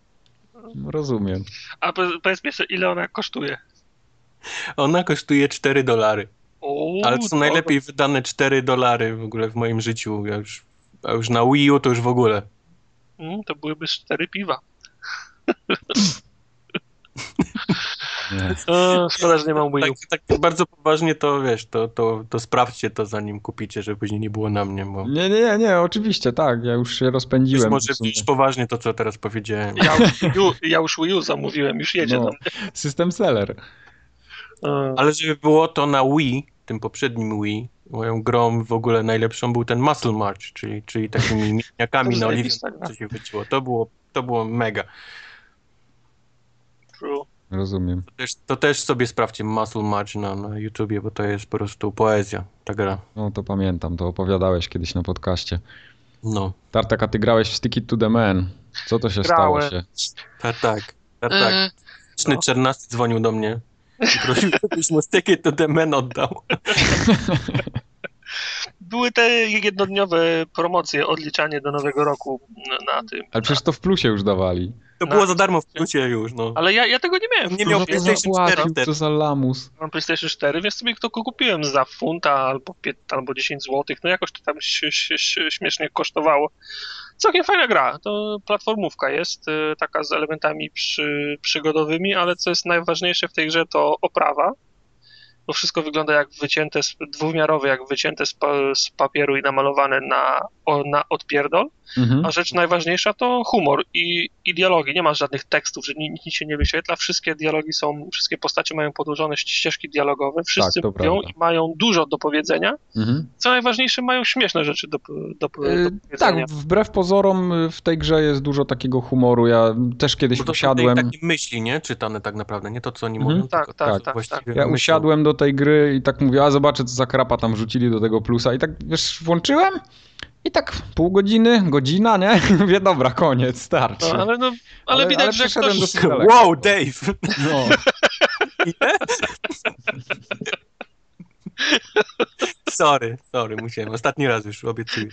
Speaker 1: No, Rozumiem.
Speaker 3: A po- powiedz mi jeszcze, ile ona kosztuje?
Speaker 2: Ona kosztuje 4 dolary.
Speaker 3: O,
Speaker 2: Ale to są najlepiej wydane 4 dolary w ogóle w moim życiu. Ja już, a już na Wii U to już w ogóle.
Speaker 3: Mm, to byłyby cztery piwa.
Speaker 1: Nie.
Speaker 3: O, E, szkoda, że nie mam Wii
Speaker 2: Tak,
Speaker 3: U.
Speaker 2: tak bardzo poważnie to wiesz, to, to, to sprawdźcie to zanim kupicie, żeby później nie było na mnie, bo
Speaker 1: nie, nie, nie, oczywiście, tak, ja już się
Speaker 2: być
Speaker 1: rozpędziłem.
Speaker 2: może
Speaker 1: w sumie.
Speaker 2: być poważnie to, co teraz powiedziałem.
Speaker 3: Ja, ju, ja już Wii U zamówiłem, już jedzie E,
Speaker 1: No,
Speaker 3: tam.
Speaker 1: system seller.
Speaker 3: O,
Speaker 2: Ale żeby było to na Wii, tym poprzednim Wii, moją grą w ogóle najlepszą był ten Muscle March, czyli, czyli takimi mięśniakami
Speaker 3: To
Speaker 2: na oliwie,
Speaker 3: zajebista gra.
Speaker 2: co się wyciło. To było, to było mega.
Speaker 3: true.
Speaker 1: Rozumiem.
Speaker 2: To też, to też sobie sprawdźcie Muscle March na, na YouTubie, bo to jest po prostu poezja, ta gra.
Speaker 1: No to pamiętam, to opowiadałeś kiedyś na podcaście.
Speaker 2: No.
Speaker 1: Tartak, a ty grałeś w Stick It to the Man. Co to się
Speaker 3: Grałem.
Speaker 1: stało się?
Speaker 2: Tak, tak, tak, tak.
Speaker 3: E,
Speaker 2: Liczny
Speaker 3: No.
Speaker 2: 14 dzwonił do mnie i prosił, żebyś mu stykiet to The Man oddał.
Speaker 3: Były te jednodniowe promocje, odliczanie do nowego roku na- na tym.
Speaker 1: Ale przecież to w plusie już dawali.
Speaker 2: To
Speaker 3: No.
Speaker 2: było za darmo w plusie już, no.
Speaker 3: Ale ja, ja tego nie miałem.
Speaker 2: Nie
Speaker 3: Ja
Speaker 1: Za
Speaker 2: miał
Speaker 1: to
Speaker 2: PlayStation 4
Speaker 1: zapłacił,
Speaker 2: wtedy.
Speaker 1: co za lamus.
Speaker 3: mam PlayStation 4, więc sobie to kupiłem za funta albo, pię- albo 10 zł. No jakoś to tam się, się, się śmiesznie kosztowało. Całkiem fajna gra. To platformówka jest, y, taka z elementami przy, przygodowymi, ale co jest najważniejsze w tej grze to oprawa. Bo wszystko wygląda jak wycięte, z, dwuwymiarowe, jak wycięte z, pa, z papieru i namalowane na, o, na odpierdol.
Speaker 1: Mhm.
Speaker 3: A rzecz najważniejsza to humor i, i dialogi. Nie ma żadnych tekstów, że ni- nic się nie wyświetla. Wszystkie dialogi są, wszystkie postacie mają podłożone ści- ścieżki dialogowe. Wszyscy
Speaker 1: Tak, to
Speaker 3: mówią
Speaker 1: prawda.
Speaker 3: i mają dużo do powiedzenia.
Speaker 1: Mhm.
Speaker 3: Co najważniejsze, mają śmieszne rzeczy do, do, do
Speaker 1: E, Tak,
Speaker 3: powiedzenia.
Speaker 1: wbrew pozorom y, w tej grze jest dużo takiego humoru. Ja też kiedyś
Speaker 2: Bo to są tej
Speaker 1: usiadłem.
Speaker 2: takie myśli, nie? Czytane tak naprawdę, nie to, co oni
Speaker 1: Mhm.
Speaker 2: mówią.
Speaker 3: Tak,
Speaker 2: tylko
Speaker 3: tak,
Speaker 2: co
Speaker 3: tak, tak.
Speaker 2: właściwie
Speaker 1: Ja
Speaker 2: myślą.
Speaker 1: usiadłem do tej gry i tak mówię, a zobaczę co za krapa tam wrzucili do tego plusa i tak wiesz, włączyłem i tak pół godziny, godzina, nie? Mówię, dobra, koniec, starczy.
Speaker 3: No, ale, no, ale,
Speaker 1: Ale-
Speaker 3: widać,
Speaker 1: ale
Speaker 3: że
Speaker 1: przeszedłem
Speaker 3: ktoś...
Speaker 1: dosyć daleko.
Speaker 2: Wow, Dave!
Speaker 1: No.
Speaker 2: Sorry, sorry, musiałem. Ostatni raz już, obiecuję.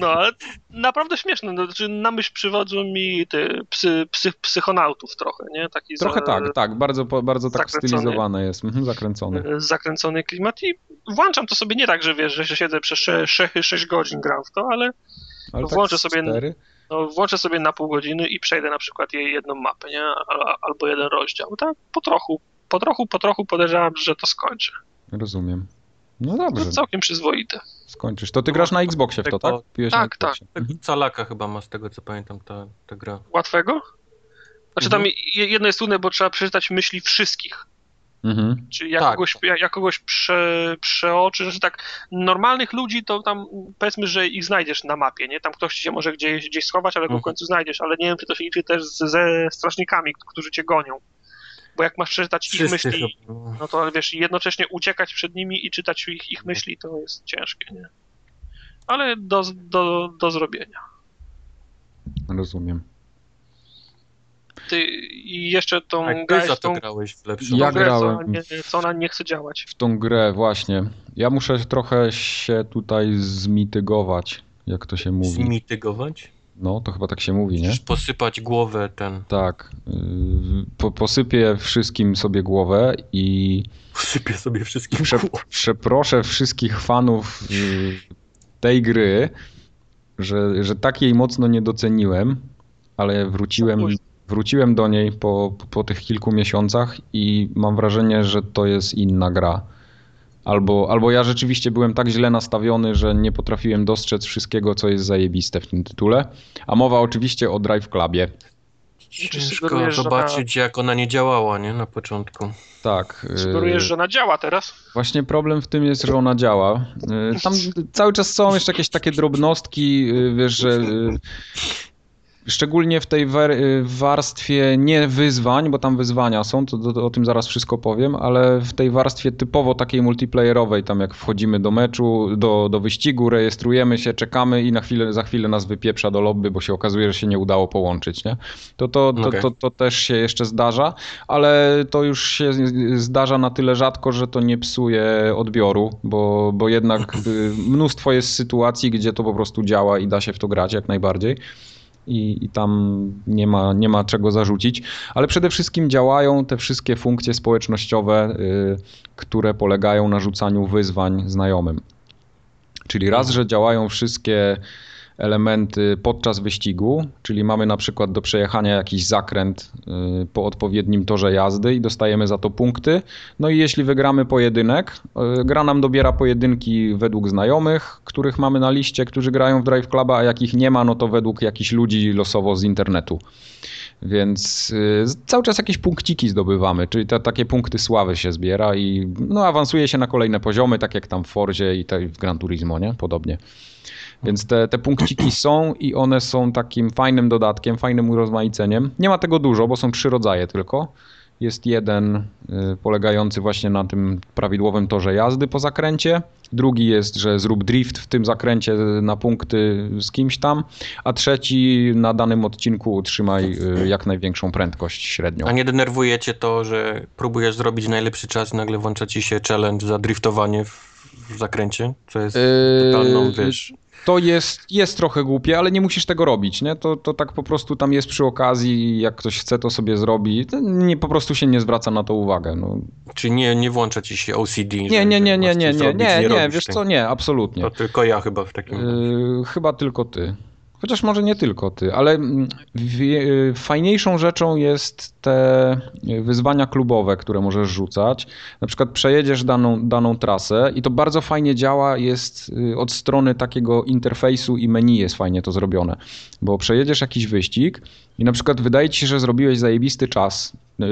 Speaker 3: No, ale naprawdę śmieszne. No, znaczy, na myśl przywodzą mi te psy, psy, psychonautów trochę, nie? Taki
Speaker 1: Trochę
Speaker 3: za-
Speaker 1: tak, tak, bardzo, po- bardzo tak
Speaker 3: Zakręcony. Y,
Speaker 1: stylizowane jest, mhm, zakręcone.
Speaker 3: zakręcony klimat i włączam to sobie nie tak, że wiesz, że siedzę przez 6 godzin gram w to, ale
Speaker 1: Ale tak
Speaker 3: włączę
Speaker 1: z
Speaker 3: sobie-
Speaker 1: cztery.
Speaker 3: no, włączę sobie na pół godziny i przejdę na przykład jej jedną mapę, nie? Al- Albo jeden rozdział. Tak po trochu, po trochu, po trochu podejrzewam, że to skończę.
Speaker 1: Rozumiem. No dobrze,
Speaker 3: No, całkiem przyzwoite.
Speaker 1: skończysz. To ty grasz na Xboxie w to, tak?
Speaker 2: Tego-
Speaker 1: Piłeś
Speaker 3: tak,
Speaker 1: na Xboxie.
Speaker 2: Tak,
Speaker 1: Mhm.
Speaker 2: Calaka chyba ma z tego co pamiętam ta, ta gra.
Speaker 3: Łatwego? Znaczy tam
Speaker 2: Mhm.
Speaker 3: je- jedno jest trudne, bo trzeba przeczytać myśli wszystkich.
Speaker 1: Mhm.
Speaker 3: Czyli jak
Speaker 2: Tak.
Speaker 3: kogoś, jak, jak kogoś prze, przeoczy, że tak normalnych ludzi to tam powiedzmy, że ich znajdziesz na mapie, nie? Tam ktoś ci się może gdzieś, gdzieś schować, ale go w
Speaker 2: Mhm.
Speaker 3: końcu znajdziesz, ale nie wiem, czy to się liczy też ze, ze strażnikami, którzy cię gonią. Bo jak masz przeczytać ich
Speaker 2: Wszyscy
Speaker 3: myśli,
Speaker 2: chyba. no.
Speaker 3: no to wiesz, jednocześnie uciekać przed nimi i czytać ich, ich myśli, to jest ciężkie, nie? Ale do, do, do zrobienia.
Speaker 1: Mhm, Rozumiem.
Speaker 3: Ty i jeszcze tą
Speaker 2: A ty za
Speaker 3: grałeś,
Speaker 2: to
Speaker 3: tą,
Speaker 2: grałeś w lepszą.
Speaker 1: Ja
Speaker 3: tą grę, co, ona
Speaker 1: grałem.
Speaker 3: nie, co ona nie chce działać.
Speaker 1: W tą grę właśnie. Ja muszę trochę się tutaj zmitygować, jak to się mówi.
Speaker 2: Zmitygować?
Speaker 1: No, to chyba tak się mówi, nie?
Speaker 2: Przecież posypać głowę ten.
Speaker 1: Tak. Yy, Po, posypię wszystkim sobie głowę i
Speaker 2: Posypię sobie wszystkim
Speaker 1: prze,
Speaker 2: głowę.
Speaker 1: przeproszę wszystkich fanów yy, tej gry, że, że tak jej mocno nie doceniłem, ale wróciłem, wróciłem do niej po, po tych kilku miesiącach i mam wrażenie, że to jest inna gra. Albo, albo ja rzeczywiście byłem tak źle nastawiony, że nie potrafiłem dostrzec wszystkiego, co jest zajebiste w tym tytule. A mowa oczywiście o Drive Clubie.
Speaker 3: sugerujesz,
Speaker 2: Ciężko
Speaker 3: że
Speaker 2: zobaczyć jak ona nie działała, nie? Na początku.
Speaker 1: Tak. yy,
Speaker 3: Sugerujesz, że ona działa teraz?
Speaker 1: Właśnie problem w tym jest, że ona działa. Y, Tam cały czas są jeszcze jakieś takie drobnostki, y, wiesz, że y, szczególnie w tej wer- y, warstwie nie wyzwań, bo tam wyzwania są, to, to, to o tym zaraz wszystko powiem, ale w tej warstwie typowo takiej multiplayerowej, tam jak wchodzimy do meczu, do, do wyścigu, rejestrujemy się, czekamy i na chwilę, za chwilę nas wypieprza do lobby, bo się okazuje, że się nie udało połączyć, nie? To, to, to,
Speaker 2: Okej.
Speaker 1: to, to też się jeszcze zdarza, ale to już się z- zdarza na tyle rzadko, że to nie psuje odbioru, bo, bo jednak y, mnóstwo jest sytuacji, gdzie to po prostu działa i da się w to grać jak najbardziej. I, i tam nie ma, nie ma czego zarzucić, ale przede wszystkim działają te wszystkie funkcje społecznościowe, y, które polegają na rzucaniu wyzwań znajomym. Czyli raz, że działają wszystkie elementy podczas wyścigu, czyli mamy na przykład do przejechania jakiś zakręt y, po odpowiednim torze jazdy i dostajemy za to punkty. No i jeśli wygramy pojedynek, y, gra nam dobiera pojedynki według znajomych, których mamy na liście, którzy grają w Drive Cluba, a jakich nie ma, no to według jakichś ludzi losowo z internetu. Więc y, z- cały czas jakieś punkciki zdobywamy, czyli te, takie punkty sławy się zbiera i no, awansuje się na kolejne poziomy, tak jak tam w Forzie i te, w Gran Turismo, nie? Podobnie. Więc te, te punkciki są i one są takim fajnym dodatkiem, fajnym urozmaiceniem. Nie ma tego dużo, bo są trzy rodzaje tylko. Jest jeden y, polegający właśnie na tym prawidłowym torze jazdy po zakręcie. Drugi jest, że zrób drift w tym zakręcie na punkty z kimś tam. A trzeci na danym odcinku utrzymaj y, jak największą prędkość średnią.
Speaker 2: A nie denerwuje cię to, że próbujesz zrobić najlepszy czas i nagle włącza ci się challenge za driftowanie w, w zakręcie? Co jest
Speaker 1: Yy,
Speaker 2: totalną, wiesz...
Speaker 1: To jest, jest trochę głupie, ale nie musisz tego robić, nie? To, to tak po prostu tam jest przy okazji, jak ktoś chce, to sobie zrobi. To Nie, po prostu się nie zwraca na to uwagę. No.
Speaker 2: Czy nie, nie włącza ci się OCD?
Speaker 1: Nie,
Speaker 2: że-
Speaker 1: nie,
Speaker 2: że
Speaker 1: nie, nie,
Speaker 2: masz
Speaker 1: nie,
Speaker 2: coś
Speaker 1: nie,
Speaker 2: robić,
Speaker 1: nie, nie,
Speaker 2: robisz
Speaker 1: wiesz
Speaker 2: tego?
Speaker 1: co, nie, absolutnie.
Speaker 2: To tylko ja chyba w takim...
Speaker 1: Yy, chyba tylko ty. Chociaż może nie tylko ty, ale mm, wie, yy, fajniejszą rzeczą jest te yy, wyzwania klubowe, które możesz rzucać. Na przykład przejedziesz daną, daną trasę i to bardzo fajnie działa, jest yy, od strony takiego interfejsu i menu jest fajnie to zrobione, bo przejedziesz jakiś wyścig i na przykład wydaje ci się, że zrobiłeś zajebisty czas yy,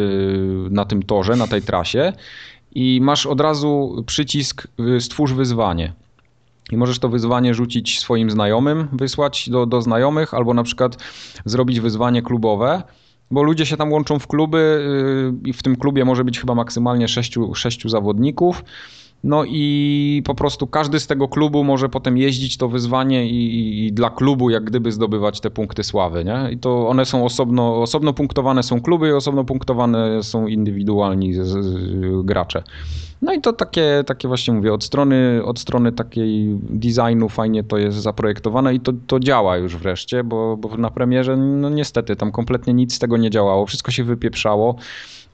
Speaker 1: na tym torze, na tej trasie i masz od razu przycisk yy, stwórz wyzwanie. I możesz to wyzwanie rzucić swoim znajomym, wysłać do, do znajomych, albo na przykład zrobić wyzwanie klubowe, bo ludzie się tam łączą w kluby yy, i w tym klubie może być chyba maksymalnie sześciu, sześciu zawodników. No i po prostu każdy z tego klubu może potem jeździć to wyzwanie i, i- i dla klubu jak gdyby zdobywać te punkty sławy, nie? I to one są osobno, osobno punktowane są kluby i osobno punktowane są indywidualni z, z, gracze. No i to takie, takie właśnie mówię, od strony, od strony takiej designu fajnie to jest zaprojektowane i to, to działa już wreszcie, bo, bo na premierze no niestety tam kompletnie nic z tego nie działało, wszystko się wypieprzało.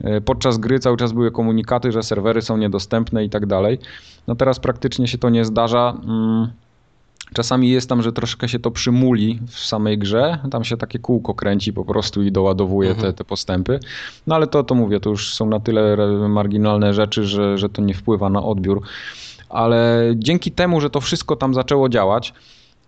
Speaker 1: E, Podczas gry cały czas były komunikaty, że serwery są niedostępne i tak dalej. No teraz praktycznie się to nie zdarza. Mm, Czasami jest tam, że troszkę się to przymuli w samej grze, tam się takie kółko kręci po prostu i doładowuje mhm. te, te postępy. No ale to, to mówię, to już są na tyle marginalne rzeczy, że, że to nie wpływa na odbiór. Ale dzięki temu, że to wszystko tam zaczęło działać,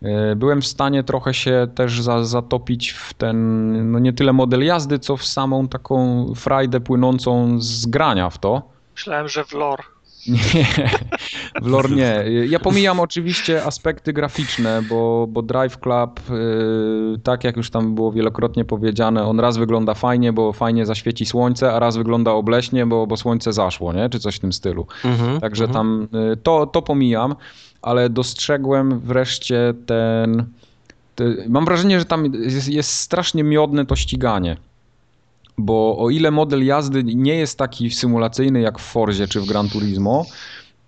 Speaker 1: E, byłem w stanie trochę się też za, zatopić w ten, no nie tyle model jazdy, co w samą taką frajdę płynącą z grania w to.
Speaker 3: Myślałem, że w lore.
Speaker 1: Nie, w lore nie. Ja pomijam oczywiście aspekty graficzne, bo, bo Drive Club, yy, tak jak już tam było wielokrotnie powiedziane, on raz wygląda fajnie, bo fajnie zaświeci słońce, a raz wygląda obleśnie, bo, bo słońce zaszło, nie? czy coś w tym stylu. Mhm, Także m- tam yy, to, to pomijam, ale dostrzegłem wreszcie ten. Te, mam wrażenie, że tam jest, jest strasznie miodne to ściganie bo o ile model jazdy nie jest taki symulacyjny jak w Forzie czy w Gran Turismo,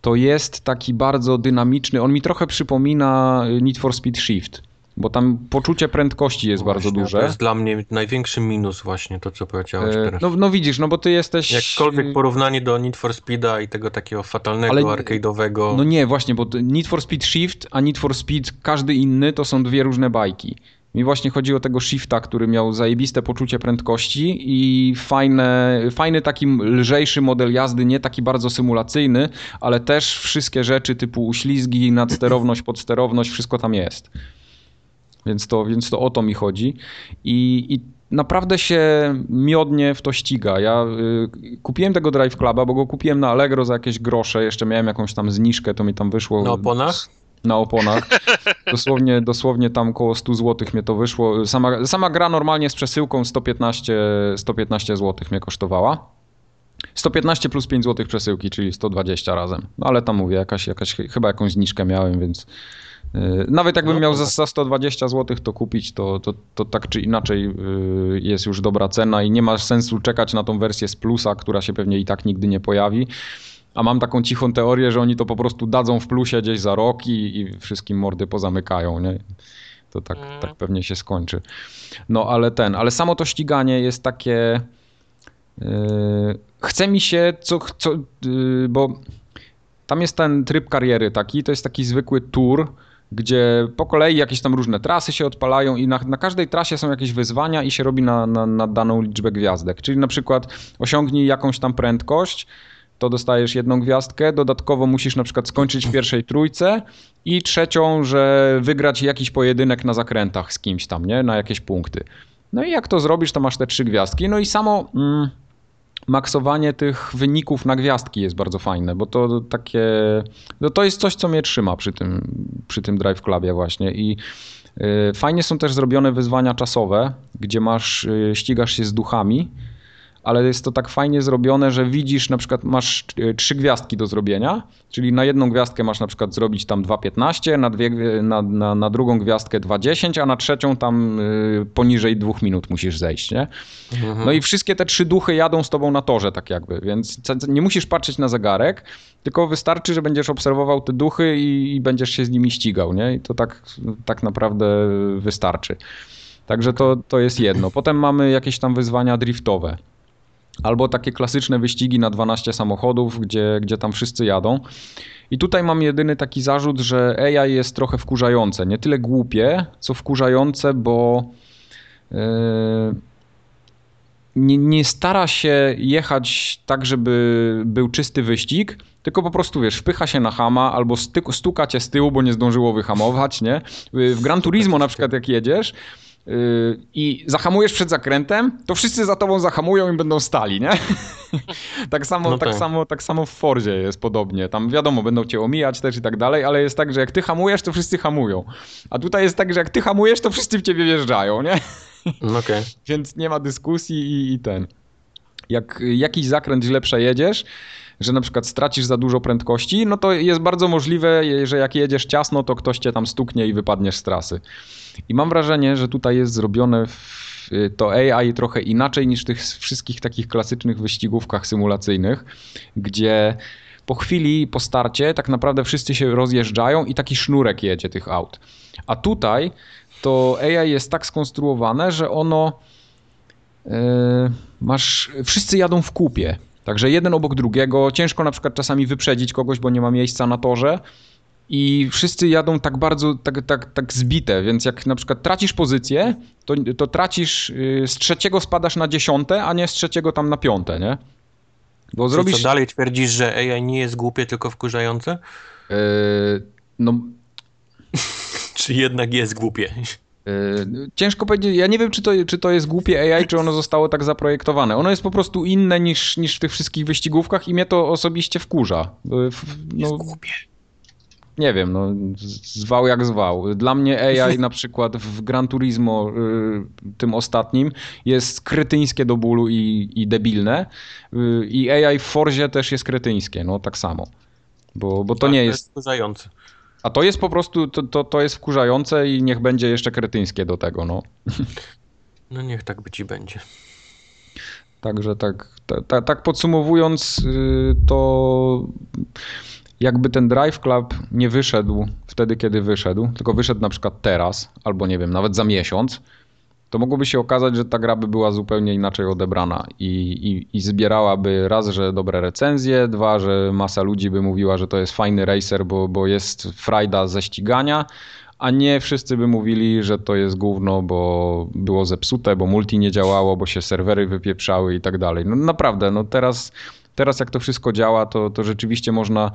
Speaker 1: to jest taki bardzo dynamiczny. On mi trochę przypomina y, Need for Speed Shift, bo tam poczucie prędkości jest właśnie, bardzo duże.
Speaker 2: No To jest dla mnie największy minus właśnie to, co powiedziałeś teraz.
Speaker 1: No, no widzisz, no bo ty jesteś...
Speaker 2: Jakkolwiek porównanie do Need for Speeda i tego takiego fatalnego, Ale... arcade'owego...
Speaker 1: No nie, właśnie, bo Need for Speed Shift, a Need for Speed każdy inny to są dwie różne bajki. Mi właśnie chodzi o tego shifta, który miał zajebiste poczucie prędkości i fajne, fajny taki lżejszy model jazdy, nie taki bardzo symulacyjny, ale też wszystkie rzeczy typu uślizgi, nadsterowność, podsterowność, wszystko tam jest. Więc to, więc to o to mi chodzi. I, i naprawdę się miodnie w to ściga. Ja y, kupiłem tego Drive Cluba, bo go kupiłem na Allegro za jakieś grosze, jeszcze miałem jakąś tam zniżkę, to mi tam wyszło...
Speaker 2: Na oponach?
Speaker 1: na oponach. Dosłownie, dosłownie tam koło 100 zł mnie to wyszło. Sama, sama gra normalnie z przesyłką 115, 115 zł mnie kosztowała. 115 plus 5 zł przesyłki, czyli 120 razem. No ale tam mówię, jakaś, jakaś chyba jakąś zniżkę miałem, więc yy, nawet jakbym no, miał tak. za 120 zł to kupić, to, to, to tak czy inaczej yy, jest już dobra cena i nie ma sensu czekać na tą wersję z plusa, która się pewnie i tak nigdy nie pojawi. A mam taką cichą teorię, że oni to po prostu dadzą w plusie gdzieś za rok i, i wszystkim mordy pozamykają, nie? To tak, mm. tak pewnie się skończy. No ale ten, ale samo to ściganie jest takie. Yy, chce mi się, co, co yy, bo tam jest ten tryb kariery taki, to jest taki zwykły tour, gdzie po kolei jakieś tam różne trasy się odpalają i na, na każdej trasie są jakieś wyzwania i się robi na, na, na daną liczbę gwiazdek. Czyli na przykład osiągnij jakąś tam prędkość to dostajesz jedną gwiazdkę. Dodatkowo musisz na przykład skończyć w pierwszej trójce i trzecią, że wygrać jakiś pojedynek na zakrętach z kimś tam, nie? Na jakieś punkty. No i jak to zrobisz, to masz te trzy gwiazdki. No i samo mm, maksowanie tych wyników na gwiazdki jest bardzo fajne, bo to takie... No to jest coś, co mnie trzyma przy tym, przy tym Drive Clubie właśnie i... Y, fajnie są też zrobione wyzwania czasowe, gdzie masz, y, ścigasz się z duchami, ale jest to tak fajnie zrobione, że widzisz na przykład masz y, trzy gwiazdki do zrobienia, czyli na jedną gwiazdkę masz na przykład zrobić tam 2.15, na, dwie, na, na, na drugą gwiazdkę 2.10, a na trzecią tam y, poniżej dwóch minut musisz zejść, nie? Mhm. No i wszystkie te trzy duchy jadą z tobą na torze tak jakby, więc nie musisz patrzeć na zegarek, tylko wystarczy, że będziesz obserwował te duchy i, i będziesz się z nimi ścigał, nie? I to tak, tak naprawdę wystarczy. Także to, to jest jedno. Potem mamy jakieś tam wyzwania driftowe. Albo takie klasyczne wyścigi na 12 samochodów, gdzie, gdzie tam wszyscy jadą. I tutaj mam jedyny taki zarzut, że AI jest trochę wkurzające. Nie tyle głupie, co wkurzające, bo yy, nie, nie stara się jechać tak, żeby był czysty wyścig, tylko po prostu wiesz, wpycha się na hama albo sty- stuka cię z tyłu, bo nie zdążyło wyhamować. Nie? Yy, W Gran Turismo na przykład, jak jedziesz yy, i zahamujesz przed zakrętem, to wszyscy za tobą zahamują i będą stali, nie? tak, samo, no tak. tak. samo, tak samo w Forzie jest podobnie. Tam wiadomo, będą cię omijać też i tak dalej, ale jest tak, że jak ty hamujesz, to wszyscy hamują. A tutaj jest tak, że jak ty hamujesz, to wszyscy w ciebie wjeżdżają, nie?
Speaker 2: okay.
Speaker 1: Więc nie ma dyskusji i, i ten. Jak jakiś zakręt źle przejedziesz, że na przykład stracisz za dużo prędkości, no to jest bardzo możliwe, że jak jedziesz ciasno, to ktoś cię tam stuknie i wypadniesz z trasy. I mam wrażenie, że tutaj jest zrobione to AI trochę inaczej niż w tych wszystkich takich klasycznych wyścigówkach symulacyjnych, gdzie Po chwili, po starcie, tak naprawdę wszyscy się rozjeżdżają i taki sznurek jedzie tych aut. A tutaj to AI jest tak skonstruowane, że ono yy, masz. Wszyscy jadą w kupie. Także jeden obok drugiego. Ciężko na przykład czasami wyprzedzić kogoś, bo nie ma miejsca na torze. I wszyscy jadą tak bardzo, tak, tak, tak zbite, więc jak na przykład tracisz pozycję, to, to tracisz, yy, z trzeciego spadasz na dziesiąte, a nie z trzeciego tam na piąte, nie? Bo
Speaker 2: Czy
Speaker 1: zrobisz...
Speaker 2: Co dalej twierdzisz, że AI nie jest głupie, tylko wkurzające?
Speaker 1: Yy, no,
Speaker 2: Czy jednak jest głupie?
Speaker 1: Yy, Ciężko powiedzieć, ja nie wiem, czy to, czy to jest głupie AI, czy ono zostało tak zaprojektowane. Ono jest po prostu inne niż, niż w tych wszystkich wyścigówkach i mnie to osobiście wkurza. Yy, f-
Speaker 2: Jest
Speaker 1: No,
Speaker 2: głupie.
Speaker 1: nie wiem, no, z- zwał jak zwał. Dla mnie AI na przykład w Gran Turismo, yy, tym ostatnim, jest kretyńskie do bólu i, i debilne. Yy, I AI w Forzie też jest kretyńskie, no tak samo. Bo, bo to
Speaker 2: Tak,
Speaker 1: nie jest
Speaker 2: wkurzające.
Speaker 1: a to jest po prostu, to, to, to jest wkurzające i niech będzie jeszcze kretyńskie do tego, no.
Speaker 2: No niech tak być i będzie.
Speaker 1: Także tak, ta, ta, tak podsumowując, yy, to jakby ten Drive Club nie wyszedł wtedy, kiedy wyszedł, tylko wyszedł na przykład teraz, albo nie wiem, nawet za miesiąc, to mogłoby się okazać, że ta gra by była zupełnie inaczej odebrana i, i, i zbierałaby raz, że dobre recenzje, dwa, że masa ludzi by mówiła, że to jest fajny racer, bo, bo jest frajda ze ścigania, a nie wszyscy by mówili, że to jest gówno, bo było zepsute, bo multi nie działało, bo się serwery wypieprzały i tak dalej. No naprawdę, no teraz, teraz jak to wszystko działa, to, to rzeczywiście można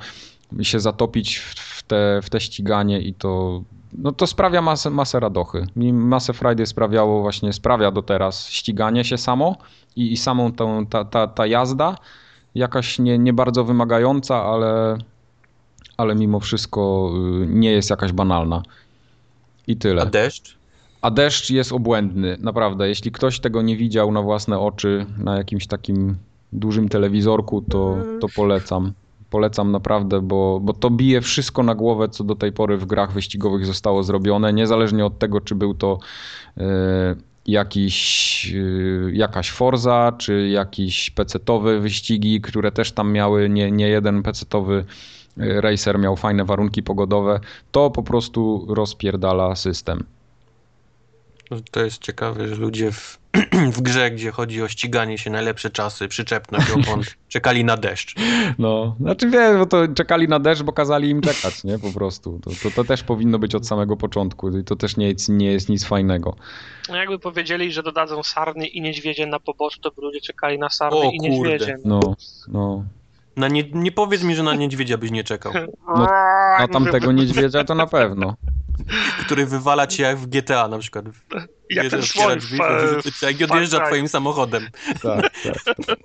Speaker 1: się zatopić w, w, te, w te ściganie i to, no to sprawia masę, masę radochy. Mi masę Friday sprawiało właśnie, sprawia do teraz ściganie się samo i, i samą tą, ta, ta, ta jazda, jakaś nie, nie bardzo wymagająca, ale, ale mimo wszystko y, nie jest jakaś banalna. I tyle.
Speaker 2: A deszcz?
Speaker 1: A deszcz jest obłędny, naprawdę. Jeśli ktoś tego nie widział na własne oczy na jakimś takim dużym telewizorku, to, to polecam. Polecam naprawdę, bo, bo to bije wszystko na głowę, co do tej pory w grach wyścigowych zostało zrobione, niezależnie od tego, czy był to e, jakiś, e, jakaś Forza, czy jakiś pecetowe wyścigi, które też tam miały, nie, nie jeden pecetowy e, racer miał fajne warunki pogodowe, to po prostu rozpierdala system.
Speaker 2: No To jest ciekawe, że ludzie w, w grze, gdzie chodzi o ściganie się, najlepsze czasy, przyczepność opon, czekali na deszcz.
Speaker 1: No, znaczy wiesz, bo to czekali na deszcz, bo kazali im czekać, nie? Po prostu. To, to, to też powinno być od samego początku i to też nie jest, nie jest nic fajnego.
Speaker 3: No jakby powiedzieli, że dodadzą sarny i niedźwiedzie na poboczu, to by ludzie czekali na sarny
Speaker 2: O
Speaker 3: i
Speaker 2: kurde.
Speaker 3: niedźwiedzie.
Speaker 1: No, no.
Speaker 2: Na nie, nie powiedz mi, że na niedźwiedzia byś nie czekał,
Speaker 1: No, A tamtego niedźwiedzia to na pewno.
Speaker 2: który wywala cię jak w GTA na przykład.
Speaker 3: Jak ten
Speaker 2: Jeden
Speaker 3: słoń
Speaker 2: otwiera
Speaker 3: w,
Speaker 2: drzwi, wyrzuca cię, jak i odjeżdża
Speaker 3: Far Cry.
Speaker 2: twoim samochodem.
Speaker 1: Tak, tak. tak.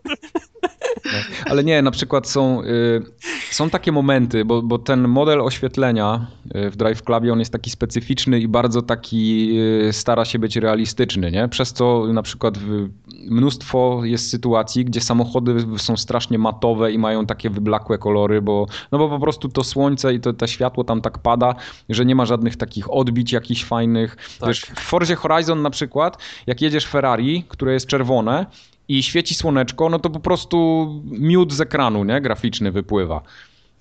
Speaker 1: No. Ale nie, na przykład są, y, są takie momenty, bo, bo ten model oświetlenia y, w Drive Clubie on jest taki specyficzny i bardzo taki y, stara się być realistyczny, nie? Przez co na przykład w, mnóstwo jest sytuacji, gdzie samochody są strasznie matowe i mają takie wyblakłe kolory, bo, no bo po prostu to słońce i to, to światło tam tak pada, że nie ma żadnych takich odbić jakichś fajnych.
Speaker 2: Tak.
Speaker 1: Wiesz, w Forzie Horizon na przykład, jak jedziesz Ferrari, które jest czerwone i świeci słoneczko, no to po prostu miód z ekranu, nie? Graficzny wypływa.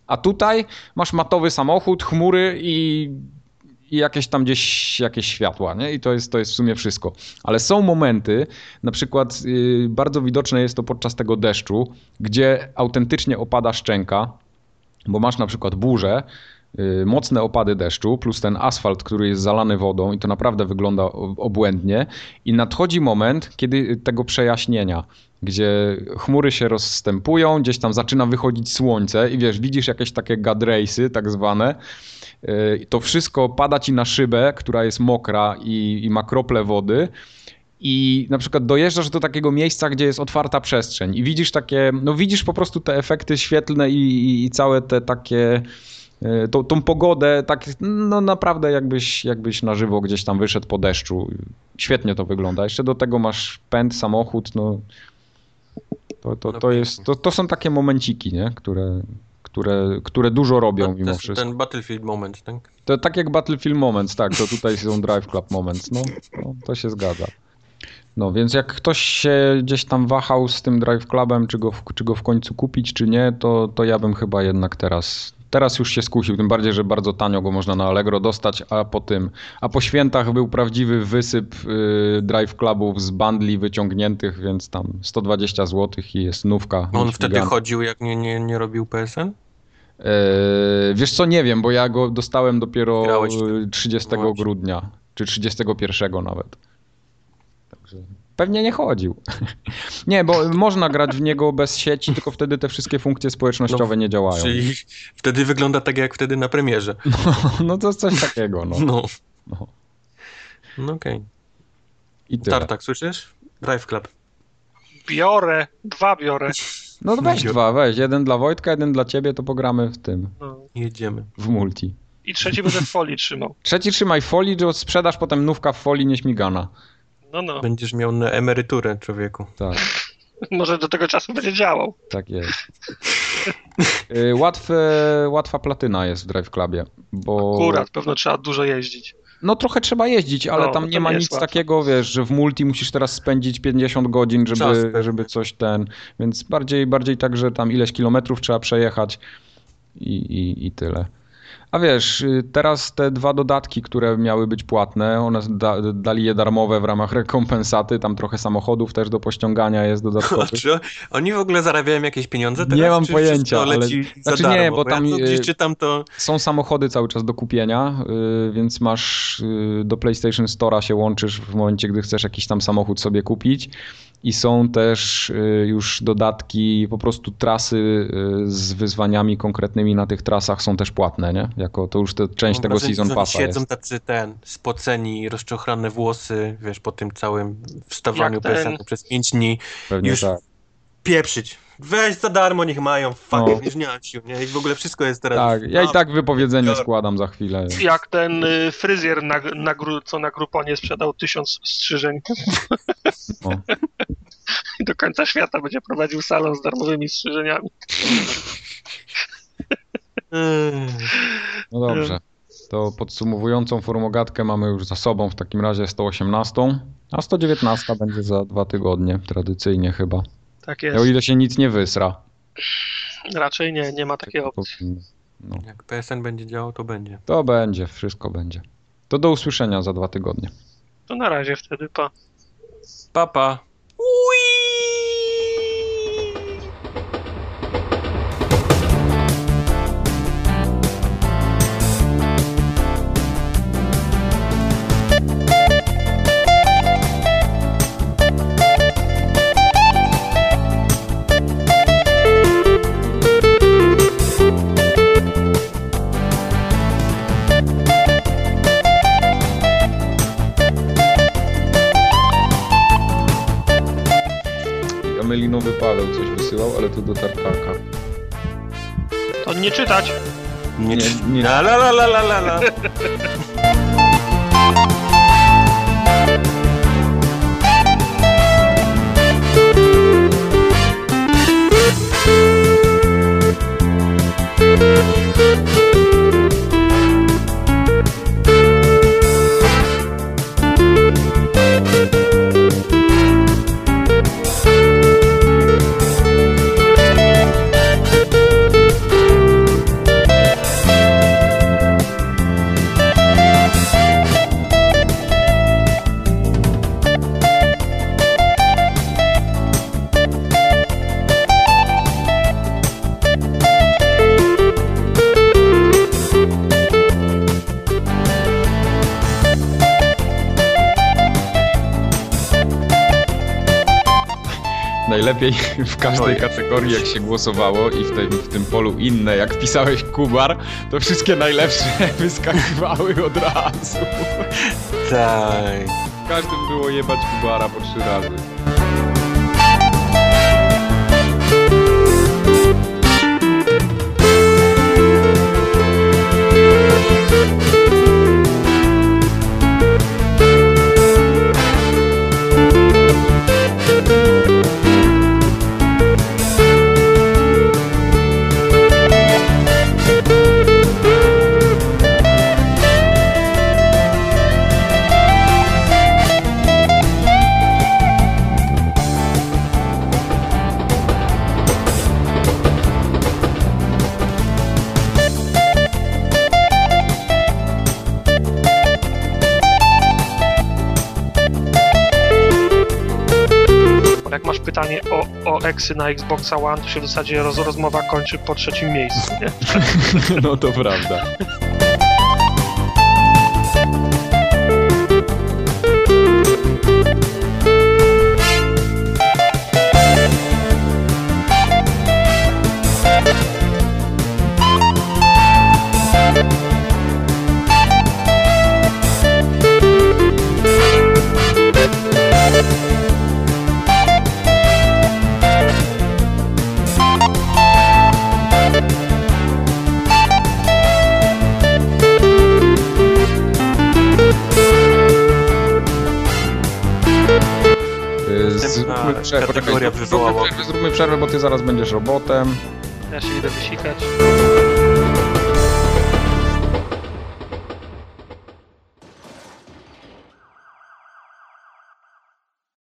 Speaker 1: A tutaj masz matowy samochód, chmury i, i jakieś tam gdzieś jakieś światła, nie? I to jest, to jest w sumie wszystko. Ale są momenty, na przykład y, bardzo widoczne jest to podczas tego deszczu, gdzie autentycznie opada szczęka, bo masz na przykład burzę, y, mocne opady deszczu, plus ten asfalt, który jest zalany wodą i to naprawdę wygląda o- obłędnie. I nadchodzi moment, kiedy y, tego przejaśnienia, gdzie chmury się rozstępują, gdzieś tam zaczyna wychodzić słońce i wiesz, widzisz jakieś takie gadrace'y tak zwane. Y, To wszystko pada ci na szybę, która jest mokra i, i ma krople wody. I na przykład dojeżdżasz do takiego miejsca, gdzie jest otwarta przestrzeń i widzisz takie, no widzisz po prostu te efekty świetlne i, i, i całe te takie, e, tą, tą pogodę, tak no naprawdę jakbyś, jakbyś na żywo gdzieś tam wyszedł po deszczu. Świetnie to wygląda. Jeszcze do tego masz pęd, samochód, no to, to,
Speaker 2: No
Speaker 1: to jest, to, to są takie momenciki, nie? Które, które, które dużo robią
Speaker 2: No, To
Speaker 1: mimo
Speaker 2: jest
Speaker 1: wszystko.
Speaker 2: ten Battlefield moment, tak?
Speaker 1: To tak jak Battlefield Moments, tak, to tutaj są Drive Club Moments, no, no to się zgadza. No więc jak ktoś się gdzieś tam wahał z tym Drive Clubem, czy go, w- czy go w końcu kupić, czy nie, to, to ja bym chyba jednak teraz. Teraz już się skusił, tym bardziej, że bardzo tanio go można na Allegro dostać, a po tym, a po świętach był prawdziwy wysyp y, Drive Clubów z bundli wyciągniętych, więc tam 120 zł i jest nówka.
Speaker 2: On
Speaker 1: nieśmigana.
Speaker 2: wtedy chodził, jak nie, nie, nie robił PSN?
Speaker 1: Eee, wiesz co, nie wiem, bo ja go dostałem dopiero
Speaker 2: Grałeś
Speaker 1: e, 30
Speaker 2: No Właśnie.
Speaker 1: grudnia, czy 31 nawet. Także pewnie nie chodził. nie, bo można grać w niego bez sieci, tylko wtedy te wszystkie funkcje społecznościowe nie działają.
Speaker 2: No, Czyli wtedy wygląda tak, jak wtedy na premierze.
Speaker 1: No to coś takiego, no.
Speaker 2: No.
Speaker 1: No.
Speaker 2: No okej.
Speaker 1: I tyle.
Speaker 2: Tartak, słyszysz? Drive Club.
Speaker 3: Biorę, dwa biorę.
Speaker 1: No to weź
Speaker 2: Idiot.
Speaker 1: dwa, weź. Jeden dla Wojtka, jeden dla ciebie, to pogramy w tym,
Speaker 3: No.
Speaker 2: Jedziemy.
Speaker 1: w multi.
Speaker 3: I trzeci będę w folii trzymał.
Speaker 1: Trzeci trzymaj folii, że sprzedaż potem nówka w folii nieśmigana.
Speaker 3: No, no.
Speaker 2: Będziesz miał na emeryturę, człowieku.
Speaker 1: Tak.
Speaker 3: Może do tego czasu będzie działał.
Speaker 1: Tak jest. Y, Łatwe, łatwa platyna jest w Drive Clubie, bo
Speaker 3: Akurat, pewno trzeba dużo jeździć.
Speaker 1: no trochę trzeba jeździć, ale
Speaker 3: No,
Speaker 1: tam
Speaker 3: to
Speaker 1: nie ma
Speaker 3: nie jest
Speaker 1: nic
Speaker 3: łatwe.
Speaker 1: takiego, wiesz, że w multi musisz teraz spędzić 50 godzin,
Speaker 2: Czas
Speaker 1: żeby,
Speaker 2: pewnie.
Speaker 1: żeby coś ten, więc bardziej, bardziej tak, że tam ileś kilometrów trzeba przejechać i, i, i tyle. A wiesz, y, teraz te dwa dodatki, które miały być płatne, one da, dali je darmowe w ramach rekompensaty, tam trochę samochodów też do pościągania jest
Speaker 2: A
Speaker 1: dodatkowych.
Speaker 2: czy oni w ogóle zarabiają jakieś pieniądze
Speaker 1: Nie
Speaker 2: teraz?
Speaker 1: mam
Speaker 2: czy
Speaker 1: pojęcia,
Speaker 2: wszystko
Speaker 1: ale-
Speaker 2: leci za
Speaker 1: Znaczy nie,
Speaker 2: darmo?
Speaker 1: bo tam,
Speaker 2: Ja to gdzieś
Speaker 1: y-
Speaker 2: czytam to...
Speaker 1: Są samochody cały czas do kupienia, y, więc masz y, do PlayStation Store'a się łączysz w momencie, gdy chcesz jakiś tam samochód sobie kupić. I są też y, już dodatki, po prostu trasy y, z wyzwaniami konkretnymi na tych trasach są też płatne, nie? Jako to już te, część
Speaker 2: mam
Speaker 1: tego
Speaker 2: wrażenie,
Speaker 1: Season
Speaker 2: No, że oni
Speaker 1: Passa
Speaker 2: Siedzą
Speaker 1: jest.
Speaker 2: tacy ten, spoceni, rozczochrane włosy, wiesz, po tym całym wstawaniu
Speaker 3: Jak ten-
Speaker 2: PSN przez pięć dni.
Speaker 1: Pewnie
Speaker 2: już
Speaker 1: tak.
Speaker 2: Pieprzyć. Weź za darmo, niech mają. Fuck,
Speaker 1: No.
Speaker 2: nie żniać się, nie? I w ogóle wszystko jest teraz...
Speaker 1: tak. Ja i
Speaker 2: A,
Speaker 1: tak wypowiedzenie
Speaker 2: biorę.
Speaker 1: składam za chwilę.
Speaker 3: Jak ten y, fryzjer, na, na gru, co na gruponie sprzedał tysiąc strzyżeń.
Speaker 1: O.
Speaker 3: I do końca świata będzie prowadził salon z darmowymi strzyżeniami.
Speaker 2: mm.
Speaker 1: No dobrze. To podsumowującą formogatkę mamy już za sobą w takim razie 118, a 119 będzie za dwa tygodnie, tradycyjnie chyba.
Speaker 3: Tak
Speaker 1: O
Speaker 3: jest.
Speaker 1: ile się nic nie wysra.
Speaker 3: Raczej nie, nie ma takiej
Speaker 1: To,
Speaker 3: opcji.
Speaker 1: powinno. no.
Speaker 2: Jak PSN będzie działał, to będzie.
Speaker 1: to będzie, wszystko będzie. To do usłyszenia za dwa tygodnie.
Speaker 3: To na razie wtedy, pa.
Speaker 2: Papa.
Speaker 1: Amelinowy Paweł coś wysyłał, ale to do tartaka.
Speaker 3: To nie czytać.
Speaker 2: Nie,
Speaker 1: Nie,
Speaker 2: nie,
Speaker 1: nie.
Speaker 2: La la la la la la la.
Speaker 1: Najlepiej w każdej
Speaker 2: Ojej.
Speaker 1: kategorii, jak się głosowało i w tym, w tym polu inne, jak wpisałeś Kubar, to wszystkie najlepsze wyskakiwały od razu.
Speaker 2: Tak.
Speaker 1: W każdym było jebać Kubara po trzy razy.
Speaker 3: telefon. Jak masz pytanie o, o eksy na Xboxa One, to się w zasadzie roz, rozmowa kończy po trzecim miejscu, nie?
Speaker 1: No to prawda. Y, Zróbmy
Speaker 2: Następna
Speaker 1: przerwę,
Speaker 2: kategoria
Speaker 1: poczekaj, zróbmy
Speaker 2: wywołała.
Speaker 1: przerwę, zróbmy przerwę, bo ty zaraz będziesz robotem.
Speaker 3: Ja się idę wysikać.